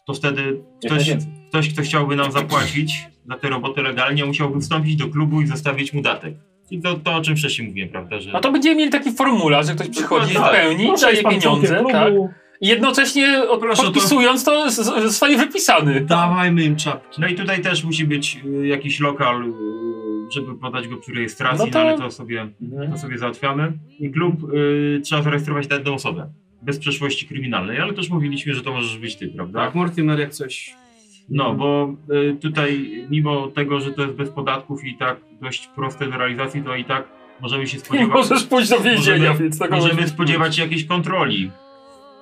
Speaker 5: to wtedy ktoś,
Speaker 2: najwięcej.
Speaker 5: ktoś, kto chciałby nam zapłacić za tę robotę legalnie, musiałby wstąpić do klubu i zostawić mu datek. I to, to o czym wcześniej mówiłem, prawda? Że...
Speaker 7: No to będziemy mieli taki formularz, że ktoś przychodzi,
Speaker 5: Dokładnie tak.
Speaker 7: pełni,
Speaker 5: Proszę,
Speaker 7: daje
Speaker 5: jest pan
Speaker 7: pieniądze,
Speaker 5: członkiem
Speaker 7: tak.
Speaker 5: klubu.
Speaker 7: I jednocześnie od, podpisując to, z- z- zostaje wypisany.
Speaker 4: Dawajmy im czapki.
Speaker 5: No i tutaj też musi być y, jakiś lokal, y, żeby podać go przy rejestracji,
Speaker 7: No
Speaker 5: no
Speaker 7: to-
Speaker 5: ale to sobie, to sobie załatwiamy. I klub y, trzeba zarejestrować na jedną osobę, bez przeszłości kryminalnej, ale też mówiliśmy, że to możesz być ty, prawda?
Speaker 4: Tak, Mortimer jak coś.
Speaker 5: No, bo y, tutaj mimo tego, że to jest bez podatków i tak dość proste do realizacji, to i tak możemy się spodziewać...
Speaker 7: możesz pójść do więzienia,
Speaker 5: możemy,
Speaker 7: więc tego
Speaker 5: Możemy
Speaker 7: możesz-
Speaker 5: spodziewać się jakiejś kontroli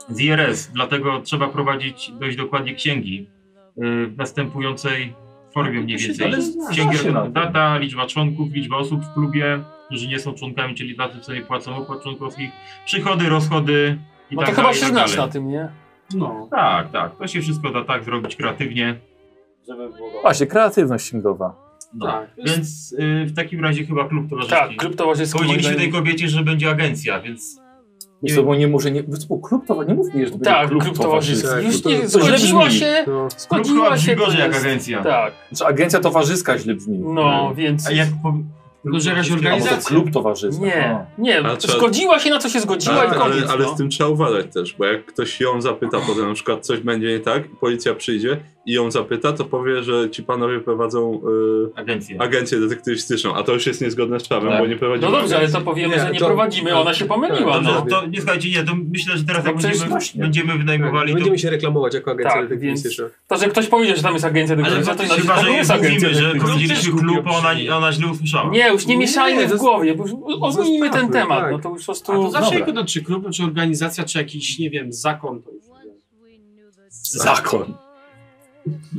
Speaker 5: z IRS, dlatego trzeba prowadzić dość dokładnie księgi y, w następującej
Speaker 7: No
Speaker 5: formie mniej
Speaker 2: się
Speaker 5: więcej.
Speaker 2: da, zna
Speaker 5: Księgi
Speaker 2: się na tym.
Speaker 5: data, liczba członków, liczba osób w klubie, którzy nie są członkami, czyli tacy, co nie płacą opłat członkowskich, przychody, rozchody i
Speaker 7: No
Speaker 5: tak
Speaker 7: to chyba
Speaker 5: dalej, i tak
Speaker 7: się znasz
Speaker 5: dalej.
Speaker 7: na tym, nie?
Speaker 4: No.
Speaker 5: Tak, tak. To się wszystko da tak zrobić kreatywnie.
Speaker 21: Żeby było
Speaker 2: Właśnie, kreatywność księgowa.
Speaker 5: No.
Speaker 7: Tak,
Speaker 5: Więc y, w takim razie chyba klub towarzyski.
Speaker 2: Tak, klub towarzyski
Speaker 5: Powiedzieliśmy
Speaker 2: moim
Speaker 5: tej
Speaker 2: zdaniem-
Speaker 5: kobiecie, że będzie agencja, więc
Speaker 2: Nie, bo nie może, nie, bo klub towarzyski, nie mów mi, że to będzie
Speaker 5: Tak,
Speaker 2: klub,
Speaker 5: klub
Speaker 2: towarzyski.
Speaker 5: towarzyski.
Speaker 7: Tak,
Speaker 5: Już
Speaker 2: Tak, To-
Speaker 5: nie-
Speaker 2: to źle
Speaker 7: Zgodziła
Speaker 2: brzmi.
Speaker 7: się,
Speaker 5: Klub
Speaker 7: zgodziła
Speaker 5: chyba
Speaker 7: się.
Speaker 5: brzmi
Speaker 7: to
Speaker 5: gorzej jak
Speaker 7: jest-
Speaker 5: agencja.
Speaker 7: Tak.
Speaker 2: Znaczy, agencja towarzyska źle brzmi.
Speaker 7: No, więc-
Speaker 5: A jak po...
Speaker 4: Tylko, że jakaś
Speaker 2: Albo to klub towarzyski. No.
Speaker 7: Nie, nie,
Speaker 1: A trzeba-
Speaker 7: zgodziła się na co się zgodziła i
Speaker 1: Tak,
Speaker 7: koniec.
Speaker 1: ale, ale
Speaker 7: no.
Speaker 1: z tym trzeba uważać też, bo jak ktoś ją zapyta potem, na przykład coś będzie nie tak, i policja przyjdzie i ją zapyta, to powie, że ci panowie prowadzą y,
Speaker 5: agencję.
Speaker 1: detektywistyczną, a to już jest niezgodne z prawem,
Speaker 5: Tak.
Speaker 1: bo nie prowadzimy
Speaker 7: No dobrze, ale
Speaker 1: agencji.
Speaker 7: to powiemy, że nie prowadzimy, ona się pomyliła.
Speaker 5: Dobrze,
Speaker 7: No.
Speaker 5: tak, to nie słuchajcie, nie, to myślę, że teraz
Speaker 7: No
Speaker 5: jak
Speaker 7: przecież
Speaker 5: będziemy,
Speaker 7: właśnie.
Speaker 5: będziemy wynajmowali... to-
Speaker 6: Będziemy się reklamować jako agencja
Speaker 7: Tak,
Speaker 6: detektywistyczna.
Speaker 7: To, że ktoś powiedział, że tam jest agencja
Speaker 5: Ale
Speaker 7: dekoracyjna, to inaczej,
Speaker 5: chyba,
Speaker 7: Znaczy, to
Speaker 5: że
Speaker 7: nie
Speaker 5: jej
Speaker 7: jest agencja
Speaker 5: mówimy, że
Speaker 7: dekoracyjna.
Speaker 5: prowadziliśmy klub, a ona, ona źle usłyszała.
Speaker 7: Nie, już nie mieszajmy w
Speaker 4: zas-
Speaker 7: głowie, bo już odmienimy ten
Speaker 4: zostawmy,
Speaker 7: temat,
Speaker 4: tak.
Speaker 7: no to już po
Speaker 4: A to
Speaker 7: prostu...
Speaker 4: zawsze
Speaker 7: Dobra.
Speaker 4: jak no, czy klub, czy organizacja, czy jakiś, nie wiem, zakon. To już.
Speaker 2: Zakon.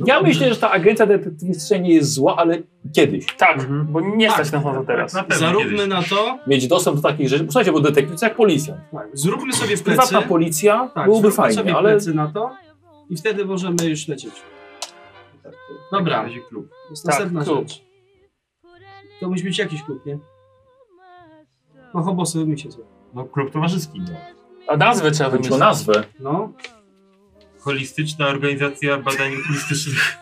Speaker 2: Ja myślę, że ta agencja detektywistyczna nie jest zła, ale kiedyś.
Speaker 7: Tak, bo nie stać nam na to teraz.
Speaker 5: Tak,
Speaker 4: Zaróbmy na to, tak,
Speaker 2: Mieć dostęp do takich rzeczy. Słuchajcie, bo detektyw to jak policja.
Speaker 4: zróbmy sobie w plecy.
Speaker 2: Prywatna policja
Speaker 4: Tak,
Speaker 2: byłoby
Speaker 4: zróbmy
Speaker 2: fajnie,
Speaker 4: sobie
Speaker 2: ale
Speaker 4: plecy na to i wtedy możemy już lecieć. Dobra.
Speaker 5: W takim razie klub.
Speaker 4: To jest
Speaker 5: Tak,
Speaker 4: następna
Speaker 5: klub.
Speaker 4: rzecz. To musi być jakiś klub, nie? No hobosy mi się zło.
Speaker 5: No, klub towarzyski. No.
Speaker 7: A nazwę trzeba
Speaker 2: Chodzi o nazwę.
Speaker 4: No.
Speaker 5: Holistyczna organizacja badań okulistycznych.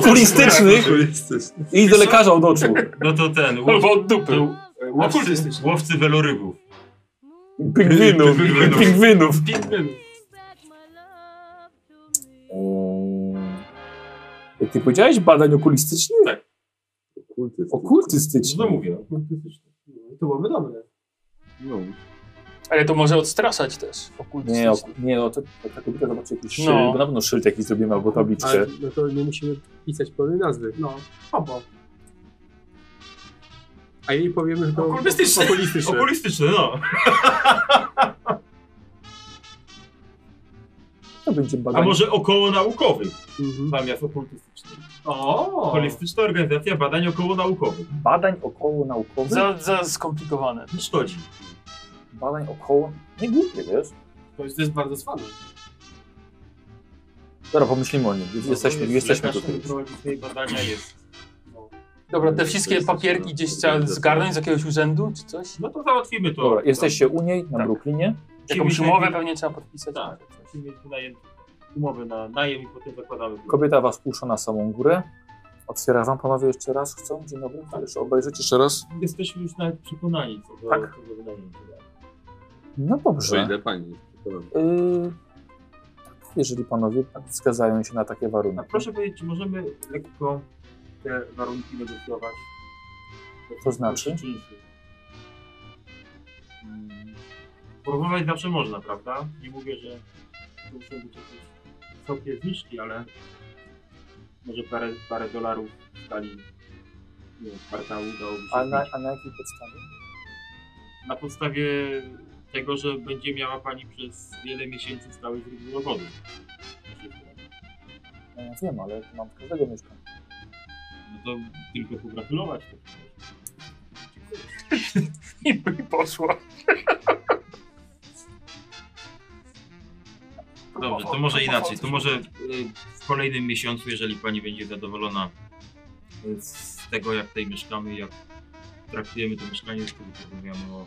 Speaker 2: Okulistycznych? Okulistycznych? I do lekarza od oczu.
Speaker 5: No to ten. łow-
Speaker 2: Albo od dupy.
Speaker 5: to, e, Łowcy,
Speaker 2: Okultystyczny.
Speaker 5: łowcy welorybów.
Speaker 2: Pingwinów.
Speaker 5: Pingwinów.
Speaker 2: Pingwinów.
Speaker 4: Pingwinów.
Speaker 2: Eee, Ty powiedziałeś badań okulistycznych?
Speaker 5: Tak.
Speaker 2: Okultystycznych.
Speaker 5: No mówię.
Speaker 4: To byłoby dobre.
Speaker 1: No.
Speaker 7: Ale to może odstraszać też okultystyczne.
Speaker 2: Nie, ok- nie no, to, to ta kobieta zobaczy jakiś
Speaker 7: No.
Speaker 2: szyld, bo na pewno szyld jakiś zrobimy albo tabliczkę.
Speaker 6: Ale no to nie musimy pisać pełnej nazwy.
Speaker 4: No, obo.
Speaker 6: A jej powiemy, że to
Speaker 5: Okultystyczne.
Speaker 6: okulistyczne.
Speaker 5: Okulistyczne, no.
Speaker 2: To będzie badanie.
Speaker 5: A może około naukowych
Speaker 6: Mhm.
Speaker 5: zamiast okultystycznych.
Speaker 4: O!
Speaker 5: Holistyczna organizacja badań około naukowych.
Speaker 2: Badań około naukowych?
Speaker 7: Za, za skomplikowane.
Speaker 5: Nie No szkodzi.
Speaker 2: Badań około... Nie głupie, wiesz?
Speaker 4: To jest, to jest bardzo cwane.
Speaker 2: Dobra, pomyślimy o nim. Jesteśmy,
Speaker 5: No jest
Speaker 2: jesteśmy
Speaker 5: lekarz,
Speaker 2: tutaj.
Speaker 5: który prowadzi swoje badania jest.
Speaker 7: Dobra, te wszystkie papierki gdzieś trzeba zgarnąć z jakiegoś urzędu czy coś?
Speaker 5: No to załatwimy to.
Speaker 2: Dobra, jesteście u niej na Brooklynie.
Speaker 7: Jakąś umowę pewnie trzeba podpisać.
Speaker 5: Tak, musimy mieć wynajem, umowę na najem i potem zakładamy.
Speaker 2: Kobieta was puszcza na samą górę. Otwiera wam panowie jeszcze raz. Chcą? Dzień dobry. Jeszcze obejrzeć jeszcze raz.
Speaker 5: Jesteśmy już nawet przekonani co do
Speaker 2: Tak.
Speaker 5: tak. tego wynajmu.
Speaker 2: No
Speaker 1: O
Speaker 2: dobrze.
Speaker 1: ile pani jest przekonana.
Speaker 2: Yy, tak, jeżeli panowie zgadzają się na takie warunki.
Speaker 5: A No proszę powiedzieć, czy możemy lekko te warunki negocjować?
Speaker 2: To znaczy?
Speaker 5: Czynszu. Mm, Porównywać zawsze można, prawda? Nie mówię, że to muszą być jakieś wysokie zniżki, ale może parę, parę dolarów w skali nie wiem, kwartału dałoby się
Speaker 2: A na,
Speaker 5: zniżyć.
Speaker 2: a na jakiej podstawie?
Speaker 5: na podstawie tego, że będzie miała Pani przez wiele miesięcy stałe źródło dochodu.
Speaker 2: No ja wiem, ale mam każdego mieszkania.
Speaker 5: No to tylko pogratulować.
Speaker 7: I poszła.
Speaker 5: Dobrze, to może inaczej. To może y, w kolejnym miesiącu, jeżeli pani będzie zadowolona y, z tego, jak tutaj mieszkamy, jak traktujemy to mieszkanie, to porozmawiamy o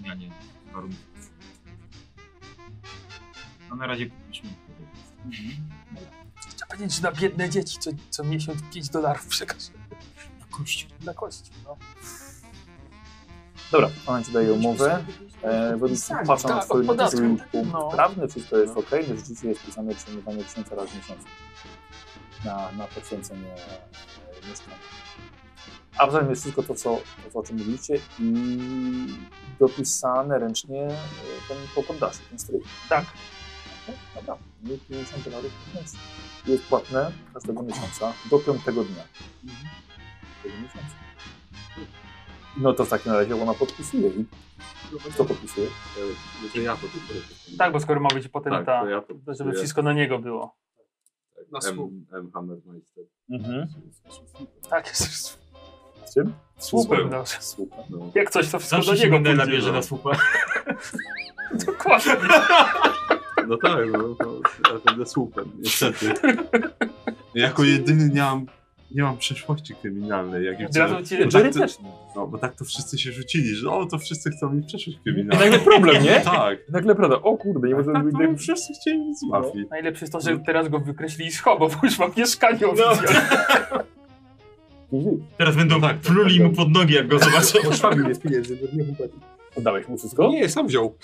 Speaker 5: zmianie warunków. A na razie kupiliśmy.
Speaker 7: Trzeba powiedzieć, że na biedne dzieci co, co miesiąc 5 dolarów przekazuje. Na kościół. Na kościół, no.
Speaker 2: Dobra, ona ci daje umowę. E, według
Speaker 7: Tak,
Speaker 2: patrzę na
Speaker 7: tak,
Speaker 2: twój
Speaker 7: od podatku.
Speaker 2: swój punkt
Speaker 7: No.
Speaker 2: prawny, wszystko jest ok, no rzeczywiście jest pisane przyjmowanie księcia raz w miesiącu na, na poświęcenie e, mieszkania. A w zamian jest wszystko to co, to, co o czym mówiliście i dopisane ręcznie e, ten po poddaszy, ten stryk.
Speaker 7: Tak.
Speaker 2: Dobra, Nie 50 dolarów miesięcznie. Jest płatne każdego miesiąca do 5 dnia. Tego miesiąca. No to w takim razie ona podpisuje i kto podpisuje?
Speaker 1: To ja podpisuję.
Speaker 7: Tak, bo skoro ma być potem
Speaker 1: Tak,
Speaker 7: ta,
Speaker 1: to ja
Speaker 7: to żeby
Speaker 1: podpisuję.
Speaker 7: wszystko na niego było.
Speaker 1: Na M, M Hammermeister.
Speaker 2: Mhm.
Speaker 7: Tak, jest.
Speaker 2: Z czym?
Speaker 7: Słupem, no.
Speaker 2: Słupem.
Speaker 7: Jak coś, to wszystko
Speaker 5: Zawsze
Speaker 7: do
Speaker 5: się
Speaker 7: niego
Speaker 5: Mandela
Speaker 7: pójdzie,
Speaker 5: bierze
Speaker 7: no.
Speaker 5: na słupa.
Speaker 7: Dokładnie.
Speaker 1: No tak, no, to ja będę słupem, niestety. Jako
Speaker 7: Znaczy-
Speaker 1: jedyny nie mam, nie mam przeszłości kryminalnej. Jak
Speaker 7: Od
Speaker 1: widzę-
Speaker 7: razu cię-
Speaker 1: bo tak
Speaker 7: Jerry
Speaker 1: to-
Speaker 7: też
Speaker 1: No, bo tak to wszyscy się rzucili, że o, to wszyscy chcą mieć przeszłość
Speaker 2: I
Speaker 1: kryminalną.
Speaker 2: nagle problem, nie?
Speaker 1: Tak.
Speaker 2: I nagle prawda, o kurde, nie możemy być tak,
Speaker 1: wszyscy chcieli nic z mafii.
Speaker 7: Najlepsze jest to, że teraz go wykreślili z hobo, bo już ma mieszkanie oficjalne.
Speaker 5: Teraz będą tak, pluli mu pod nogi, jak go zobaczą.
Speaker 6: Poszwabił jest pieniędzy, bo nie chłopaki.
Speaker 2: Oddałeś mu wszystko?
Speaker 6: Nie, sam wziął.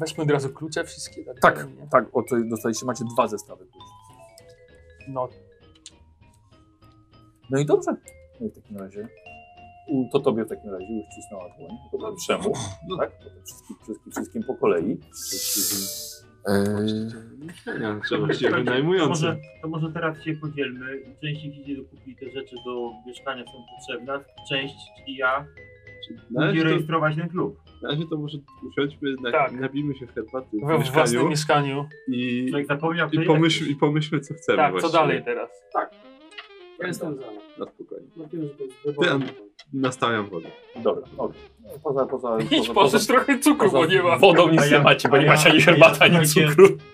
Speaker 7: Weźmy od razu klucze wszystkie.
Speaker 2: Tak, tak, o to dostaliście, macie dwa zestawy kluczy.
Speaker 7: No,
Speaker 2: No i dobrze. No i w takim razie. u- To tobie w takim razie uścisnęła dłoń. To lepszemu. Tak? Potem wszystkim, wszystkim, wszystkim po kolei.
Speaker 1: Myślenia, trzeba się wynajmujący.
Speaker 5: To może, to może teraz się podzielmy. Część ich idzie dokupić te rzeczy do mieszkania są potrzebne. Część, czyli ja,
Speaker 1: Należy
Speaker 5: będzie
Speaker 1: to-
Speaker 5: rejestrować ten klub.
Speaker 1: Na razie to może usiądźmy, na,
Speaker 5: Tak.
Speaker 1: nabijmy się herbaty w,
Speaker 7: we
Speaker 1: mieszkaniu
Speaker 7: własnym mieszkaniu. No
Speaker 1: i,
Speaker 5: Człowiek zapomniał,
Speaker 1: i,
Speaker 5: to
Speaker 1: pomyśl, i pomyślmy, co chcemy
Speaker 7: Tak, co
Speaker 1: właściwie.
Speaker 7: dalej teraz?
Speaker 4: Tak. Ja jestem za.
Speaker 1: Na spokojnie.
Speaker 4: No wiem, że to jest
Speaker 1: Ja
Speaker 4: wyborne.
Speaker 1: nastawiam wodę.
Speaker 2: Dobra, okej. No, Poza, poza,
Speaker 7: Idź pożyć trochę cukru, bo nie ma.
Speaker 5: A ja- a ja- a ja- słuchajcie,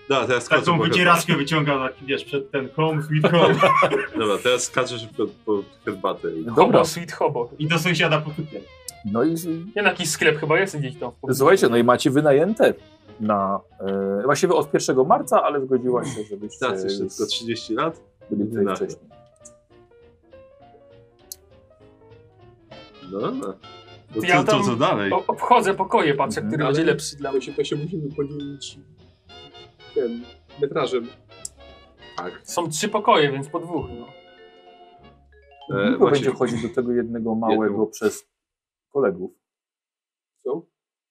Speaker 1: Da, teraz
Speaker 7: Tak,
Speaker 1: skoczę
Speaker 5: Taką
Speaker 1: po
Speaker 5: wycieraczkę wyciągam, tak, wiesz, przed ten home, sweet home.
Speaker 1: herbatę. Dobra, teraz skaczę szybko po herbatę. i-
Speaker 7: Hobo, sweet hobo.
Speaker 5: I do sąsiada po kupie.
Speaker 2: No i
Speaker 7: Nie, na jakiś sklep chyba jest gdzieś tam. w pobliżu.
Speaker 2: słuchajcie, no i macie wynajęte na. E, właściwie od 1 marca, ale zgodziła się, żebyście.
Speaker 1: Teraz jeszcze tylko 30 lat.
Speaker 2: Byli tutaj
Speaker 1: Nasze.
Speaker 2: wcześniej.
Speaker 1: No, no. To,
Speaker 7: Ja
Speaker 1: co, to
Speaker 7: tam
Speaker 1: co dalej?
Speaker 7: o- Obchodzę pokoje, patrzę, który
Speaker 6: Ale
Speaker 7: będzie lepszy dla
Speaker 6: To się, to się musimy podzielić ten metrażem.
Speaker 7: Są trzy pokoje, więc po dwóch. No.
Speaker 1: E,
Speaker 2: Długo
Speaker 1: właśnie-
Speaker 2: będzie chodzić do tego jednego małego przez kolegów.
Speaker 6: Co?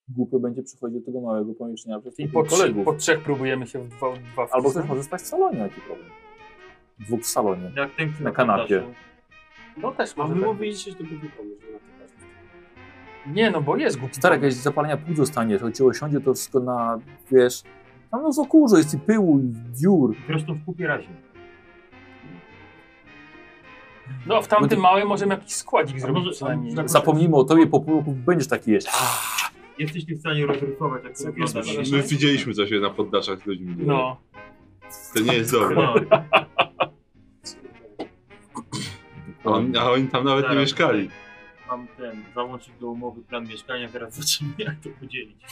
Speaker 2: Głupio będzie przychodzić do tego małego pomieszczenia przez
Speaker 7: I
Speaker 2: tych
Speaker 7: po, trzy,
Speaker 2: kolegów.
Speaker 7: po trzech próbujemy się w dwa, w dwa
Speaker 2: Albo
Speaker 7: wcisnąć.
Speaker 2: ktoś może spać w salonie, jaki problem. Dwóch w salonie.
Speaker 5: Jak ten
Speaker 2: Na kanapie.
Speaker 7: No też
Speaker 4: A
Speaker 7: może
Speaker 4: wy
Speaker 7: tak.
Speaker 4: mówiliście, że to był pomysł na to właśnie.
Speaker 7: Nie, no bo jest głupi.
Speaker 2: Stara, jakieś zapalenia płuc dostanie, to cię osiądzie to wszystko na, wiesz, tam no za kurze, jest i pyłu, i dziur.
Speaker 5: Zresztą w kupie razie.
Speaker 7: No w tamtym małym możemy jakiś składzik zrobić
Speaker 5: może-
Speaker 7: przynajmniej.
Speaker 5: a-
Speaker 2: Zapomnijmy o tobie, po pół roku będziesz taki jeszcze.
Speaker 5: Jesteś ty w stanie rozrysować, jak to
Speaker 1: Jest,
Speaker 5: wygląda.
Speaker 1: my widzieliśmy, co się na poddaszach z ludźmi dzieje.
Speaker 7: No.
Speaker 1: To nie jest dobre.
Speaker 5: No.
Speaker 1: On, a oni tam nawet nie
Speaker 5: Zaraz.
Speaker 1: mieszkali.
Speaker 5: Mam ten załącznik do umowy, plan mieszkania, teraz zobaczymy jak to podzielić.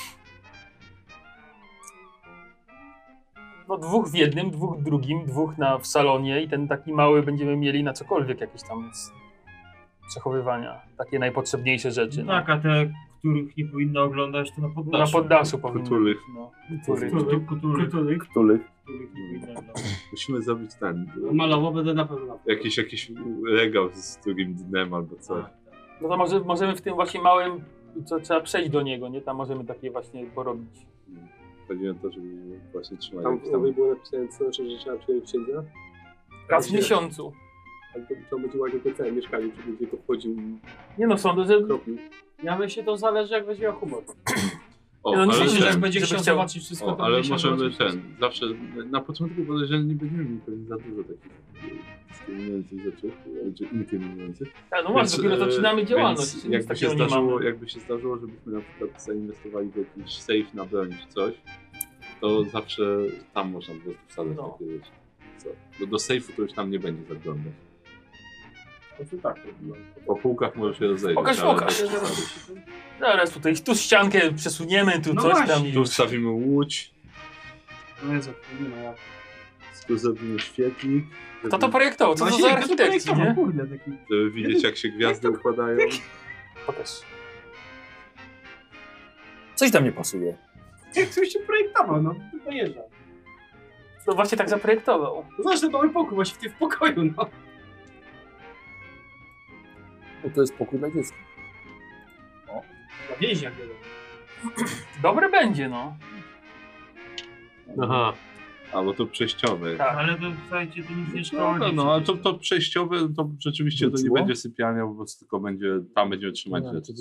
Speaker 7: No dwóch w jednym, dwóch w drugim, dwóch na, w salonie i ten taki mały będziemy mieli na cokolwiek jakieś tam z przechowywania. Takie najpotrzebniejsze rzeczy. No.
Speaker 5: Tak, a te, których nie powinno oglądać, to na
Speaker 7: Na
Speaker 5: poddaszu.
Speaker 7: poddaszu powinno
Speaker 1: Kutulich.
Speaker 7: być, No.
Speaker 1: Kutulich.
Speaker 5: Kutulich. Kutulich.
Speaker 4: Kutulik.
Speaker 2: Których?
Speaker 5: Których nie powinno oglądać.
Speaker 1: Musimy zrobić ten.
Speaker 4: Malowo będę na pewno.
Speaker 1: Jakiś, jakiś regał z drugim dnem albo coś.
Speaker 7: no to może, możemy w tym właśnie małym, co trzeba przejść do niego, nie? Tam możemy takie właśnie porobić.
Speaker 1: Chodziłem to, żeby właśnie trzymać
Speaker 6: Tam w
Speaker 1: jakiś
Speaker 6: umowie
Speaker 1: tam.
Speaker 6: było napisane, co znaczy, że trzeba przyjąć księdza.
Speaker 7: Raz w miesiącu.
Speaker 6: Ale to trzeba będzie ładnie po całym mieszkaniu, żeby będzie to wchodził i
Speaker 7: Nie no, sądzę, że
Speaker 6: kropił.
Speaker 3: Ja myślę, to zależy jak będzie miał humor.
Speaker 1: O,
Speaker 4: Nie, no nie
Speaker 1: ale
Speaker 4: sądzę, że
Speaker 1: ten-
Speaker 4: jak będzie Żeby chciał chciał- zobaczyć wszystko,
Speaker 1: o,
Speaker 4: to
Speaker 1: Ale
Speaker 4: będzie chciał
Speaker 1: możemy
Speaker 4: zobaczyć
Speaker 1: ten, zawsze, na początku podejrzewam, nie będziemy mieli pewnie za dużo takich e, dyskryminujących rzeczy, e, czy inkryminujących.
Speaker 7: Tak, no właśnie,
Speaker 1: Więc,
Speaker 7: dopiero
Speaker 1: e,
Speaker 7: zaczynamy działalność,
Speaker 1: Więc
Speaker 7: nic
Speaker 1: jakby, się
Speaker 7: takiego nie
Speaker 1: zdarzyło,
Speaker 7: mamy.
Speaker 1: jakby się zdarzyło, żebyśmy na przykład zainwestowali w jakiś safe na broń czy coś, to zawsze tam można po prostu wsadzać
Speaker 7: No.
Speaker 1: takie rzeczy. Co? Bo do safe'u to już tam nie będzie zaglądać.
Speaker 7: To tak.
Speaker 1: Po półkach może się rozejrzeć.
Speaker 7: Pokaż,
Speaker 1: ale-
Speaker 7: pokaż. Zaraz tutaj, tu ściankę przesuniemy, tu
Speaker 1: No
Speaker 7: coś tam. i-
Speaker 1: Tu wstawimy łódź,
Speaker 4: No Jezu, nie ma jak.
Speaker 1: tu zrobimy świetlik.
Speaker 7: To to
Speaker 1: żeby-
Speaker 7: projektował,
Speaker 3: No
Speaker 7: co to za architekt, nie?
Speaker 1: Żeby widzieć jak się gwiazdy układają.
Speaker 7: Pokaż.
Speaker 2: Coś tam nie pasuje.
Speaker 3: Jak ktoś się projektował, no dojeżdża.
Speaker 7: No właśnie tak zaprojektował.
Speaker 3: No zresztą mamy pokój, właściwie w pokoju, no.
Speaker 2: No
Speaker 16: Bo to jest pokój dla dziecka.
Speaker 3: Na więźniach wiele.
Speaker 7: Dobre będzie, no.
Speaker 1: Aha. Albo to przejściowe.
Speaker 7: Tak.
Speaker 5: Ale to, słuchajcie, to nic nie
Speaker 1: No,
Speaker 5: szkodzi.
Speaker 1: no, ale to, to przejściowe to rzeczywiście to nie
Speaker 6: Wróciło?
Speaker 1: będzie sypialnia, po prostu tylko będzie, tam będziemy trzymać rzeczy.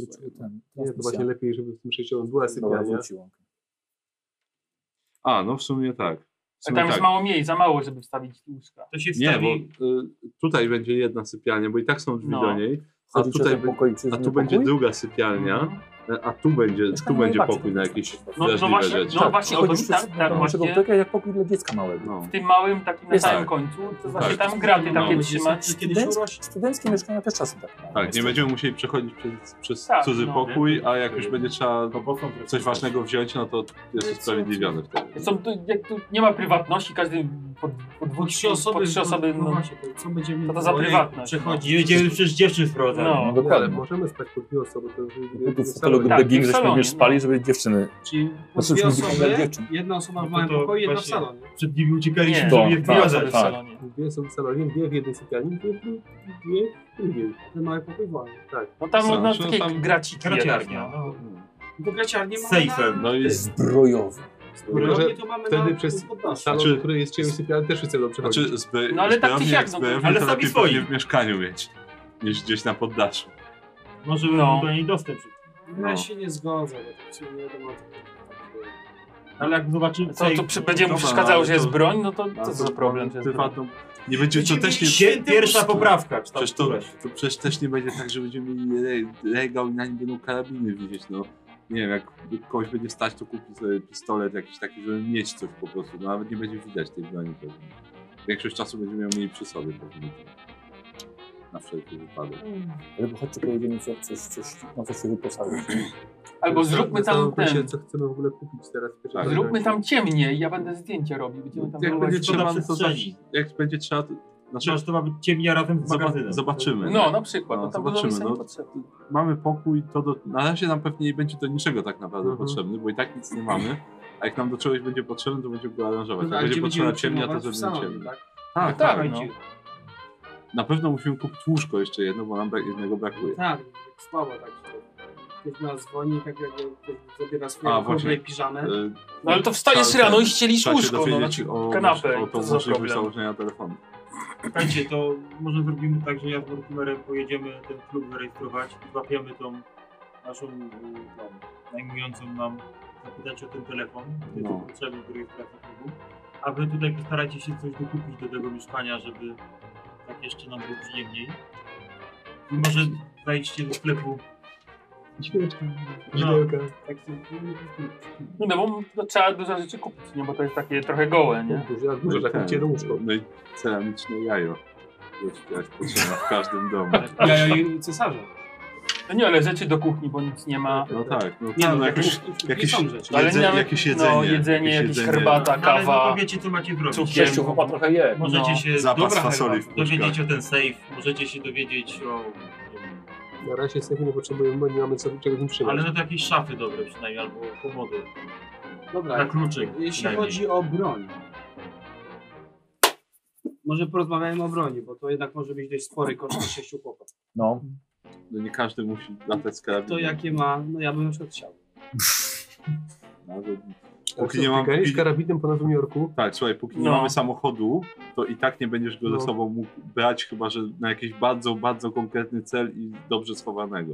Speaker 6: Nie, to właśnie lepiej, żeby w tym przejściu była
Speaker 1: Dobra,
Speaker 6: sypialnia.
Speaker 1: wróciło. A, no w sumie tak. W
Speaker 7: Ale
Speaker 1: sumie
Speaker 7: tam jest
Speaker 1: tak.
Speaker 7: mało miejsc, za mało, żeby wstawić łóżka.
Speaker 5: To się
Speaker 1: Nie, bo y, tutaj będzie jedna sypialnia, bo i tak są drzwi
Speaker 7: No.
Speaker 1: do niej. A
Speaker 16: Wchodzi
Speaker 1: tutaj
Speaker 16: przez ten
Speaker 1: be-
Speaker 16: pokój, przez
Speaker 1: a
Speaker 16: inny
Speaker 1: tu będzie
Speaker 16: pokój?
Speaker 1: druga sypialnia, a tu będzie, tu
Speaker 16: na
Speaker 1: będzie
Speaker 16: elewacji
Speaker 1: pokój na jakieś
Speaker 7: no
Speaker 1: wrażliwe
Speaker 7: właśnie,
Speaker 1: rzeczy.
Speaker 7: no właśnie, o to mi
Speaker 16: Chodzisz przez
Speaker 7: tak, tak
Speaker 16: naszego
Speaker 7: właśnie.
Speaker 16: apteka jak pokój dla dziecka małego.
Speaker 1: No.
Speaker 7: W tym małym, takim na
Speaker 16: Jest
Speaker 7: samym
Speaker 16: tak.
Speaker 7: końcu, to właśnie
Speaker 1: Tak.
Speaker 7: tam graty
Speaker 1: No,
Speaker 7: takie
Speaker 1: myślę,
Speaker 7: trzymać.
Speaker 16: Studenckie, studenckie mieszkania też czasem tak mają.
Speaker 1: Tak, nie będziemy musieli przechodzić przez, przez
Speaker 7: Tak,
Speaker 1: cudzy
Speaker 7: no.
Speaker 1: pokój, a jak już będzie trzeba coś ważnego wziąć, no to jest usprawiedliwione wtedy.
Speaker 7: Są, tu, jak tu nie ma prywatności, każdy po, po dwóch,
Speaker 4: Trzy osoby,
Speaker 7: po trzy osoby
Speaker 4: no,
Speaker 7: no,
Speaker 4: właśnie, to co będziemy...
Speaker 7: to to za
Speaker 3: No
Speaker 4: Ojej,
Speaker 7: prywatność.
Speaker 4: Przechodzi.
Speaker 5: Nie będziemy przecież dziewczyn wprowadzali.
Speaker 7: No.
Speaker 6: Nie, ale
Speaker 2: Dokładnie.
Speaker 6: możemy spać po dwie osoby. No To
Speaker 2: Tu w
Speaker 6: jest w
Speaker 2: fotelu
Speaker 6: salonie.
Speaker 7: Tak,
Speaker 2: Begin
Speaker 7: w
Speaker 2: żeśmy
Speaker 7: salonie,
Speaker 2: będziesz spali, żeby dziewczyny.
Speaker 4: Czyli po
Speaker 2: Znaczy,
Speaker 4: dwie
Speaker 2: żeby dla
Speaker 4: osoby,
Speaker 2: dziewczyn.
Speaker 4: jedna osoba
Speaker 5: No
Speaker 4: w
Speaker 5: to
Speaker 4: małym
Speaker 5: to
Speaker 4: pokoju, jedna w
Speaker 5: właśnie-
Speaker 4: salonie.
Speaker 5: Przed nimi uciekaliśmy,
Speaker 7: Nie.
Speaker 5: żeby
Speaker 2: Tak,
Speaker 5: je wprowadzać.
Speaker 7: w
Speaker 2: tak.
Speaker 7: salonie.
Speaker 6: Dwie są w salonie, dwie w jednej sypialni, dwie w dru- dwie w drugiej.
Speaker 3: Ten mały pokój wolny.
Speaker 6: Tak.
Speaker 7: No tam
Speaker 1: Są,
Speaker 7: no,
Speaker 1: są
Speaker 7: takie
Speaker 1: tam
Speaker 7: graciki.
Speaker 5: Graciarnia.
Speaker 7: jakieś, no.
Speaker 5: No.
Speaker 4: Bo graciarnie
Speaker 5: Z
Speaker 4: mamy
Speaker 5: sejfem.
Speaker 1: No i
Speaker 16: Zbrojowy.
Speaker 1: Tylko, że
Speaker 4: Zbrojownie to mamy
Speaker 6: Wtedy
Speaker 4: na
Speaker 6: przez
Speaker 4: poddasze.
Speaker 6: salon,
Speaker 1: Znaczy-
Speaker 6: który jest czyjąś sypialnią, też wszyscy będą przechodzić.
Speaker 1: Znaczy, zby,
Speaker 7: No ale tak
Speaker 1: zbrojownie-
Speaker 7: czy siak, no,
Speaker 1: zbrojownie
Speaker 5: ale
Speaker 1: to
Speaker 5: sami
Speaker 1: lepiej
Speaker 5: swoi.
Speaker 1: pewnie w mieszkaniu mieć, niż gdzieś na poddaszu.
Speaker 5: Może
Speaker 7: No.
Speaker 5: do niej dostęp.
Speaker 4: No.
Speaker 1: No.
Speaker 4: Ja się nie zgodzę, bo to w sumie nie wiadomo.
Speaker 5: Ale jak zobaczymy...
Speaker 7: Co, to przy, będzie mu
Speaker 1: Dobra,
Speaker 7: przeszkadzało,
Speaker 1: ale
Speaker 7: że jest
Speaker 1: to-
Speaker 7: broń, no to
Speaker 1: A
Speaker 7: co za
Speaker 1: to
Speaker 7: problem? że jest broń?
Speaker 1: prywatną- Nie będzie to
Speaker 4: Będziemy
Speaker 1: też nie...
Speaker 4: mieć
Speaker 5: Pie- Pierwsza poprawka. czy tam
Speaker 1: Przecież to,
Speaker 5: któraś.
Speaker 1: to przecież też nie będzie tak, że będziemy mieli re- regał i na nim będą karabiny wisieć, no. Nie wiem, jak kogoś będzie stać, to kupi sobie pistolet jakiś taki, żeby mieć coś po prostu. No, nawet nie będzie widać tej broni pewnie. Większość czasu będziemy ją mieli przy sobie pewnie. Na wszelki wypadek.
Speaker 16: Ale bo chodźcie pojedziemy co, coś, coś, na co się wyposażyć.
Speaker 7: Albo
Speaker 6: Na sam-
Speaker 7: zróbmy
Speaker 6: na samym
Speaker 7: tam
Speaker 6: kursie,
Speaker 7: ten,
Speaker 6: tak, co chcemy w ogóle kupić teraz. w pierwszym
Speaker 7: zróbmy
Speaker 6: rzędzie.
Speaker 7: tam ciemniej, ja będę zdjęcie robił, będziemy tam
Speaker 1: Tak. Jak
Speaker 7: próbować-
Speaker 1: będzie
Speaker 5: szkoda
Speaker 1: trzeba, no to
Speaker 5: przestrzeni.
Speaker 1: zawsze, jak będzie trzeba, to, znaczy,
Speaker 5: Przecież to ma być ciemnia razem z magazynem.
Speaker 1: zoba- zobaczymy.
Speaker 7: No,
Speaker 1: nie?
Speaker 7: na przykład,
Speaker 1: No,
Speaker 7: no, tam
Speaker 1: zobaczymy, no.
Speaker 7: zobaczymy, no. potrzebne.
Speaker 1: mamy pokój, to do... na razie nam pewnie nie będzie do niczego tak naprawdę
Speaker 6: Mhm.
Speaker 1: potrzebny, bo i tak nic nie mamy. A jak nam do czegoś będzie potrzebne, to będziemy go aranżować.
Speaker 4: No,
Speaker 1: jak
Speaker 4: ale gdzie
Speaker 1: będzie potrzebna
Speaker 4: będziemy
Speaker 1: ciemnia, to
Speaker 4: przyjmować? W
Speaker 1: zrobimy
Speaker 4: salonie,
Speaker 1: ciemnia.
Speaker 4: tak?
Speaker 1: Tak,
Speaker 7: Tak,
Speaker 1: tak.
Speaker 7: no.
Speaker 1: Na pewno musimy kupić łóżko jeszcze jedno, bo nam brak- jednego brakuje.
Speaker 4: Tak, jak słabo tak się. Ktoś do nas dzwoni, tak jakby ktoś zabiera
Speaker 1: A,
Speaker 4: swoją
Speaker 1: właśnie.
Speaker 4: kurwę i piżamę.
Speaker 1: Y,
Speaker 7: No ale to wstajesz
Speaker 1: trzeba-
Speaker 7: rano i ścielisz
Speaker 1: trzeba się
Speaker 7: łóżko, no,
Speaker 1: dowiedzieć
Speaker 7: znaczy
Speaker 1: o,
Speaker 7: kanapę
Speaker 1: o
Speaker 7: i to
Speaker 1: tą
Speaker 7: za
Speaker 1: możliwość
Speaker 7: problem.
Speaker 1: założenia telefonu.
Speaker 5: Słuchajcie, to może zrobimy tak, że ja z Mortimerem pojedziemy ten klub zarejestrować i złapiemy tą naszą y, tą, najmującą nam zapytać o ten telefon, który
Speaker 1: No.
Speaker 5: jest potrzebny do rejestracji klubu. A wy tutaj postarajcie się coś dokupić do tego mieszkania, żeby tak jeszcze nam było przyjemniej. I może zajdźcie do sklepu.
Speaker 6: Świeczka,
Speaker 5: No.
Speaker 6: widełka.
Speaker 5: Tak sobie,
Speaker 7: No, no bo no, trzeba dużo rzeczy kupić, nie? Bo to jest takie trochę gołe, nie?
Speaker 6: Dużo,
Speaker 1: No i
Speaker 6: dużo, tak
Speaker 1: ten,
Speaker 6: cię do łóżko.
Speaker 1: No i ceramiczne jajo. Wiesz, potrzebna w każdym domu.
Speaker 4: Ja i cesarza.
Speaker 7: No nie, ale rzeczy do kuchni, bo nic nie ma.
Speaker 1: No tak, no,
Speaker 4: Nie,
Speaker 1: tak,
Speaker 4: no,
Speaker 1: no
Speaker 4: to
Speaker 1: jakieś,
Speaker 4: kuchni są
Speaker 1: jakieś,
Speaker 4: rzeczy.
Speaker 7: Ale
Speaker 1: jedzenie,
Speaker 7: nawet-
Speaker 1: jakieś
Speaker 7: no,
Speaker 1: jedzenie.
Speaker 7: jedzenie, jakieś herbata. Ta
Speaker 5: Ale no
Speaker 7: kawa,
Speaker 5: to wiecie co macie zrobić.
Speaker 7: cukier.
Speaker 16: Sześciu chłopa trochę je.
Speaker 5: Możecie
Speaker 7: No.
Speaker 5: się
Speaker 1: Zapas
Speaker 5: dobra,
Speaker 1: fasoli w
Speaker 5: chyba, dowiedzieć
Speaker 1: puszkach.
Speaker 5: o ten safe, możecie się dowiedzieć o...
Speaker 6: Na razie sobie nie potrzebujemy, bo nie mamy co, czegoś im trzymać.
Speaker 5: Ale no to jakieś szafy dobre przynajmniej, albo komody. Na
Speaker 4: Dobra,
Speaker 5: kluczyk
Speaker 4: jeśli
Speaker 5: przynajmniej.
Speaker 4: chodzi o broń. Może porozmawiajmy o broni, bo to jednak może być dość spory koszt na sześciu chłopaków.
Speaker 16: No.
Speaker 1: No nie każdy musi latać z karabinem.
Speaker 4: To jakie ma, no ja bym na przykład chciał.
Speaker 1: No, że-
Speaker 6: A
Speaker 1: Póki nie mam-
Speaker 6: Bieganie z Tak, karabinem po Nowym Jorku.
Speaker 1: Tak, słuchaj, póki nie
Speaker 6: No.
Speaker 1: mamy samochodu, to i tak nie będziesz go
Speaker 6: No.
Speaker 1: ze sobą mógł brać, chyba że na jakiś bardzo, bardzo konkretny cel i dobrze schowanego.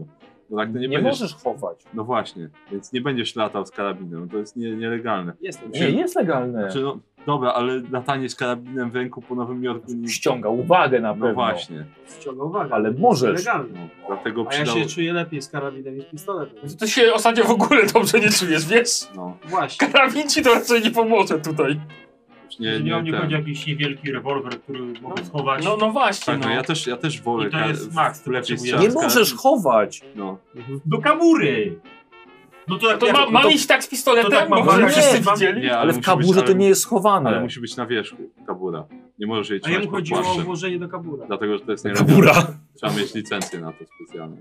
Speaker 1: No tak, to nie,
Speaker 2: Nie
Speaker 1: będziesz...
Speaker 2: możesz chować.
Speaker 1: No właśnie, więc nie będziesz latał z karabinem, to jest nie, nielegalne.
Speaker 4: Jestem.
Speaker 2: Nie, jest legalne.
Speaker 1: Znaczy, no, dobra, ale latanie z karabinem w ręku po Nowym Jorku... Nie...
Speaker 2: Ściąga uwagę na
Speaker 1: No
Speaker 2: pewno.
Speaker 1: właśnie, no,
Speaker 4: Ściąga uwagę.
Speaker 2: Ale
Speaker 4: jest
Speaker 2: możesz.
Speaker 4: Legalne.
Speaker 1: dlatego
Speaker 4: A ja
Speaker 1: przydało...
Speaker 4: się czuję lepiej z karabinem niż pistoletem.
Speaker 7: Ty się ostatnio w ogóle dobrze nie czujesz, wiesz?
Speaker 1: No,
Speaker 7: Właśnie. Karabin ci to raczej nie pomoże tutaj.
Speaker 1: nie,
Speaker 5: Jeżeli
Speaker 1: nie, tak.
Speaker 5: o mnie
Speaker 1: ten.
Speaker 5: chodzi jakiś niewielki rewolwer, który mogę schować.
Speaker 7: No, no właśnie,
Speaker 1: Tak, no
Speaker 7: no.
Speaker 1: ja też, ja też wolę...
Speaker 5: I to
Speaker 1: kar-
Speaker 5: jest max, ty
Speaker 1: lepiej
Speaker 5: potrzebujesz.
Speaker 1: strzelać
Speaker 5: Nie
Speaker 1: z karabinu.
Speaker 5: możesz
Speaker 2: chować!
Speaker 1: No.
Speaker 5: Do kabury! No to, jak,
Speaker 7: To
Speaker 5: jak,
Speaker 7: ma,
Speaker 5: no
Speaker 7: mam
Speaker 5: to-
Speaker 7: iść tak z pistoletem,
Speaker 5: to tak mam
Speaker 7: bo
Speaker 5: walczyć.
Speaker 7: wszyscy
Speaker 5: Nie,
Speaker 7: widzieli.
Speaker 1: Nie,
Speaker 2: Ale w
Speaker 1: musi
Speaker 2: kaburze
Speaker 1: być-
Speaker 2: to nie jest schowane.
Speaker 1: Ale musi być na wierzchu kabura. Nie możesz jej
Speaker 23: A jemu
Speaker 1: trzymać pod
Speaker 23: chodziło o
Speaker 1: płaszczem.
Speaker 23: włożenie do kabura.
Speaker 1: Dlatego, że to jest
Speaker 2: Kabura.
Speaker 7: Tak.
Speaker 1: nielegalne. Trzeba mieć licencję na to specjalną.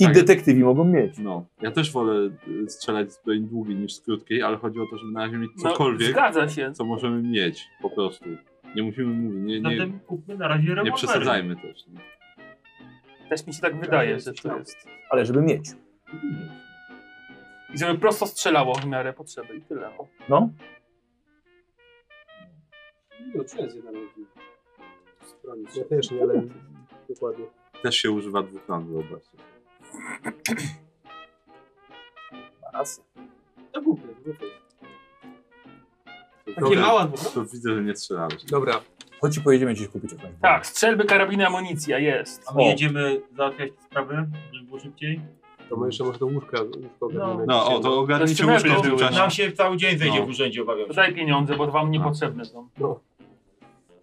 Speaker 2: I detektywi mogą mieć.
Speaker 1: No, ja też wolę y, strzelać z broni długiej niż z krótkiej, ale chodzi o to, żeby na razie mieć
Speaker 7: No,
Speaker 1: cokolwiek,
Speaker 7: zgadza się.
Speaker 1: co możemy mieć po prostu. Nie musimy mówić, nie,
Speaker 4: No,
Speaker 1: nie,
Speaker 5: Zatem kupmy na razie rewolwery.
Speaker 1: nie przesadzajmy też. no. Nie?
Speaker 7: Też mi się tak wydaje, że to jest.
Speaker 2: Ale żeby mieć.
Speaker 7: I żeby prosto strzelało w miarę potrzeby i tyle.
Speaker 2: No.
Speaker 4: No, czuję z jednej ręki.
Speaker 6: Ja też nie, ale dokładnie.
Speaker 1: Też się używa dwóch ran, wyobraźcie.
Speaker 2: Raz.
Speaker 4: To głupie, głupie.
Speaker 1: Takie
Speaker 7: małe
Speaker 1: To, widzę, że nie strzelałeś.
Speaker 2: No.
Speaker 6: Dobra.
Speaker 2: Chodź i pojedziemy gdzieś kupić jakąś.
Speaker 7: Tak, strzelby, karabiny, amunicja, jest.
Speaker 5: A my jedziemy załatwiać te sprawy, żeby było szybciej?
Speaker 6: To my jeszcze może do łóżka. łóżko ogarniemy.
Speaker 1: No, o, to ogarnijcie
Speaker 7: Jeszcze
Speaker 1: łóżko
Speaker 7: meble
Speaker 1: w tym
Speaker 7: były,
Speaker 1: czasie.
Speaker 5: Nam się cały dzień zejdzie
Speaker 1: No.
Speaker 5: w urzędzie, obawiam
Speaker 7: To
Speaker 5: się.
Speaker 7: daj pieniądze, bo wam niepotrzebne są.
Speaker 6: No.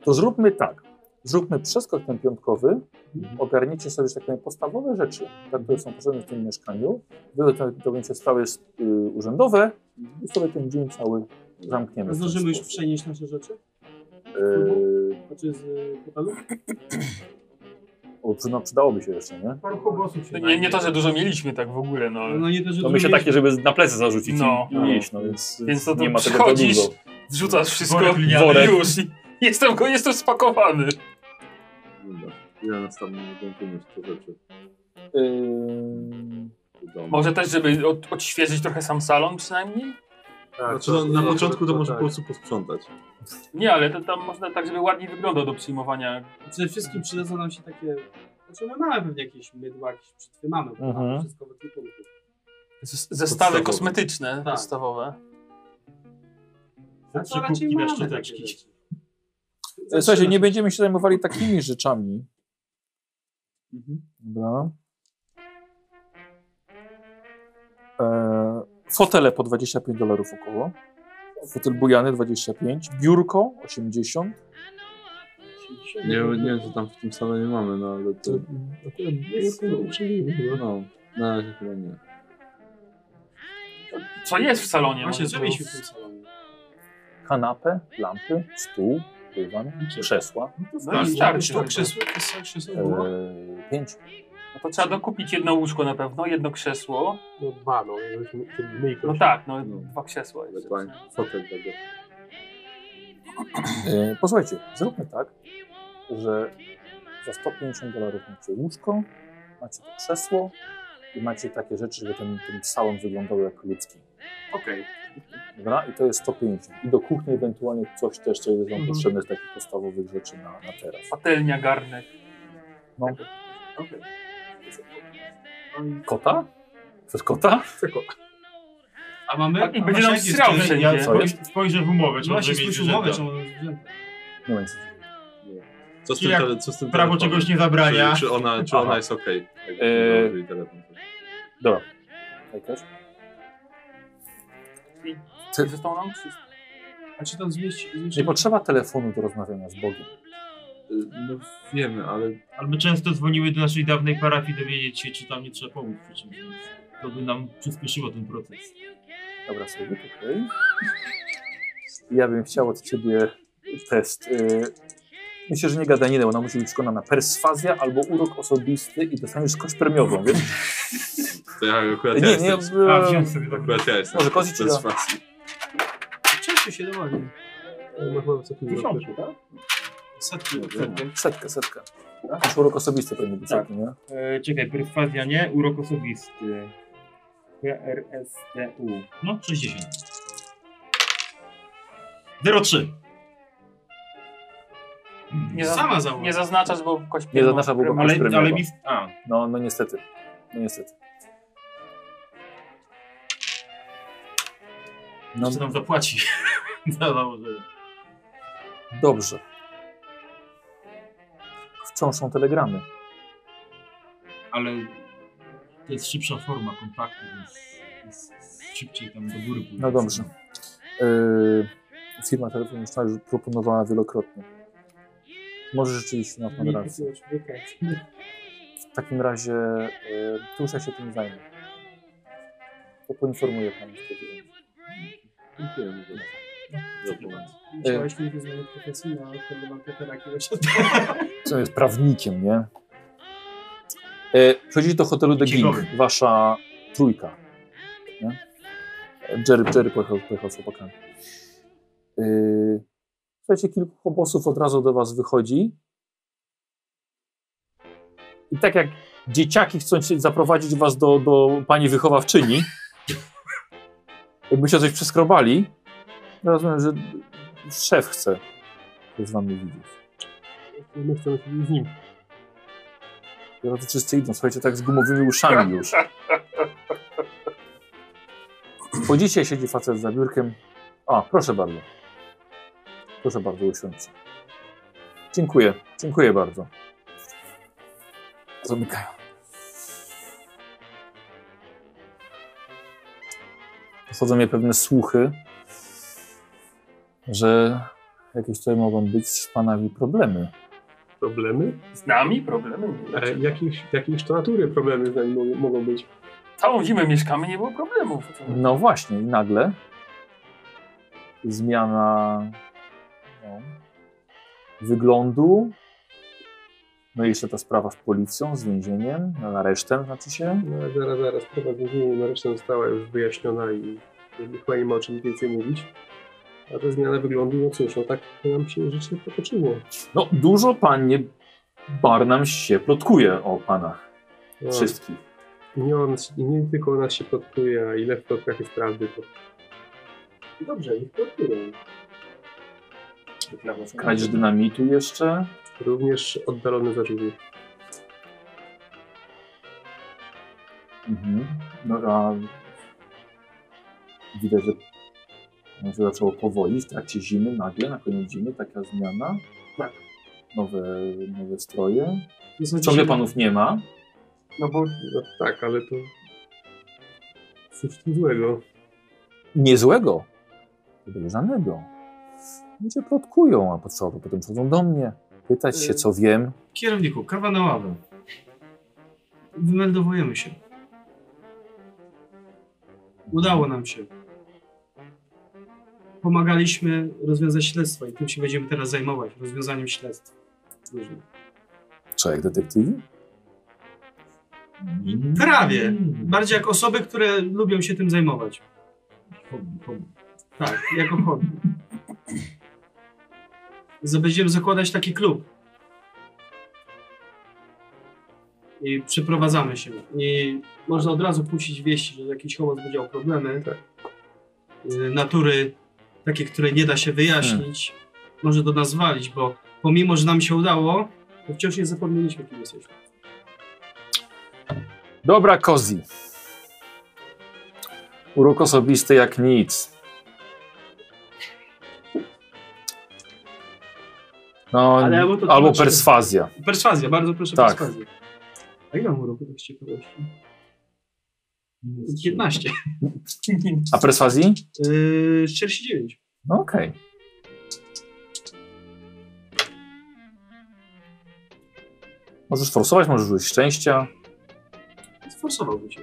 Speaker 2: To zróbmy tak. Zróbmy przeskok ten piątkowy,
Speaker 7: Mhm.
Speaker 2: ogarnijcie sobie że tak powiem, podstawowe rzeczy, tak, które są potrzebne w tym mieszkaniu. Wy to, to będzie stałe y, urzędowe i sobie ten dzień cały zamkniemy. w ten
Speaker 4: Zdążymy już
Speaker 2: sposób.
Speaker 4: przenieść nasze rzeczy?
Speaker 2: Y,
Speaker 4: Znaczy z y, hotelu?
Speaker 2: o, przy- no, przydałoby się jeszcze, nie?
Speaker 5: Paru kogosów się
Speaker 7: No Nie, nie to, że dużo mieliśmy tak w ogóle, no. ale-
Speaker 4: No nie to, że
Speaker 2: No myślę
Speaker 4: dużo
Speaker 2: takie, żeby na plecy zarzucić
Speaker 7: No.
Speaker 2: i, i iść, no więc,
Speaker 7: Więc to
Speaker 2: nie
Speaker 7: tam
Speaker 2: ma tego za
Speaker 7: przychodzisz,
Speaker 2: dużo.
Speaker 7: wrzucasz wszystko
Speaker 5: Worek liniany.
Speaker 7: i już. i Jestem, go- jestem spakowany.
Speaker 1: Dobra. Ile nas tam gąpiemy w te rzeczy?
Speaker 2: Ym,
Speaker 1: do domu?
Speaker 7: Może też, żeby od, odświeżyć trochę sam salon przynajmniej?
Speaker 1: Znaczy, no, tak. na początku to może po prostu posprzątać.
Speaker 7: Nie, ale to tam można tak, żeby ładnie wyglądał do przyjmowania.
Speaker 4: Przede wszystkim przydadzą nam się takie. Znaczy, my mamy pewnie jakieś mydła, jakieś przytwy mamy, bo
Speaker 2: Mhm.
Speaker 4: mamy wszystko w ekwipunku.
Speaker 7: z- Zestawy
Speaker 1: Podstawowe.
Speaker 7: kosmetyczne
Speaker 4: Tak.
Speaker 7: podstawowe.
Speaker 4: No to
Speaker 5: Znaczy,
Speaker 4: raczej
Speaker 5: kubki na
Speaker 4: mamy
Speaker 5: szczoteczki.
Speaker 4: takie rzeczy.
Speaker 2: E, Słuchajcie, nie będziemy się zajmowali takimi rzeczami. Dobra. E, fotele po 25 dolarów około. Fotel bujany 25, biurko 80.
Speaker 1: Nie, nie, że tam w tym salonie mamy, no ale to...
Speaker 6: Akurat biurko uczynimy chyba.
Speaker 1: No, na razie chyba nie.
Speaker 7: Co jest w salonie?
Speaker 4: Właśnie,
Speaker 7: może
Speaker 4: co
Speaker 7: było?
Speaker 4: mieliśmy w tym salonie?
Speaker 2: Kanapę, lampy, stół, dywan, krzesła.
Speaker 7: No i
Speaker 4: Czy
Speaker 7: starczy.
Speaker 4: to
Speaker 7: chyba.
Speaker 4: krzesło, krzesło, krzesło
Speaker 2: E,
Speaker 4: było?
Speaker 2: 5.
Speaker 7: No to trzeba dokupić jedno łóżko na pewno, jedno krzesło.
Speaker 6: No dwa, no. jakbyśmy- żeby My i
Speaker 7: No
Speaker 6: kościół.
Speaker 7: tak, no,
Speaker 1: No.
Speaker 7: dwa krzesła. jeszcze.
Speaker 1: Dokładnie. Fotel tego.
Speaker 2: E, posłuchajcie, zróbmy tak, że za 150 dolarów macie łóżko, macie to krzesło i macie takie rzeczy, żeby ten, ten salon wyglądał jak ludzki.
Speaker 4: Okej.
Speaker 2: Dobra? I to jest 150. I do kuchni ewentualnie coś też, co jest wam potrzebne z takich podstawowych rzeczy na, na teraz.
Speaker 7: Patelnia, garnek.
Speaker 2: No.
Speaker 4: okej.
Speaker 2: Kota? Chcesz kota?
Speaker 6: Chcę kota.
Speaker 23: A mamy?
Speaker 7: Tak, i
Speaker 23: A
Speaker 7: będzie
Speaker 23: właśnie,
Speaker 7: nam
Speaker 23: jak jest
Speaker 7: srał
Speaker 23: ten-
Speaker 7: wszędzie.
Speaker 5: Ja
Speaker 2: Co
Speaker 5: spoj-
Speaker 2: jest?
Speaker 5: spojrzę w umowę, czy
Speaker 23: No właśnie,
Speaker 5: może mieć
Speaker 23: spójrz umowę,
Speaker 5: zwierzęta.
Speaker 23: czemu mamy zwierzęta.
Speaker 2: Nie wiem. co-
Speaker 1: Co z
Speaker 5: I
Speaker 1: tym,
Speaker 5: jak
Speaker 1: tele, co z tym
Speaker 5: prawo
Speaker 1: telefonem?
Speaker 5: czegoś nie zabrania.
Speaker 1: Czy, czy ona, czy
Speaker 2: Aha.
Speaker 1: ona jest okej? jakbyśmy
Speaker 2: Eee.
Speaker 1: założyli telefon.
Speaker 2: Dobra. Jakaś?
Speaker 7: I
Speaker 2: Ty-
Speaker 7: zostało nam wszystko.
Speaker 4: A czy tam zmieści?
Speaker 2: Nie potrzeba telefonu do rozmawiania z Bogiem.
Speaker 1: Y, No wiemy, ale
Speaker 5: Ale my często dzwoniły do naszej dawnej parafii dowiedzieć się, czy tam nie trzeba pomóc przy czymś, więc to by nam przyspieszyło ten proces.
Speaker 2: Dobra, sobie tutaj. Ja bym chciał od ciebie test. y, Myślę, że nie gadaninę, bo ona musi być przekonana. Perswazja albo urok osobisty i dostaniesz kość premiową, wiesz?
Speaker 1: to ja akurat ja
Speaker 2: Nie, nie,
Speaker 1: jestem.
Speaker 5: A,
Speaker 2: e,
Speaker 5: wziąłem sobie tak.
Speaker 1: Akurat ja jestem.
Speaker 2: Może kozi ci
Speaker 1: Bez
Speaker 2: da.
Speaker 1: facji.
Speaker 4: Często się dowodzi.
Speaker 6: No chyba wysoki wzrok też.
Speaker 5: tak?
Speaker 4: Setki.
Speaker 2: setkę, setkę. Masz urok osobisty pewnie być
Speaker 5: Tak.
Speaker 2: taki, nie?
Speaker 5: E, czekaj, perswazja nie, urok osobisty. PRSTU. No, 60. 03.
Speaker 7: Nie, zazn-
Speaker 4: Sama załoga.
Speaker 7: nie zaznaczasz, bo kość
Speaker 2: Nie zaznacza byłbym
Speaker 5: Mm. Ale- ale
Speaker 2: premiowa.
Speaker 5: mi- a.
Speaker 2: No, no niestety. No niestety.
Speaker 5: No. Jeszcze nam zapłaci. No, Za założenie.
Speaker 2: Dobrze. Wciąż są telegramy.
Speaker 5: Ale to jest szybsza forma kontaktu, więc jest szybciej tam do góry pójdzie.
Speaker 2: No dobrze. Yy, firma telefoniczna już tak proponowała wielokrotnie. Może rzeczywiście ma pan rację. W takim razie y, tusza się tym zajmie. To poinformuję pana wtedy.
Speaker 1: Dziękujemy za- za pomoc.
Speaker 3: Musiałeś mi wyznać profesję,
Speaker 4: no,
Speaker 3: ale wtedy mam Petera jakiegoś
Speaker 2: Co jest prawnikiem, nie? E, Przechodzicie do hotelu The Gink,
Speaker 3: Księgowy.
Speaker 2: wasza trójka. Nie? E, Jerry, Jerry pojechał, pojechał z chłopakami. E, Słuchajcie, kilku chłoposów od razu do was wychodzi. I tak jak dzieciaki chcą się zaprowadzić was do, do pani wychowawczyni, jakbyście coś przeskrobali, rozumiem, że szef chce się z wami widzieć.
Speaker 6: My chcemy się z nim.
Speaker 2: Teraz to wszyscy idą, słuchajcie, tak z gumowymi uszami już. Wchodzicie, siedzi facet za biurkiem. A, proszę bardzo. Proszę bardzo, usiądźcie. Dziękuję, dziękuję bardzo. Zamykają. Dochodzą mnie pewne słuchy, że jakieś tutaj mogą być z panami problemy.
Speaker 6: Problemy?
Speaker 7: Z nami problemy?
Speaker 6: Ale jakich, jakich to natury problemy z nami mogą- mogą być?
Speaker 7: Całą zimę mieszkamy, nie było problemów.
Speaker 2: No właśnie, i nagle zmiana no, wyglądu. No i jeszcze ta sprawa z policją, z więzieniem, no, aresztem znaczy się.
Speaker 6: No, ale zaraz, zaraz, sprawa z więzieniem nareszcie została już wyjaśniona i jakby chyba nie ma o czym więcej mówić. A ta zmiana wyglądu, no cóż, no tak nam się życie potoczyło.
Speaker 2: No dużo panie Barnam się plotkuje o panach
Speaker 6: No.
Speaker 2: wszystkich.
Speaker 6: I nie, on, I nie tylko o nas się plotkuje, a ile w plotkach jest prawdy, to... Dobrze, niech plotkują.
Speaker 2: Kradzież dynamitu jeszcze.
Speaker 6: Również oddalone zarzuty.
Speaker 2: Mhm. No a widać, że no, że zaczęło powoli w trakcie zimy, nagle na koniec zimy taka zmiana.
Speaker 7: Tak.
Speaker 2: Nowe, nowe stroje.
Speaker 3: No, są
Speaker 2: Ciągle
Speaker 3: dzisiaj-
Speaker 2: panów nie ma.
Speaker 7: No bo
Speaker 6: No tak, ale to... Cóż tu złego?
Speaker 2: Niezłego. Podejrzanego. Ludzie plotkują, a po co? Potem przychodzą do mnie, pytać się, co wiem.
Speaker 4: Kierowniku, kawa na ławę. Wymeldowujemy się. Udało nam się. Pomagaliśmy rozwiązać śledztwo i tym się będziemy teraz zajmować, rozwiązaniem śledztw. różnych.
Speaker 2: Co, jak detektywi?
Speaker 4: Prawie. Bardziej jak osoby, które lubią się tym zajmować. Tak, jako hobby. Za- Będziemy zakładać taki klub. I przeprowadzamy się. I można od razu puścić wieści, że jakiś hołas będzie miał problemy. Y, Natury takie, które nie da się wyjaśnić. Może do nas walić, bo pomimo, że nam się udało, to wciąż nie zapomnieliśmy, kim jesteśmy.
Speaker 2: Dobra, Kozi. Urok osobisty jak nic. No,
Speaker 4: Ale ja mu to
Speaker 2: albo
Speaker 4: tłumaczę.
Speaker 2: perswazja.
Speaker 4: Perswazja, bardzo proszę
Speaker 2: Tak.
Speaker 4: perswazję. A ile mam uroku tak z ciekawości? 15.
Speaker 2: A perswazji?
Speaker 4: Yy, 49.
Speaker 2: No okej. Możesz forsować, możesz użyć szczęścia.
Speaker 4: Sforsowałbym się.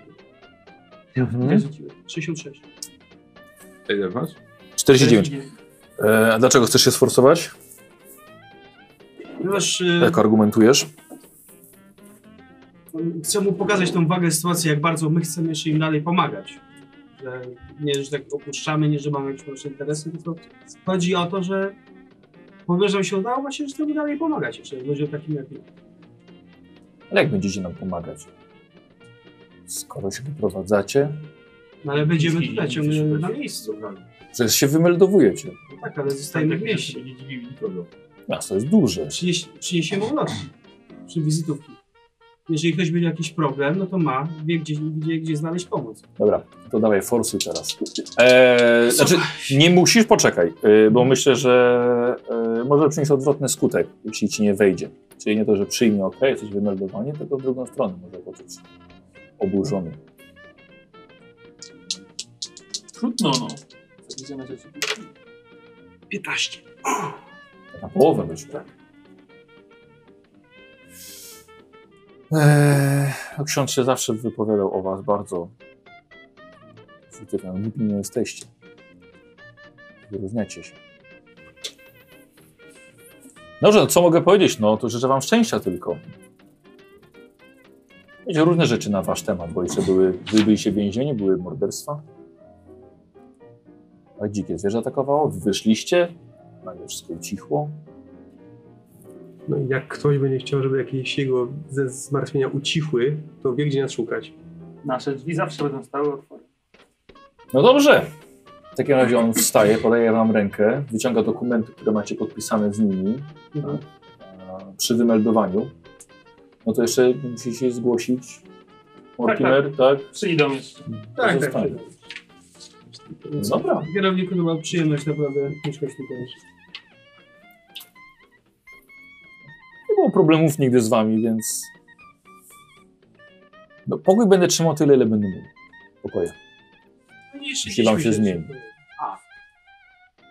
Speaker 2: Mhm.
Speaker 4: Ja rzuciłem. 66.
Speaker 1: Ile masz?
Speaker 2: 49. E, a dlaczego chcesz się sforsować?
Speaker 4: Ponieważ yy,
Speaker 2: Jak argumentujesz?
Speaker 4: chcę mu pokazać tą wagę sytuacji, jak bardzo my chcemy jeszcze im dalej pomagać. Że nie, że tak opuszczamy, nie, że mamy jakieś nasze interesy, tylko chodzi o to, że powierzam się udało, właśnie, że chcemy dalej pomagać jeszcze ludziom takim jak my.
Speaker 2: Ale jak będziecie nam pomagać? Skoro się wyprowadzacie,
Speaker 4: No ale będziemy
Speaker 7: Chiński
Speaker 4: tutaj
Speaker 7: i
Speaker 4: ciągle
Speaker 7: coś
Speaker 4: na
Speaker 7: będzie.
Speaker 4: miejscu.
Speaker 2: Przecież się wymeldowujecie.
Speaker 4: No tak, ale zostajemy w mieście.
Speaker 7: Nie dziwi nikogo.
Speaker 2: Miasto jest duże.
Speaker 4: Przynieś, przyniesiemy ulotki czy wizytówki. Jeżeli ktoś będzie jakiś problem, no to ma, wie gdzie, gdzie, gdzie znaleźć pomoc.
Speaker 2: Dobra, to dawaj, forsuj teraz. Eee, znaczy, nie musisz, poczekaj, e, bo myślę, że e, może przynieść odwrotny skutek, jeśli ci nie wejdzie. Czyli nie to, że przyjmie, ok, jesteś wymeldowany, tylko w drugą stronę może poczuć oburzony.
Speaker 7: Trudno no.
Speaker 4: 15.
Speaker 2: Na połowę wyszło. Eee, no ksiądz się zawsze wypowiadał o was bardzo pozytywnie. Głupi nie jesteście. Wyróżniacie się. Dobrze, no co mogę powiedzieć? No to życzę wam szczęścia tylko. Wiecie, różne rzeczy na wasz temat, bo jeszcze były, wy byliście w więzieniu, były morderstwa. A dzikie zwierzę atakowało, wy wyszliście, nagle wszystko ucichło.
Speaker 6: No i jak ktoś będzie chciał, żeby jakieś jego ze zmartwienia ucichły, to wie gdzie nas szukać.
Speaker 7: Nasze drzwi zawsze będą stały otwarte.
Speaker 2: No dobrze. W takim razie on wstaje, podaje wam rękę, wyciąga dokumenty, które macie podpisane z nimi
Speaker 6: Mhm.
Speaker 2: e, przy wymeldowaniu. No to jeszcze musicie się zgłosić. Mortimer, tak?
Speaker 7: Przyjdą jeszcze.
Speaker 3: Tak,
Speaker 2: tak,
Speaker 3: tak.
Speaker 2: Zostanie. No Dobra.
Speaker 3: Kierowniku to była przyjemność naprawdę mieszkać tutaj.
Speaker 2: Nie było problemów nigdy z wami, więc... No, pokój będę trzymał tyle, ile będę mógł. Pokoje.
Speaker 4: No nie
Speaker 2: Jeśli wam się zmieni.
Speaker 4: A.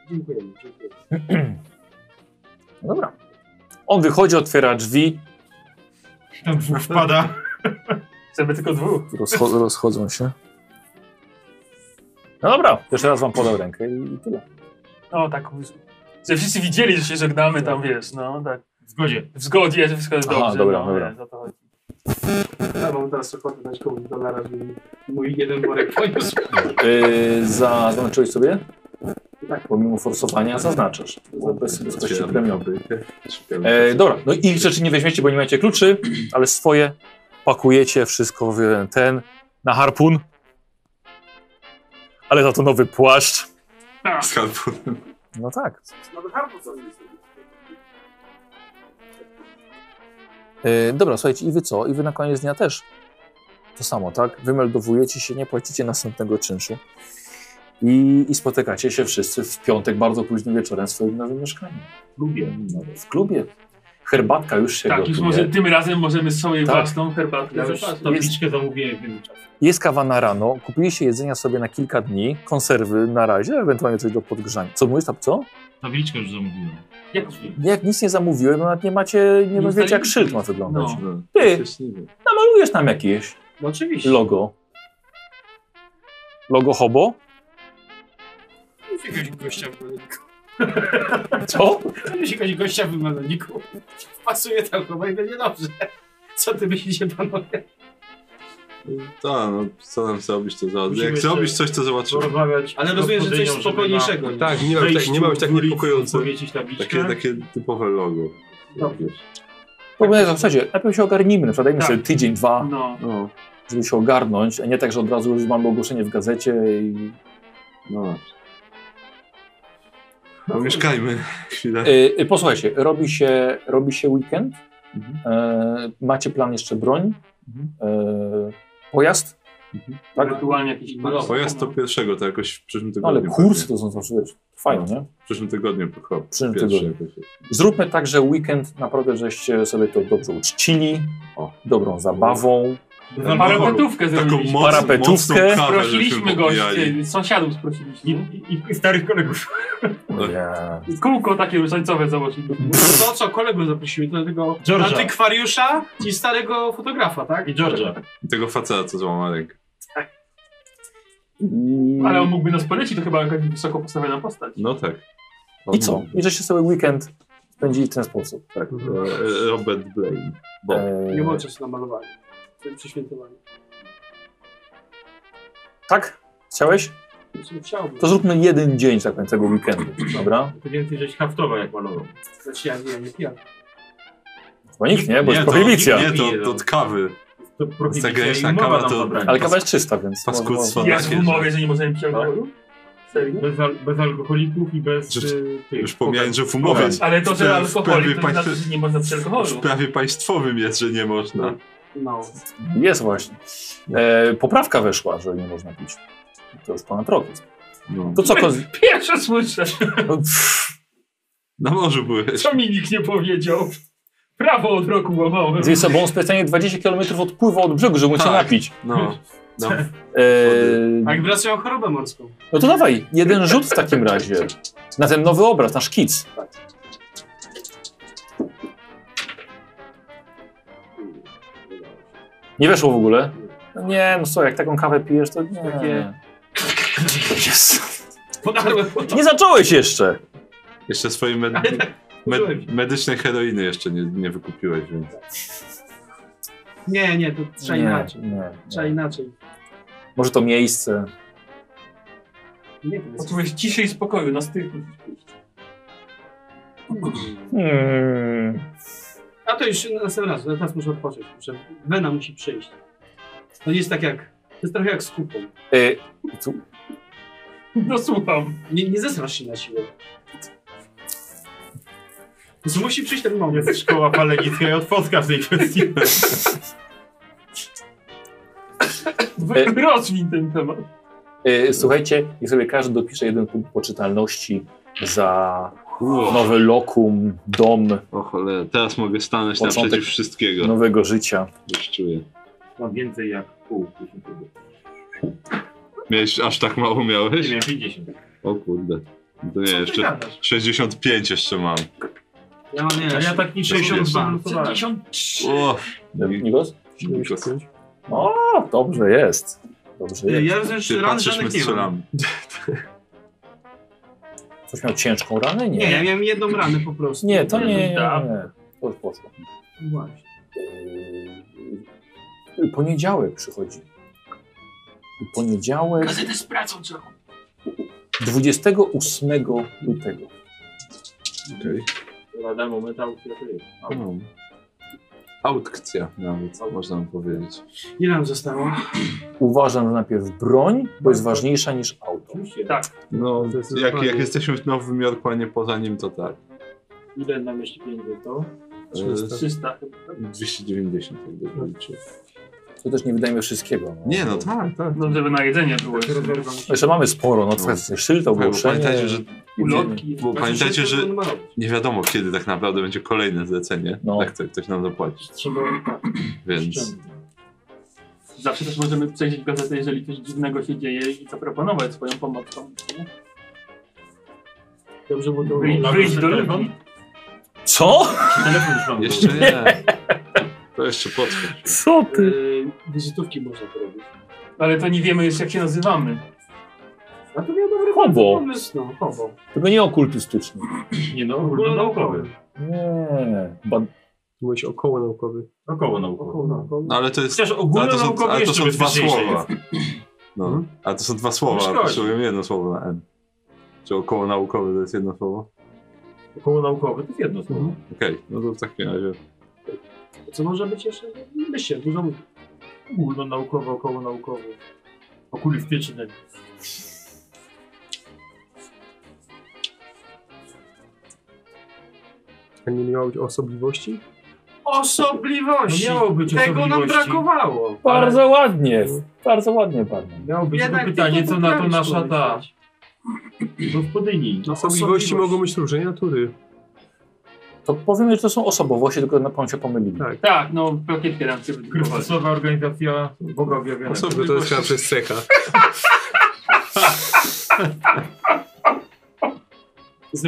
Speaker 4: Dziękujemy, dziękuję.
Speaker 2: No dobra. On wychodzi, otwiera drzwi.
Speaker 5: Tam wpada.
Speaker 7: Chcemy tylko dwóch.
Speaker 2: Rozcho- rozchodzą się. No dobra, jeszcze raz wam podał rękę i, i tyle.
Speaker 7: No tak. Że wszyscy widzieli, że się żegnamy tam, wiesz, no tak. W
Speaker 5: zgodzie.
Speaker 7: W zgodzie, że wszystko jest
Speaker 2: Aha,
Speaker 7: dobrze.
Speaker 2: dobra,
Speaker 7: no,
Speaker 2: dobra.
Speaker 7: wiesz, o to chodzi.
Speaker 3: Ja mam teraz ochotę dać komuś dolara, żeby mój jeden worek poniósł.
Speaker 2: Yy, za, zaznaczyłeś sobie? Tak. Pomimo forsowania zaznaczasz. Za bez wysokości premiowej. E, dobra, no i ich rzeczy nie weźmiecie, bo nie macie kluczy, ale swoje pakujecie, wszystko w jeden ten, na harpun. Ale za to nowy płaszcz.
Speaker 1: Z harpunem.
Speaker 2: No tak.
Speaker 3: No to harpo co jest.
Speaker 2: E, dobra, słuchajcie, i wy co? I wy na koniec dnia też to samo, tak? Wymeldowujecie się, nie płacicie następnego czynszu i, i spotykacie się wszyscy w piątek bardzo późnym wieczorem w swoim nowym mieszkaniu. W klubie. W klubie. Herbatka już się
Speaker 7: Tak,
Speaker 2: gotuje.
Speaker 7: już może, tym razem możemy swoją
Speaker 2: Tak.
Speaker 7: własną herbatkę
Speaker 5: Ja już
Speaker 7: zapaść.
Speaker 5: tabliczkę zamówiłem w tym czasie.
Speaker 2: Jest kawa na rano, kupiliście jedzenia sobie na kilka dni, konserwy na razie, ewentualnie coś do podgrzania. Co mówisz, tam co?
Speaker 5: Tabliczkę już zamówiłem.
Speaker 7: Jak
Speaker 2: Jak nic nie zamówiłem, no nawet nie macie, nie,
Speaker 5: Nie
Speaker 2: wiecie jak
Speaker 5: znali-
Speaker 2: szyld ma wyglądać.
Speaker 1: No.
Speaker 2: Ty, namalujesz nam jakieś
Speaker 4: No oczywiście.
Speaker 2: logo. Logo hobo?
Speaker 4: Jakiegoś gościa w meloniku.
Speaker 2: Co?
Speaker 4: Jakiegoś gościa w meloniku. Pasuje tam chyba i będzie dobrze. Co ty myślicie, panowie?
Speaker 1: Tak, no co nam zrobić, to zrobić.
Speaker 5: Musimy
Speaker 1: Jak
Speaker 5: jeszcze
Speaker 1: zrobisz coś, to zobaczymy.
Speaker 5: porozmawiać
Speaker 4: Ale
Speaker 5: z
Speaker 4: rozumiem, że coś
Speaker 5: gospodynią, żeby
Speaker 4: spokojniejszego.
Speaker 5: na
Speaker 6: Tak, nie ma być tak-
Speaker 5: wejściu
Speaker 6: nie ma być tak
Speaker 5: w ulicy
Speaker 6: niepokojące.
Speaker 5: powiesić tabliczkę.
Speaker 1: Takie, tak- takie typowe logo.
Speaker 2: Powiem, że w zasadzie no, najpierw się ogarnijmy, na przykład dajmy sobie tydzień, dwa,
Speaker 7: No.
Speaker 1: No,
Speaker 2: żeby się ogarnąć, a nie tak, że od razu już mamy ogłoszenie w gazecie i...
Speaker 1: no właśnie. No, mieszkajmy chwilę.
Speaker 2: Y, y, posłuchajcie, robi się, robi się weekend, e, macie plan jeszcze broń, e, pojazd, tak?
Speaker 7: Ewentualnie jakiś
Speaker 1: No, pojazd to pierwszego, to jakoś w przyszłym
Speaker 2: No,
Speaker 1: tygodniu.
Speaker 2: ale kursy
Speaker 1: pewnie.
Speaker 2: to są zawsze, wiesz, fajne,
Speaker 1: No.
Speaker 2: nie?
Speaker 1: W przyszłym tygodniu chyba. W
Speaker 2: przyszłym tygodniu. Zróbmy tak, że weekend naprawdę, żeście sobie to dobrze uczcili, dobrą zabawą.
Speaker 7: No, parapetówkę zrobiliśmy.
Speaker 1: mocną-
Speaker 2: Parapetówkę.
Speaker 1: mocną kawę,
Speaker 7: Prosiliśmy
Speaker 1: żeśmy
Speaker 7: gości,
Speaker 1: popijali.
Speaker 7: sąsiadów sprosiliśmy.
Speaker 5: I, i starych kolegów.
Speaker 1: No.
Speaker 2: Ja.
Speaker 7: Kółko takie różańcowe założyliśmy.
Speaker 4: To co, kolegów zaprosimy, to tego
Speaker 5: George'a.
Speaker 4: antykwariusza i starego fotografa, tak?
Speaker 5: I George'a.
Speaker 1: Tego faceta, co złama rękę. Mm,
Speaker 7: Ale on mógłby nas polecić, to chyba jakaś wysoko postawiona postać.
Speaker 1: No tak. On-
Speaker 2: I co? I żeście sobie weekend spędzili w ten sposób.
Speaker 1: Tak, e, Robert Blaine. Bo.
Speaker 2: E,
Speaker 3: Nie było czasu na malowanie. W tym przeświętowaniu.
Speaker 2: tak? Chciałeś?
Speaker 3: Znaczy, Chciałbym.
Speaker 2: To zróbmy jeden dzień, tak powiem, tego weekendu, dobra?
Speaker 5: To więcej żeś haftowa jak malował.
Speaker 3: Znaczy ja nie, nie pijam.
Speaker 2: Chyba nikt nie, bo jest
Speaker 1: to-
Speaker 2: prohibicja.
Speaker 1: Nie, to, to od kawy.
Speaker 7: To prohibicja
Speaker 16: zagraniczna
Speaker 7: i umowa
Speaker 16: kawa
Speaker 7: nam
Speaker 16: to-
Speaker 7: zabrania.
Speaker 16: ale kawa jest czysta, więc Paskudstwo
Speaker 7: Ja
Speaker 16: takie,
Speaker 7: w umowie,
Speaker 16: że-
Speaker 7: że nie możemy pić alkoholu? Serio? Bez, al bez alkoholików i bez... Że,
Speaker 5: y,
Speaker 16: Już pomijając, że w umowie.
Speaker 7: Ale to, że
Speaker 16: w
Speaker 7: alkoholik, to
Speaker 16: prawie
Speaker 7: nie znaczy, że nie można pić
Speaker 16: W
Speaker 7: alkoholu.
Speaker 16: prawie państwowym jest, że nie można.
Speaker 4: No.
Speaker 2: Jest właśnie. E, poprawka weszła, że nie można pić. To już ponad rok jest.
Speaker 16: No.
Speaker 2: To co? Ko-
Speaker 7: Pierwsze słyszę.
Speaker 16: Na morzu byłeś.
Speaker 7: Co mi nikt nie powiedział? Prawo od roku łamałem.
Speaker 2: Zjedz sobą specjalnie 20 km odpływa od brzegu, żeby móc się napić.
Speaker 16: No. No.
Speaker 4: A
Speaker 2: E,
Speaker 4: jak wraz miał chorobę morską.
Speaker 2: no to dawaj, jeden rzut w takim razie. Na ten nowy obraz, na szkic. Nie weszło w ogóle? No Nie, no co, jak taką kawę pijesz, to nie.
Speaker 7: Takie-
Speaker 2: Yes. Nie zacząłeś jeszcze!
Speaker 16: Jeszcze swojej med...
Speaker 5: tak
Speaker 16: med... medycznej heroiny jeszcze nie, nie wykupiłeś, więc.
Speaker 4: Nie, nie, to trzeba
Speaker 16: Nie,
Speaker 4: inaczej.
Speaker 2: nie,
Speaker 4: trzeba inaczej.
Speaker 2: Może to miejsce.
Speaker 4: Nie, to jest...
Speaker 7: Potrzebujesz ciszy i spokoju, na styku.
Speaker 2: Hmm.
Speaker 4: A to już następny raz, teraz muszę odpocząć. Muszę... Wena musi przyjść. To nie jest tak jak... To jest trochę jak z kupą.
Speaker 2: E, tu-
Speaker 7: No słucham.
Speaker 4: Nie, nie zesrasz się na siłę. Więc musi przyjść ten moment.
Speaker 5: Jest szkoła palennicka i odpotka w tej kwestii.
Speaker 2: E,
Speaker 7: Rozwin ten temat.
Speaker 2: E, Słuchajcie, niech sobie każdy dopisze jeden punkt poczytalności za nowy lokum, dom.
Speaker 16: O cholera, teraz mogę stanąć
Speaker 2: Początek
Speaker 16: naprzeciw wszystkiego.
Speaker 2: Nowego życia.
Speaker 16: Już czuję.
Speaker 5: Mam więcej jak pół.
Speaker 16: Miałeś aż tak mało miałeś?
Speaker 5: Nie, miałem 50.
Speaker 16: O kurde. To nie, jeszcze
Speaker 5: gadasz?
Speaker 16: 65 jeszcze mam.
Speaker 4: Ja mam, nie,
Speaker 5: A ja tak niczym
Speaker 4: 62.
Speaker 5: nie przygotowałem.
Speaker 4: 73.
Speaker 16: O,
Speaker 2: Nikos? O, dobrze jest. Dobrze
Speaker 4: Ej,
Speaker 2: jest.
Speaker 4: ja rozumiem, że Ty ran patrzysz, żadnych my nie ma. strzelamy.
Speaker 2: Coś miał ciężką ranę? Nie.
Speaker 4: Nie, ja miałem jedną ranę po prostu.
Speaker 2: Nie, to nie, nie, nie.
Speaker 4: Da.
Speaker 2: To już poszło.
Speaker 4: Właśnie.
Speaker 2: E, Poniedziałek przychodzi. Poniedziałek
Speaker 4: Gazetę z pracą trzeba
Speaker 2: 28 lutego.
Speaker 16: Okej.
Speaker 5: Rademu metał, który
Speaker 16: No. Autkcja nawet, można by powiedzieć.
Speaker 4: Ile nam zostało?
Speaker 2: Uważam, że najpierw broń, bo jest ważniejsza niż auto.
Speaker 7: Tak.
Speaker 16: No, jak,
Speaker 5: zupełnie- No
Speaker 16: jak jesteśmy w Nowym Jorku, a nie poza nim, to tak.
Speaker 5: Ile na mieście pieniędzy to?
Speaker 2: E,
Speaker 16: Trzysta.
Speaker 7: 300.
Speaker 16: 290 jak dobrze liczę.
Speaker 2: To też nie wydajemy wszystkiego.
Speaker 16: Nie, no tak, tak.
Speaker 7: No, żeby na jedzenie było.
Speaker 2: Jeszcze mamy sporo, no to szyld, ogłoszenie.
Speaker 16: pamiętajcie, że-
Speaker 7: Ulotki.
Speaker 16: Bo pamiętajcie, że
Speaker 7: Numer
Speaker 16: nie wiadomo kiedy tak naprawdę będzie kolejne zlecenie,
Speaker 2: no.
Speaker 16: tak, tak ktoś nam zapłaci.
Speaker 7: Trzeba... tak.
Speaker 16: Więc
Speaker 7: Zawsze też możemy przejrzeć gazetę, jeżeli coś dziwnego się dzieje i zaproponować swoją pomoc. komuś, nie?
Speaker 4: Dobrze, bo to...
Speaker 7: Wyj- Wyjść do
Speaker 4: Telefon?
Speaker 7: ludzi.
Speaker 2: Co?
Speaker 5: Telefon już mam.
Speaker 16: jeszcze nie. To jeszcze potrwa.
Speaker 2: Co
Speaker 4: ty? E, wizytówki można porobić.
Speaker 7: Ale to nie wiemy jeszcze jak się nazywamy.
Speaker 4: A to miał dobry
Speaker 2: Hobo.
Speaker 4: pomysł, no, hobo.
Speaker 2: Tylko nie okultystyczny.
Speaker 5: Nie no,
Speaker 4: ogólnonaukowy.
Speaker 5: ogólnonaukowy.
Speaker 2: Nie. Ba...
Speaker 6: Mówiłeś około naukowy.
Speaker 5: Około naukowy.
Speaker 16: No ale to jest.
Speaker 5: Chociaż
Speaker 16: ale to są,
Speaker 5: ogólnonaukowy
Speaker 16: ale to
Speaker 5: jeszcze
Speaker 16: są dwa
Speaker 5: bezpieczniejszy
Speaker 16: słowa. No. A to są dwa słowa,
Speaker 5: Nie
Speaker 16: a
Speaker 5: Hmm? szkodzi.
Speaker 16: potrzebujemy jedno słowo na N. Czy około naukowe to jest jedno słowo?
Speaker 5: Około naukowy to jest jedno słowo.
Speaker 16: Okej, no to w takim razie.
Speaker 4: Co może być jeszcze? Myślę, dużo mówię.
Speaker 5: Ogólnonaukowy, około naukowy. Okulistyczny.
Speaker 6: A nie miało być osobliwości?
Speaker 4: Osobliwości!
Speaker 5: No miało być
Speaker 4: Tego nam
Speaker 5: osobliwości.
Speaker 4: brakowało.
Speaker 2: Bardzo ładnie. Bardzo ładnie bardzo.
Speaker 5: Miało być
Speaker 4: Jednak
Speaker 5: tylko pytanie,
Speaker 4: ty to
Speaker 5: co na to
Speaker 4: poprawisz,
Speaker 5: nasza
Speaker 4: człowiek.
Speaker 5: ta gospodyni.
Speaker 3: No,
Speaker 6: Osobliwości mogą być różnej natury.
Speaker 2: To powiemy, że to są osobowości, tylko na pewno się pomylili.
Speaker 6: Tak.
Speaker 7: Tak, no plakietkę nam się wydrukowali.
Speaker 5: Chrystusowa organizacja Boga objawionego.
Speaker 6: Osoby to jest chyba przez cecha.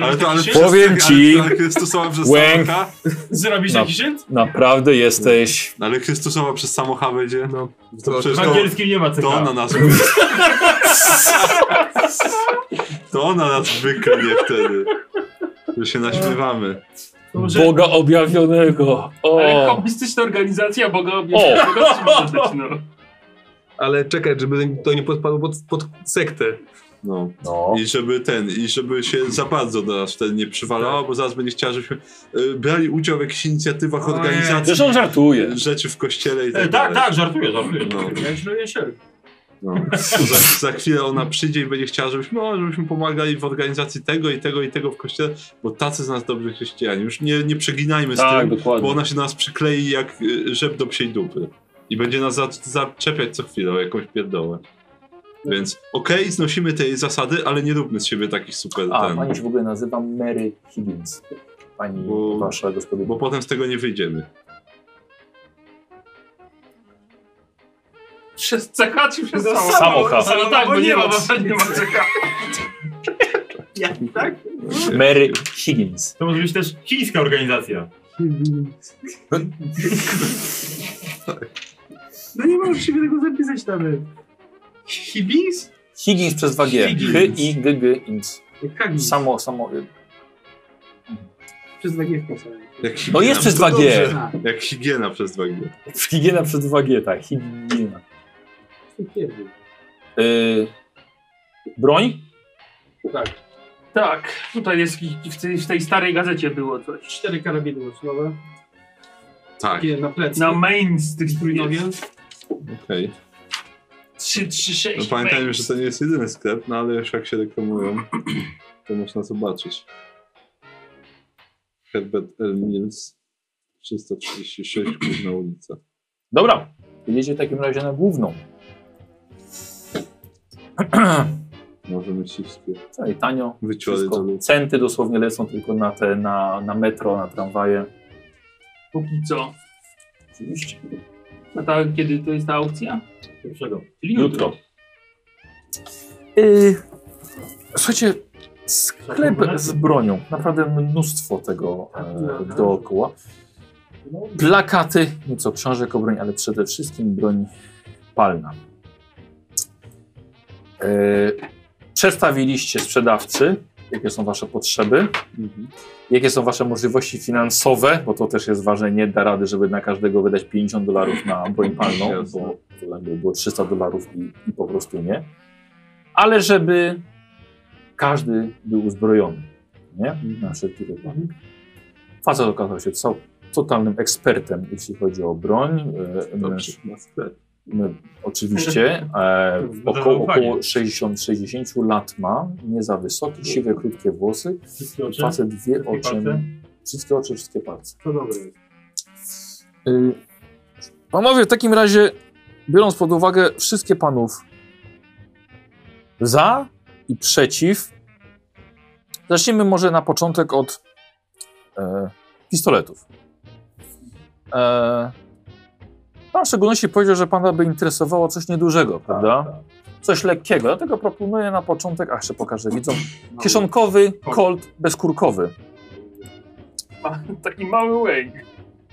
Speaker 16: Ale to ale
Speaker 2: Powiem ci,
Speaker 16: Ale Chrystusowa przez
Speaker 2: Łęk.
Speaker 16: samocha. No.
Speaker 5: Zrobisz
Speaker 2: Na- Naprawdę jesteś.
Speaker 16: Ale Chrystusowa przez samocha będzie.
Speaker 6: No.
Speaker 16: To, przecież
Speaker 5: W
Speaker 16: to,
Speaker 5: angielskim nie ma
Speaker 16: to
Speaker 5: cecha.
Speaker 16: ona nas. To ona nas wykleje wtedy. Że się naśmiewamy.
Speaker 2: Boga objawionego.
Speaker 7: Ale
Speaker 2: O.
Speaker 7: komunistyczna organizacja Boga
Speaker 2: O!
Speaker 7: objawionego. no. Boga sympatycznego.
Speaker 6: Ale czekaj, żeby to nie podpadło pod, pod sektę.
Speaker 16: No.
Speaker 2: No.
Speaker 16: I żeby ten, i żeby się za bardzo do nas wtedy nie przywalało, bo zaraz będzie chciała, żebyśmy y, brali udział w jakichś inicjatywach
Speaker 5: Ojej.
Speaker 16: organizacji.
Speaker 5: Zresztą on
Speaker 2: żartuje.
Speaker 16: Rzeczy w kościele i tak
Speaker 5: E, tak,
Speaker 16: dalej.
Speaker 5: tak, żartuję, żartuję.
Speaker 16: No.
Speaker 5: Ja źle je sierp.
Speaker 16: No. Za, za chwilę ona przyjdzie i będzie chciała, żebyśmy, no, żebyśmy pomagali w organizacji tego i tego i tego w kościele, bo tacy z nas dobrzy chrześcijanie. Już nie, nie przeginajmy z
Speaker 2: Tak,
Speaker 16: tym,
Speaker 2: dokładnie.
Speaker 16: bo ona się do nas przyklei jak y, rzep do psiej dupy. I będzie nas za- zaczepiać co chwilę o jakąś pierdołę. Więc okej, znosimy te jej zasady, ale nie róbmy z siebie takich super
Speaker 2: A,
Speaker 16: ten,
Speaker 2: pani się w ogóle nazywa Mary Higgins. Pani
Speaker 16: Bo-
Speaker 2: wasza gospodyni.
Speaker 16: bo potem z tego nie wyjdziemy.
Speaker 7: Przez cechaci przez
Speaker 5: No,
Speaker 7: całą-
Speaker 2: samochab.
Speaker 7: Ale tak, bo nie ma, bo nie ma cecha.
Speaker 5: Ja, tak?
Speaker 2: Mary Higgins.
Speaker 5: To może być też chińska organizacja.
Speaker 4: No nie możesz się tego zapisać nawet. Higgins?
Speaker 2: Higgins przez 2G.
Speaker 4: Higgins.
Speaker 2: H i g g ins.
Speaker 4: Higgins.
Speaker 2: Samo, samo. No
Speaker 4: Przez
Speaker 5: tak
Speaker 4: dwa G wpisałem.
Speaker 16: Jak
Speaker 2: No
Speaker 16: higiena.
Speaker 2: jest przez
Speaker 16: To
Speaker 2: 2G.
Speaker 16: dobrze. Jak higiena przez 2G.
Speaker 2: Higiena przez 2G, tak. Higiena.
Speaker 4: Higgins.
Speaker 2: Yy, broń?
Speaker 4: Tak.
Speaker 7: Tak, tutaj jest w tej, w tej starej gazecie było coś.
Speaker 4: Cztery karabiny łucznowe.
Speaker 16: Tak.
Speaker 4: Takie na plecy.
Speaker 7: Na main z tych
Speaker 4: Trójnowie.
Speaker 16: Okej.
Speaker 7: 3, 3, 6.
Speaker 16: No pamiętajmy, że to nie jest jedyny sklep, no ale już jak się reklamują, to można zobaczyć. Herbert L. Mills, 336 Główna ulica.
Speaker 2: Dobra, jedziecie w takim razie na główną.
Speaker 16: Możemy się wspiąć.
Speaker 2: No i tanio.
Speaker 16: Wyciąłe
Speaker 2: wszystko. Centy dosłownie lecą tylko na, te, na, na metro, na tramwaje.
Speaker 7: Póki co.
Speaker 2: Oczywiście.
Speaker 7: A ta, kiedy to jest ta aukcja?
Speaker 5: Pierwszego.
Speaker 7: Czyli jutro.
Speaker 2: Yy, słuchajcie, sklep z bronią. Naprawdę mnóstwo tego e, dookoła. Plakaty, nieco książek o broń, ale przede wszystkim broń palna. E, przedstawiliście sprzedawcy, jakie są wasze potrzeby, jakie są wasze możliwości finansowe, bo to też jest ważne, nie da rady, żeby na każdego wydać 50 dolarów na broń palną, bo to by było 300 dolarów i, i po prostu nie. Ale żeby każdy był uzbrojony, nie? Na wszelki wypadek. Facet okazał się cał, totalnym ekspertem, jeśli chodzi o broń. E, męż- m- Oczywiście. E, około,
Speaker 5: zaufanie.
Speaker 2: około 60, 60 lat ma, nie za wysoki, siwe, krótkie włosy.
Speaker 5: Wszystkie oczy?
Speaker 2: Facet wie o
Speaker 5: Wszystkie
Speaker 2: czym.
Speaker 5: palce?
Speaker 2: Wszystkie oczy, wszystkie palce.
Speaker 4: To dobre jest.
Speaker 2: Y, Panowie, w takim razie, biorąc pod uwagę wszystkie panów za i przeciw, zacznijmy może na początek od e, pistoletów. E, pan w szczególności powiedział, że pana by interesowało coś niedużego,
Speaker 5: Tak,
Speaker 2: prawda? Coś lekkiego, dlatego proponuję na początek, a jeszcze pokażę widzom, No. kieszonkowy Colt bezkurkowy.
Speaker 7: Ma taki mały way.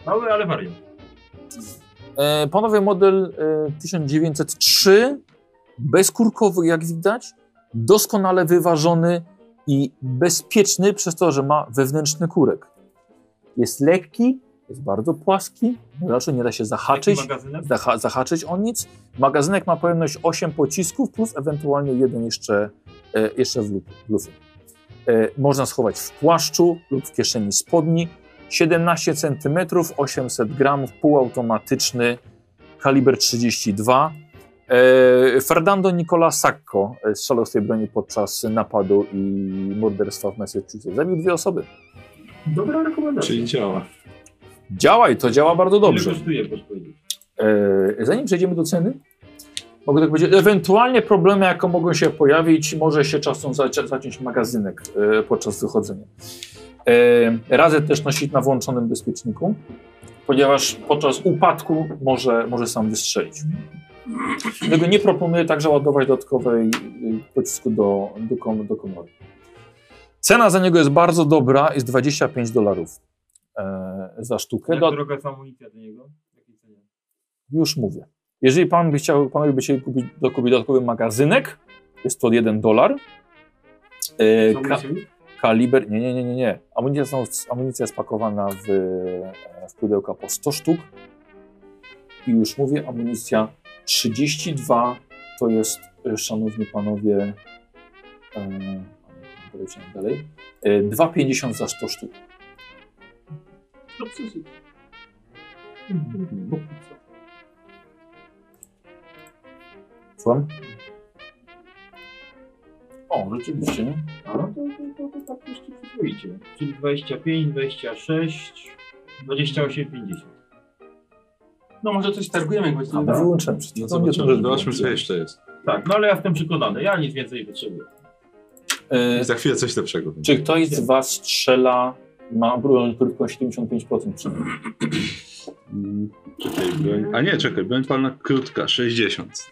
Speaker 5: Mały, ale wariant.
Speaker 2: E, panowie, model e, 1903, bezkurkowy jak widać, doskonale wyważony i bezpieczny przez to, że ma wewnętrzny kurek. Jest lekki, jest bardzo płaski, raczej nie da się zahaczyć,
Speaker 5: Jaki magazynek?
Speaker 2: zaha zahaczyć o nic. Magazynek ma pojemność 8 pocisków plus ewentualnie jeden jeszcze, e, jeszcze w lu- lufie. E, można schować w płaszczu lub w kieszeni spodni. 17 cm, 800 gramów, półautomatyczny, kaliber 32. E, Fernando Nicola Sacco e, strzelał z tej broni podczas napadu i morderstwa w Massachusetts. Zabił dwie osoby.
Speaker 5: Dobra rekomendacja.
Speaker 16: Czyli działa.
Speaker 2: Działa i to działa bardzo dobrze.
Speaker 5: Ile kosztuje, proszę powiedzieć?
Speaker 2: E, zanim przejdziemy do ceny, mogę tak powiedzieć, ewentualnie problemy, jakie mogą się pojawić, może się czasem zacia- zaciąć magazynek e, podczas wychodzenia. E, radzę też nosić na włączonym bezpieczniku, ponieważ podczas upadku może, może sam wystrzelić. Dlatego nie proponuję także ładować dodatkowej y, pocisku do, do, kom, do komory. Cena za niego jest bardzo dobra, jest 25 dolarów e, za sztukę.
Speaker 5: Jak
Speaker 2: Dodat-
Speaker 5: droga jest amunicja do niego? W jakiej cenie?
Speaker 2: już mówię. Jeżeli pan by chciał, panowie by chcieli kupić, dokupić dodatkowy magazynek, jest to 1 dolar. E,
Speaker 4: Co
Speaker 2: ka-
Speaker 4: myślisz?
Speaker 2: kaliber, nie, nie, nie, nie, nie. Amunicja, są, amunicja jest pakowana w, e, w pudełka po 100 sztuk. I już mówię, amunicja 32 to jest, e, szanowni panowie, E, Poleciałem dalej. E, 2,50 za 100 sztuk.
Speaker 4: To przecież...
Speaker 2: Mhm. Słucham? O, rzeczywiście. nie?
Speaker 5: A no to, to, to, to tak jeszcze przyzwoicie. Czyli 25, 26, 28, 50.
Speaker 7: No może coś targujemy, jak
Speaker 2: A,
Speaker 7: właśnie.
Speaker 2: bo wyłączam przecież.
Speaker 16: No
Speaker 2: to mnie to
Speaker 16: zobaczymy,
Speaker 2: nie
Speaker 16: zobaczmy co
Speaker 2: było.
Speaker 16: jeszcze jest.
Speaker 5: Tak, no ale ja jestem przekonany, ja nic więcej nie potrzebuję.
Speaker 2: E,
Speaker 16: I za chwilę coś lepszego będzie.
Speaker 2: Czy ktoś z Was strzela, ma broń krótką 75% przy nim?
Speaker 16: Mm, Czekaj,
Speaker 1: No
Speaker 16: broń. A nie, czekaj, broń palna krótka, 60.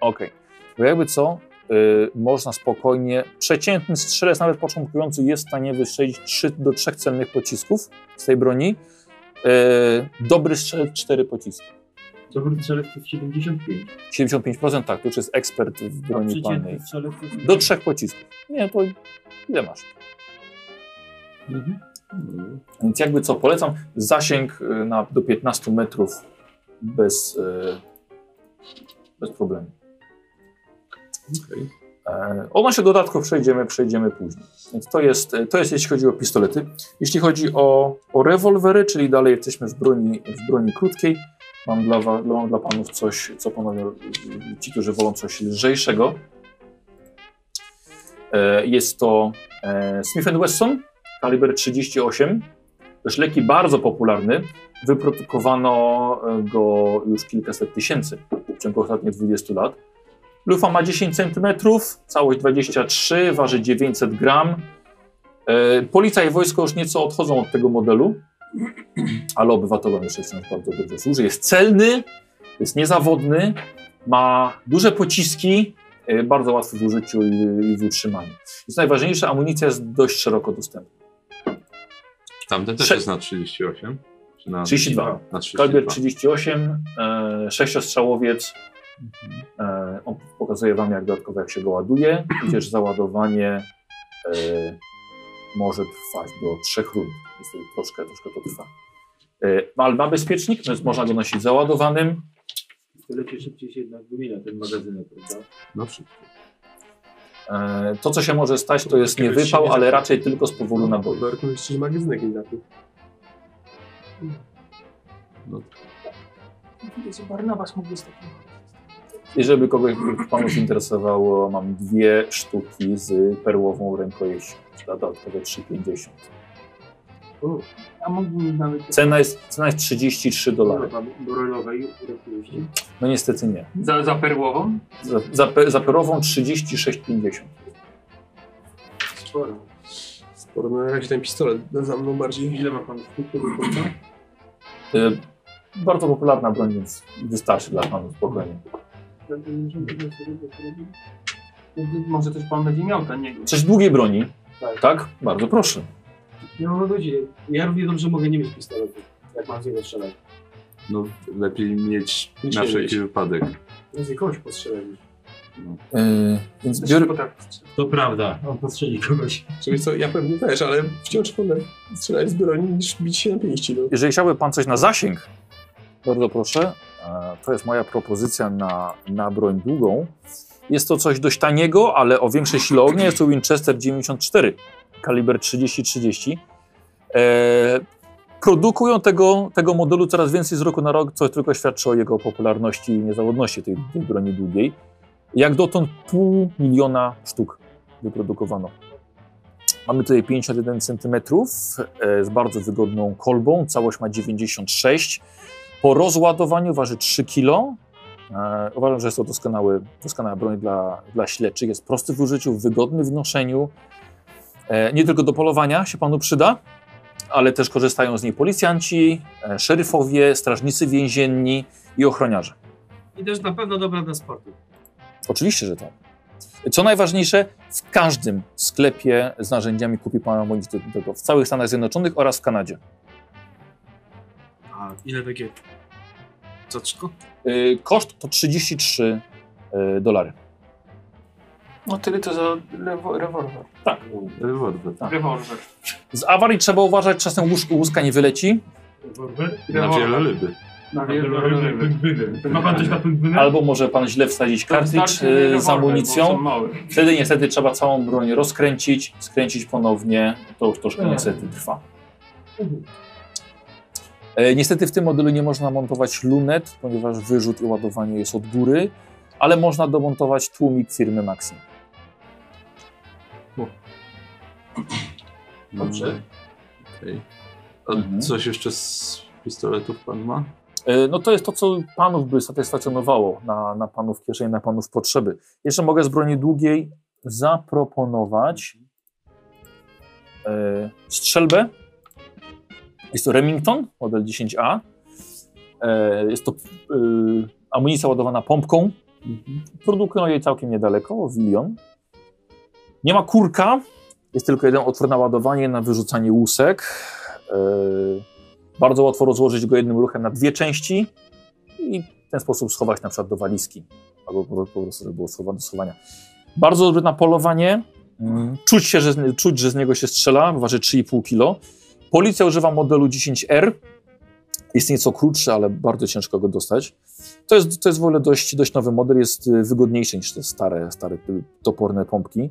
Speaker 2: Okej. Bo jakby co, y, można spokojnie, przeciętny strzelec, nawet początkujący, jest w stanie wystrzelić 3 do 3 celnych pocisków z tej broni. Y, dobry strzelec 4 pociski.
Speaker 5: Dobry strzelec to jest 75.
Speaker 2: 75% tak, to już jest ekspert w
Speaker 5: A
Speaker 2: broni palnej.
Speaker 5: przeciętny strzelec to jest...
Speaker 2: Do trzech pocisków. Nie, to ile masz?
Speaker 5: Mhm.
Speaker 2: Więc jakby co, polecam zasięg y, na, do 15 metrów bez, y, bez problemu. E, Ono się dodatkowo przejdziemy, przejdziemy później. Więc to jest, e, to jest jeśli chodzi o pistolety. Jeśli chodzi o, o rewolwery, czyli dalej jesteśmy w broni, w broni krótkiej, mam dla, wa- mam dla panów coś, co panowie, y, ci, którzy wolą coś lżejszego. E, Jest to e, Smith Wesson, kaliber 38. Też leki bardzo popularny. Wyprodukowano e, go już kilkaset tysięcy w ciągu ostatnich 20 lat. Lufa ma 10 cm, całość 23, waży 900 gram. E, Policja i wojsko już nieco odchodzą od tego modelu, ale obywatelom jeszcze wciąż bardzo dobrze służy. Jest celny, jest niezawodny, ma duże pociski, e, bardzo łatwy w użyciu i i w utrzymaniu. Jest najważniejsze, amunicja jest dość szeroko dostępna.
Speaker 16: Tamten też
Speaker 2: Prze-
Speaker 16: jest na 38? Czy na
Speaker 2: 32.
Speaker 16: Na
Speaker 2: Kaliber
Speaker 16: 32.
Speaker 2: 38, e, sześciostrzałowiec. E, on pokazuje Wam, jak dodatkowo jak się go ładuje. Widzisz, załadowanie e, może trwać do trzech rund. Niestety troszkę, troszkę to trwa. E, ma- ale ma bezpiecznik, więc można go nosić załadowanym.
Speaker 5: Tyle szybciej się jednak wymienia ten magazyn, prawda?
Speaker 16: No wszystko.
Speaker 2: E, to, co się może stać, to jest nie wypał, ale raczej tylko z powodu naboju.
Speaker 6: Warto jeszcze magazynek nie zapił.
Speaker 7: Co Barnabas mógłby z takim.
Speaker 2: I żeby kogoś panów interesowało, mam dwie sztuki z perłową rękojeścią. za Dodatkowe 3,50.
Speaker 5: A mógłbym nawet...
Speaker 2: Cena jest, cena jest 33 dolary.
Speaker 5: Borolowej, oczywiście.
Speaker 2: No niestety nie.
Speaker 7: Za, za perłową?
Speaker 2: Za, za, pe- za perową 36,50.
Speaker 6: Sporo. Sporo. No na razie ten pistolet no, za mną bardziej. Ile ma pan sztuk tego
Speaker 2: Y, bardzo popularna broń, więc wystarczy dla panów spokojnie.
Speaker 7: Może też pan będzie miał dla niego.
Speaker 2: Coś długiej broni. Tak. Bardzo proszę.
Speaker 4: Nie mam ludzi. Ja równie dobrze mogę nie mieć pistoletu, jak mam z niego strzelać.
Speaker 16: No lepiej mieć
Speaker 4: Nic
Speaker 16: na
Speaker 4: nie
Speaker 16: wszelki wypadek.
Speaker 4: Ja z jakąś postrzelam.
Speaker 2: Yy, więc biorę...
Speaker 5: To prawda, on postrzeli kogoś.
Speaker 6: Czyli co, ja pewnie też, ale wciąż wolę strzelać z broni niż bić się na pięści. No.
Speaker 2: Jeżeli chciałby pan coś na zasięg, bardzo proszę. E, To jest moja propozycja na, na broń długą. Jest to coś dość taniego, ale o większej sile ognia. Jest to Winchester 94, kaliber 30-30. E, produkują tego, tego modelu coraz więcej z roku na rok, co tylko świadczy o jego popularności i niezawodności tej, tej broni długiej. Jak dotąd pół miliona sztuk wyprodukowano. Mamy tutaj 51 cm e, z bardzo wygodną kolbą. Całość ma 96. Po rozładowaniu waży 3 kg. E, uważam, że jest to doskonały, doskonała broń dla, dla śledczych. Jest prosty w użyciu, wygodny w noszeniu. E, nie tylko do polowania się panu przyda, ale też korzystają z niej policjanci, e, szeryfowie, strażnicy więzienni i ochroniarze.
Speaker 24: I też na pewno dobra dla sportu.
Speaker 2: Oczywiście, że tak. Co najważniejsze, w każdym sklepie z narzędziami kupi pan amunicję do tego, w całych Stanach Zjednoczonych oraz w Kanadzie.
Speaker 24: A ile takie? Co trzko?
Speaker 2: Y, Koszt to 33 y, dolary.
Speaker 7: No tyle to za lewo, rewolwer.
Speaker 2: Tak.
Speaker 16: Rewolwer.
Speaker 2: Tak.
Speaker 7: Rewolwer.
Speaker 2: Z awarii trzeba uważać, czasem łóż, łuska nie wyleci.
Speaker 5: Rewolwer?
Speaker 16: Na wiele ryby.
Speaker 7: No,
Speaker 5: No,
Speaker 25: Ma pan coś na pękwinę?
Speaker 2: Albo może pan źle wsadzić kartridż
Speaker 7: wystarczy
Speaker 2: y, z
Speaker 7: rewolwer, bo są
Speaker 2: amunicją.
Speaker 7: małe.
Speaker 2: Wtedy niestety trzeba całą broń rozkręcić, skręcić ponownie. To już troszkę
Speaker 7: Mhm.
Speaker 2: niestety trwa. E, Niestety w tym modelu nie można montować lunet, ponieważ wyrzut i ładowanie jest od góry, ale można domontować tłumik firmy Maxim.
Speaker 6: Mhm.
Speaker 1: Dobrze. Okej. A coś jeszcze z pistoletów pan ma?
Speaker 2: E, No to jest to, co panów by satysfakcjonowało na, na panów kieszeni, na panów potrzeby. Jeszcze mogę z broni długiej zaproponować e, strzelbę. Jest to Remington, model 10A. E, jest to e, amunicja ładowana pompką. Produkują jej całkiem niedaleko, Wilion. Nie ma kurka, jest tylko jeden otwór na ładowanie, na wyrzucanie łusek. E, bardzo łatwo rozłożyć go jednym ruchem na dwie części i w ten sposób schować na przykład do walizki albo po, po prostu, żeby było schowane do schowania. Bardzo dobry na polowanie. Mm, Czuć, się, że, z- czuć, że z niego się strzela, waży 3,5 kg. Policja używa modelu 10R. Jest nieco krótszy, ale bardzo ciężko go dostać. To jest, to jest w ogóle dość, dość nowy model, jest y, wygodniejszy niż te stare, stare y, toporne pompki.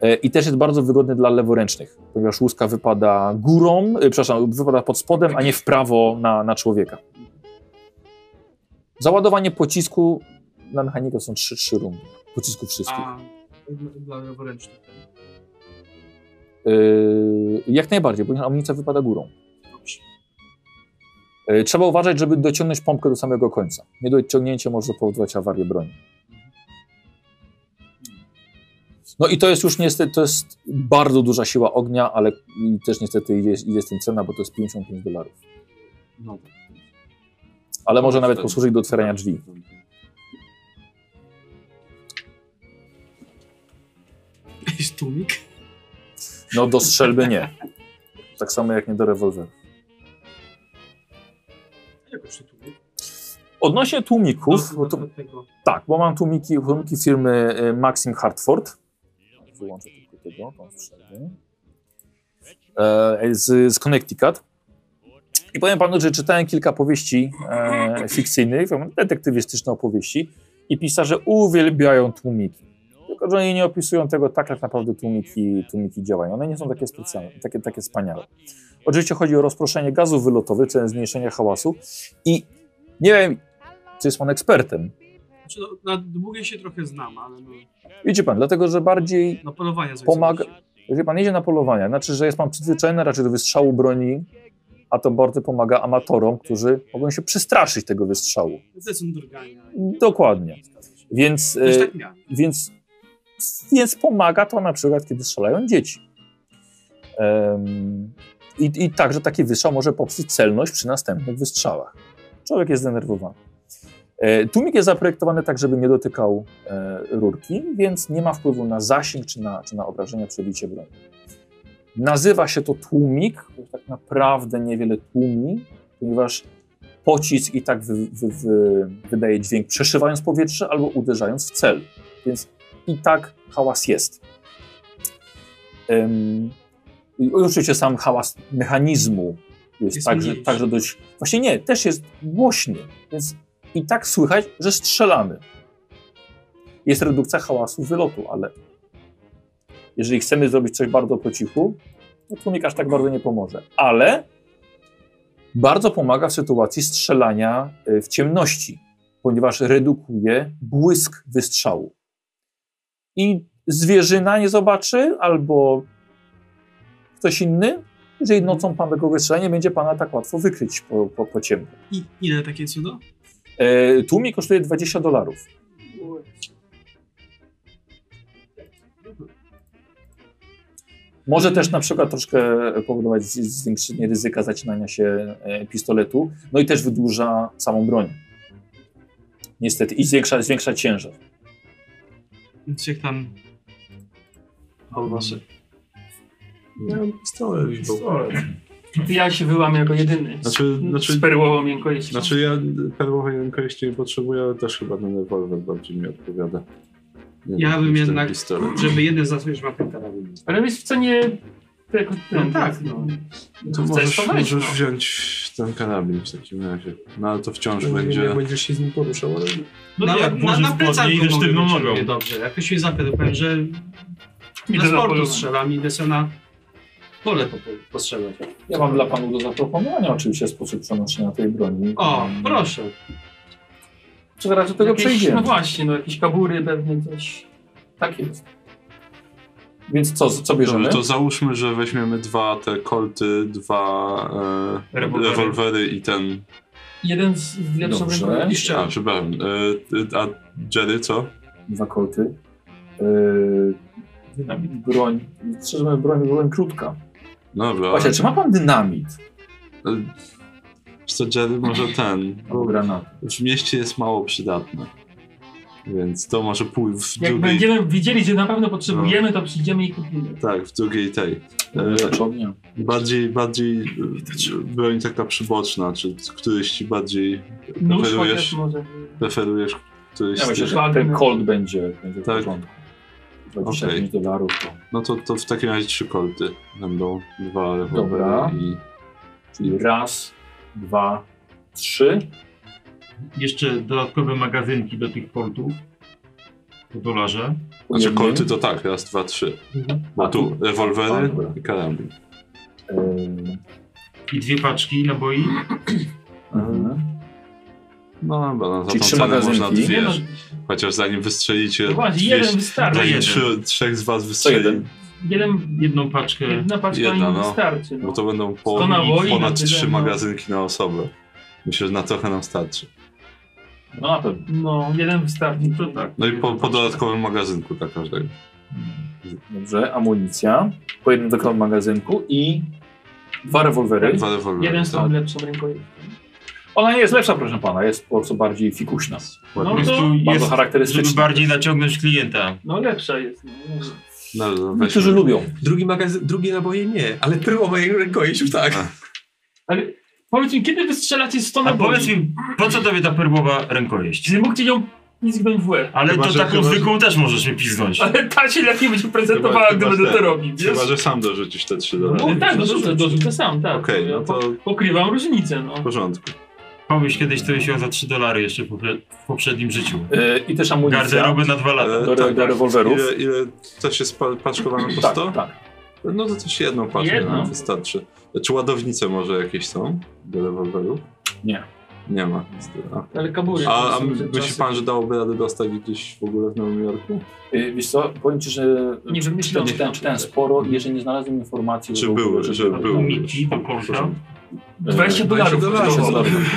Speaker 2: E, I też jest bardzo wygodny dla leworęcznych, ponieważ łuska wypada górą, y, przepraszam, wypada pod spodem, a nie w prawo na, na człowieka. Załadowanie pocisku dla mechanika są 3-3 rundy. Pocisku wszystkich.
Speaker 3: A, dla leworęcznych.
Speaker 2: Y, jak najbardziej, ponieważ amunicja wypada górą. Y, Trzeba uważać, żeby dociągnąć pompkę do samego końca. Niedociągnięcie może powodować awarię broni. No i to jest już niestety, to jest bardzo duża siła ognia, ale i też niestety idzie, idzie z tym cena, bo to jest 55 dolarów.
Speaker 1: No.
Speaker 2: Ale może nawet posłużyć do otwierania drzwi.
Speaker 4: Jest tłumik?
Speaker 2: No do strzelby nie. Tak samo jak nie do rewolweru. Odnośnie
Speaker 4: No,
Speaker 2: tłumików,
Speaker 16: no
Speaker 2: bo tu, tak, bo mam tłumiki, tłumiki firmy e, Maxim Hartford. Wyłączę tylko tego, tą strzelbę. E, z, z Connecticut. I powiem panu, że czytałem kilka powieści e, fikcyjnych, detektywistyczne opowieści i pisarze uwielbiają tłumiki. Tylko, że oni nie opisują tego tak, jak naprawdę tłumiki, tłumiki działają. One nie są takie specjalne, takie, takie wspaniałe. Oczywiście chodzi o rozproszenie gazów wylotowych, celem zmniejszenia hałasu i nie wiem, czy jest pan ekspertem.
Speaker 3: Znaczy, no, na długie się trochę znam, ale no,
Speaker 2: Wiecie pan, dlatego, że bardziej
Speaker 3: na polowania coś
Speaker 2: pomaga... Jeżeli pan jedzie na polowania, znaczy, że jest pan przyzwyczajony raczej do wystrzału broni, a to bardzo pomaga amatorom, którzy mogą się przestraszyć tego wystrzału.
Speaker 3: Zresztą drgania.
Speaker 2: Dokładnie. Więc,
Speaker 3: Też
Speaker 2: e,
Speaker 3: tak miałem.
Speaker 2: więc, więc pomaga to na przykład, kiedy strzelają dzieci. Em, i, I także taki wystrzał może popsuć celność przy następnych wystrzałach. Człowiek jest zdenerwowany. E, Tłumik jest zaprojektowany tak, żeby nie dotykał e, rurki, więc nie ma wpływu na zasięg czy na, czy na obrażenia, przebicie broni. Nazywa się to tłumik, bo tak naprawdę niewiele tłumi, ponieważ pocisk i tak wy, wy, wy, wydaje dźwięk przeszywając powietrze albo uderzając w cel. Więc i tak hałas jest. Ym, i oczywiście sam hałas mechanizmu jest, tak,
Speaker 16: Jest
Speaker 2: także,
Speaker 16: mniejszy.
Speaker 2: także dość. Właśnie nie, też jest głośny, więc i tak słychać, że strzelamy. Jest redukcja hałasu wylotu, ale jeżeli chcemy zrobić coś bardzo po cichu, no tłumik aż tak bardzo nie pomoże. Ale bardzo pomaga w sytuacji strzelania y, w ciemności, ponieważ redukuje błysk wystrzału. I zwierzyna nie zobaczy, albo ktoś inny, jeżeli nocą pan tego wystrzela, nie będzie pana tak łatwo wykryć po, po, po ciemku.
Speaker 3: I ile takie cudo?
Speaker 2: E, tłumik kosztuje 20 dolarów. Może też na przykład troszkę powodować z- zwiększenie ryzyka zacinania się e, pistoletu, no i też wydłuża samą broń. Niestety, i zwiększa, zwiększa ciężar.
Speaker 4: Więc jak tam...
Speaker 6: Mhm.
Speaker 4: Albaszy.
Speaker 1: Miałem pistolet.
Speaker 7: Pistolet. Ja się wyłam jako jedyny.
Speaker 1: Znaczy, znaczy,
Speaker 7: Z perłową miękkością.
Speaker 1: Znaczy ja perłowej rękojeści nie potrzebuję, ale też chyba ten rewolwer bardziej mi odpowiada. Nie
Speaker 3: Ja
Speaker 1: wiem,
Speaker 3: bym
Speaker 1: czy ten
Speaker 3: jednak,
Speaker 1: pistolet.
Speaker 3: żeby jeden zasłonić mapę karabinu.
Speaker 7: Ale wiesz co, nie... Jako,
Speaker 3: No tak, no.
Speaker 1: To
Speaker 7: Chcesz
Speaker 1: możesz,
Speaker 7: to wejść,
Speaker 1: możesz
Speaker 7: no.
Speaker 1: wziąć
Speaker 16: Ten karabin w takim razie. No ale to wciąż
Speaker 6: Nie
Speaker 16: będzie...
Speaker 6: wiem, jak będziesz się z nim poruszał, ale...
Speaker 5: No
Speaker 4: na,
Speaker 16: jak
Speaker 4: No na,
Speaker 16: włożysz
Speaker 4: na plecach
Speaker 16: spodnie,
Speaker 4: go mogę
Speaker 16: idziesz
Speaker 4: no
Speaker 16: sztywną
Speaker 4: wyciągnąć
Speaker 16: nogą.
Speaker 4: dobrze. Jak ktoś mnie zapyta, powiem, że na
Speaker 7: Idę na
Speaker 4: sportu
Speaker 7: polowanie.
Speaker 4: strzelam, idę sobie na pole po, postrzelać.
Speaker 2: Ja mam dla panów do zaproponowania oczywiście sposób przenoszenia tej broni.
Speaker 4: O, proszę.
Speaker 2: Czy zaraz do tego
Speaker 7: Jakieś-
Speaker 2: przejdziemy?
Speaker 7: No właśnie, no jakieś kabury pewnie coś.
Speaker 2: Tak jest. Więc co, co bierzemy?
Speaker 16: Dobrze, to załóżmy, że weźmiemy dwa te kolty, dwa e,
Speaker 7: Rewolwery.
Speaker 16: rewolwery i ten...
Speaker 7: Jeden z, z lepszą
Speaker 16: Dobrze.
Speaker 7: ręką.
Speaker 16: A, przepraszam. E, y, a Jerry co?
Speaker 2: Dwa kolty. Yy, broń. Szczerze mówiąc, broń, broń krótka.
Speaker 16: No Dobra.
Speaker 2: Właśnie, czy ma pan dynamit?
Speaker 16: E, Wiesz co, Jerry może ten...
Speaker 2: Albo granat.
Speaker 16: W mieście jest mało przydatny. Więc to może pój w
Speaker 7: Jak
Speaker 16: drugiej...
Speaker 7: będziemy widzieli, że na pewno potrzebujemy, to przyjdziemy i kupimy.
Speaker 16: Tak, w drugiej tej.
Speaker 2: E,
Speaker 16: bardziej, bardziej e, broń taka przyboczna, czy któryś ci bardziej
Speaker 7: Nóż
Speaker 16: preferujesz,
Speaker 7: chociaż może.
Speaker 16: preferujesz któryś
Speaker 2: Ja myślę,
Speaker 16: z
Speaker 2: że
Speaker 16: tych?
Speaker 2: ten Colt będzie, będzie w
Speaker 16: Tak.
Speaker 2: porządku. 25
Speaker 16: Okej.
Speaker 2: dolarów. To.
Speaker 16: No to, to w takim razie trzy kolty będą,
Speaker 2: Dobra.
Speaker 16: dwa rewolwery i...
Speaker 2: Czyli raz, dwa, trzy.
Speaker 5: Jeszcze dodatkowe magazynki do tych portów. Po dolarze.
Speaker 16: Znaczy kolty to tak, raz, dwa, trzy.
Speaker 5: Mhm.
Speaker 16: Bo
Speaker 5: A,
Speaker 16: tu
Speaker 5: tu-
Speaker 16: rewolwery
Speaker 5: A, dobra.
Speaker 16: i karabin.
Speaker 2: Yy,
Speaker 5: I dwie paczki naboi.
Speaker 2: mhm.
Speaker 16: Mhm. No dobra, no za
Speaker 5: Czyli
Speaker 16: tą
Speaker 5: trzy
Speaker 16: cenę
Speaker 5: magazynki.
Speaker 16: można dwie.
Speaker 5: Nie no.
Speaker 16: Chociaż zanim wystrzelicie...
Speaker 7: No właśnie, jeden wystarczy.
Speaker 16: Zanim
Speaker 7: Jeden.
Speaker 16: trzy, trzech z was wystrzeli,
Speaker 7: Jeden,
Speaker 5: Jedną paczkę.
Speaker 7: jedna paczka
Speaker 16: Jedna,
Speaker 7: im
Speaker 16: no.
Speaker 7: wystarczy. No.
Speaker 16: Bo to będą po,
Speaker 7: Sto naboi na
Speaker 16: ponad
Speaker 7: tyle,
Speaker 16: trzy
Speaker 7: no.
Speaker 16: magazynki na osobę. Myślę, że na trochę nam starczy.
Speaker 2: No na pewno.
Speaker 7: No, jeden wystarczy. To tak.
Speaker 16: No i po, po dodatkowym magazynku dla każdego.
Speaker 2: Dobrze, amunicja. Po jednym dokrąg magazynku i dwa rewolwery.
Speaker 16: Tak. Dwa rewolwery,
Speaker 7: Jeden z tą
Speaker 2: tak.
Speaker 7: lepszą ręką.
Speaker 2: Ona nie jest lepsza, proszę pana, jest po prostu bardziej fikuśna.
Speaker 7: No
Speaker 5: Po
Speaker 7: to
Speaker 5: prostu
Speaker 2: bardzo
Speaker 5: jest,
Speaker 2: charakterystyczna.
Speaker 5: Żeby bardziej naciągnąć klienta.
Speaker 7: No lepsza jest. No.
Speaker 16: no,
Speaker 2: Niektórzy lubią.
Speaker 6: Drugi magazyn, drugie naboje nie, ale pryło mojego rękojeść już tak.
Speaker 7: Ale powiedz mi, kiedy wystrzelacie
Speaker 4: No
Speaker 7: 100
Speaker 5: A
Speaker 7: naboi?
Speaker 5: powiedz mi, po co tobie ta perłowa rękojeść?
Speaker 7: Czy mógłcie ją zgnąć w łeb?
Speaker 5: Ale
Speaker 16: Chyba,
Speaker 5: to
Speaker 16: że-
Speaker 5: taką
Speaker 16: chyba, że-
Speaker 5: zwykłą też możesz mi piznąć.
Speaker 7: Ale ta się lepiej będzie prezentowała, gdy będę
Speaker 16: że-
Speaker 7: to robił, wiesz?
Speaker 16: Chyba, że sam dorzucisz te trzy dolary.
Speaker 7: No, tak, dorzucę, dorzucę sam, tak.
Speaker 16: Okej, no to
Speaker 7: Pokrywam różnicę, no.
Speaker 16: w porządku.
Speaker 5: Pomyśl kiedyś to się za 3 dolary jeszcze w popre- w poprzednim życiu.
Speaker 2: Y, I też amunicja.
Speaker 5: Garderobę na dwa lata.
Speaker 2: Do,
Speaker 16: tak,
Speaker 2: do, do rewolwerów.
Speaker 16: Ile, ile to się spaczkowano po 100?
Speaker 2: Tak, tak.
Speaker 16: No to też jedną paczkę
Speaker 2: Jedną.
Speaker 16: nam wystarczy. Czy ładownice może jakieś są do rewolwerów?
Speaker 2: Nie.
Speaker 16: Nie ma. A,
Speaker 7: Ale kabury.
Speaker 16: a, a
Speaker 7: to są te
Speaker 16: myśli
Speaker 7: czasy.
Speaker 16: pan, że dałoby radę dostać gdzieś w ogóle w Nowym Jorku?
Speaker 2: Yy, Wiesz co, powiem ci, że
Speaker 7: Nie
Speaker 2: czytałem,
Speaker 7: wymyślono.
Speaker 2: czytałem, czytałem sporo i jeżeli nie znalazłem informacji,
Speaker 16: Czy były, że były?
Speaker 5: do Polska?
Speaker 7: 20 dolarów.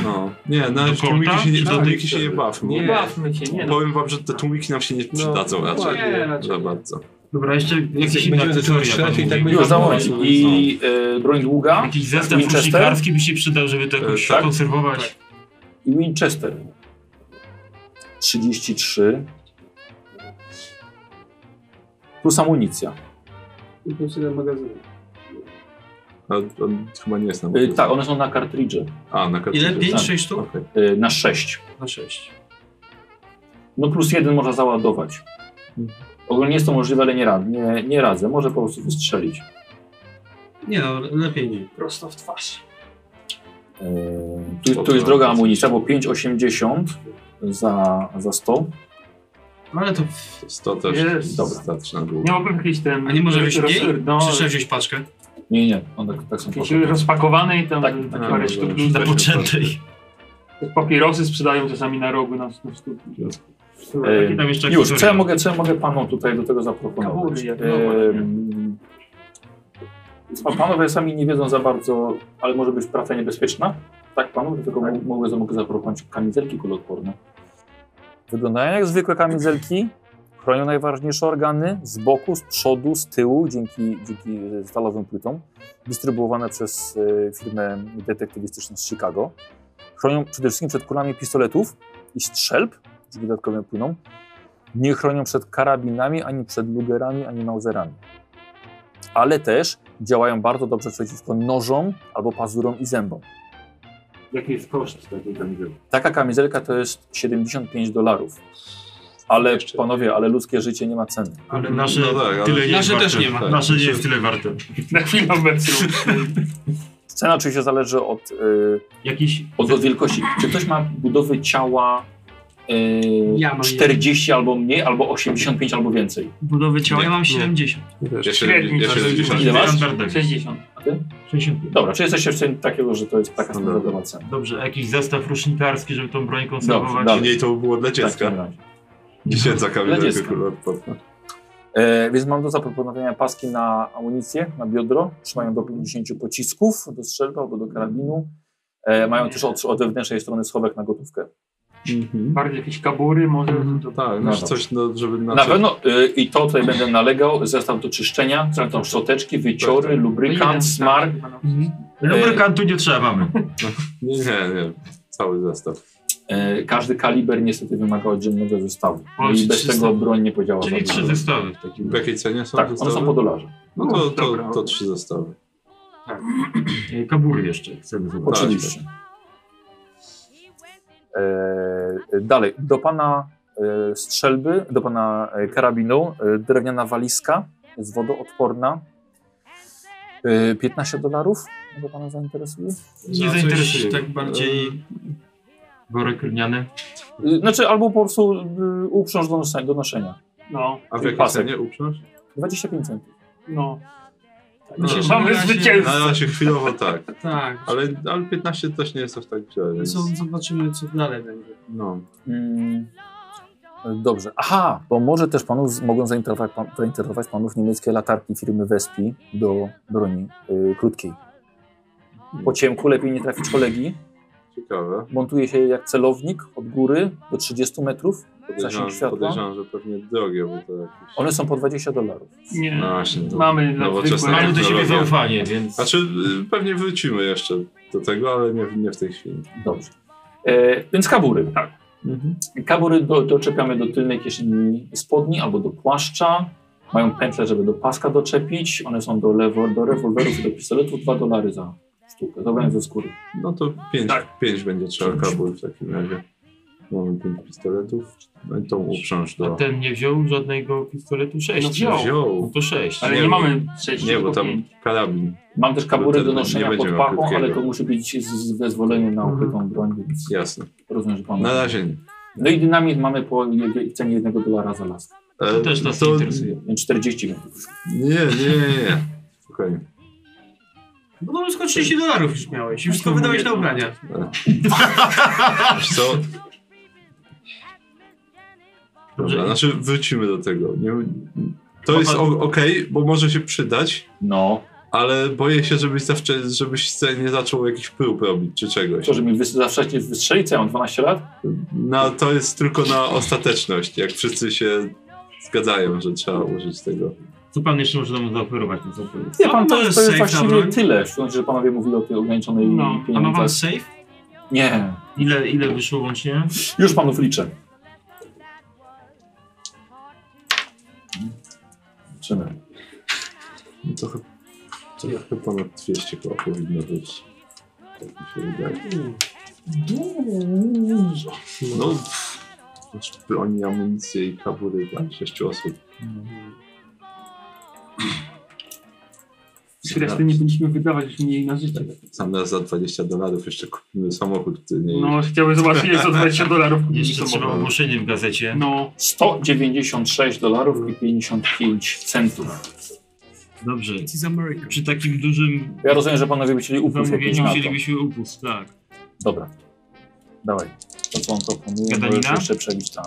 Speaker 16: No. Nie, na
Speaker 5: Do
Speaker 16: razie tłumiki
Speaker 5: korta?
Speaker 16: się nie,
Speaker 5: Czy
Speaker 16: do
Speaker 5: do
Speaker 16: tłumiki
Speaker 5: tej
Speaker 16: się nie
Speaker 5: wtedy?
Speaker 16: bawmy.
Speaker 7: Nie bawmy się, nie no.
Speaker 16: Powiem wam, że te tłumiki nam się nie przydadzą raczej.
Speaker 7: dokładnie. Nie,
Speaker 16: Za bardzo.
Speaker 5: Dobra, jeszcze jakieś inne
Speaker 6: będziemy zaczynać
Speaker 5: akcesoria
Speaker 6: strzelać i
Speaker 5: pan
Speaker 6: tak
Speaker 5: mówi.
Speaker 2: Już za moment. I yy, broń długa.
Speaker 5: Jakiś zestaw
Speaker 2: Winchester.
Speaker 5: fuszikarski by się przydał, żeby to jakoś
Speaker 2: tak.
Speaker 5: konserwować.
Speaker 2: I Winchester. 33. Plus amunicja.
Speaker 4: I plus jeden magazyn.
Speaker 16: A, a, chyba nie jest nam.
Speaker 2: Yy, tak, one są na kartridże.
Speaker 16: A, na kartridże.
Speaker 2: Ile? Pięć,
Speaker 16: Tak.
Speaker 2: sześć sztuk?
Speaker 16: Okej.
Speaker 2: Yy, na 6.
Speaker 4: Na sześć.
Speaker 2: No plus jeden można załadować. Ogólnie jest to możliwe, ale nie, rad, nie, nie radzę. Może po prostu wystrzelić.
Speaker 4: Nie no, lepiej nie.
Speaker 7: Prosto w twarz.
Speaker 2: Yy, tu, tu jest droga amunicja, bo 5,80 za, za 100.
Speaker 4: No ale to...
Speaker 16: 100 też
Speaker 7: Jest.
Speaker 16: Dobra. starczy na długo.
Speaker 7: Miałbym jakiś ten...
Speaker 4: A nie może wziąć
Speaker 7: roz-
Speaker 4: mniej?
Speaker 7: No,
Speaker 4: Czy trzeba wziąć paczkę?
Speaker 2: Nie, nie, on tak, tak są
Speaker 7: jakiś
Speaker 2: potrzebne.
Speaker 7: rozpakowany i tam tak,
Speaker 2: tak,
Speaker 7: parę
Speaker 2: no,
Speaker 7: sztuk.
Speaker 2: no,
Speaker 5: zapoczętej.
Speaker 7: Papierosy sprzedają czasami na rogu na, na sztuki.
Speaker 2: Yy, już, co ja, mogę, co ja mogę panu tutaj do tego zaproponować?
Speaker 7: Kabury, jak
Speaker 2: Yy,
Speaker 7: no
Speaker 2: a panowie sami nie wiedzą za bardzo, ale może być praca niebezpieczna? Tak, panu, dlatego mo- mogę, mogę zaproponować kamizelki kuloodporne.
Speaker 26: Wyglądają jak zwykłe kamizelki, chronią najważniejsze organy z boku, z przodu, z tyłu, dzięki, dzięki e, stalowym płytom, dystrybuowane przez e, firmę detektywistyczną z Chicago. Chronią przede wszystkim przed kulami pistoletów i strzelb, dzięki dodatkowym płynom. Nie chronią przed karabinami, ani przed lugerami, ani mauserami. Ale też działają bardzo dobrze przeciwko nożom albo pazurom i zębom.
Speaker 27: Jaki jest koszt takiej kamizelki?
Speaker 26: Taka kamizelka to jest 75 dolarów. Ale panowie, ale ludzkie życie nie ma ceny.
Speaker 5: Ale nasze
Speaker 2: No tak,
Speaker 5: tyle nie jest warte. Nasze nie jest tyle warte.
Speaker 7: Na chwilę obecną.
Speaker 2: Cena oczywiście zależy od, y,
Speaker 26: e,
Speaker 4: Jakiś...
Speaker 2: od, od wielkości. Czy ktoś ma budowy ciała
Speaker 26: e,
Speaker 2: y,
Speaker 4: Ja mam
Speaker 2: 40 albo mniej, albo 85 albo więcej?
Speaker 4: Budowy ciała, ja mam
Speaker 2: Nie.
Speaker 4: 70.
Speaker 2: Ja średni- ja 70. Ile masz?
Speaker 4: 60.
Speaker 2: A ty? Dobra, czy jesteście w stanie takiego, że to jest taka standardowa cena?
Speaker 5: Dobrze, a jakiś zestaw rusznikarski, żeby tą broń
Speaker 2: Dobrze,
Speaker 5: konserwować.
Speaker 2: dalej.
Speaker 5: Mniej
Speaker 1: to by było dla
Speaker 2: dziecka.
Speaker 1: Dziesięca
Speaker 2: Tak. Dla
Speaker 1: kamizelka,
Speaker 2: dziecka.
Speaker 1: kurwa, odpadła.
Speaker 2: E, więc mam do zaproponowania paski na amunicję, na biodro. Trzymają do 50 pocisków do strzelby albo do karabinu. E, mają też od, od wewnętrznej strony schowek na gotówkę.
Speaker 7: Bardziej jakieś kabury może. To
Speaker 1: tak, no,
Speaker 2: No dobra.
Speaker 1: coś, no, żeby na,
Speaker 2: Na, pewno y, i to tutaj będę nalegał, zestaw do czyszczenia, co tam szczoteczki,
Speaker 1: Tak,
Speaker 2: wyciory, lubrykant, smar. E,
Speaker 7: no.
Speaker 5: Lubrykantu No, nie trzeba mamy.
Speaker 1: Nie, nie, cały zestaw.
Speaker 2: E, Każdy kaliber niestety wymaga oddzielnego zestawu.
Speaker 1: O,
Speaker 2: I
Speaker 1: czyli
Speaker 2: bez
Speaker 1: trzy
Speaker 2: tego
Speaker 1: zestawy.
Speaker 2: broń nie podziała.
Speaker 1: Czyli
Speaker 2: za
Speaker 1: trzy
Speaker 2: bardzo.
Speaker 1: zestawy w takim- W jakiej cenie są
Speaker 2: Tak,
Speaker 1: zestawy?
Speaker 2: one są po dolarze.
Speaker 1: No to, to, to trzy zestawy.
Speaker 5: E, Kabury jeszcze chcemy zobaczyć.
Speaker 2: Oczywiście. E, dalej, do pana e, strzelby, do pana e, karabinu e, drewniana walizka jest wodoodporna. E, 15 dolarów może pana zainteresuje?
Speaker 5: Nie zainteresuje.
Speaker 2: tak
Speaker 5: bardziej... Worek lniany.
Speaker 2: E, Znaczy albo po prostu e, uprząż do noszenia. Do noszenia.
Speaker 7: No.
Speaker 1: A w
Speaker 2: Czyli
Speaker 1: jakiej
Speaker 2: pasek.
Speaker 1: cenie uprząż?
Speaker 2: 25 centów.
Speaker 7: No.
Speaker 1: No,
Speaker 7: Dzisiaj
Speaker 1: no,
Speaker 7: mamy
Speaker 1: na razie-
Speaker 7: zwycięzcę.
Speaker 1: Na razie chwilowo tak.
Speaker 3: Tak.
Speaker 1: Ale, ale 15 też nie jest aż tak źle. Więc...
Speaker 3: Co, zobaczymy, co dalej będzie.
Speaker 1: No.
Speaker 2: Mm, Dobrze. Aha, bo może też panów z- mogą zainteresować, pan, zainteresować panów niemieckie latarki firmy Wespi do broni y, krótkiej. Po ciemku lepiej nie trafić kolegi.
Speaker 1: Ciekawe.
Speaker 2: Montuje się jak celownik od góry do 30 metrów. Zasięg
Speaker 1: Podejrzewam,
Speaker 2: światła.
Speaker 1: podejrzewam, że pewnie drogie, bo to jakieś...
Speaker 2: One są po 20 dolarów.
Speaker 7: Nie.
Speaker 1: No właśnie, to
Speaker 7: Mamy dla
Speaker 1: nowoczesna
Speaker 7: zwykłych. Mamy do siebie
Speaker 1: technologia.
Speaker 5: zaufanie, więc-
Speaker 1: Znaczy, y, pewnie wrócimy jeszcze do tego, ale nie, nie w tej chwili.
Speaker 2: Dobrze. E, więc kabury. Tak. Kabury do, doczepiamy do tylnej kieszeni spodni albo do płaszcza. Mają pętle, żeby do paska doczepić. One są do, lewo, do rewolwerów i do pistoletów. 2 dolary za sztukę. Zabrałem ze skóry.
Speaker 1: No to 5
Speaker 2: Tak.
Speaker 1: pięć będzie trzeba kabur w takim razie. Mamy 5 pistoletów. No i tą uprząż do...
Speaker 5: Ten nie wziął żadnego pistoletu 6.
Speaker 1: No wziął.
Speaker 5: No to 6.
Speaker 1: Nie, bo- Nie, bo tam karabin.
Speaker 2: Mam też
Speaker 1: To
Speaker 2: kabury
Speaker 1: ten-
Speaker 2: do
Speaker 1: nie
Speaker 2: noszenia pod
Speaker 1: będziemy miał
Speaker 2: pachą,
Speaker 1: krótkiego.
Speaker 2: ale to musi być z, z zezwoleniem na ukrytą broń, więc
Speaker 1: Jasne.
Speaker 2: rozumiem, że pan...
Speaker 1: Na razie nie.
Speaker 2: No i dynamit mamy po je- cenie jednego dolara za las.
Speaker 1: To też nas nie E, to- interesuje.
Speaker 2: 40 będzie.
Speaker 1: Nie, nie, nie, nie. Spokojnie.
Speaker 4: No to tylko 30 dolarów już miałeś. Już wszystko wydałeś na ubrania.
Speaker 1: Wiesz co? Dobra, znaczy wrócimy do tego. Nie, to jest o- okej, bo może się przydać.
Speaker 2: No.
Speaker 1: Ale boję się, żebyś zawsze, żebyś se nie zaczął jakichś prób robić czy czegoś.
Speaker 2: To, że mi wys- za wcześnie wystrzeli, co ja mam 12 lat?
Speaker 1: No to jest tylko na ostateczność, jak wszyscy się zgadzają, że trzeba użyć tego.
Speaker 5: Co pan jeszcze może nam zaoferować? No co to jest?
Speaker 2: Nie, pan, to jest, to jest
Speaker 5: safe na
Speaker 2: właściwie
Speaker 5: broń?
Speaker 2: tyle, w sensie, że panowie mówili o tej ograniczonej
Speaker 5: No, a ma
Speaker 2: pieniądzach.
Speaker 5: pan safe?
Speaker 2: Nie.
Speaker 5: Ile, ile wyszło łącznie?
Speaker 2: Już panów liczę. Zobaczymy.
Speaker 1: No To, ch- to trochę ponad 200 koła powinno być. Tak mi się wydaje. No, pff, znaczy broni, amunicję i kabury dla sześciu osób.
Speaker 7: Reszty nie powinniśmy wydawać, żeśmy mieli na życie.
Speaker 1: Sam raz za 20 dolarów jeszcze kupimy samochód. Ty nie
Speaker 7: No, chciałbym zobaczyć, ile za 20 dolarów kupiliśmy
Speaker 5: Jeszcze trzeba
Speaker 7: samochód.
Speaker 5: ogłoszenie w gazecie.
Speaker 7: No.
Speaker 2: 196 dolarów i 55 centów.
Speaker 5: Dobrze. Przy takim dużym
Speaker 2: Ja rozumiem, że panowie by chcieli upływ jakiś
Speaker 5: zamówieniu
Speaker 2: na to.
Speaker 5: chcielibyśmy upust, tak.
Speaker 2: Dobra. Dawaj. To co on proponuje?
Speaker 5: Gadalina?
Speaker 2: Możesz jeszcze przebić. A.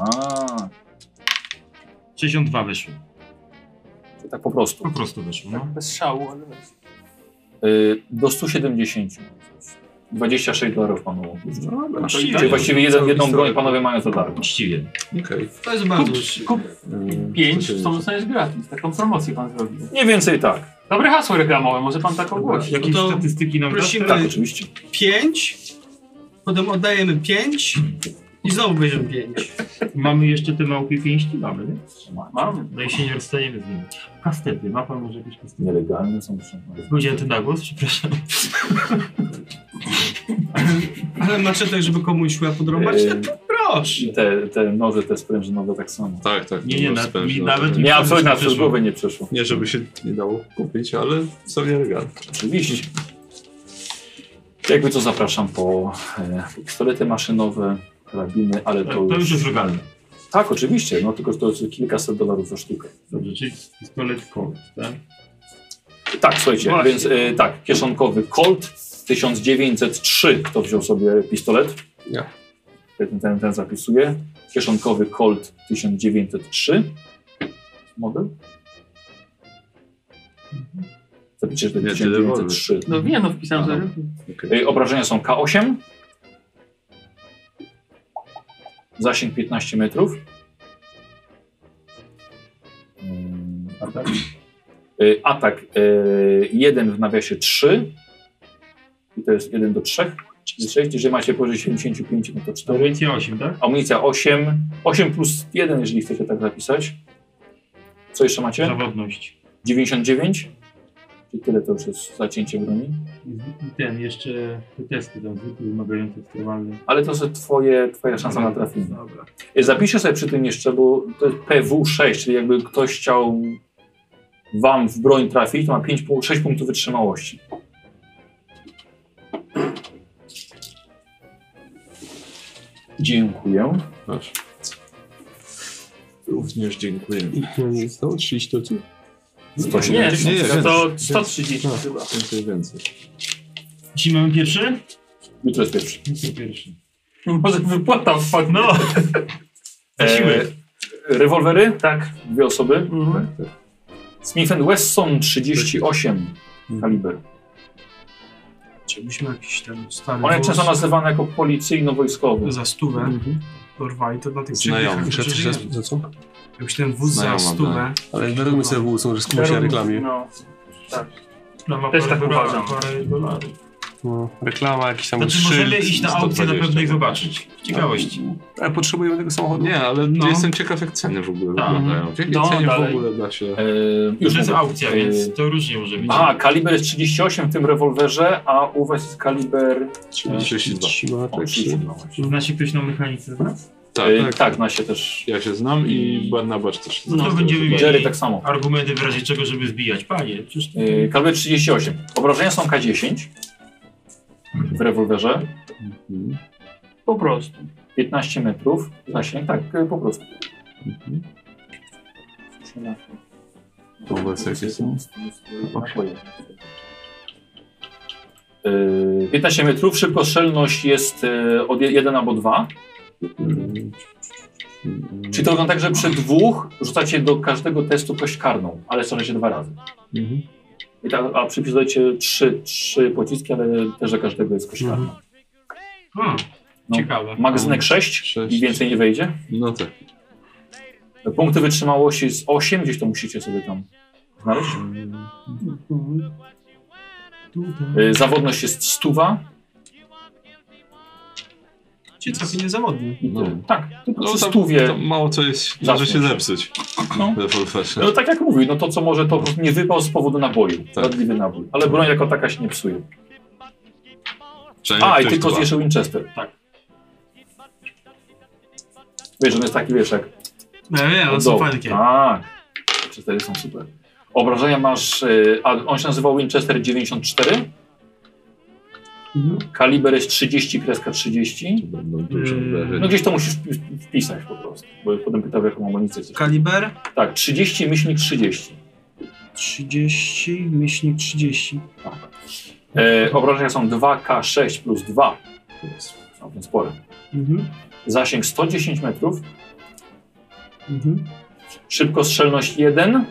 Speaker 5: 62 wyszło.
Speaker 2: Tak po prostu.
Speaker 5: Po prostu wyszło, no.
Speaker 7: Bez szału, ale bez.
Speaker 2: Y, do 170. 26 dolarów panu opuszczę.
Speaker 1: Dobra.
Speaker 2: Czyli właściwie jeden, jedną broń panowie mają za darmo.
Speaker 5: Uczciwie.
Speaker 1: Okej.
Speaker 4: To jest bardzo uczciwe.
Speaker 7: Kup
Speaker 1: Mm,
Speaker 7: 5
Speaker 1: co się
Speaker 7: w
Speaker 1: dzieje?
Speaker 7: tą jest gratis. Taką promocję pan zrobił.
Speaker 2: Mniej więcej tak.
Speaker 7: Dobre hasło reklamowe, może pan tak ogłosi.
Speaker 5: Jakieś statystyki nam
Speaker 4: Prosimy
Speaker 5: dasz?
Speaker 2: Tak, oczywiście.
Speaker 4: 5, potem oddajemy 5 i znowu bierzemy 5.
Speaker 5: Mamy jeszcze te małpie pięści? Mamy, nie?
Speaker 7: Mamy.
Speaker 5: No i się nie rozstaniemy z nimi. Kastety, ma pan może jakieś kastety?
Speaker 2: Nielegalne są przyjmowane.
Speaker 5: Powiedziałem ten nagłos, przepraszam.
Speaker 4: Ale macie tak, żeby komuś łeb podrąbać?
Speaker 2: Yy,
Speaker 4: No to proszę.
Speaker 2: Te, te noże, te sprężynowe tak samo.
Speaker 1: Tak, tak.
Speaker 5: Nie, nie,
Speaker 1: no,
Speaker 5: na-
Speaker 1: spędzę,
Speaker 5: mi
Speaker 1: no,
Speaker 5: nawet
Speaker 1: tak.
Speaker 5: mi Nie, absolutnie
Speaker 2: na przez głowę nie przeszło.
Speaker 1: Nie, żeby się nie dało kupić, ale są nielegalne.
Speaker 2: Oczywiście. Jakby to zapraszam po e, pistolety maszynowe, karabiny, ale to,
Speaker 5: To już jest legalne.
Speaker 2: Tak, oczywiście, no tylko że to jest kilkaset dolarów za sztukę.
Speaker 5: Dobrze, czyli pistolet Colt, tak?
Speaker 2: Tak, słuchajcie,
Speaker 5: Właśnie.
Speaker 2: więc e, tak, kieszonkowy Colt 1903, kto wziął sobie pistolet?
Speaker 6: Ja.
Speaker 2: Ten, ten, ten zapisuje. Kieszonkowy Colt 1903. Model? Zapiszesz ten
Speaker 1: Nie,
Speaker 2: 1903.
Speaker 7: No wiem, no wpisałem
Speaker 2: Aha.
Speaker 7: sobie.
Speaker 2: Y, Obrażenia są K8. Zasięg 15 metrów. Mm, Atak. Y, Atak 1 w nawiasie 3. I to jest 1 do 3. Czyli 6. Jeżeli macie powyżej 75, no to 4. Amunicja 8, tak? Amunicja 8. 8 plus 1, jeżeli chcecie tak zapisać. Co jeszcze macie? Zawodność. 99. Czyli tyle to już jest zacięcie broni.
Speaker 5: I z- i ten, jeszcze te testy tam zwykły, wymagające ekstremalne.
Speaker 2: Ale to są twoje, twoja szansa na trafienie. Y, Zapiszę sobie przy tym jeszcze, bo to jest PW6, czyli jakby ktoś chciał wam w broń trafić, to ma 5, pu- 6 punktów wytrzymałości. Dziękuję.
Speaker 1: Również dziękuję.
Speaker 6: I to 30 to co?
Speaker 1: Nie, nie,
Speaker 7: no to
Speaker 1: więcej.
Speaker 7: 130
Speaker 1: No,
Speaker 7: chyba.
Speaker 1: Więcej, więcej.
Speaker 5: Dzisiaj mamy pierwszy?
Speaker 2: Jutro jest pierwszy.
Speaker 5: Jutro pierwszy.
Speaker 7: Może wypłata wpadł. No.
Speaker 5: E,
Speaker 2: Eee, rewolwery? Tak. Dwie osoby?
Speaker 4: Mhm.
Speaker 2: Smith Wesson 38
Speaker 6: Mhm.
Speaker 2: kaliber.
Speaker 4: Czy byśmy jakiś ten stary
Speaker 2: On jest
Speaker 4: wóz
Speaker 2: często nazywany jako policyjno-wojskowy.
Speaker 4: za stówę dorwali, to na tych
Speaker 2: Znajomy.
Speaker 4: przebiegach
Speaker 6: Muszę
Speaker 4: żyjemy.
Speaker 6: przeczytać, za co?
Speaker 4: Jakbyś ten wóz za
Speaker 6: Znajomy,
Speaker 4: stówę...
Speaker 6: tak. Ale wyrobimy sobie wóz, może skupmy się na reklamie.
Speaker 7: No, tak.
Speaker 4: No, ma
Speaker 7: Też
Speaker 4: parę
Speaker 7: tak
Speaker 4: dolarów,
Speaker 7: uważam.
Speaker 6: No, reklama, jakiś tam
Speaker 5: Znaczy,
Speaker 6: szyld.
Speaker 5: możemy iść na aukcję, na pewno ich zobaczyć. Z ciekawości.
Speaker 6: Ale potrzebujemy tego samochodu.
Speaker 1: Nie, ale
Speaker 5: No.
Speaker 1: jestem ciekaw jak ceny w ogóle
Speaker 5: Tak.
Speaker 1: wyglądają.
Speaker 16: Mhm.
Speaker 1: W jakiej
Speaker 5: No,
Speaker 1: cenie
Speaker 5: dalej.
Speaker 1: w ogóle da się...
Speaker 5: Już jest
Speaker 2: E, mówię.
Speaker 5: aukcja, więc to różnie może być.
Speaker 2: A, kaliber jest 38 w tym rewolwerze, a u was jest kaliber...
Speaker 1: 32.
Speaker 2: O, 32.
Speaker 5: Zna się ktoś na mechanice z nas?
Speaker 1: Tak,
Speaker 2: Y,
Speaker 1: tak.
Speaker 2: tak, na się też.
Speaker 1: Ja się znam i Barnabas też. się
Speaker 5: No to
Speaker 1: zna.
Speaker 5: będziemy mieli
Speaker 2: Jerry tak samo.
Speaker 5: argumenty w razie czego, żeby zbijać. Panie, przecież to...
Speaker 2: Yy, Kaliber 38. Obrażenia są K10 w rewolwerze. Po prostu. 15 metrów. Zasięg, tak, y, po prostu.
Speaker 1: To u was jakie są?
Speaker 2: Yy, 15 metrów. Szybkostrzelność jest yy, od 1 albo 2.
Speaker 1: Mhm.
Speaker 2: Czyli to wygląda tak, że przy dwóch rzucacie do każdego testu kość karną, ale strzelajcie dwa razy.
Speaker 1: Mhm.
Speaker 2: I tak, a przypisujecie trzy, trzy pociski, ale też za każdego jest kość karna.
Speaker 1: Mhm.
Speaker 5: Hmm,
Speaker 2: No,
Speaker 5: Ciekawe.
Speaker 2: Magazynek 6, i więcej nie wejdzie.
Speaker 1: No tak.
Speaker 2: Punkty wytrzymałości z 8, gdzieś to musicie sobie tam znaleźć. Y, Zawodność jest stuwa.
Speaker 4: Czy całkiem niezawodny.
Speaker 2: No. Tak, tylko
Speaker 1: No,
Speaker 2: przy
Speaker 1: tam-
Speaker 2: stuwie.
Speaker 1: tam mało co jest, może
Speaker 2: Zaczniesz.
Speaker 1: się zepsuć.
Speaker 2: No.
Speaker 1: Rewolwerze.
Speaker 2: No tak jak mówił, no to co może to nie wypał z powodu naboju,
Speaker 1: Tak.
Speaker 2: wadliwy nabój. Ale broń jako taka się nie psuje.
Speaker 1: Przynajmniej
Speaker 2: A, i
Speaker 1: E, ktoś
Speaker 2: tylko
Speaker 1: dba.
Speaker 2: jeszcze Winchester. Tak. Wiesz, on jest taki, wiesz, jak...
Speaker 4: No ja wiem,
Speaker 2: od
Speaker 4: one są
Speaker 2: dołu.
Speaker 4: fajne.
Speaker 2: Tak. Winchestery są super. Obrażenia masz... y, A on się nazywał Winchester 94. Kaliber jest 30, kreska 30.
Speaker 4: Yy,
Speaker 2: No gdzieś to musisz wpi- wpisać po prostu, bo potem pytał, jaką amunicję chcesz.
Speaker 4: Kaliber?
Speaker 2: Tak, 30, myślnik 30.
Speaker 4: 30, myślnik 30.
Speaker 2: E, obrażenia są 2K6 plus 2. To jest całkiem spore.
Speaker 4: Mhm.
Speaker 2: Zasięg 110 metrów.
Speaker 4: Mhm.
Speaker 2: Szybkostrzelność 1.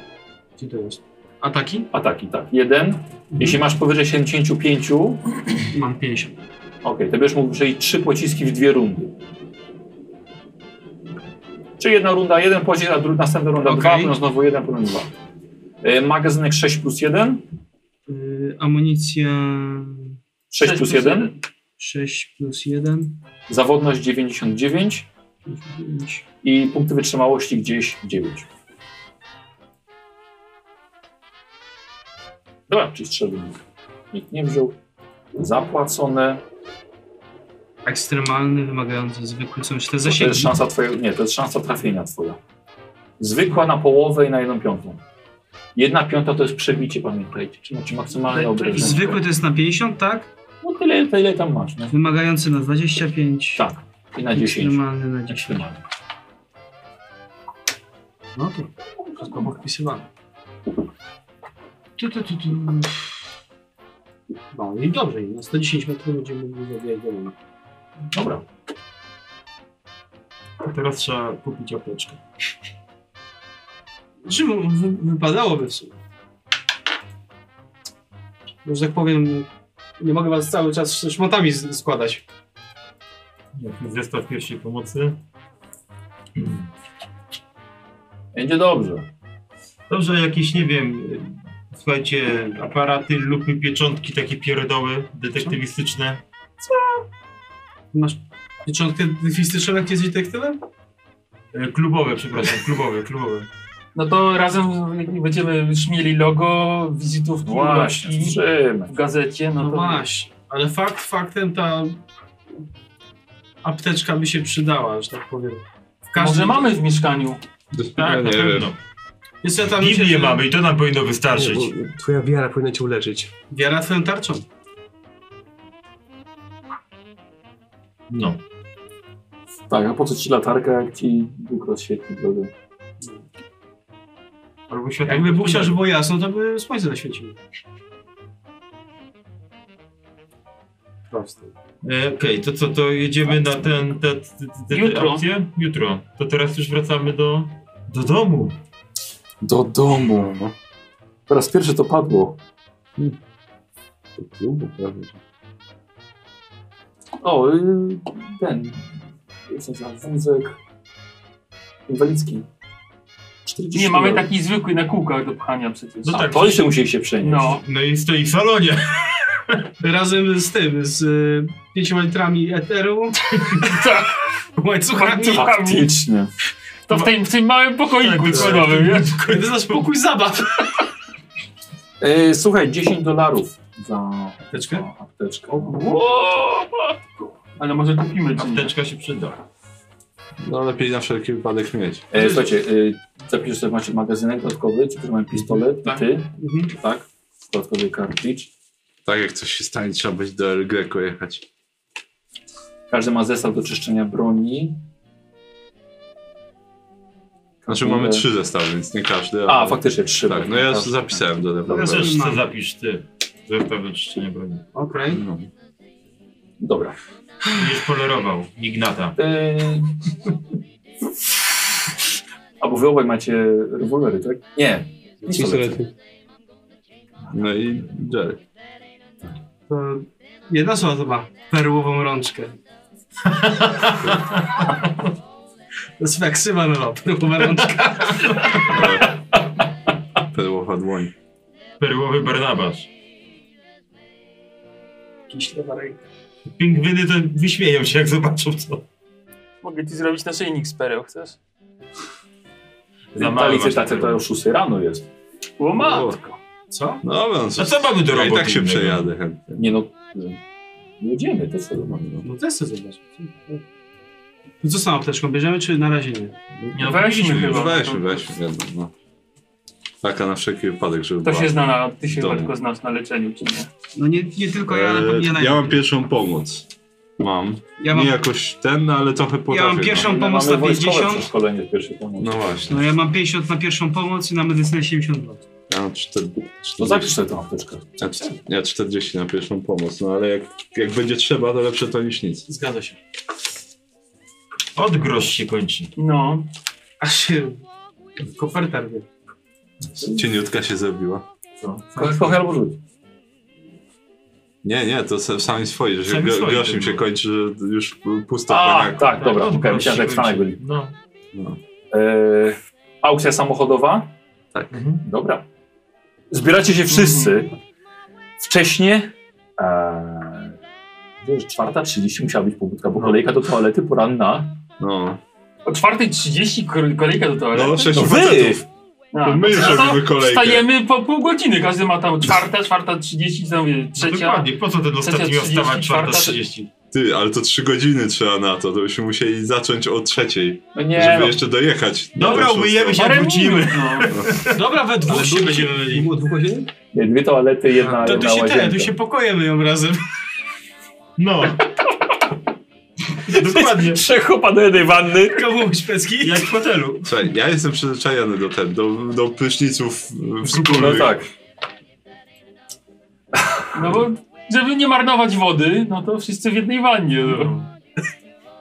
Speaker 4: Gdzie to jest?
Speaker 2: Ataki? Ataki, tak. 1. Jeśli masz powyżej 75, okej,
Speaker 4: Mam 50.
Speaker 2: to będziesz mógł przejść 3 pociski w dwie rundy. Czy jedna runda, jeden pocisk, a dru- następna runda dwa, potem znowu jeden, potem dwa. E, magazynek 6 plus 1.
Speaker 4: Yy, amunicja...
Speaker 2: 6 plus 1.
Speaker 4: 6 plus 1.
Speaker 2: Zawodność 99. I punkty wytrzymałości gdzieś 9. Dobra, czyli strzelnik. Nikt nie wziął. Zapłacone.
Speaker 4: Ekstremalny, wymagający, zwykły, są jeszcze te
Speaker 2: To
Speaker 4: zasięgi.
Speaker 2: jest szansa twoja, nie, to jest szansa trafienia twoja. Zwykła na połowę i na jedną piątą. Jedna piąta to jest przebicie, pamiętajcie. Czyli macie maksymalne
Speaker 4: Ale-
Speaker 2: obrażenie.
Speaker 4: Zwykły to jest na 50, tak?
Speaker 2: No No tyle, tyle tam masz. Nie?
Speaker 28: Wymagający na 25.
Speaker 2: Tak. I na 10.
Speaker 28: Ekstremalny na 10. No to wszystko było wpisywane.
Speaker 4: Tu, tu, tu, tu. No i dobrze, i na 110 metrów będziemy mogli zabijać demona. Dobra.
Speaker 29: A teraz trzeba kupić apteczkę.
Speaker 4: Znaczy, no,
Speaker 28: Czym wy- wypadałoby w sumie?
Speaker 4: Że tak powiem, nie mogę was cały czas szmatami z- składać.
Speaker 30: Zestaw pierwszej pomocy.
Speaker 2: Będzie dobrze.
Speaker 5: Dobrze, jakieś, nie wiem, y, słuchajcie, aparaty, lupy, pieczątki, takie pierdoły detektywistyczne.
Speaker 4: Masz pieczątkę detektywistyczną, jak jesteś detektywem?
Speaker 5: Y, Klubowe, przepraszam, klubowe, klubowe.
Speaker 7: No to razem jak będziemy szmieli logo, wizytówki,
Speaker 5: Właśnie,
Speaker 7: ulotki
Speaker 5: wstrzymaj.
Speaker 7: w gazecie, no,
Speaker 4: No
Speaker 7: to...
Speaker 4: właśnie, ale fakt faktem ta apteczka by się przydała, że tak powiem. W
Speaker 7: Może mamy w mieszkaniu.
Speaker 5: Tak, na pewno.
Speaker 4: Jest ja tam myślę,
Speaker 5: Biblię
Speaker 4: że-
Speaker 5: mamy i to nam powinno wystarczyć.
Speaker 6: Nie, bo Twoja wiara powinna cię uleczyć.
Speaker 4: Wiara twoją tarczą.
Speaker 5: No.
Speaker 2: Tak, a po co ci latarka, jak ci Bóg rozświetli drogę?
Speaker 5: Albo
Speaker 4: Jakby Bóg chciał, żeby było jasno, to by słońce zaświeciło. Proste.
Speaker 5: E, Okej, to co, to jedziemy na ten, te, te, te, te
Speaker 7: Jutro.
Speaker 5: akcje? Jutro. To teraz już wracamy do, do domu.
Speaker 2: Do domu. Po raz pierwszy to padło. O, y, ten. Jak się nazywa? Wózek inwalidzki. 40
Speaker 7: Nie, mamy
Speaker 2: dolarów.
Speaker 7: taki zwykły na kółkach do pchania przecież.
Speaker 1: Tak,
Speaker 2: A, to jeszcze No tak, musieli się przenieść.
Speaker 7: No.
Speaker 5: No i stoi w salonie.
Speaker 4: Razem z tym, z y, pięcioma litrami eteru. tak. Łańcuchami.
Speaker 2: Faktycznie.
Speaker 7: To w tym, w tym małym pokoiku
Speaker 2: Tak, tak.
Speaker 7: trzymamy, nie?
Speaker 4: To jest nasz pokój zabaw.
Speaker 2: E, słuchaj, 10 dolarów za apteczkę. Za apteczkę. E,
Speaker 7: Ale może kupimy
Speaker 5: Apteczka się przyda.
Speaker 1: No lepiej na wszelki wypadek mieć.
Speaker 2: E, słuchajcie, e, zapisz sobie macie magazynek dodatkowy, ci którzy mają pistolet, i ty,
Speaker 1: Mhm.
Speaker 2: tak, dodatkowy kartridż.
Speaker 1: Tak jak coś się stanie, trzeba być do El Greco jechać.
Speaker 2: Każdy ma zestaw do czyszczenia broni.
Speaker 1: Znaczy mamy trzy zestawy, więc nie każdy.
Speaker 2: A, faktycznie trzy.
Speaker 1: Tak, no ja zapisałem do
Speaker 5: Teraz
Speaker 1: rewolweru.
Speaker 5: jeszcze zapisz ty. Zestaw do czyszczenia broni.
Speaker 4: Okej.
Speaker 1: no,
Speaker 2: Dobra.
Speaker 5: Już polerował Ignata.
Speaker 2: Yy... Albo wy obaj macie rewolwery, tak? Nie. Pistolety.
Speaker 1: No i Jerry.
Speaker 4: To jedna osoba to ma perłową rączkę. To jest jak Sywan Ro, perłowa rączka.
Speaker 1: Perłowa dłoń.
Speaker 5: Perłowy Barnabasz.
Speaker 4: Kiślewa ręka.
Speaker 5: Pingwiny to wyśmieją się jak zobaczą co.
Speaker 7: Mogę ci zrobić naszyjnik z pereł, chcesz?
Speaker 5: Za
Speaker 2: Ta
Speaker 5: mały
Speaker 2: licytacja
Speaker 5: masz
Speaker 2: to o 6 rano jest.
Speaker 7: O
Speaker 1: matko.
Speaker 4: Co?
Speaker 1: No, no
Speaker 5: A co mamy do
Speaker 1: ja I
Speaker 5: roboty
Speaker 1: tak się
Speaker 5: innego?
Speaker 1: przejadę chętnie.
Speaker 2: Nie no. y, Jedziemy, to co mamy. No.
Speaker 4: No to jest to zobacz. No co z tą apteczką, bierzemy czy na razie nie?
Speaker 7: no weźmy chyba.
Speaker 1: No weźmy, weźmy, wiadomo, no. Taka na wszelki wypadek, żeby
Speaker 7: To
Speaker 1: była
Speaker 7: się zna, na, ty
Speaker 1: w
Speaker 7: się
Speaker 1: domu.
Speaker 7: chyba tylko znasz na leczeniu, czy nie?
Speaker 4: No nie, nie tylko ja, ale
Speaker 1: Eee,
Speaker 4: ja,
Speaker 1: ja mam pierwszą pomoc. Mam.
Speaker 4: Ja mam-
Speaker 1: Nie jakoś ten, no, ale trochę potrafię.
Speaker 4: mam pierwszą
Speaker 1: no.
Speaker 4: pomoc na 50.
Speaker 2: szkolenie pierwszej pomocy.
Speaker 1: No właśnie.
Speaker 4: No ja mam 50 na pierwszą pomoc i na medycynę 72.
Speaker 1: Ja mam 4,
Speaker 2: To zapisz sobie tą No apteczkę.
Speaker 1: ja, cz- ja 40 na pierwszą pomoc, no ale jak, jak będzie trzeba, to lepsze to niż nic.
Speaker 4: Zgadza się.
Speaker 5: Odgrosz się kończy.
Speaker 7: No.
Speaker 4: A się... Koperta robię.
Speaker 1: Cieniutka się zrobiła.
Speaker 2: Kochaj albo rzuć.
Speaker 1: Nie, nie, to se- sami swoi, że się
Speaker 5: Sami
Speaker 1: gro,
Speaker 5: swoi
Speaker 1: groszem
Speaker 16: tak.
Speaker 5: to
Speaker 1: się
Speaker 5: było.
Speaker 1: kończy, że już pusto.
Speaker 2: A,
Speaker 1: paniaku.
Speaker 2: tak, dobra,
Speaker 4: No,
Speaker 2: okej, myślałem, że jak Franek byli.
Speaker 5: No.
Speaker 2: E, aukcja samochodowa?
Speaker 1: Tak.
Speaker 2: Dobra. Zbieracie się wszyscy. Wcześniej. E, wiesz, czwarta 30 musiała być pobudka, bo kolejka do toalety poranna.
Speaker 1: No.
Speaker 7: O 4.30 kol- kolejka do toalety?
Speaker 1: No, sześć No wy! facetów.
Speaker 7: A,
Speaker 1: To my już
Speaker 7: no to
Speaker 1: robimy kolejkę.
Speaker 7: Wstajemy po pół godziny, każdy ma tam czwarta, czwarta 30, tam mówię, trzecia.
Speaker 5: dokładnie, po co ten ostatni miał wstawać czwarta
Speaker 7: 30?
Speaker 1: Ty, ale to 3 godziny trzeba na to, to byśmy musieli zacząć o trzeciej,
Speaker 2: No nie,
Speaker 1: żeby
Speaker 2: no.
Speaker 1: jeszcze dojechać. na
Speaker 5: Dobra,
Speaker 1: tą szóstą.
Speaker 5: umyjemy się,
Speaker 7: Parę
Speaker 5: wrócimy.
Speaker 7: minut, no.
Speaker 4: Dobra, we dwóch się będziemy mieli. Było dwóch godzin?
Speaker 2: Nie, dwie toalety, jedna,
Speaker 4: To
Speaker 2: jedna
Speaker 4: tu się, te,
Speaker 2: łazienka.
Speaker 4: tu się pokoje myją razem.
Speaker 31: No.
Speaker 2: Dokładnie. Trzech chłopa do jednej wanny.
Speaker 16: Komu szpecki? Jak w hotelu. Słuchaj, ja jestem przyzwyczajony do ten, do, do pryszniców w
Speaker 2: No tak.
Speaker 7: No bo żeby nie marnować wody, no to wszyscy w jednej wannie. No.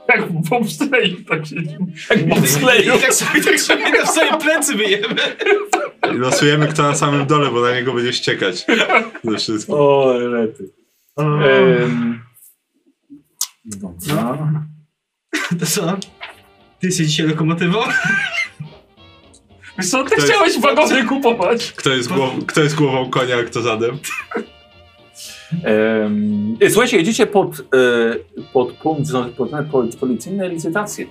Speaker 7: Jak w bobsleju tak siedzimy.
Speaker 2: Jak
Speaker 16: bobsleju.
Speaker 4: I tak sobie, tak sobie na sobie plecy wyjemy.
Speaker 16: I losujemy kto na samym dole, bo na niego będzie ściekać. Ze wszystkim.
Speaker 2: O, rety. Ehm, Dobra.
Speaker 4: To co? Ty jesteś dzisiaj lokomotywą?
Speaker 7: Wiesz co, ty
Speaker 16: To jest-
Speaker 7: chciałeś wagony kupować.
Speaker 16: Kto jest, głow, kto jest głową konia, a kto zadem?
Speaker 2: Em, e, słuchajcie, jedziecie pod, e, pod punkt zna- pod, pod policyjne licytacje.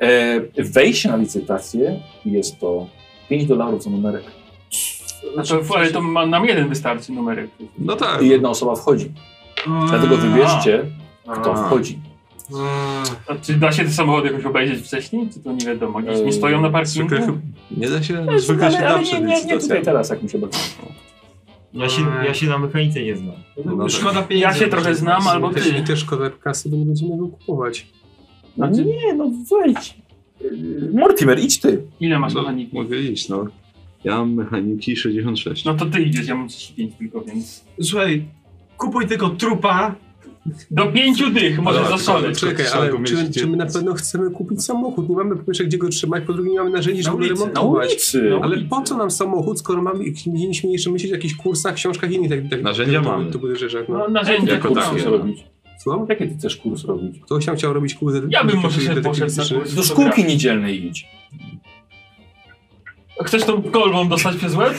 Speaker 2: E, wejście na licytację jest to 5 dolarów za numerek.
Speaker 7: Znaczy, ale to ma, nam jeden wystarczy numerek.
Speaker 16: No tak.
Speaker 2: I jedna osoba wchodzi. Dlatego wybierzcie, kto
Speaker 7: A.
Speaker 2: wchodzi.
Speaker 7: A czy da się te samochody jakoś obejrzeć wcześniej? Czy to nie wiadomo? Gdzieś
Speaker 16: Eee,
Speaker 7: nie stoją na parkingu?
Speaker 16: Nie da się,
Speaker 7: Ale-
Speaker 16: zwykle się
Speaker 7: ale
Speaker 16: da
Speaker 7: nie-
Speaker 16: przed
Speaker 7: nie- nie
Speaker 16: licytacjami.
Speaker 7: tutaj
Speaker 2: teraz, jak mi się bardzo.
Speaker 5: Ja się, ja się na mechanice nie znam.
Speaker 4: tak.
Speaker 16: No
Speaker 7: Szkoda pieniędzy. Ja się trochę znam, albo
Speaker 6: też,
Speaker 7: ty.
Speaker 6: I też szkoda kasy, bo nie będziemy go kupować.
Speaker 7: Znaczy-
Speaker 2: Nie, no wejdź. Mortimer, idź ty.
Speaker 7: Ile masz
Speaker 16: No,
Speaker 7: mechaniki?
Speaker 16: Mogę iść, no. Ja mam mechaniki 66.
Speaker 7: No to ty idziesz, ja mam 35 tylko, więc...
Speaker 4: Słuchaj, kupuj tylko trupa.
Speaker 7: Do pięciu dych
Speaker 16: może
Speaker 7: możesz
Speaker 16: Ale-
Speaker 6: Ale
Speaker 7: zaszaleć.
Speaker 6: czekaj, ale czy, czy my na pewno chcemy kupić samochód? Nie mamy po pierwsze gdzie go trzymać, po drugie nie mamy narzędzi, żeby go
Speaker 4: ulicy.
Speaker 6: remontować.
Speaker 2: Na ulicy.
Speaker 6: No Ale po co nam samochód, skoro mamy, mieliśmy jeszcze myśleć o jakichś kursach, książkach i innych tak, tak,
Speaker 16: Narzędzia
Speaker 6: to,
Speaker 16: mamy.
Speaker 6: To były rzeczy, no.
Speaker 7: No, narzędzia
Speaker 16: Jako
Speaker 7: kupisz.
Speaker 16: takie.
Speaker 2: robić?
Speaker 6: Co?
Speaker 2: Jakie ty chcesz kurs robić?
Speaker 6: Ktoś tam chciał robić kurs
Speaker 7: Ja bym może sobie poszedł na
Speaker 6: detektywistyczny.
Speaker 7: kurs.
Speaker 2: Do szkółki niedzielnej idź.
Speaker 7: Chcesz tą kolbą dostać przez łeb?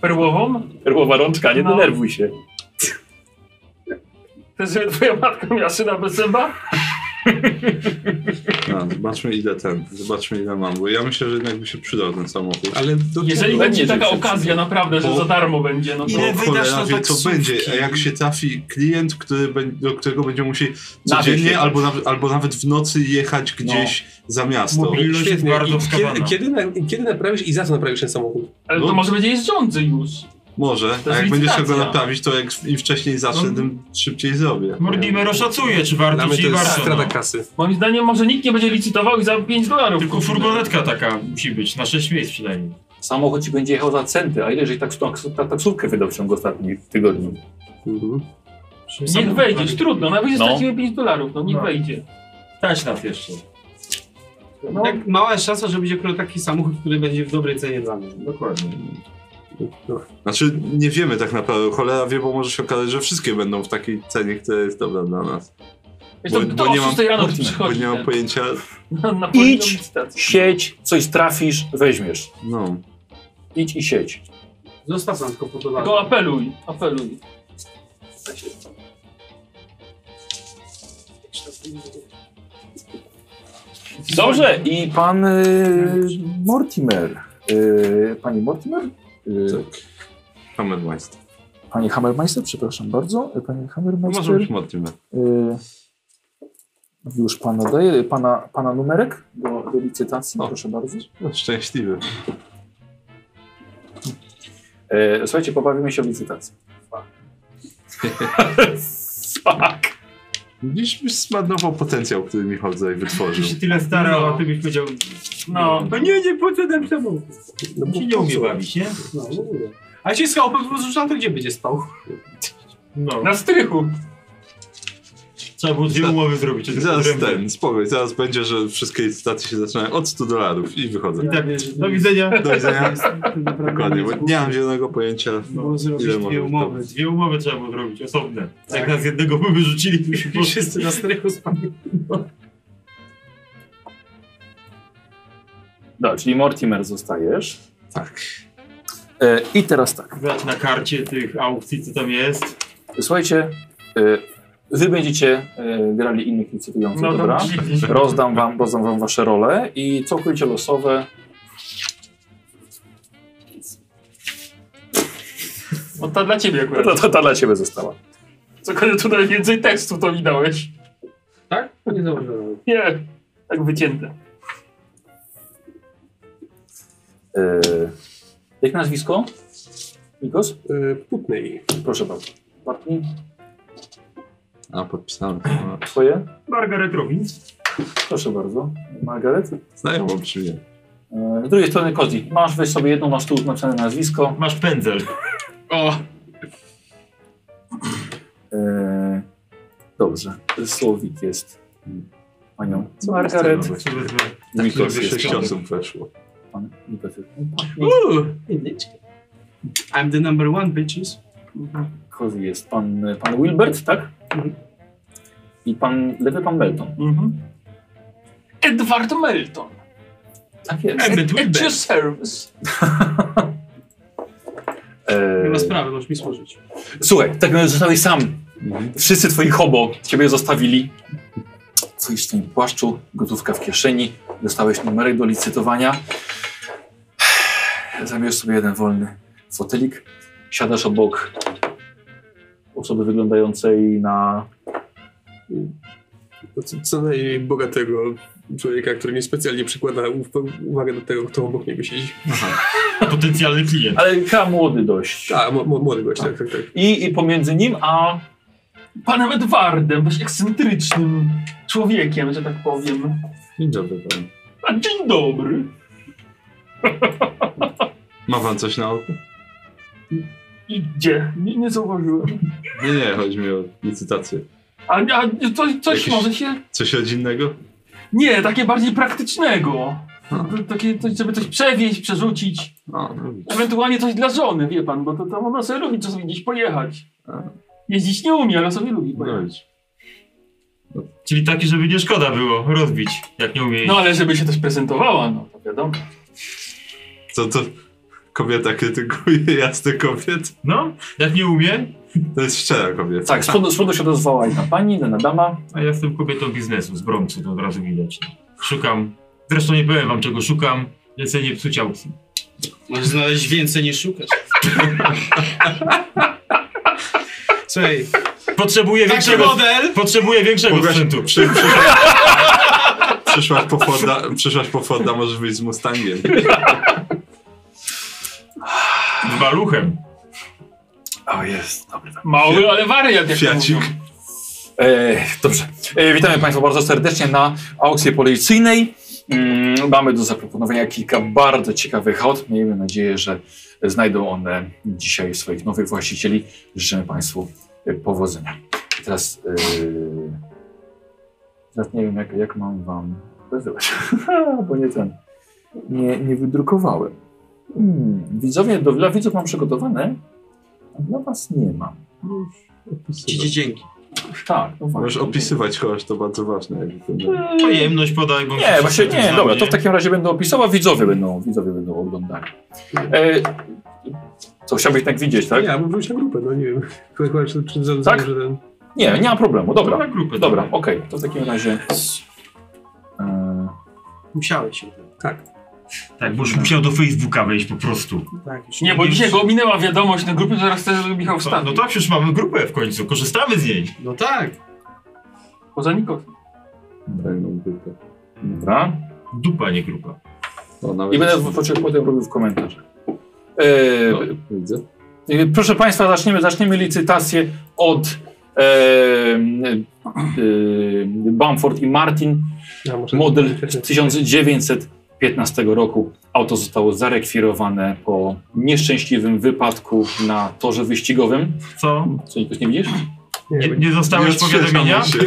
Speaker 7: Perłową?
Speaker 2: Perłowa rączka, nie
Speaker 7: No.
Speaker 2: denerwuj się.
Speaker 7: Chcesz, żeby twoja matka miała syna bez zęba?
Speaker 16: No, zobaczmy ile ten, zobaczmy ile mam, bo ja myślę, że jednak by się przydał ten samochód.
Speaker 6: Ale do
Speaker 7: Jeżeli
Speaker 16: No,
Speaker 7: będzie
Speaker 16: nie,
Speaker 7: taka
Speaker 16: że się
Speaker 7: okazja, naprawdę, że
Speaker 16: Bo-
Speaker 7: za darmo będzie, no to...
Speaker 16: Bo cholera
Speaker 4: tak
Speaker 16: wie co będzie, a jak się trafi klient, który, bę- do którego będzie musieli codziennie
Speaker 2: jechać.
Speaker 16: albo, naw- albo nawet w nocy jechać gdzieś za miasto.
Speaker 6: Świetnie. I kiedy, kiedy, na, kiedy naprawisz i za co naprawisz ten samochód?
Speaker 7: Ale
Speaker 16: No.
Speaker 7: to może będzie jeżdżący już.
Speaker 16: Może,
Speaker 7: To jest
Speaker 16: a jak będziesz go
Speaker 7: licytacja.
Speaker 16: naprawić, to jak im wcześniej zacznę,
Speaker 5: No.
Speaker 16: tym szybciej zrobię.
Speaker 5: Mortimer oszacuje, czy warto,
Speaker 6: Dla mnie
Speaker 5: czy
Speaker 6: to
Speaker 5: nie
Speaker 6: jest
Speaker 5: warto. no.
Speaker 6: strata kasy.
Speaker 7: Moim zdaniem może nikt nie będzie licytował i za 5 dolarów.
Speaker 5: Tylko furgonetka taka musi być, na 6 miejsc przynajmniej.
Speaker 2: Samochód ci będzie jechał za centy, a ile żeś tak, tak, taksówkę wydał w ciągu ostatnich tygodni?
Speaker 7: Niech wejdzie, jest trudno, nawet jeśli
Speaker 2: No.
Speaker 7: stracimy 5 dolarów, no niech
Speaker 5: No.
Speaker 7: wejdzie.
Speaker 5: Stać nas jeszcze.
Speaker 7: No.
Speaker 4: Tak mała jest szansa, że będzie akurat taki samochód, który będzie w dobrej cenie dla mnie.
Speaker 5: Dokładnie.
Speaker 16: Znaczy, nie wiemy tak naprawdę, cholera wie, bo może się okazać, że wszystkie będą w takiej cenie, która jest dobra dla nas.
Speaker 7: Wiesz, to, to o 6 rano tu
Speaker 16: bo
Speaker 7: przychodzi.
Speaker 16: nie mam
Speaker 7: ten.
Speaker 16: pojęcia,
Speaker 7: Na- na południową
Speaker 2: Idź,
Speaker 7: licytację.
Speaker 2: sieć, coś trafisz, weźmiesz.
Speaker 16: no.
Speaker 2: Idź i sieć.
Speaker 4: Zostaw nam tylko po dolarze.
Speaker 7: Tylko apeluj, apeluj.
Speaker 2: Dobrze, i pan y, Mortimer. Y, pani Mortimer? Y,
Speaker 16: Hammermeister.
Speaker 2: Pani Hammermeister, przepraszam bardzo. Y, Pani
Speaker 16: No może
Speaker 2: Hammermeister.
Speaker 16: być Mortimer.
Speaker 2: Y, już pana daję, pana, pana numerek do, do licytacji, proszę bardzo.
Speaker 16: No, szczęśliwy.
Speaker 2: E, słuchajcie, pobawimy się o licytacji. Fuck.
Speaker 16: Dziś byś zmarnował potencjał, który Michał tutaj wytworzył.
Speaker 5: Ty się tyle starał, a ty byś powiedział,
Speaker 7: No,
Speaker 5: no nie, nie, po co ten samochód?
Speaker 6: No,
Speaker 5: Ci nie umie bawić, nie?
Speaker 4: No, mówię. A jeśli schał, po prostu to gdzie będzie spał?
Speaker 5: No.
Speaker 7: na strychu.
Speaker 5: Trzeba było dwie
Speaker 16: Za-
Speaker 5: umowy zrobić. żeby
Speaker 16: Zaraz
Speaker 5: odrębnie.
Speaker 16: ten, spokój, zaraz będzie, że wszystkie licytacje się zaczynają od 100 dolarów i wychodzę.
Speaker 5: I tak, do widzenia. No.
Speaker 16: Do widzenia. Dokładnie,
Speaker 4: Dokładnie.
Speaker 16: bo nie mam zielonego pojęcia.
Speaker 4: Było zrobić
Speaker 16: Ile
Speaker 4: dwie
Speaker 16: może
Speaker 4: umowy.
Speaker 5: Dwie umowy Tak. trzeba było zrobić, osobne. Jak nas jednego by wyrzucili, to byśmy
Speaker 4: I
Speaker 5: poszli.
Speaker 4: wszyscy na strychu spali.
Speaker 2: Dobra, No, czyli Mortimer zostajesz.
Speaker 16: Tak.
Speaker 2: E, I teraz tak.
Speaker 5: Grać na karcie tych aukcji, co tam jest.
Speaker 2: Słuchajcie, y, wy będziecie y, grali innych licytujących,
Speaker 7: No,
Speaker 2: dobra?
Speaker 7: dobrze.
Speaker 2: Rozdam wam, rozdam wam wasze role i całkowicie losowe.
Speaker 7: No ta dla ciebie
Speaker 2: Ta,
Speaker 7: akurat.
Speaker 2: ta, ta dla ciebie została.
Speaker 7: Cokolwiek tu najwięcej tekstu to mi dałeś.
Speaker 4: Tak? Nie zauważyłem.
Speaker 7: Nie, tak wycięte.
Speaker 2: E, jak nazwisko? Nikos?
Speaker 6: Y, Putnej.
Speaker 2: Proszę bardzo. Bartni?
Speaker 16: A, podpisałem. No,
Speaker 2: Twoje?
Speaker 32: Margaret Robin.
Speaker 2: Proszę bardzo. Margaret?
Speaker 16: Znajomo brzmi.
Speaker 2: E, Z drugiej strony Kozi. Masz weź sobie jedną, masz tu oznaczone nazwisko.
Speaker 5: Masz pędzel.
Speaker 16: O!
Speaker 2: E, dobrze. Słowik jest mm, panią
Speaker 16: Co
Speaker 5: No,
Speaker 2: Margaret.
Speaker 16: masz tam robić?
Speaker 2: Tak,
Speaker 16: Nikos
Speaker 2: żeby
Speaker 16: jest
Speaker 2: sześć
Speaker 16: osób weszło.
Speaker 2: Pan Nikos jest.
Speaker 4: Uuu, jedyneczka. I'm the number one, bitches.
Speaker 2: Kozi jest pan, pan Wilbert, tak? I pan lewy pan Melton.
Speaker 16: Mhm.
Speaker 7: Edward Melton.
Speaker 2: Tak jest.
Speaker 7: At,
Speaker 2: Edward
Speaker 7: at your
Speaker 2: Wilbert.
Speaker 7: service.
Speaker 2: E,
Speaker 33: Nie ma sprawy, możesz mi służyć.
Speaker 2: Słuchaj, tak naprawdę zostałeś sam. Wszyscy twoi hobo ciebie zostawili. Stoisz w swoim płaszczu, gotówka w kieszeni, dostałeś numerek do licytowania. Zabierz sobie jeden wolny fotelik, siadasz obok osoby wyglądającej na...
Speaker 6: Co, co najmniej bogatego człowieka, który niespecjalnie przykłada uw- uwagę do tego, kto obok niego siedzi.
Speaker 5: Potencjalny klient.
Speaker 2: Ale chyba młody dość.
Speaker 6: A, mo- mo- młody gość, tak, tak, tak.
Speaker 2: I, I pomiędzy nim a
Speaker 7: Panem Edwardem, dość ekscentrycznym człowiekiem, że tak powiem.
Speaker 16: Dzień dobry pan.
Speaker 7: A dzień dobry.
Speaker 16: Ma pan coś na oku?
Speaker 7: Idzie. Nie, nie zauważyłem.
Speaker 16: Nie, nie, chodzi mi o licytację.
Speaker 7: A, a coś, coś
Speaker 16: Jakieś-
Speaker 7: może się...
Speaker 16: Coś rodzinnego?
Speaker 7: Nie, takie bardziej praktycznego. Takie, coś, żeby coś przewieźć, przerzucić.
Speaker 16: No, no widzisz.
Speaker 7: Ewentualnie coś dla żony, wie pan, bo to tam ona sobie lubi czasami gdzieś pojechać.
Speaker 16: A. No
Speaker 7: Jeździć nie umie, ale sobie lubi pojechać.
Speaker 5: Czyli taki, żeby nie szkoda było rozbić, jak nie umie.
Speaker 7: No ale żeby się też prezentowała, no to wiadomo.
Speaker 16: Co to kobieta krytykuje jasne kobiet?
Speaker 5: No, jak nie umie.
Speaker 16: To jest szczera kobieta.
Speaker 2: Tak, z przodu- z przodu się odezwała jedna pani, jedna dama.
Speaker 5: A ja jestem kobietą biznesu z Bronxu, to od razu widać. Szukam. Zresztą nie powiem wam czego szukam, więc nie psuć aukcji.
Speaker 4: Możesz znaleźć więcej niż szukasz. Słuchaj,
Speaker 5: Potrzebuję
Speaker 4: Taki
Speaker 5: większego.
Speaker 4: model!
Speaker 5: Potrzebuję większego
Speaker 16: Mogłaś-
Speaker 5: sprzętu.
Speaker 16: przy- przy- Przyszłaś po Forda, przyszłaś po Forda możesz wyjść z Mustangiem.
Speaker 5: Z baluchem.
Speaker 2: O jest, dobry.
Speaker 7: Mały, ale wariat jak to
Speaker 2: Fiacik.
Speaker 7: mówią.
Speaker 2: E, dobrze. E, witamy Państwa bardzo serdecznie na aukcji policyjnej. Mm, mamy do zaproponowania kilka bardzo ciekawych aut. Miejmy nadzieję, że znajdą one dzisiaj swoich nowych właścicieli. Życzymy Państwu e, powodzenia. I teraz, e, teraz nie wiem, jak, jak mam Wam wyzywać, bo nie ten. Nie, nie wydrukowałem. Mm, widzowie, do, dla widzów mam przygotowane, a dla Was nie mam.
Speaker 4: Ci dzięki.
Speaker 2: Tak, no
Speaker 16: Możesz
Speaker 2: właśnie.
Speaker 16: opisywać kogoś, to bardzo ważne. jakby to
Speaker 1: no.
Speaker 16: nie-
Speaker 5: Pojemność podaj, bo
Speaker 2: Nie, właśnie nie, dobra, to w takim razie będę opisał, a widzowie będą, widzowie będą oglądali. E, co, chciałbyś tak widzieć, tak?
Speaker 6: Nie, albo wróć na grupę, no nie wiem. Chyba, chyba, czy, czy, czy,
Speaker 2: Tak?
Speaker 6: że ten...
Speaker 2: Nie, nie ma problemu,
Speaker 6: No,
Speaker 5: Tak.
Speaker 2: dobra.
Speaker 6: na grupę,
Speaker 2: Dobra,
Speaker 6: dobra.
Speaker 2: okej, to w takim razie... E,
Speaker 4: Musiałeś się.
Speaker 6: Tak.
Speaker 5: Tak, bo już musiał do Facebooka wejść po prostu.
Speaker 4: Tak, już
Speaker 7: Nie, bo dzisiaj go ominęła wiadomość na grupie, zaraz też Michał
Speaker 5: No,
Speaker 7: wstawi.
Speaker 5: no tak, już mamy grupę w końcu, korzystamy z niej.
Speaker 4: No tak.
Speaker 7: Poza Nikos.
Speaker 16: Fajną grupę.
Speaker 2: dobra.
Speaker 5: Dupa, nie grupa.
Speaker 16: O, nawet
Speaker 2: I będę w- poczekał, potem robił w komentarzach. E,
Speaker 16: Widzę.
Speaker 2: e, proszę Państwa, zaczniemy, zaczniemy licytację od e, e, Bamford i Martin.
Speaker 6: Ja muszę...
Speaker 2: Model z 1915 roku. Auto zostało zarekwirowane po nieszczęśliwym wypadku na torze wyścigowym.
Speaker 5: Co?
Speaker 2: Co, Nikos, nie widzisz?
Speaker 5: Nie, nie dostałeś
Speaker 16: Nie odświeżamy
Speaker 5: powiadomienia?
Speaker 16: się.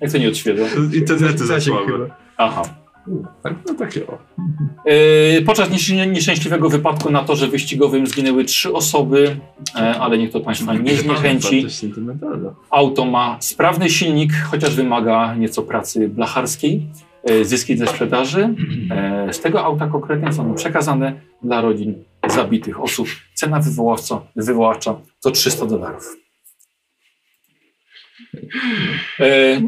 Speaker 2: Jak to nie odświeża?
Speaker 16: Internety za słabe.
Speaker 2: Aha.
Speaker 6: Tak, no takie o.
Speaker 2: E, podczas niesz- nieszczęśliwego wypadku na torze wyścigowym zginęły trzy osoby, e, ale niech to Państwa nie zniechęci.
Speaker 16: Wartość sentymentalna.
Speaker 2: Auto ma sprawny silnik, chociaż wymaga nieco pracy blacharskiej. E, Zyski ze sprzedaży e, z tego auta konkretnie są przekazane dla rodzin zabitych osób. Cena wywoławca, wywołacza to 300 dolarów. E,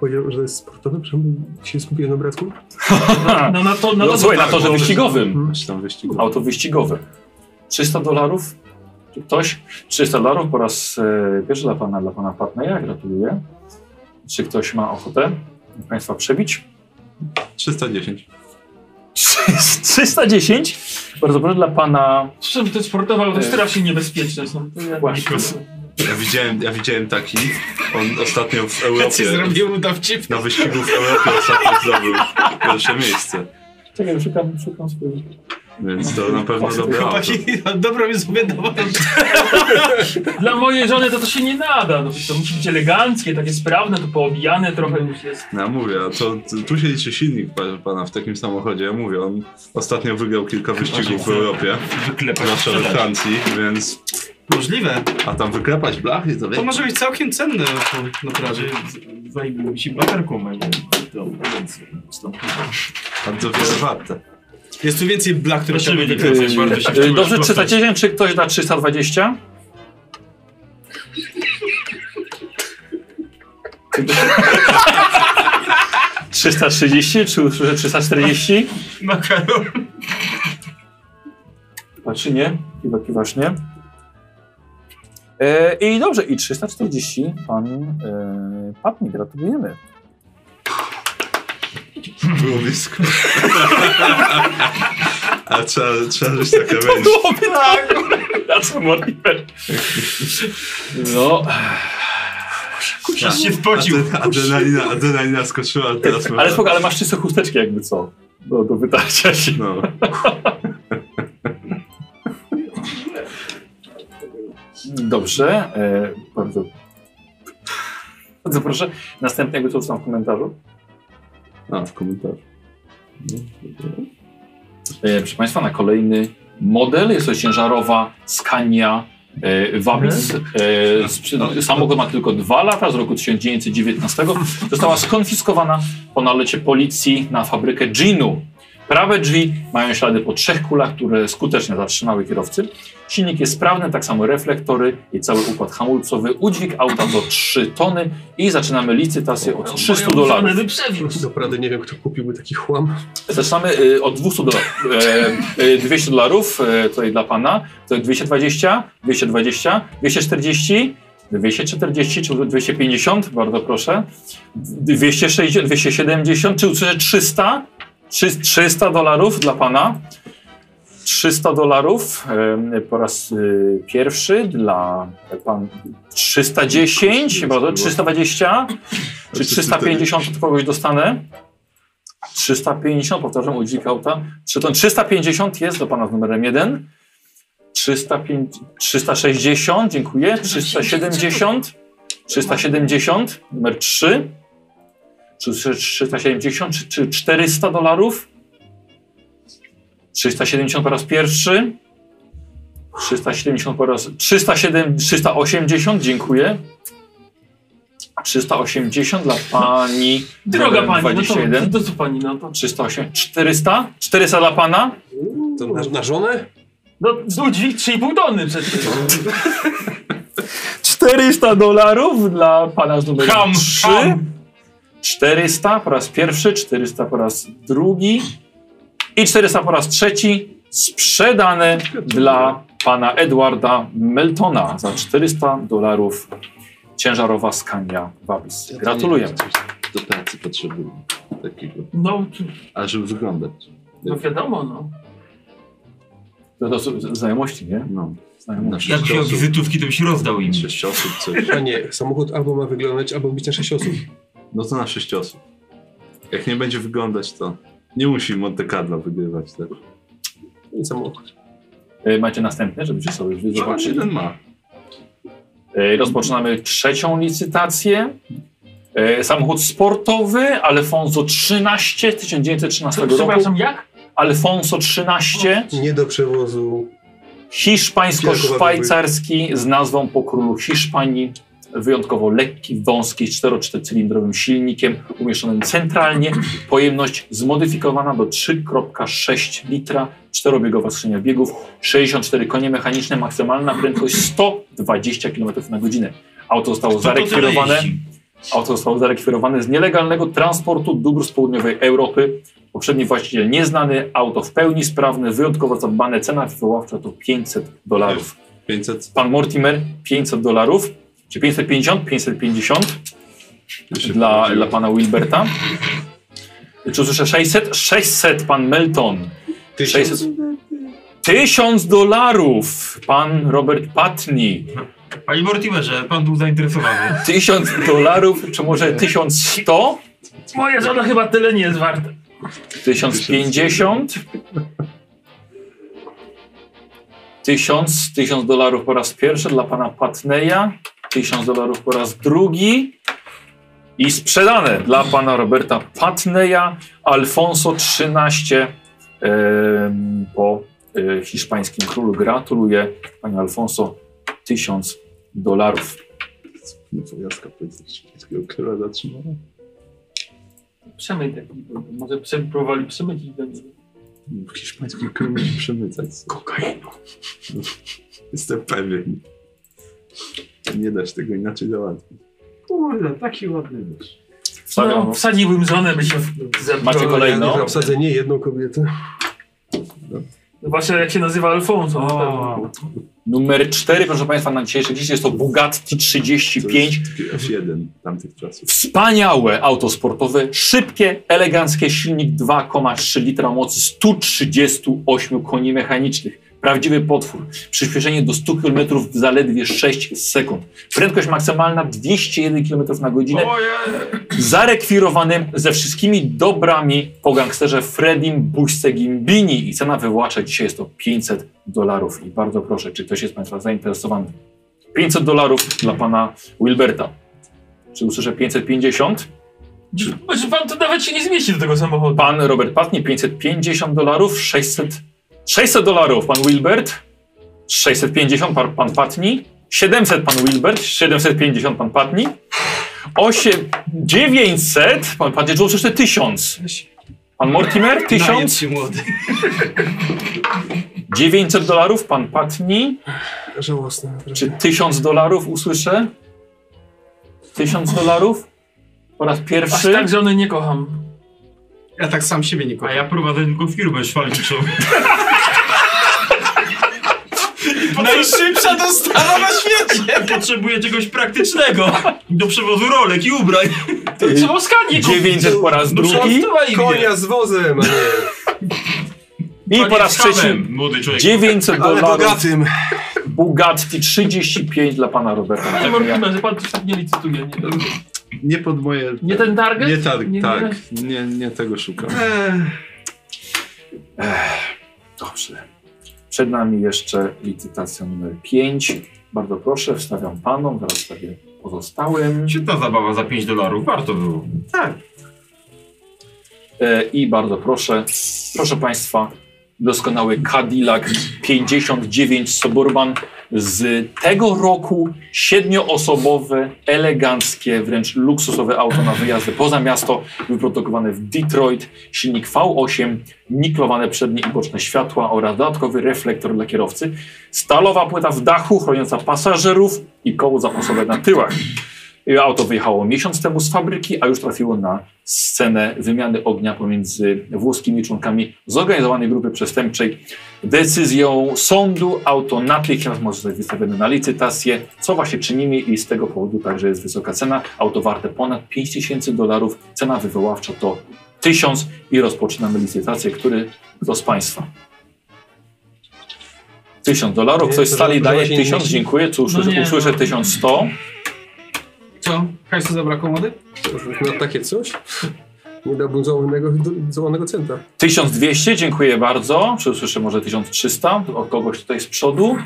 Speaker 6: Powiedział, że to jest sportowe, przynajmniej się skupiłem na obrazku.
Speaker 7: No na to, na
Speaker 2: no,
Speaker 7: to,
Speaker 2: słuchaj, na
Speaker 16: tak,
Speaker 2: torze
Speaker 16: bo-
Speaker 2: wyścigowym.
Speaker 16: Masz tam wyścigu.
Speaker 2: Auto wyścigowe. 300 dolarów. Czy ktoś? 300 dolarów po raz e, pierwszy dla pana, dla pana Patneja. Gratuluję. Czy ktoś ma ochotę państwa przebić?
Speaker 16: 310.
Speaker 2: 310? Bardzo proszę dla pana.
Speaker 7: Czym ty sportował, to
Speaker 1: Nie.
Speaker 7: jest strasznie niebezpieczne są.
Speaker 1: Właśnie. Ja widziałem, ja widziałem taki. On ostatnio w Europie.
Speaker 4: zrobił mu dowcip.
Speaker 1: Na wyścigu w Europie ostatnio zdobył pierwsze miejsce.
Speaker 2: Czekaj, szukam, szukam swojego.
Speaker 1: Więc to na pewno dobre auto.
Speaker 4: Chłopaki, dobrą jest sobie
Speaker 7: Dla mojej żony to, to się nie nada. No, to musi być eleganckie, takie sprawne, to poobijane trochę
Speaker 2: Mm.
Speaker 7: już jest.
Speaker 1: No ja mówię, a to, tu- tu się liczy silnik pa- pana w takim samochodzie. Ja mówię, on ostatnio wygrał kilka wyścigów w Europie. Zwłaszcza we Francji, więc.
Speaker 4: Możliwe.
Speaker 1: A tam wyklepać blachy, to
Speaker 4: To
Speaker 1: wie-
Speaker 4: może być całkiem cenne no, na plaży.
Speaker 25: Zajmuje mi się blakarką, a nie tą agencją.
Speaker 1: Tam to wiele warte.
Speaker 4: Jest tu więcej blach, które trzeba
Speaker 2: Yy,
Speaker 4: wykreślić.
Speaker 2: yy, Dobrze, 310, czy ktoś da 320? Trzysta trzydzieści, czy usłyszę trzysta czterdzieści?
Speaker 4: Makaron.
Speaker 2: Patrzy nie, chyba kiwasz nie. E, I dobrze, i 340 pan e, padnie, gratulujemy.
Speaker 1: Było blisko. A trzeba, trzeba żyć taka wejść.
Speaker 2: tak! That's możliwe. No.
Speaker 1: Kusisz się spocił. Adrenalina, adrenalina skoczyła, ale teraz
Speaker 2: Ale spoko, ale masz czyste chusteczki jakby co, do, do wytarcia się.
Speaker 1: No.
Speaker 2: Dobrze, e, bardzo. Bardzo proszę. Następnie jakby co tam w komentarzu.
Speaker 1: A, w komentarzu.
Speaker 2: E, proszę Państwa, na kolejny model jest to ciężarowa Scania e, Wabis. E, sprzy- samochód ma tylko dwa lata, z roku 1919. Została skonfiskowana po nalecie policji na fabrykę Ginu. Prawe drzwi mają ślady po trzech kulach, które skutecznie zatrzymały kierowcy. Silnik jest sprawny, tak samo reflektory i cały układ hamulcowy. Udźwig auta do 3 tony i zaczynamy licytację
Speaker 7: No,
Speaker 2: od 300 dolarów.
Speaker 6: Naprawdę nie wiem, kto kupiłby taki chłam.
Speaker 2: Zaczynamy y, od 200 dolarów. E, y, 200 dolarów y, tutaj dla pana, to 220, 220, 240, 240 czy 250, bardzo proszę, 260, 270, czy usłyszę 300, Trzy- 300 dolarów dla pana. 300 dolarów y, po raz y, pierwszy dla tak pan 310, bardzo 320 czy 350 od kogoś dostanę. 350, powtarzam, udzik auta. Trzy ton- 350 jest do pana z numerem 1. 305, 360, dziękuję. 370, 370, numer 3. Czy 370, czy, czy 400 dolarów? 370 po raz pierwszy. 370 po raz. 307, 380, dziękuję. 380 dla pani.
Speaker 7: Droga
Speaker 2: numerem
Speaker 7: pani, no
Speaker 2: 21.
Speaker 7: to, to co pani, no to...
Speaker 2: 308, 400? 400 dla pana?
Speaker 6: To na, na żonę?
Speaker 7: No, ludzi 3,5 tony przecież.
Speaker 2: 400 dolarów dla pana z numerem
Speaker 7: Ham,
Speaker 2: 3. 400 po raz pierwszy, 400 po raz drugi i 400 po raz trzeci sprzedane dla pana Edwarda Meltona za 400 dolarów ciężarowa Scania Wabis. Gratuluję.
Speaker 1: Do pracy potrzebuję takiego.
Speaker 7: No,
Speaker 1: A żeby wyglądać.
Speaker 7: no wiadomo, no.
Speaker 2: To, to są znajomości, nie?
Speaker 1: No.
Speaker 2: Znajomości.
Speaker 5: Jak wziął wizytówki, to byś rozdał im.
Speaker 1: Sześć osób, coś.
Speaker 6: A nie, samochód albo ma wyglądać, albo być na 6 osób.
Speaker 1: No to na sześć osób. Jak nie będzie wyglądać, to nie musi Monte Carlo wygrywać też.
Speaker 6: I samochód.
Speaker 2: Y, Macie następne, żebyście sobie już
Speaker 1: Zobaczy,
Speaker 2: zobaczyli.
Speaker 1: jeden ma.
Speaker 2: E, Rozpoczynamy trzecią licytację. E, Samochód sportowy Alfonso 13 1913 roku.
Speaker 7: Przepraszam, jak?
Speaker 2: Alfonso 13
Speaker 6: Nie do przewozu.
Speaker 2: hiszpańsko-szwajcarski z nazwą po królu Hiszpanii. Wyjątkowo lekki, wąski, z 4-4-cylindrowym silnikiem umieszczonym centralnie. Pojemność zmodyfikowana do 3,6 litra, czterobiegowa skrzynia biegów, 64 konie mechaniczne, maksymalna prędkość 120 km na godzinę. Auto zostało
Speaker 5: Kto po tyle
Speaker 2: zarekwirowane.
Speaker 5: jeździ?
Speaker 2: Auto zostało zarekwirowane z nielegalnego transportu dóbr z południowej Europy. Poprzedni właściciel nieznany, auto w pełni sprawne, wyjątkowo zadbane, cena wywoławcza to 500 dolarów.
Speaker 1: 500.
Speaker 2: Pan Mortimer 500 dolarów, czy 550? 550 dla, dla pana Wilberta. Czy usłyszę 600? 600, pan Melton. 600. 1000 dolarów, pan Robert Patni.
Speaker 5: Panie Mortimerze, pan był zainteresowany.
Speaker 2: 1000 dolarów, czy może 1100?
Speaker 7: Moja żona chyba tyle nie jest warta.
Speaker 2: 1050? 1000, 1000 dolarów po raz pierwszy dla pana Patneya, 1000 dolarów po raz drugi i sprzedane dla pana Roberta Patneya, Alfonso 13 em, po e, hiszpańskim królu. Gratuluję panie Alfonso 1000 dolarów.
Speaker 1: Niepowiastka hiszpańskiego króla zatrzymała.
Speaker 7: Przemyj taki, był. może przem- próbowali przemycić do niego.
Speaker 1: W hiszpańskim królu nie przemycać. Kokainą. Jestem pewien. Nie da się tego inaczej załatwić.
Speaker 20: Kurde, taki ładny mysz.
Speaker 2: Wstawiam.
Speaker 7: No, wsadziłbym żonę, by się no, zabrała.
Speaker 2: Tak, Macie kolejną?
Speaker 6: Ja obsadzenie jedną kobietę.
Speaker 7: Właśnie jak się nazywa Alfonso. na pewno.
Speaker 2: Numer 4, proszę Państwa, na dzisiejszy dziś jest to Bugatti 35.
Speaker 1: F1 tamtych czasów.
Speaker 2: Wspaniałe auto sportowe, szybkie, eleganckie, silnik 2,3 litra mocy, 138 koni mechanicznych. Prawdziwy potwór. Przyspieszenie do 100 km w zaledwie 6 sekund. Prędkość maksymalna 201 km na godzinę. Zarekwirowany ze wszystkimi dobrami po gangsterze Fredim Buźce Gimbini. I cena wywołacza dzisiaj jest to 500 dolarów. I bardzo proszę, czy ktoś jest Państwa zainteresowany? 500 dolarów dla Pana Wilberta. Czy usłyszę 550?
Speaker 7: Może Znaczy, pan to nawet się nie zmieści do tego samochodu.
Speaker 2: Pan Robert Patni 550 dolarów, 600, 600 dolarów pan Wilbert, 650 pan, pan Patni, 700 pan Wilbert, 750 pan Patni, 8, 900 pan Patni, czy usłyszę 1000? Pan Mortimer 1000,
Speaker 4: się młody.
Speaker 2: 900 dolarów pan Patni,
Speaker 6: Żałosne.
Speaker 2: czy 1000 dolarów usłyszę? 1000 dolarów? Po raz
Speaker 7: Aż
Speaker 2: pierwszy.
Speaker 7: tak żony nie kocham.
Speaker 4: Ja tak sam siebie nie
Speaker 5: A
Speaker 4: kocham.
Speaker 5: ja prowadzę tylko firmę szwalniczą.
Speaker 4: Najszybsza dostawa na świecie!
Speaker 5: Potrzebuję czegoś praktycznego. Do przewozu rolek i ubrań.
Speaker 7: To trzeba skanie
Speaker 2: 900 po raz drugi.
Speaker 6: Konia z wozem, a nie.
Speaker 2: I po raz
Speaker 5: z hamem,
Speaker 2: trzeci
Speaker 5: młody człowiek.
Speaker 2: 900
Speaker 6: Ale
Speaker 2: dolarów.
Speaker 6: bogatym.
Speaker 2: Bugatti 35 dla pana Roberta.
Speaker 7: Nie możliwe, że pan coś tak nie licytuje. Nie,
Speaker 1: Nie pod moje...
Speaker 7: nie ten target?
Speaker 1: Nie tak,
Speaker 7: nie
Speaker 1: tak. Nie, nie tego szukam.
Speaker 2: Dobrze. Przed nami jeszcze licytacja numer 5. Bardzo proszę, wstawiam panom, zaraz wstawię pozostałym.
Speaker 5: Świetna zabawa za 5 dolarów, warto było.
Speaker 2: E, I bardzo proszę, proszę Państwa, doskonały Cadillac 59 Suburban z tego roku. Siedmioosobowe, eleganckie, wręcz luksusowe auto na wyjazdy poza miasto, wyprodukowane w Detroit. Silnik V8, niklowane przednie i boczne światła oraz dodatkowy reflektor dla kierowcy. Stalowa płyta w dachu chroniąca pasażerów i koło zapasowe na tyłach. Auto wyjechało miesiąc temu z fabryki, a już trafiło na scenę wymiany ognia pomiędzy włoskimi członkami zorganizowanej grupy przestępczej. Decyzją sądu auto natychmiast może zostać wystawione na licytację, co właśnie czynimy i z tego powodu także jest wysoka cena. Auto warte ponad 5000 dolarów, cena wywoławcza to 1000 i rozpoczynamy licytację, który kto z Państwa? 1000 dolarów,
Speaker 6: Nie,
Speaker 2: ktoś z
Speaker 6: to
Speaker 2: sali
Speaker 6: żeby
Speaker 2: daje
Speaker 6: była się
Speaker 2: 1000,
Speaker 6: nie-
Speaker 2: dziękuję, cóż,
Speaker 7: No nie,
Speaker 2: usłyszę
Speaker 7: no.
Speaker 2: 1100.
Speaker 4: Co? Hajsu zabrakło młody?
Speaker 6: Na takie coś? Nie dałbym złamanego, złamanego centa.
Speaker 2: 1200, dziękuję bardzo. Czy usłyszę może 1300 od kogoś tutaj z przodu?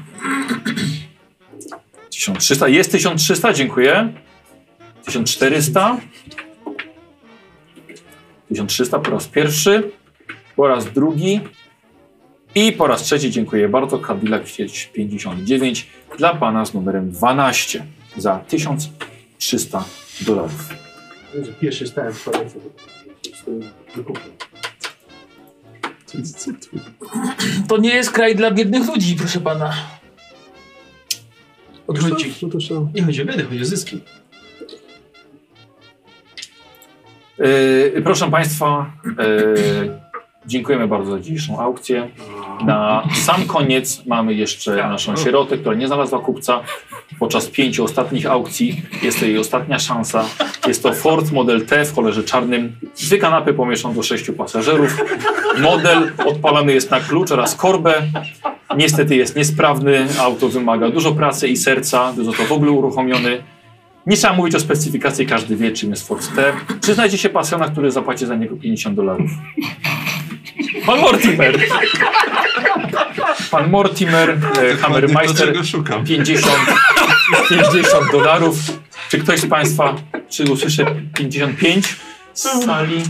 Speaker 2: 1300, jest 1300, dziękuję. 1400. 1300 po raz pierwszy, po raz drugi i po raz trzeci, dziękuję bardzo. Cadillac 59 dla pana z numerem 12 za 1300 dolarów.
Speaker 20: Jezu, Pierwszy stałem w kolejce. Wykupię.
Speaker 7: To nie jest kraj dla biednych ludzi, proszę pana.
Speaker 6: Odchodzi. No to co?
Speaker 4: Nie chodzi o biedę, chodzi o zyski.
Speaker 2: Y, Yy, proszę Państwa, yy, Dziękujemy bardzo za dzisiejszą aukcję. Na sam koniec mamy jeszcze naszą sierotę, która nie znalazła kupca. Podczas pięciu ostatnich aukcji jest to jej ostatnia szansa. Jest to Ford Model T w kolorze czarnym. Dwie kanapy pomieszczą do sześciu pasażerów. Model odpalany jest na klucz oraz korbę. Niestety jest niesprawny. Auto wymaga dużo pracy i serca, gdy został w ogóle uruchomiony. Nie trzeba mówić o specyfikacji, każdy wie czym jest Ford T. Czy znajdzie się pasjona, który zapłaci za niego 50 dolarów? Pan Mortimer. Pan Mortimer, e, Hammermeister, 50, 50 dolarów. Czy ktoś z Państwa, czy usłyszę 55 z sali?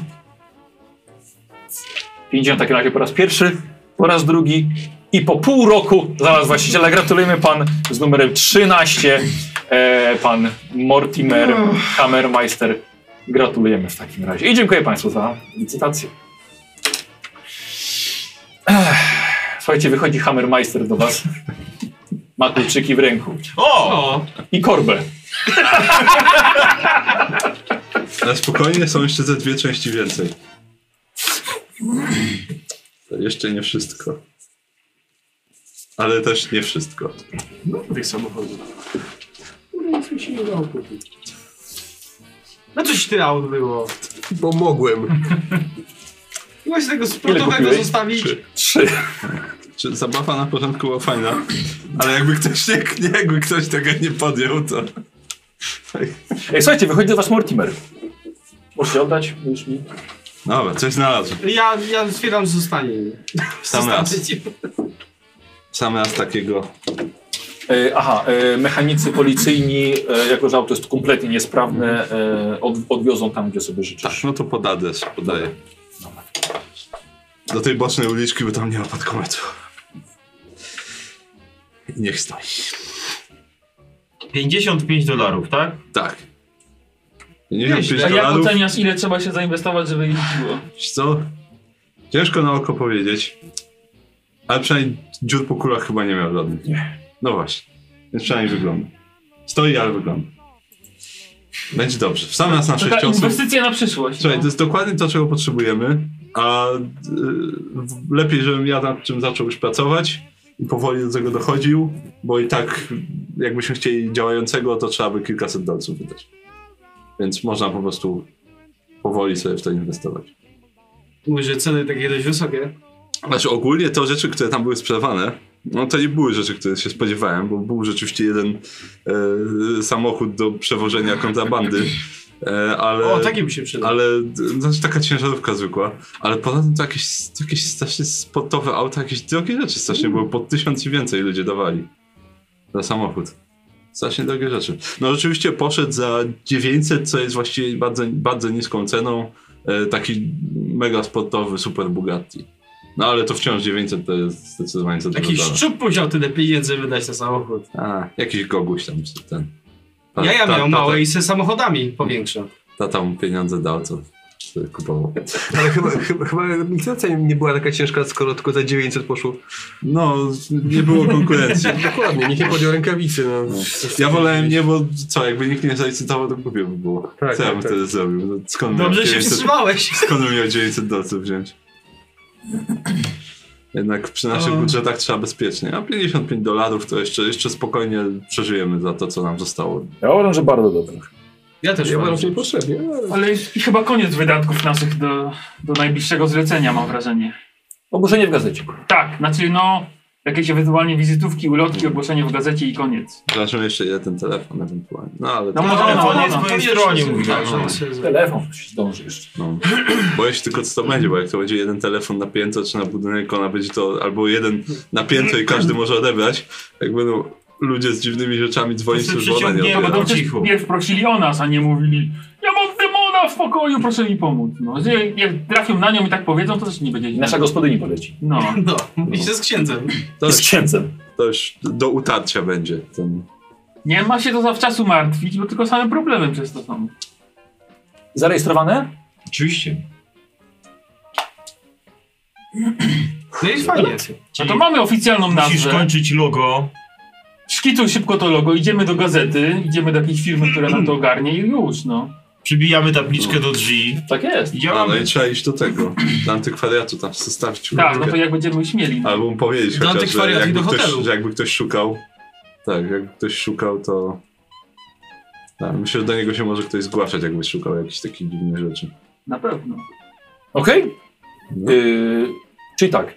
Speaker 2: 50 w takim razie po raz pierwszy, po raz drugi i po pół roku zaraz właściciela. Gratulujemy Pan z numerem 13, e, Pan Mortimer, Hammermeister. Gratulujemy w takim razie i dziękuję Państwu za licytację. Słuchajcie, wychodzi Hammermeister do was. Ma kluczyki w ręku. O! I korbę.
Speaker 16: Na spokojnie są jeszcze ze dwie części więcej. To jeszcze nie wszystko. Ale też nie wszystko.
Speaker 34: No, tych samochodów.
Speaker 35: Nic mi się nie dało kupić.
Speaker 4: No coś ty aut było.
Speaker 6: Bo mogłem.
Speaker 4: Mogłeś tego sportowego zostawić.
Speaker 2: Trzy.
Speaker 16: Czy zabawa na początku była fajna, ale jakby ktoś, nie, nie- jakby ktoś tego nie podjął, to...
Speaker 2: Ej, E, słuchajcie, wychodzi do was Mortimer. Możecie oddać, już mi.
Speaker 16: Dobra, coś znalazłem.
Speaker 4: Ja, ja stwierdzam, że zostanie.
Speaker 16: Sam raz. Sam raz takiego.
Speaker 2: E, aha, e, mechanicy policyjni, e, jako że auto jest kompletnie niesprawne, e, od, odwiozą tam, gdzie sobie życzą.
Speaker 16: No to pod adres podaję. Do tej bocznej uliczki, bo tam nie ma padkometu. I niech stoi.
Speaker 5: 55 dolarów, tak?
Speaker 16: Tak. 55
Speaker 7: A jak
Speaker 16: dolarów.
Speaker 7: oceniasz, ile trzeba się zainwestować, żeby jeździło?
Speaker 16: Wiesz co? Ciężko na oko powiedzieć. Ale przynajmniej dziur po kulach chyba nie miał żadnych. Nie. No właśnie. Więc przynajmniej wygląda. Stoi, ale wygląda. Będzie dobrze. W sam raz na
Speaker 7: Taka
Speaker 16: sześć osób.
Speaker 7: inwestycja na przyszłość. no.
Speaker 16: Słuchaj, to jest dokładnie to, czego potrzebujemy. A y, w- lepiej, żebym ja nad czym zaczął już pracować i powoli do tego dochodził, bo i tak jakbyśmy chcieli działającego, to trzeba by kilkaset dolców wydać. Więc można po prostu powoli sobie w to inwestować.
Speaker 4: Mówisz, że ceny takie dość wysokie.
Speaker 16: Znaczy ogólnie to rzeczy, które tam były sprzedawane, no to nie były rzeczy, które się spodziewałem, bo był rzeczywiście jeden e, samochód do przewożenia kontrabandy. E, ale,
Speaker 4: O, taki by się przydał.
Speaker 16: Ale, d- znaczy taka ciężarówka zwykła, ale poza tym to jakieś, jakieś strasznie sportowe auta, jakieś drogie rzeczy strasznie były, po tysiąc i więcej ludzie dawali za samochód. Strasznie drogie rzeczy. No rzeczywiście poszedł za 900, co jest właściwie bardzo, bardzo niską ceną, e, taki mega sportowy super Bugatti. No ale to wciąż 900 to jest zdecydowanie za dużo
Speaker 4: Jakiś
Speaker 16: dane.
Speaker 4: szczup musiał tyle pieniędzy wydać na samochód.
Speaker 16: A, jakiś goguś tam, czy ten. Tak,
Speaker 4: Ja ja miał
Speaker 16: tata,
Speaker 4: małe i se samochodami powiększa.
Speaker 16: Tata mu pieniądze dał, co co kupował.
Speaker 6: Ale chyba, chyba, chyba licytacja nie była taka ciężka, skoro tylko za 900 poszło.
Speaker 16: No, nie było konkurencji.
Speaker 6: Dokładnie, nikt nie podjął rękawicy. No.
Speaker 16: Ja wolałem nie, bo co, jakby nikt nie zalicytował, to głupio by było.
Speaker 6: Tak,
Speaker 16: co
Speaker 6: tak,
Speaker 16: ja bym
Speaker 6: tak.
Speaker 16: wtedy zrobił? No, skąd
Speaker 4: Dobrze
Speaker 16: miał
Speaker 4: się
Speaker 16: 900
Speaker 4: wstrzymałeś.
Speaker 16: Skąd bym miał 900 dolców wziąć? Jednak przy naszych
Speaker 4: O.
Speaker 16: budżetach trzeba bezpiecznie. A 55 dolarów to jeszcze, jeszcze spokojnie przeżyjemy za to, co nam zostało.
Speaker 36: Ja uważam, że bardzo dobrze.
Speaker 4: Ja też No,
Speaker 6: Ja
Speaker 4: uważam,
Speaker 6: uważam,
Speaker 4: że-
Speaker 6: że niepotrzebnie. ale-
Speaker 7: Ale jest chyba koniec wydatków naszych do, do najbliższego zlecenia, mam wrażenie.
Speaker 2: Ogłoszenie w gazecie.
Speaker 7: Tak, znaczy no, jakieś ewentualnie wizytówki, ulotki, ogłoszenie w gazecie i koniec.
Speaker 16: Zobaczymy jeszcze ile ten telefon ewentualnie. No ale...
Speaker 7: No, może
Speaker 5: telefon
Speaker 7: no,
Speaker 5: jest
Speaker 7: no,
Speaker 5: po
Speaker 7: no.
Speaker 5: jej stronie, mówię.
Speaker 4: Tak,
Speaker 5: no.
Speaker 4: że-
Speaker 2: Telefon zdąży jeszcze.
Speaker 16: No. Boję się tylko co to będzie, bo jak to będzie jeden telefon na piętro czy na budynek, ona będzie to albo jeden na piętro i każdy może odebrać. Jak będą ludzie z dziwnymi rzeczami dzwonić,
Speaker 7: To
Speaker 16: to
Speaker 7: się
Speaker 16: już ona nie
Speaker 7: przyciągniemy,
Speaker 16: odbiera.
Speaker 7: będą cicho. Pierw prosili o nas, a nie mówili ja mam demona w pokoju, proszę mi pomóc. No, jak, jak trafią na nią i tak powiedzą, to też nie będzie źle.
Speaker 2: Nasza gospodyni poleci.
Speaker 7: No.
Speaker 4: No, i się z księdzem.
Speaker 16: To
Speaker 2: Z księdzem.
Speaker 16: To już do utarcia będzie. Ten...
Speaker 7: Nie ma się to zawczasu martwić, bo tylko same problemy przez to są.
Speaker 2: Zarejestrowane?
Speaker 5: Oczywiście.
Speaker 4: No i fajnie.
Speaker 7: No to mamy oficjalną
Speaker 5: Musisz
Speaker 7: nazwę.
Speaker 5: kończyć logo.
Speaker 7: Szkicuj szybko to logo, idziemy do gazety, idziemy do jakiejś firmy, która nam to ogarnie i już, no.
Speaker 5: Przybijamy tabliczkę do drzwi.
Speaker 16: Tak
Speaker 7: jest.
Speaker 5: I
Speaker 16: No, no
Speaker 5: działamy.
Speaker 16: i trzeba iść do tego, do antykwariatu tam zostawić.
Speaker 7: Tak, no to jak będziemy już mieli.
Speaker 16: Albo mu powiedzieć
Speaker 7: Do
Speaker 16: chociaż, że
Speaker 7: antykwariatu i
Speaker 16: jakby,
Speaker 7: do
Speaker 16: ktoś,
Speaker 7: hotelu.
Speaker 16: że jakby ktoś szukał, tak, jakby ktoś szukał, to tak, myślę, że do niego się może ktoś zgłaszać, jakby szukał jakichś takich dziwnych rzeczy.
Speaker 7: Na pewno.
Speaker 2: Okej? Yy, czyli tak,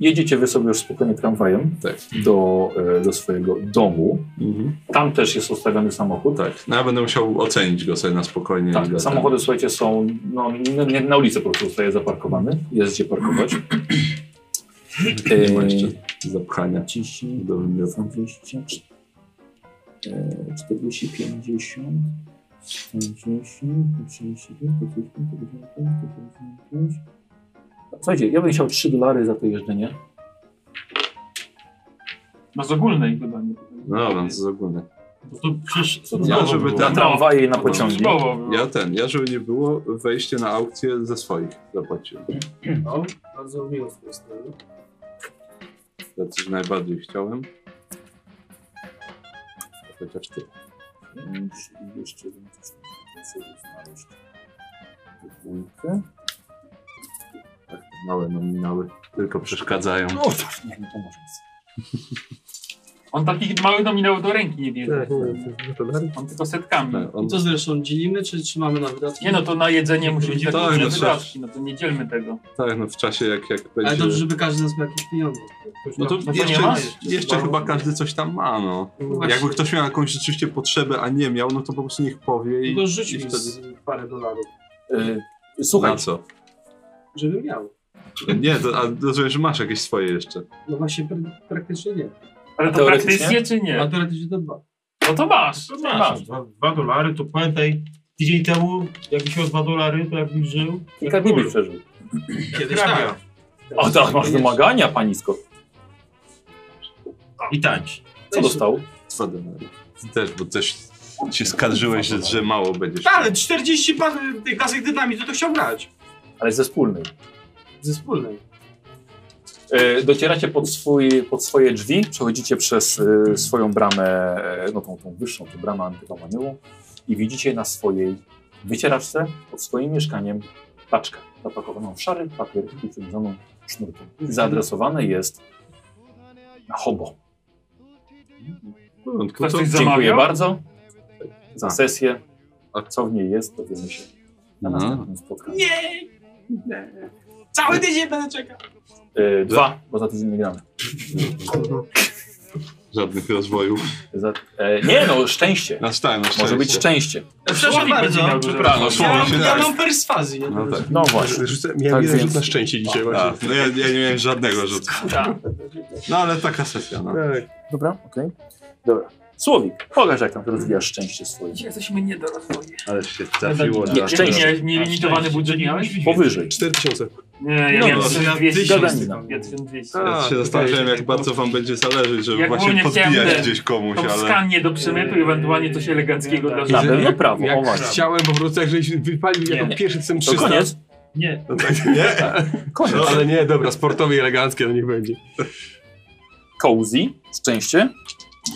Speaker 2: jedziecie wy sobie już spokojnie tramwajem do, e, do swojego domu.
Speaker 16: Mhm.
Speaker 2: Tam też jest ustawiony samochód.
Speaker 16: Tak, no ja będę musiał ocenić go sobie na spokojnie.
Speaker 2: Tak,
Speaker 16: i go-
Speaker 2: samochody, słuchajcie, są no, nie- nie, na ulicy po prostu zostaje zaparkowany. Jest gdzie parkować. Eee,
Speaker 16: Nie ma jeszcze zapchania.
Speaker 2: 10,
Speaker 16: do wymiotu.
Speaker 2: 20, 40, 50, 50, 35, 55. Słuchajcie, ja bym chciał 3 dolary za to jeżdżenie.
Speaker 7: No z ogólnej chyba nie.
Speaker 16: No dobra, to z ogólne.
Speaker 5: To przecież
Speaker 2: znaczy,
Speaker 16: Ja, żeby na
Speaker 2: tramwaje i na pociągi.
Speaker 16: Ja ten, ja żeby nie było, wejście na aukcję ze swoich zapłaciłem.
Speaker 37: No, bardzo miło z tej strony.
Speaker 16: Ja coś najbardziej chciałem. Chociaż ty.
Speaker 2: Jeszcze sobie znaleźć. Dwójkę.
Speaker 16: Tak, małe nominały tylko przeszkadzają.
Speaker 2: No to nie, no to może nic.
Speaker 7: On takich małych nominałów do ręki nie
Speaker 16: Tak,
Speaker 4: Tak,
Speaker 7: bierze. On tylko setkami.
Speaker 4: No
Speaker 37: I to zresztą dzielimy, czy trzymamy na wydatki?
Speaker 7: Nie no, to na jedzenie musi być
Speaker 37: Tak,
Speaker 7: takie duże
Speaker 16: no przecież.
Speaker 7: wydatki, no to nie dzielmy tego.
Speaker 16: Tak, no w czasie jak, jak będzie...
Speaker 37: Ale dobrze, żeby każdy nas miał jakieś pieniądze.
Speaker 16: No to
Speaker 7: No to nie
Speaker 16: jeszcze,
Speaker 7: ma?
Speaker 16: jeszcze chyba każdy coś tam ma, no.
Speaker 37: No właśnie.
Speaker 16: Jakby ktoś miał jakąś rzeczywiście potrzebę, a nie miał, no to po prostu niech powie i,
Speaker 37: Tylko
Speaker 7: No
Speaker 16: i
Speaker 37: rzuć mi
Speaker 16: wtedy...
Speaker 37: z parę dolarów,
Speaker 2: Eee,
Speaker 16: Słuchaj. Na
Speaker 2: No.
Speaker 16: co? No
Speaker 37: żebym miał.
Speaker 16: Nie, to, a rozumiem, że masz jakieś swoje jeszcze.
Speaker 37: No właśnie prak- praktycznie nie.
Speaker 7: Ale to praktycznie czy nie?
Speaker 37: A teoretycznie to dwa.
Speaker 7: No to masz.
Speaker 5: To masz. Dwa, dwa dolary, to pamiętaj, tydzień temu, jakbyś miał dwa dolary, to jakbyś żył.
Speaker 2: I tak byś przeżył.
Speaker 5: Kiedyś
Speaker 2: tak. O tak, masz wymagania, panisko.
Speaker 5: I tańcz.
Speaker 2: Co dostał?
Speaker 16: Dwa dolary. Ty też, bo też się skarżyłeś, że, że mało będziesz.
Speaker 4: Ale 40 pa- tych klasek dynamitu to chciał brać.
Speaker 2: Ale ze wspólnej.
Speaker 4: Ze wspólnej.
Speaker 2: E, Docieracie pod, swój, pod swoje drzwi, przechodzicie przez e, swoją bramę, e, no tą, tą wyższą, tą bramę antywamaniową i widzicie na swojej wycieraczce pod swoim mieszkaniem paczkę zapakowaną w szary papier i przywiązaną sznurkiem. Zaadresowane jest na hobo.
Speaker 16: Ktoś coś
Speaker 2: Dziękuję
Speaker 16: zamawiał?
Speaker 2: bardzo
Speaker 16: Tak.
Speaker 2: za sesję. A co w niej jest, dowiemy się na
Speaker 16: Mhm.
Speaker 2: następnym spotkaniu.
Speaker 4: Nie! nie. Cały tydzień będę czekał.
Speaker 2: E, dwa, bo za tydzień nie gramy.
Speaker 16: Żadnych rozwojów.
Speaker 2: Za, e, nie no, szczęście.
Speaker 16: Na stałe, na No, szczęście.
Speaker 2: Może być szczęście.
Speaker 4: Przepraszam
Speaker 2: Słowik będzie miał
Speaker 4: bardzo,
Speaker 2: dużo
Speaker 4: przepraszam.
Speaker 2: racji.
Speaker 4: Ja,
Speaker 2: Słowik
Speaker 4: mam-
Speaker 2: się
Speaker 4: ja
Speaker 2: tak.
Speaker 4: mam perswazję.
Speaker 16: No tak.
Speaker 2: No właśnie.
Speaker 6: Rzucę- miałem jeden rzut na szczęście dzisiaj właśnie.
Speaker 16: Tak, no ja, ja nie miałem żadnego rzutu. No ale taka sesja, no.
Speaker 6: Tak,
Speaker 2: Dobra, okej. Dobra. Słowik, pokaż jak tam rozwijasz szczęście swoje.
Speaker 7: Jesteśmy nie do rozwoju.
Speaker 16: Ale się
Speaker 2: trafiło na-
Speaker 7: Nie, szczęście.
Speaker 2: szczęście.
Speaker 7: Nie, nielimitowany budżet miałeś?
Speaker 2: Powyżej.
Speaker 6: 4000.
Speaker 7: Nie, ja
Speaker 16: No,
Speaker 7: miałem
Speaker 16: no,
Speaker 7: 1200.
Speaker 16: gadanina.
Speaker 7: Ja 1200.
Speaker 16: Ja się zastanawiałem, jak bardzo wam będzie zależeć, żeby
Speaker 7: Jak
Speaker 16: właśnie podbijać
Speaker 7: chciałem
Speaker 16: gdzieś komuś,
Speaker 7: tą
Speaker 16: ale...
Speaker 7: skanie do przemytu i ewentualnie coś eleganckiego dla
Speaker 6: I że-
Speaker 7: żaby.
Speaker 6: jak- Jak chciałem po prostu, jak żeś wypalił jako
Speaker 7: Nie.
Speaker 6: pierwszy tym
Speaker 7: To
Speaker 6: 300.
Speaker 7: koniec?
Speaker 6: Nie.
Speaker 16: nie?
Speaker 2: Koniec.
Speaker 6: No, ale nie, dobra, sportowy i elegancki, no niech będzie.
Speaker 2: Cozy, szczęście.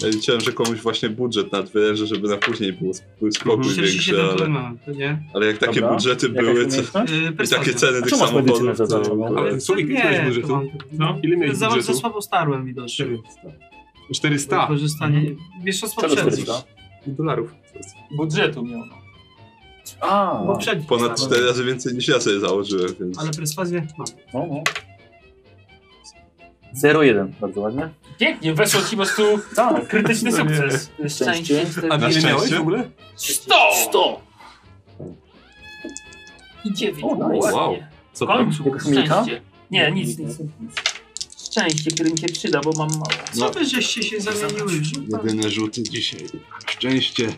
Speaker 16: Ja liczyłem, że komuś właśnie budżet nadwyręży, żeby na później był, był spokój
Speaker 7: Mhm.
Speaker 16: większy,
Speaker 4: 47 to
Speaker 16: ale...
Speaker 4: mam, to nie?
Speaker 16: Ale jak takie
Speaker 4: Dobra.
Speaker 16: budżety
Speaker 4: Jakaś
Speaker 16: były co,
Speaker 4: umiejętność? Yy,
Speaker 16: i
Speaker 4: perswazja.
Speaker 16: takie ceny
Speaker 4: A
Speaker 16: tych
Speaker 4: czemu masz
Speaker 16: samochodów,
Speaker 4: medycynę za darmo?
Speaker 16: to-
Speaker 4: Ale co, ile miałeś budżetu?
Speaker 6: No. Ile miałeś
Speaker 4: Za, za
Speaker 6: budżetu?
Speaker 4: słabo starłem widocznie.
Speaker 6: 400.
Speaker 4: Korzystanie. Wiesz co z poprzednich.
Speaker 6: Dolarów.
Speaker 7: Budżetu miał.
Speaker 2: A,
Speaker 4: Bo przed-
Speaker 16: ponad 4 razy więcej niż ja sobie założyłem, więc...
Speaker 4: Ale perswazję mam.
Speaker 2: No, no. 0-1, bardzo ładnie.
Speaker 7: Pięknie, weszło ci po prostu krytyczny
Speaker 2: No nie.
Speaker 7: sukces.
Speaker 2: Szczęście.
Speaker 6: A
Speaker 16: Na
Speaker 6: ile miałeś
Speaker 16: szczęście?
Speaker 6: w ogóle?
Speaker 7: 100! 100! I 9.
Speaker 2: O, nice.
Speaker 16: Wow.
Speaker 7: Co
Speaker 16: Co
Speaker 7: Końcu.
Speaker 16: tam?
Speaker 2: Jakaś milka?
Speaker 7: Szczęście. Nie, nic, nic. nic. Szczęście, które mi się przyda, bo mam mało.
Speaker 4: Co wy żeście się zamieniły w żółta?
Speaker 16: Jedyne rzuty dzisiaj. Szczęście. Mam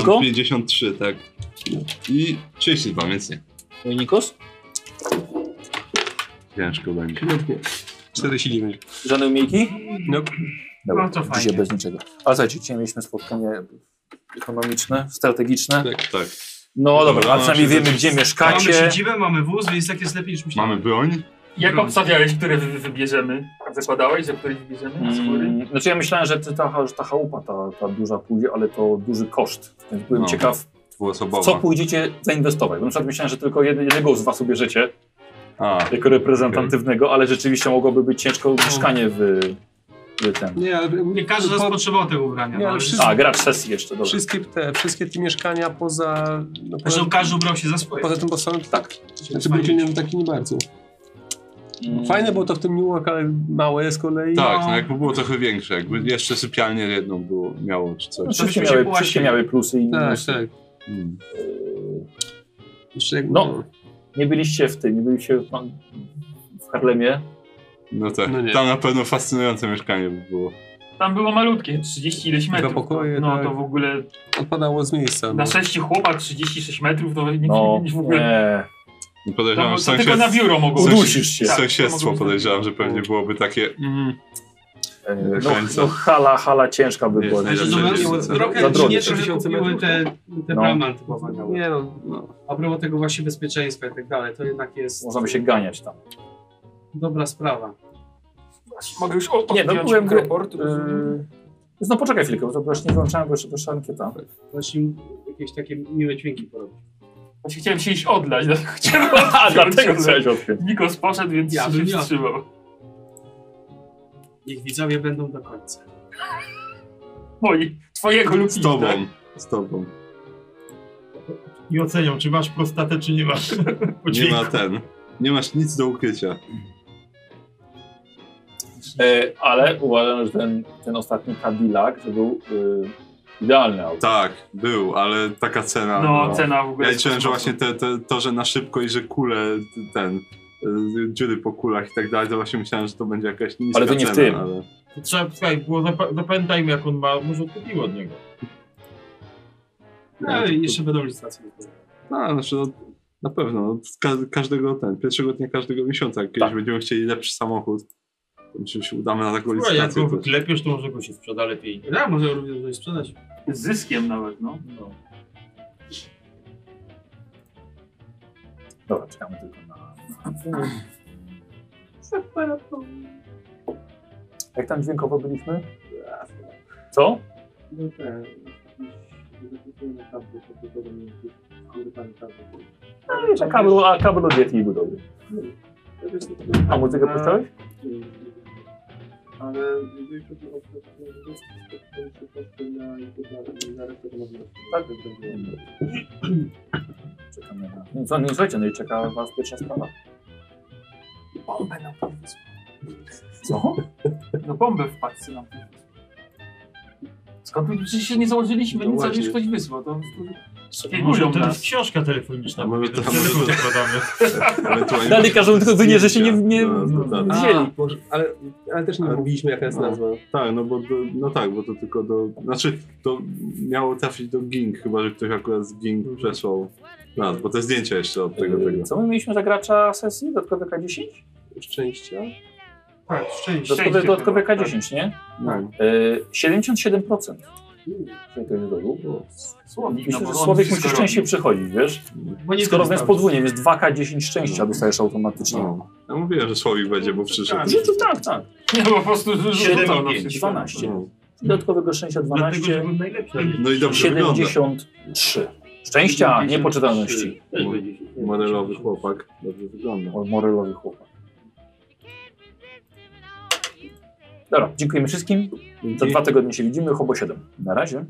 Speaker 2: Tylko?
Speaker 16: 53, tak. I 32, więc nie.
Speaker 2: No i Nikos?
Speaker 16: Ciężko będzie.
Speaker 6: 49.
Speaker 2: Żadne umiejki?
Speaker 6: No.
Speaker 2: Dobra,
Speaker 6: No to fajnie.
Speaker 2: dzisiaj bez niczego. Ale słuchajcie, dzisiaj mieliśmy spotkanie ekonomiczne, strategiczne.
Speaker 16: Tak, tak.
Speaker 2: No dobra, a
Speaker 16: Dobra,
Speaker 2: przynajmniej
Speaker 16: się
Speaker 2: wiemy,
Speaker 16: zaczyna.
Speaker 2: gdzie
Speaker 4: Mamy
Speaker 2: mieszkacie.
Speaker 4: siedzibę, mamy wóz, więc tak jest lepiej niż myślałem.
Speaker 16: Mamy broń?
Speaker 7: Jak obstawiałeś, które wy- wybierzemy? Zakładałeś, że które wybierzemy? Z góry?
Speaker 2: Mm, Znaczy ja myślałem, że ty- ta, że ta chałupa, ta, ta duża pójdzie, ale to duży koszt. Więc byłem
Speaker 16: No.
Speaker 2: ciekaw, W
Speaker 16: dwuosobowa.
Speaker 2: co pójdziecie zainwestować? Bo na przykład myślałem, że tylko jed- jednego z was ubierzecie
Speaker 16: A,
Speaker 2: jako reprezentatywnego, ale rzeczywiście mogłoby być ciężko
Speaker 6: No.
Speaker 2: mieszkanie w, w ten.
Speaker 6: Nie, ale-
Speaker 4: Nie każdy z nas potrzebował tego ubrania.
Speaker 6: Nie,
Speaker 4: no,
Speaker 6: ale
Speaker 4: ale
Speaker 6: wszyscy-
Speaker 2: A, gracz sesji jeszcze, dobra.
Speaker 6: Wszystkie te, wszystkie te mieszkania poza... No, poza
Speaker 4: Zresztą Znaczy, każdy ubrał się za swoje.
Speaker 6: Poza tym podstawą, tak. Znaczy Brooklyn taki nie bardzo.
Speaker 16: Mm.
Speaker 2: Mm.
Speaker 6: Fajne
Speaker 2: No,
Speaker 6: było to w tym New York, ale małe z kolei.
Speaker 16: Tak, no jakby było trochę większe, jakby jeszcze sypialnię jedną było, miało czy
Speaker 2: No,
Speaker 16: coś.
Speaker 2: wszystkie, miały, wszystkie miały plusy i
Speaker 6: Tak,
Speaker 2: minusy.
Speaker 6: tak.
Speaker 16: Mm.
Speaker 6: Jeszcze jak-
Speaker 2: No, nie byliście w tym, nie byliście w, w Harlemie.
Speaker 16: No tak,
Speaker 2: No nie.
Speaker 16: tam na pewno fascynujące mieszkanie by było.
Speaker 7: Tam było malutkie, 30 ileś metrów.
Speaker 6: pokoje,
Speaker 7: no
Speaker 6: tak.
Speaker 7: to w ogóle
Speaker 6: Odpadało z miejsca.
Speaker 7: na
Speaker 6: no.
Speaker 7: sześciu chłopa 36 metrów to nikt
Speaker 2: No,
Speaker 7: no, w ogóle...
Speaker 16: Nie
Speaker 7: To
Speaker 16: No Podejrzewam,
Speaker 7: mo-
Speaker 16: że
Speaker 7: to tylko na biuro mogło
Speaker 16: sąsied-
Speaker 7: być. Udusisz się. Tak, to
Speaker 16: Sąsiedztwo
Speaker 7: mogło być.
Speaker 16: podejrzewam, że pewnie byłoby takie... Mm,
Speaker 2: E,
Speaker 16: do
Speaker 2: No,
Speaker 16: końca.
Speaker 2: no hala, hala ciężka by
Speaker 16: Nie,
Speaker 2: była.
Speaker 16: ale
Speaker 2: nie?
Speaker 16: że to było-
Speaker 2: Za-
Speaker 4: Znaczy, Trochę
Speaker 2: za drogie.
Speaker 4: nie trochę kupiły te, te
Speaker 2: No.
Speaker 4: no. braman typowe.
Speaker 6: Nie no,
Speaker 4: A propos tego właśnie bezpieczeństwa i tak dalej, to jednak jest
Speaker 2: Można by się ganiać tam.
Speaker 4: dobra sprawa.
Speaker 7: Mogę już o,
Speaker 2: Nie, no
Speaker 7: odjąć
Speaker 2: byłem gry.
Speaker 7: raport.
Speaker 2: Yy, no poczekaj chwilkę, bo to właśnie włączałem, bo jeszcze wyszła ankieta.
Speaker 4: Właśnie jakieś takie miłe dźwięki porobić.
Speaker 7: Właśnie chciałem się iść odlać, dlatego chciałem
Speaker 2: A, dlatego
Speaker 7: odjąć, ale
Speaker 2: chciałeś odpiąć.
Speaker 7: Nikos poszedł, więc
Speaker 4: Ja
Speaker 7: ja się
Speaker 4: bym nie
Speaker 7: wstrzymał.
Speaker 4: Niech widzowie będą do końca.
Speaker 7: Moi, twojego lub
Speaker 16: Z tobą, z tobą.
Speaker 5: I ocenią, czy masz prostatę, czy nie masz. Po
Speaker 16: Nie ma
Speaker 5: dźwięku.
Speaker 16: ten, nie masz nic do ukrycia.
Speaker 2: E, ale uważam, że ten, ten ostatni Cadillac to był yy, idealny auto.
Speaker 16: Tak, był, ale taka cena.
Speaker 7: No, cena w ogóle
Speaker 16: Ja
Speaker 7: jest
Speaker 16: liczyłem, że
Speaker 7: kosmosu.
Speaker 16: właśnie te, te, to, że na szybko i że kule, ten, y, dziury po kulach i tak dalej, to właśnie myślałem, że to będzie jakaś niska
Speaker 2: Ale to nie w
Speaker 16: cena,
Speaker 2: tym.
Speaker 16: Ale...
Speaker 5: To Trzeba, słuchaj, było zap- zapamiętajmy jak on ma, może odkupił od niego.
Speaker 4: No i jeszcze będą licytacje.
Speaker 16: A, znaczy, no, na pewno. no, w Ka każdego ten, pierwszego dnia każdego miesiąca, jak
Speaker 2: Tak.
Speaker 16: kiedyś będziemy chcieli lepszy samochód, to myślę, że się udamy na taką
Speaker 5: Słuchaj, jak
Speaker 16: licytację.
Speaker 5: go
Speaker 16: to-
Speaker 5: wyklepiesz, to może go się sprzeda lepiej.
Speaker 4: Ja może również coś sprzedać.
Speaker 7: Z zyskiem nawet, no.
Speaker 5: No.
Speaker 2: Dobra, czekamy tylko na... Jak tam dźwiękowo byliśmy? Co?
Speaker 38: No tak. Naprawdę, prawdopodobnie jakieś kurwami kabel.
Speaker 2: No, wiesz, a kabel, a kabel od Yeti był dobry.
Speaker 38: No,
Speaker 2: A muzykę puszczałeś?
Speaker 38: Ale jeżeli chodzi o to, to po prostu na YouTube, na resztę to można
Speaker 2: Tak.
Speaker 38: będzie.
Speaker 2: Czekamy na... No, co, no słuchajcie, no i czeka was pierwsza sprawa.
Speaker 7: Bombę nam podniósł.
Speaker 2: Co?
Speaker 7: No bombę w paczce nam podniósł. Skąd my przecież się nie założyliśmy, nic, ale już ktoś wysłał. To
Speaker 5: Może
Speaker 7: szpiegują
Speaker 5: to
Speaker 7: nas.
Speaker 5: jest książka telefoniczna,
Speaker 16: może
Speaker 5: może
Speaker 16: to-
Speaker 5: to telefon
Speaker 16: może to-
Speaker 5: zakładamy.
Speaker 16: ewentualnie-
Speaker 2: Dalej każą tylko wynie, że się nie- nie-
Speaker 16: No, no, tak.
Speaker 2: Wzięli.
Speaker 6: Może, ale, ale też nie
Speaker 16: Ale-
Speaker 6: mówiliśmy jaka jest
Speaker 16: No.
Speaker 6: nazwa.
Speaker 16: Tak, no bo do, no tak, bo to tylko do. Znaczy to miało trafić do Ging, chyba że ktoś akurat z Ging przesłał. No, bo te zdjęcia jeszcze od tego tego.
Speaker 2: Co my mieliśmy za gracza sesji? Dodatkowe K10?
Speaker 6: Szczęścia?
Speaker 4: Tak, szczęście.
Speaker 2: Dodatkowe, dodatkowe K10, nie?
Speaker 16: tak. No.
Speaker 2: Y, 77%. Czyli to jest dołu.
Speaker 7: Słowik,
Speaker 2: Myślę,
Speaker 7: no
Speaker 2: że
Speaker 7: bo on
Speaker 2: Słowik
Speaker 7: wszystko
Speaker 2: musi szczęście
Speaker 7: robi.
Speaker 2: przychodzić, wiesz?
Speaker 4: Bo
Speaker 16: No
Speaker 4: nie
Speaker 2: Skoro wręcz
Speaker 4: skorzystał.
Speaker 2: podwójnie, więc 2K10 szczęścia dostajesz automatycznie.
Speaker 16: No. Ja mówiłem, że Słowik będzie, bo przyszedł.
Speaker 2: Że to tak, tak.
Speaker 7: Nie, po prostu
Speaker 16: no,
Speaker 2: Siedem,
Speaker 7: rzucał na
Speaker 2: pięć,
Speaker 7: wszystko.
Speaker 2: 12. Dodatkowego szczęścia
Speaker 5: Dlatego, że
Speaker 2: 12.
Speaker 5: był najlepszy.
Speaker 16: No i dobrze wygląda.
Speaker 2: 73. Szczęścia, niepoczytalności.
Speaker 5: Też będzie się-
Speaker 16: Modelowy chłopak. Dobrze wygląda.
Speaker 2: O, Morelowy chłopak. Dobra, dziękujemy wszystkim. Za dwa tygodnie się widzimy. Hobo 7. Na razie.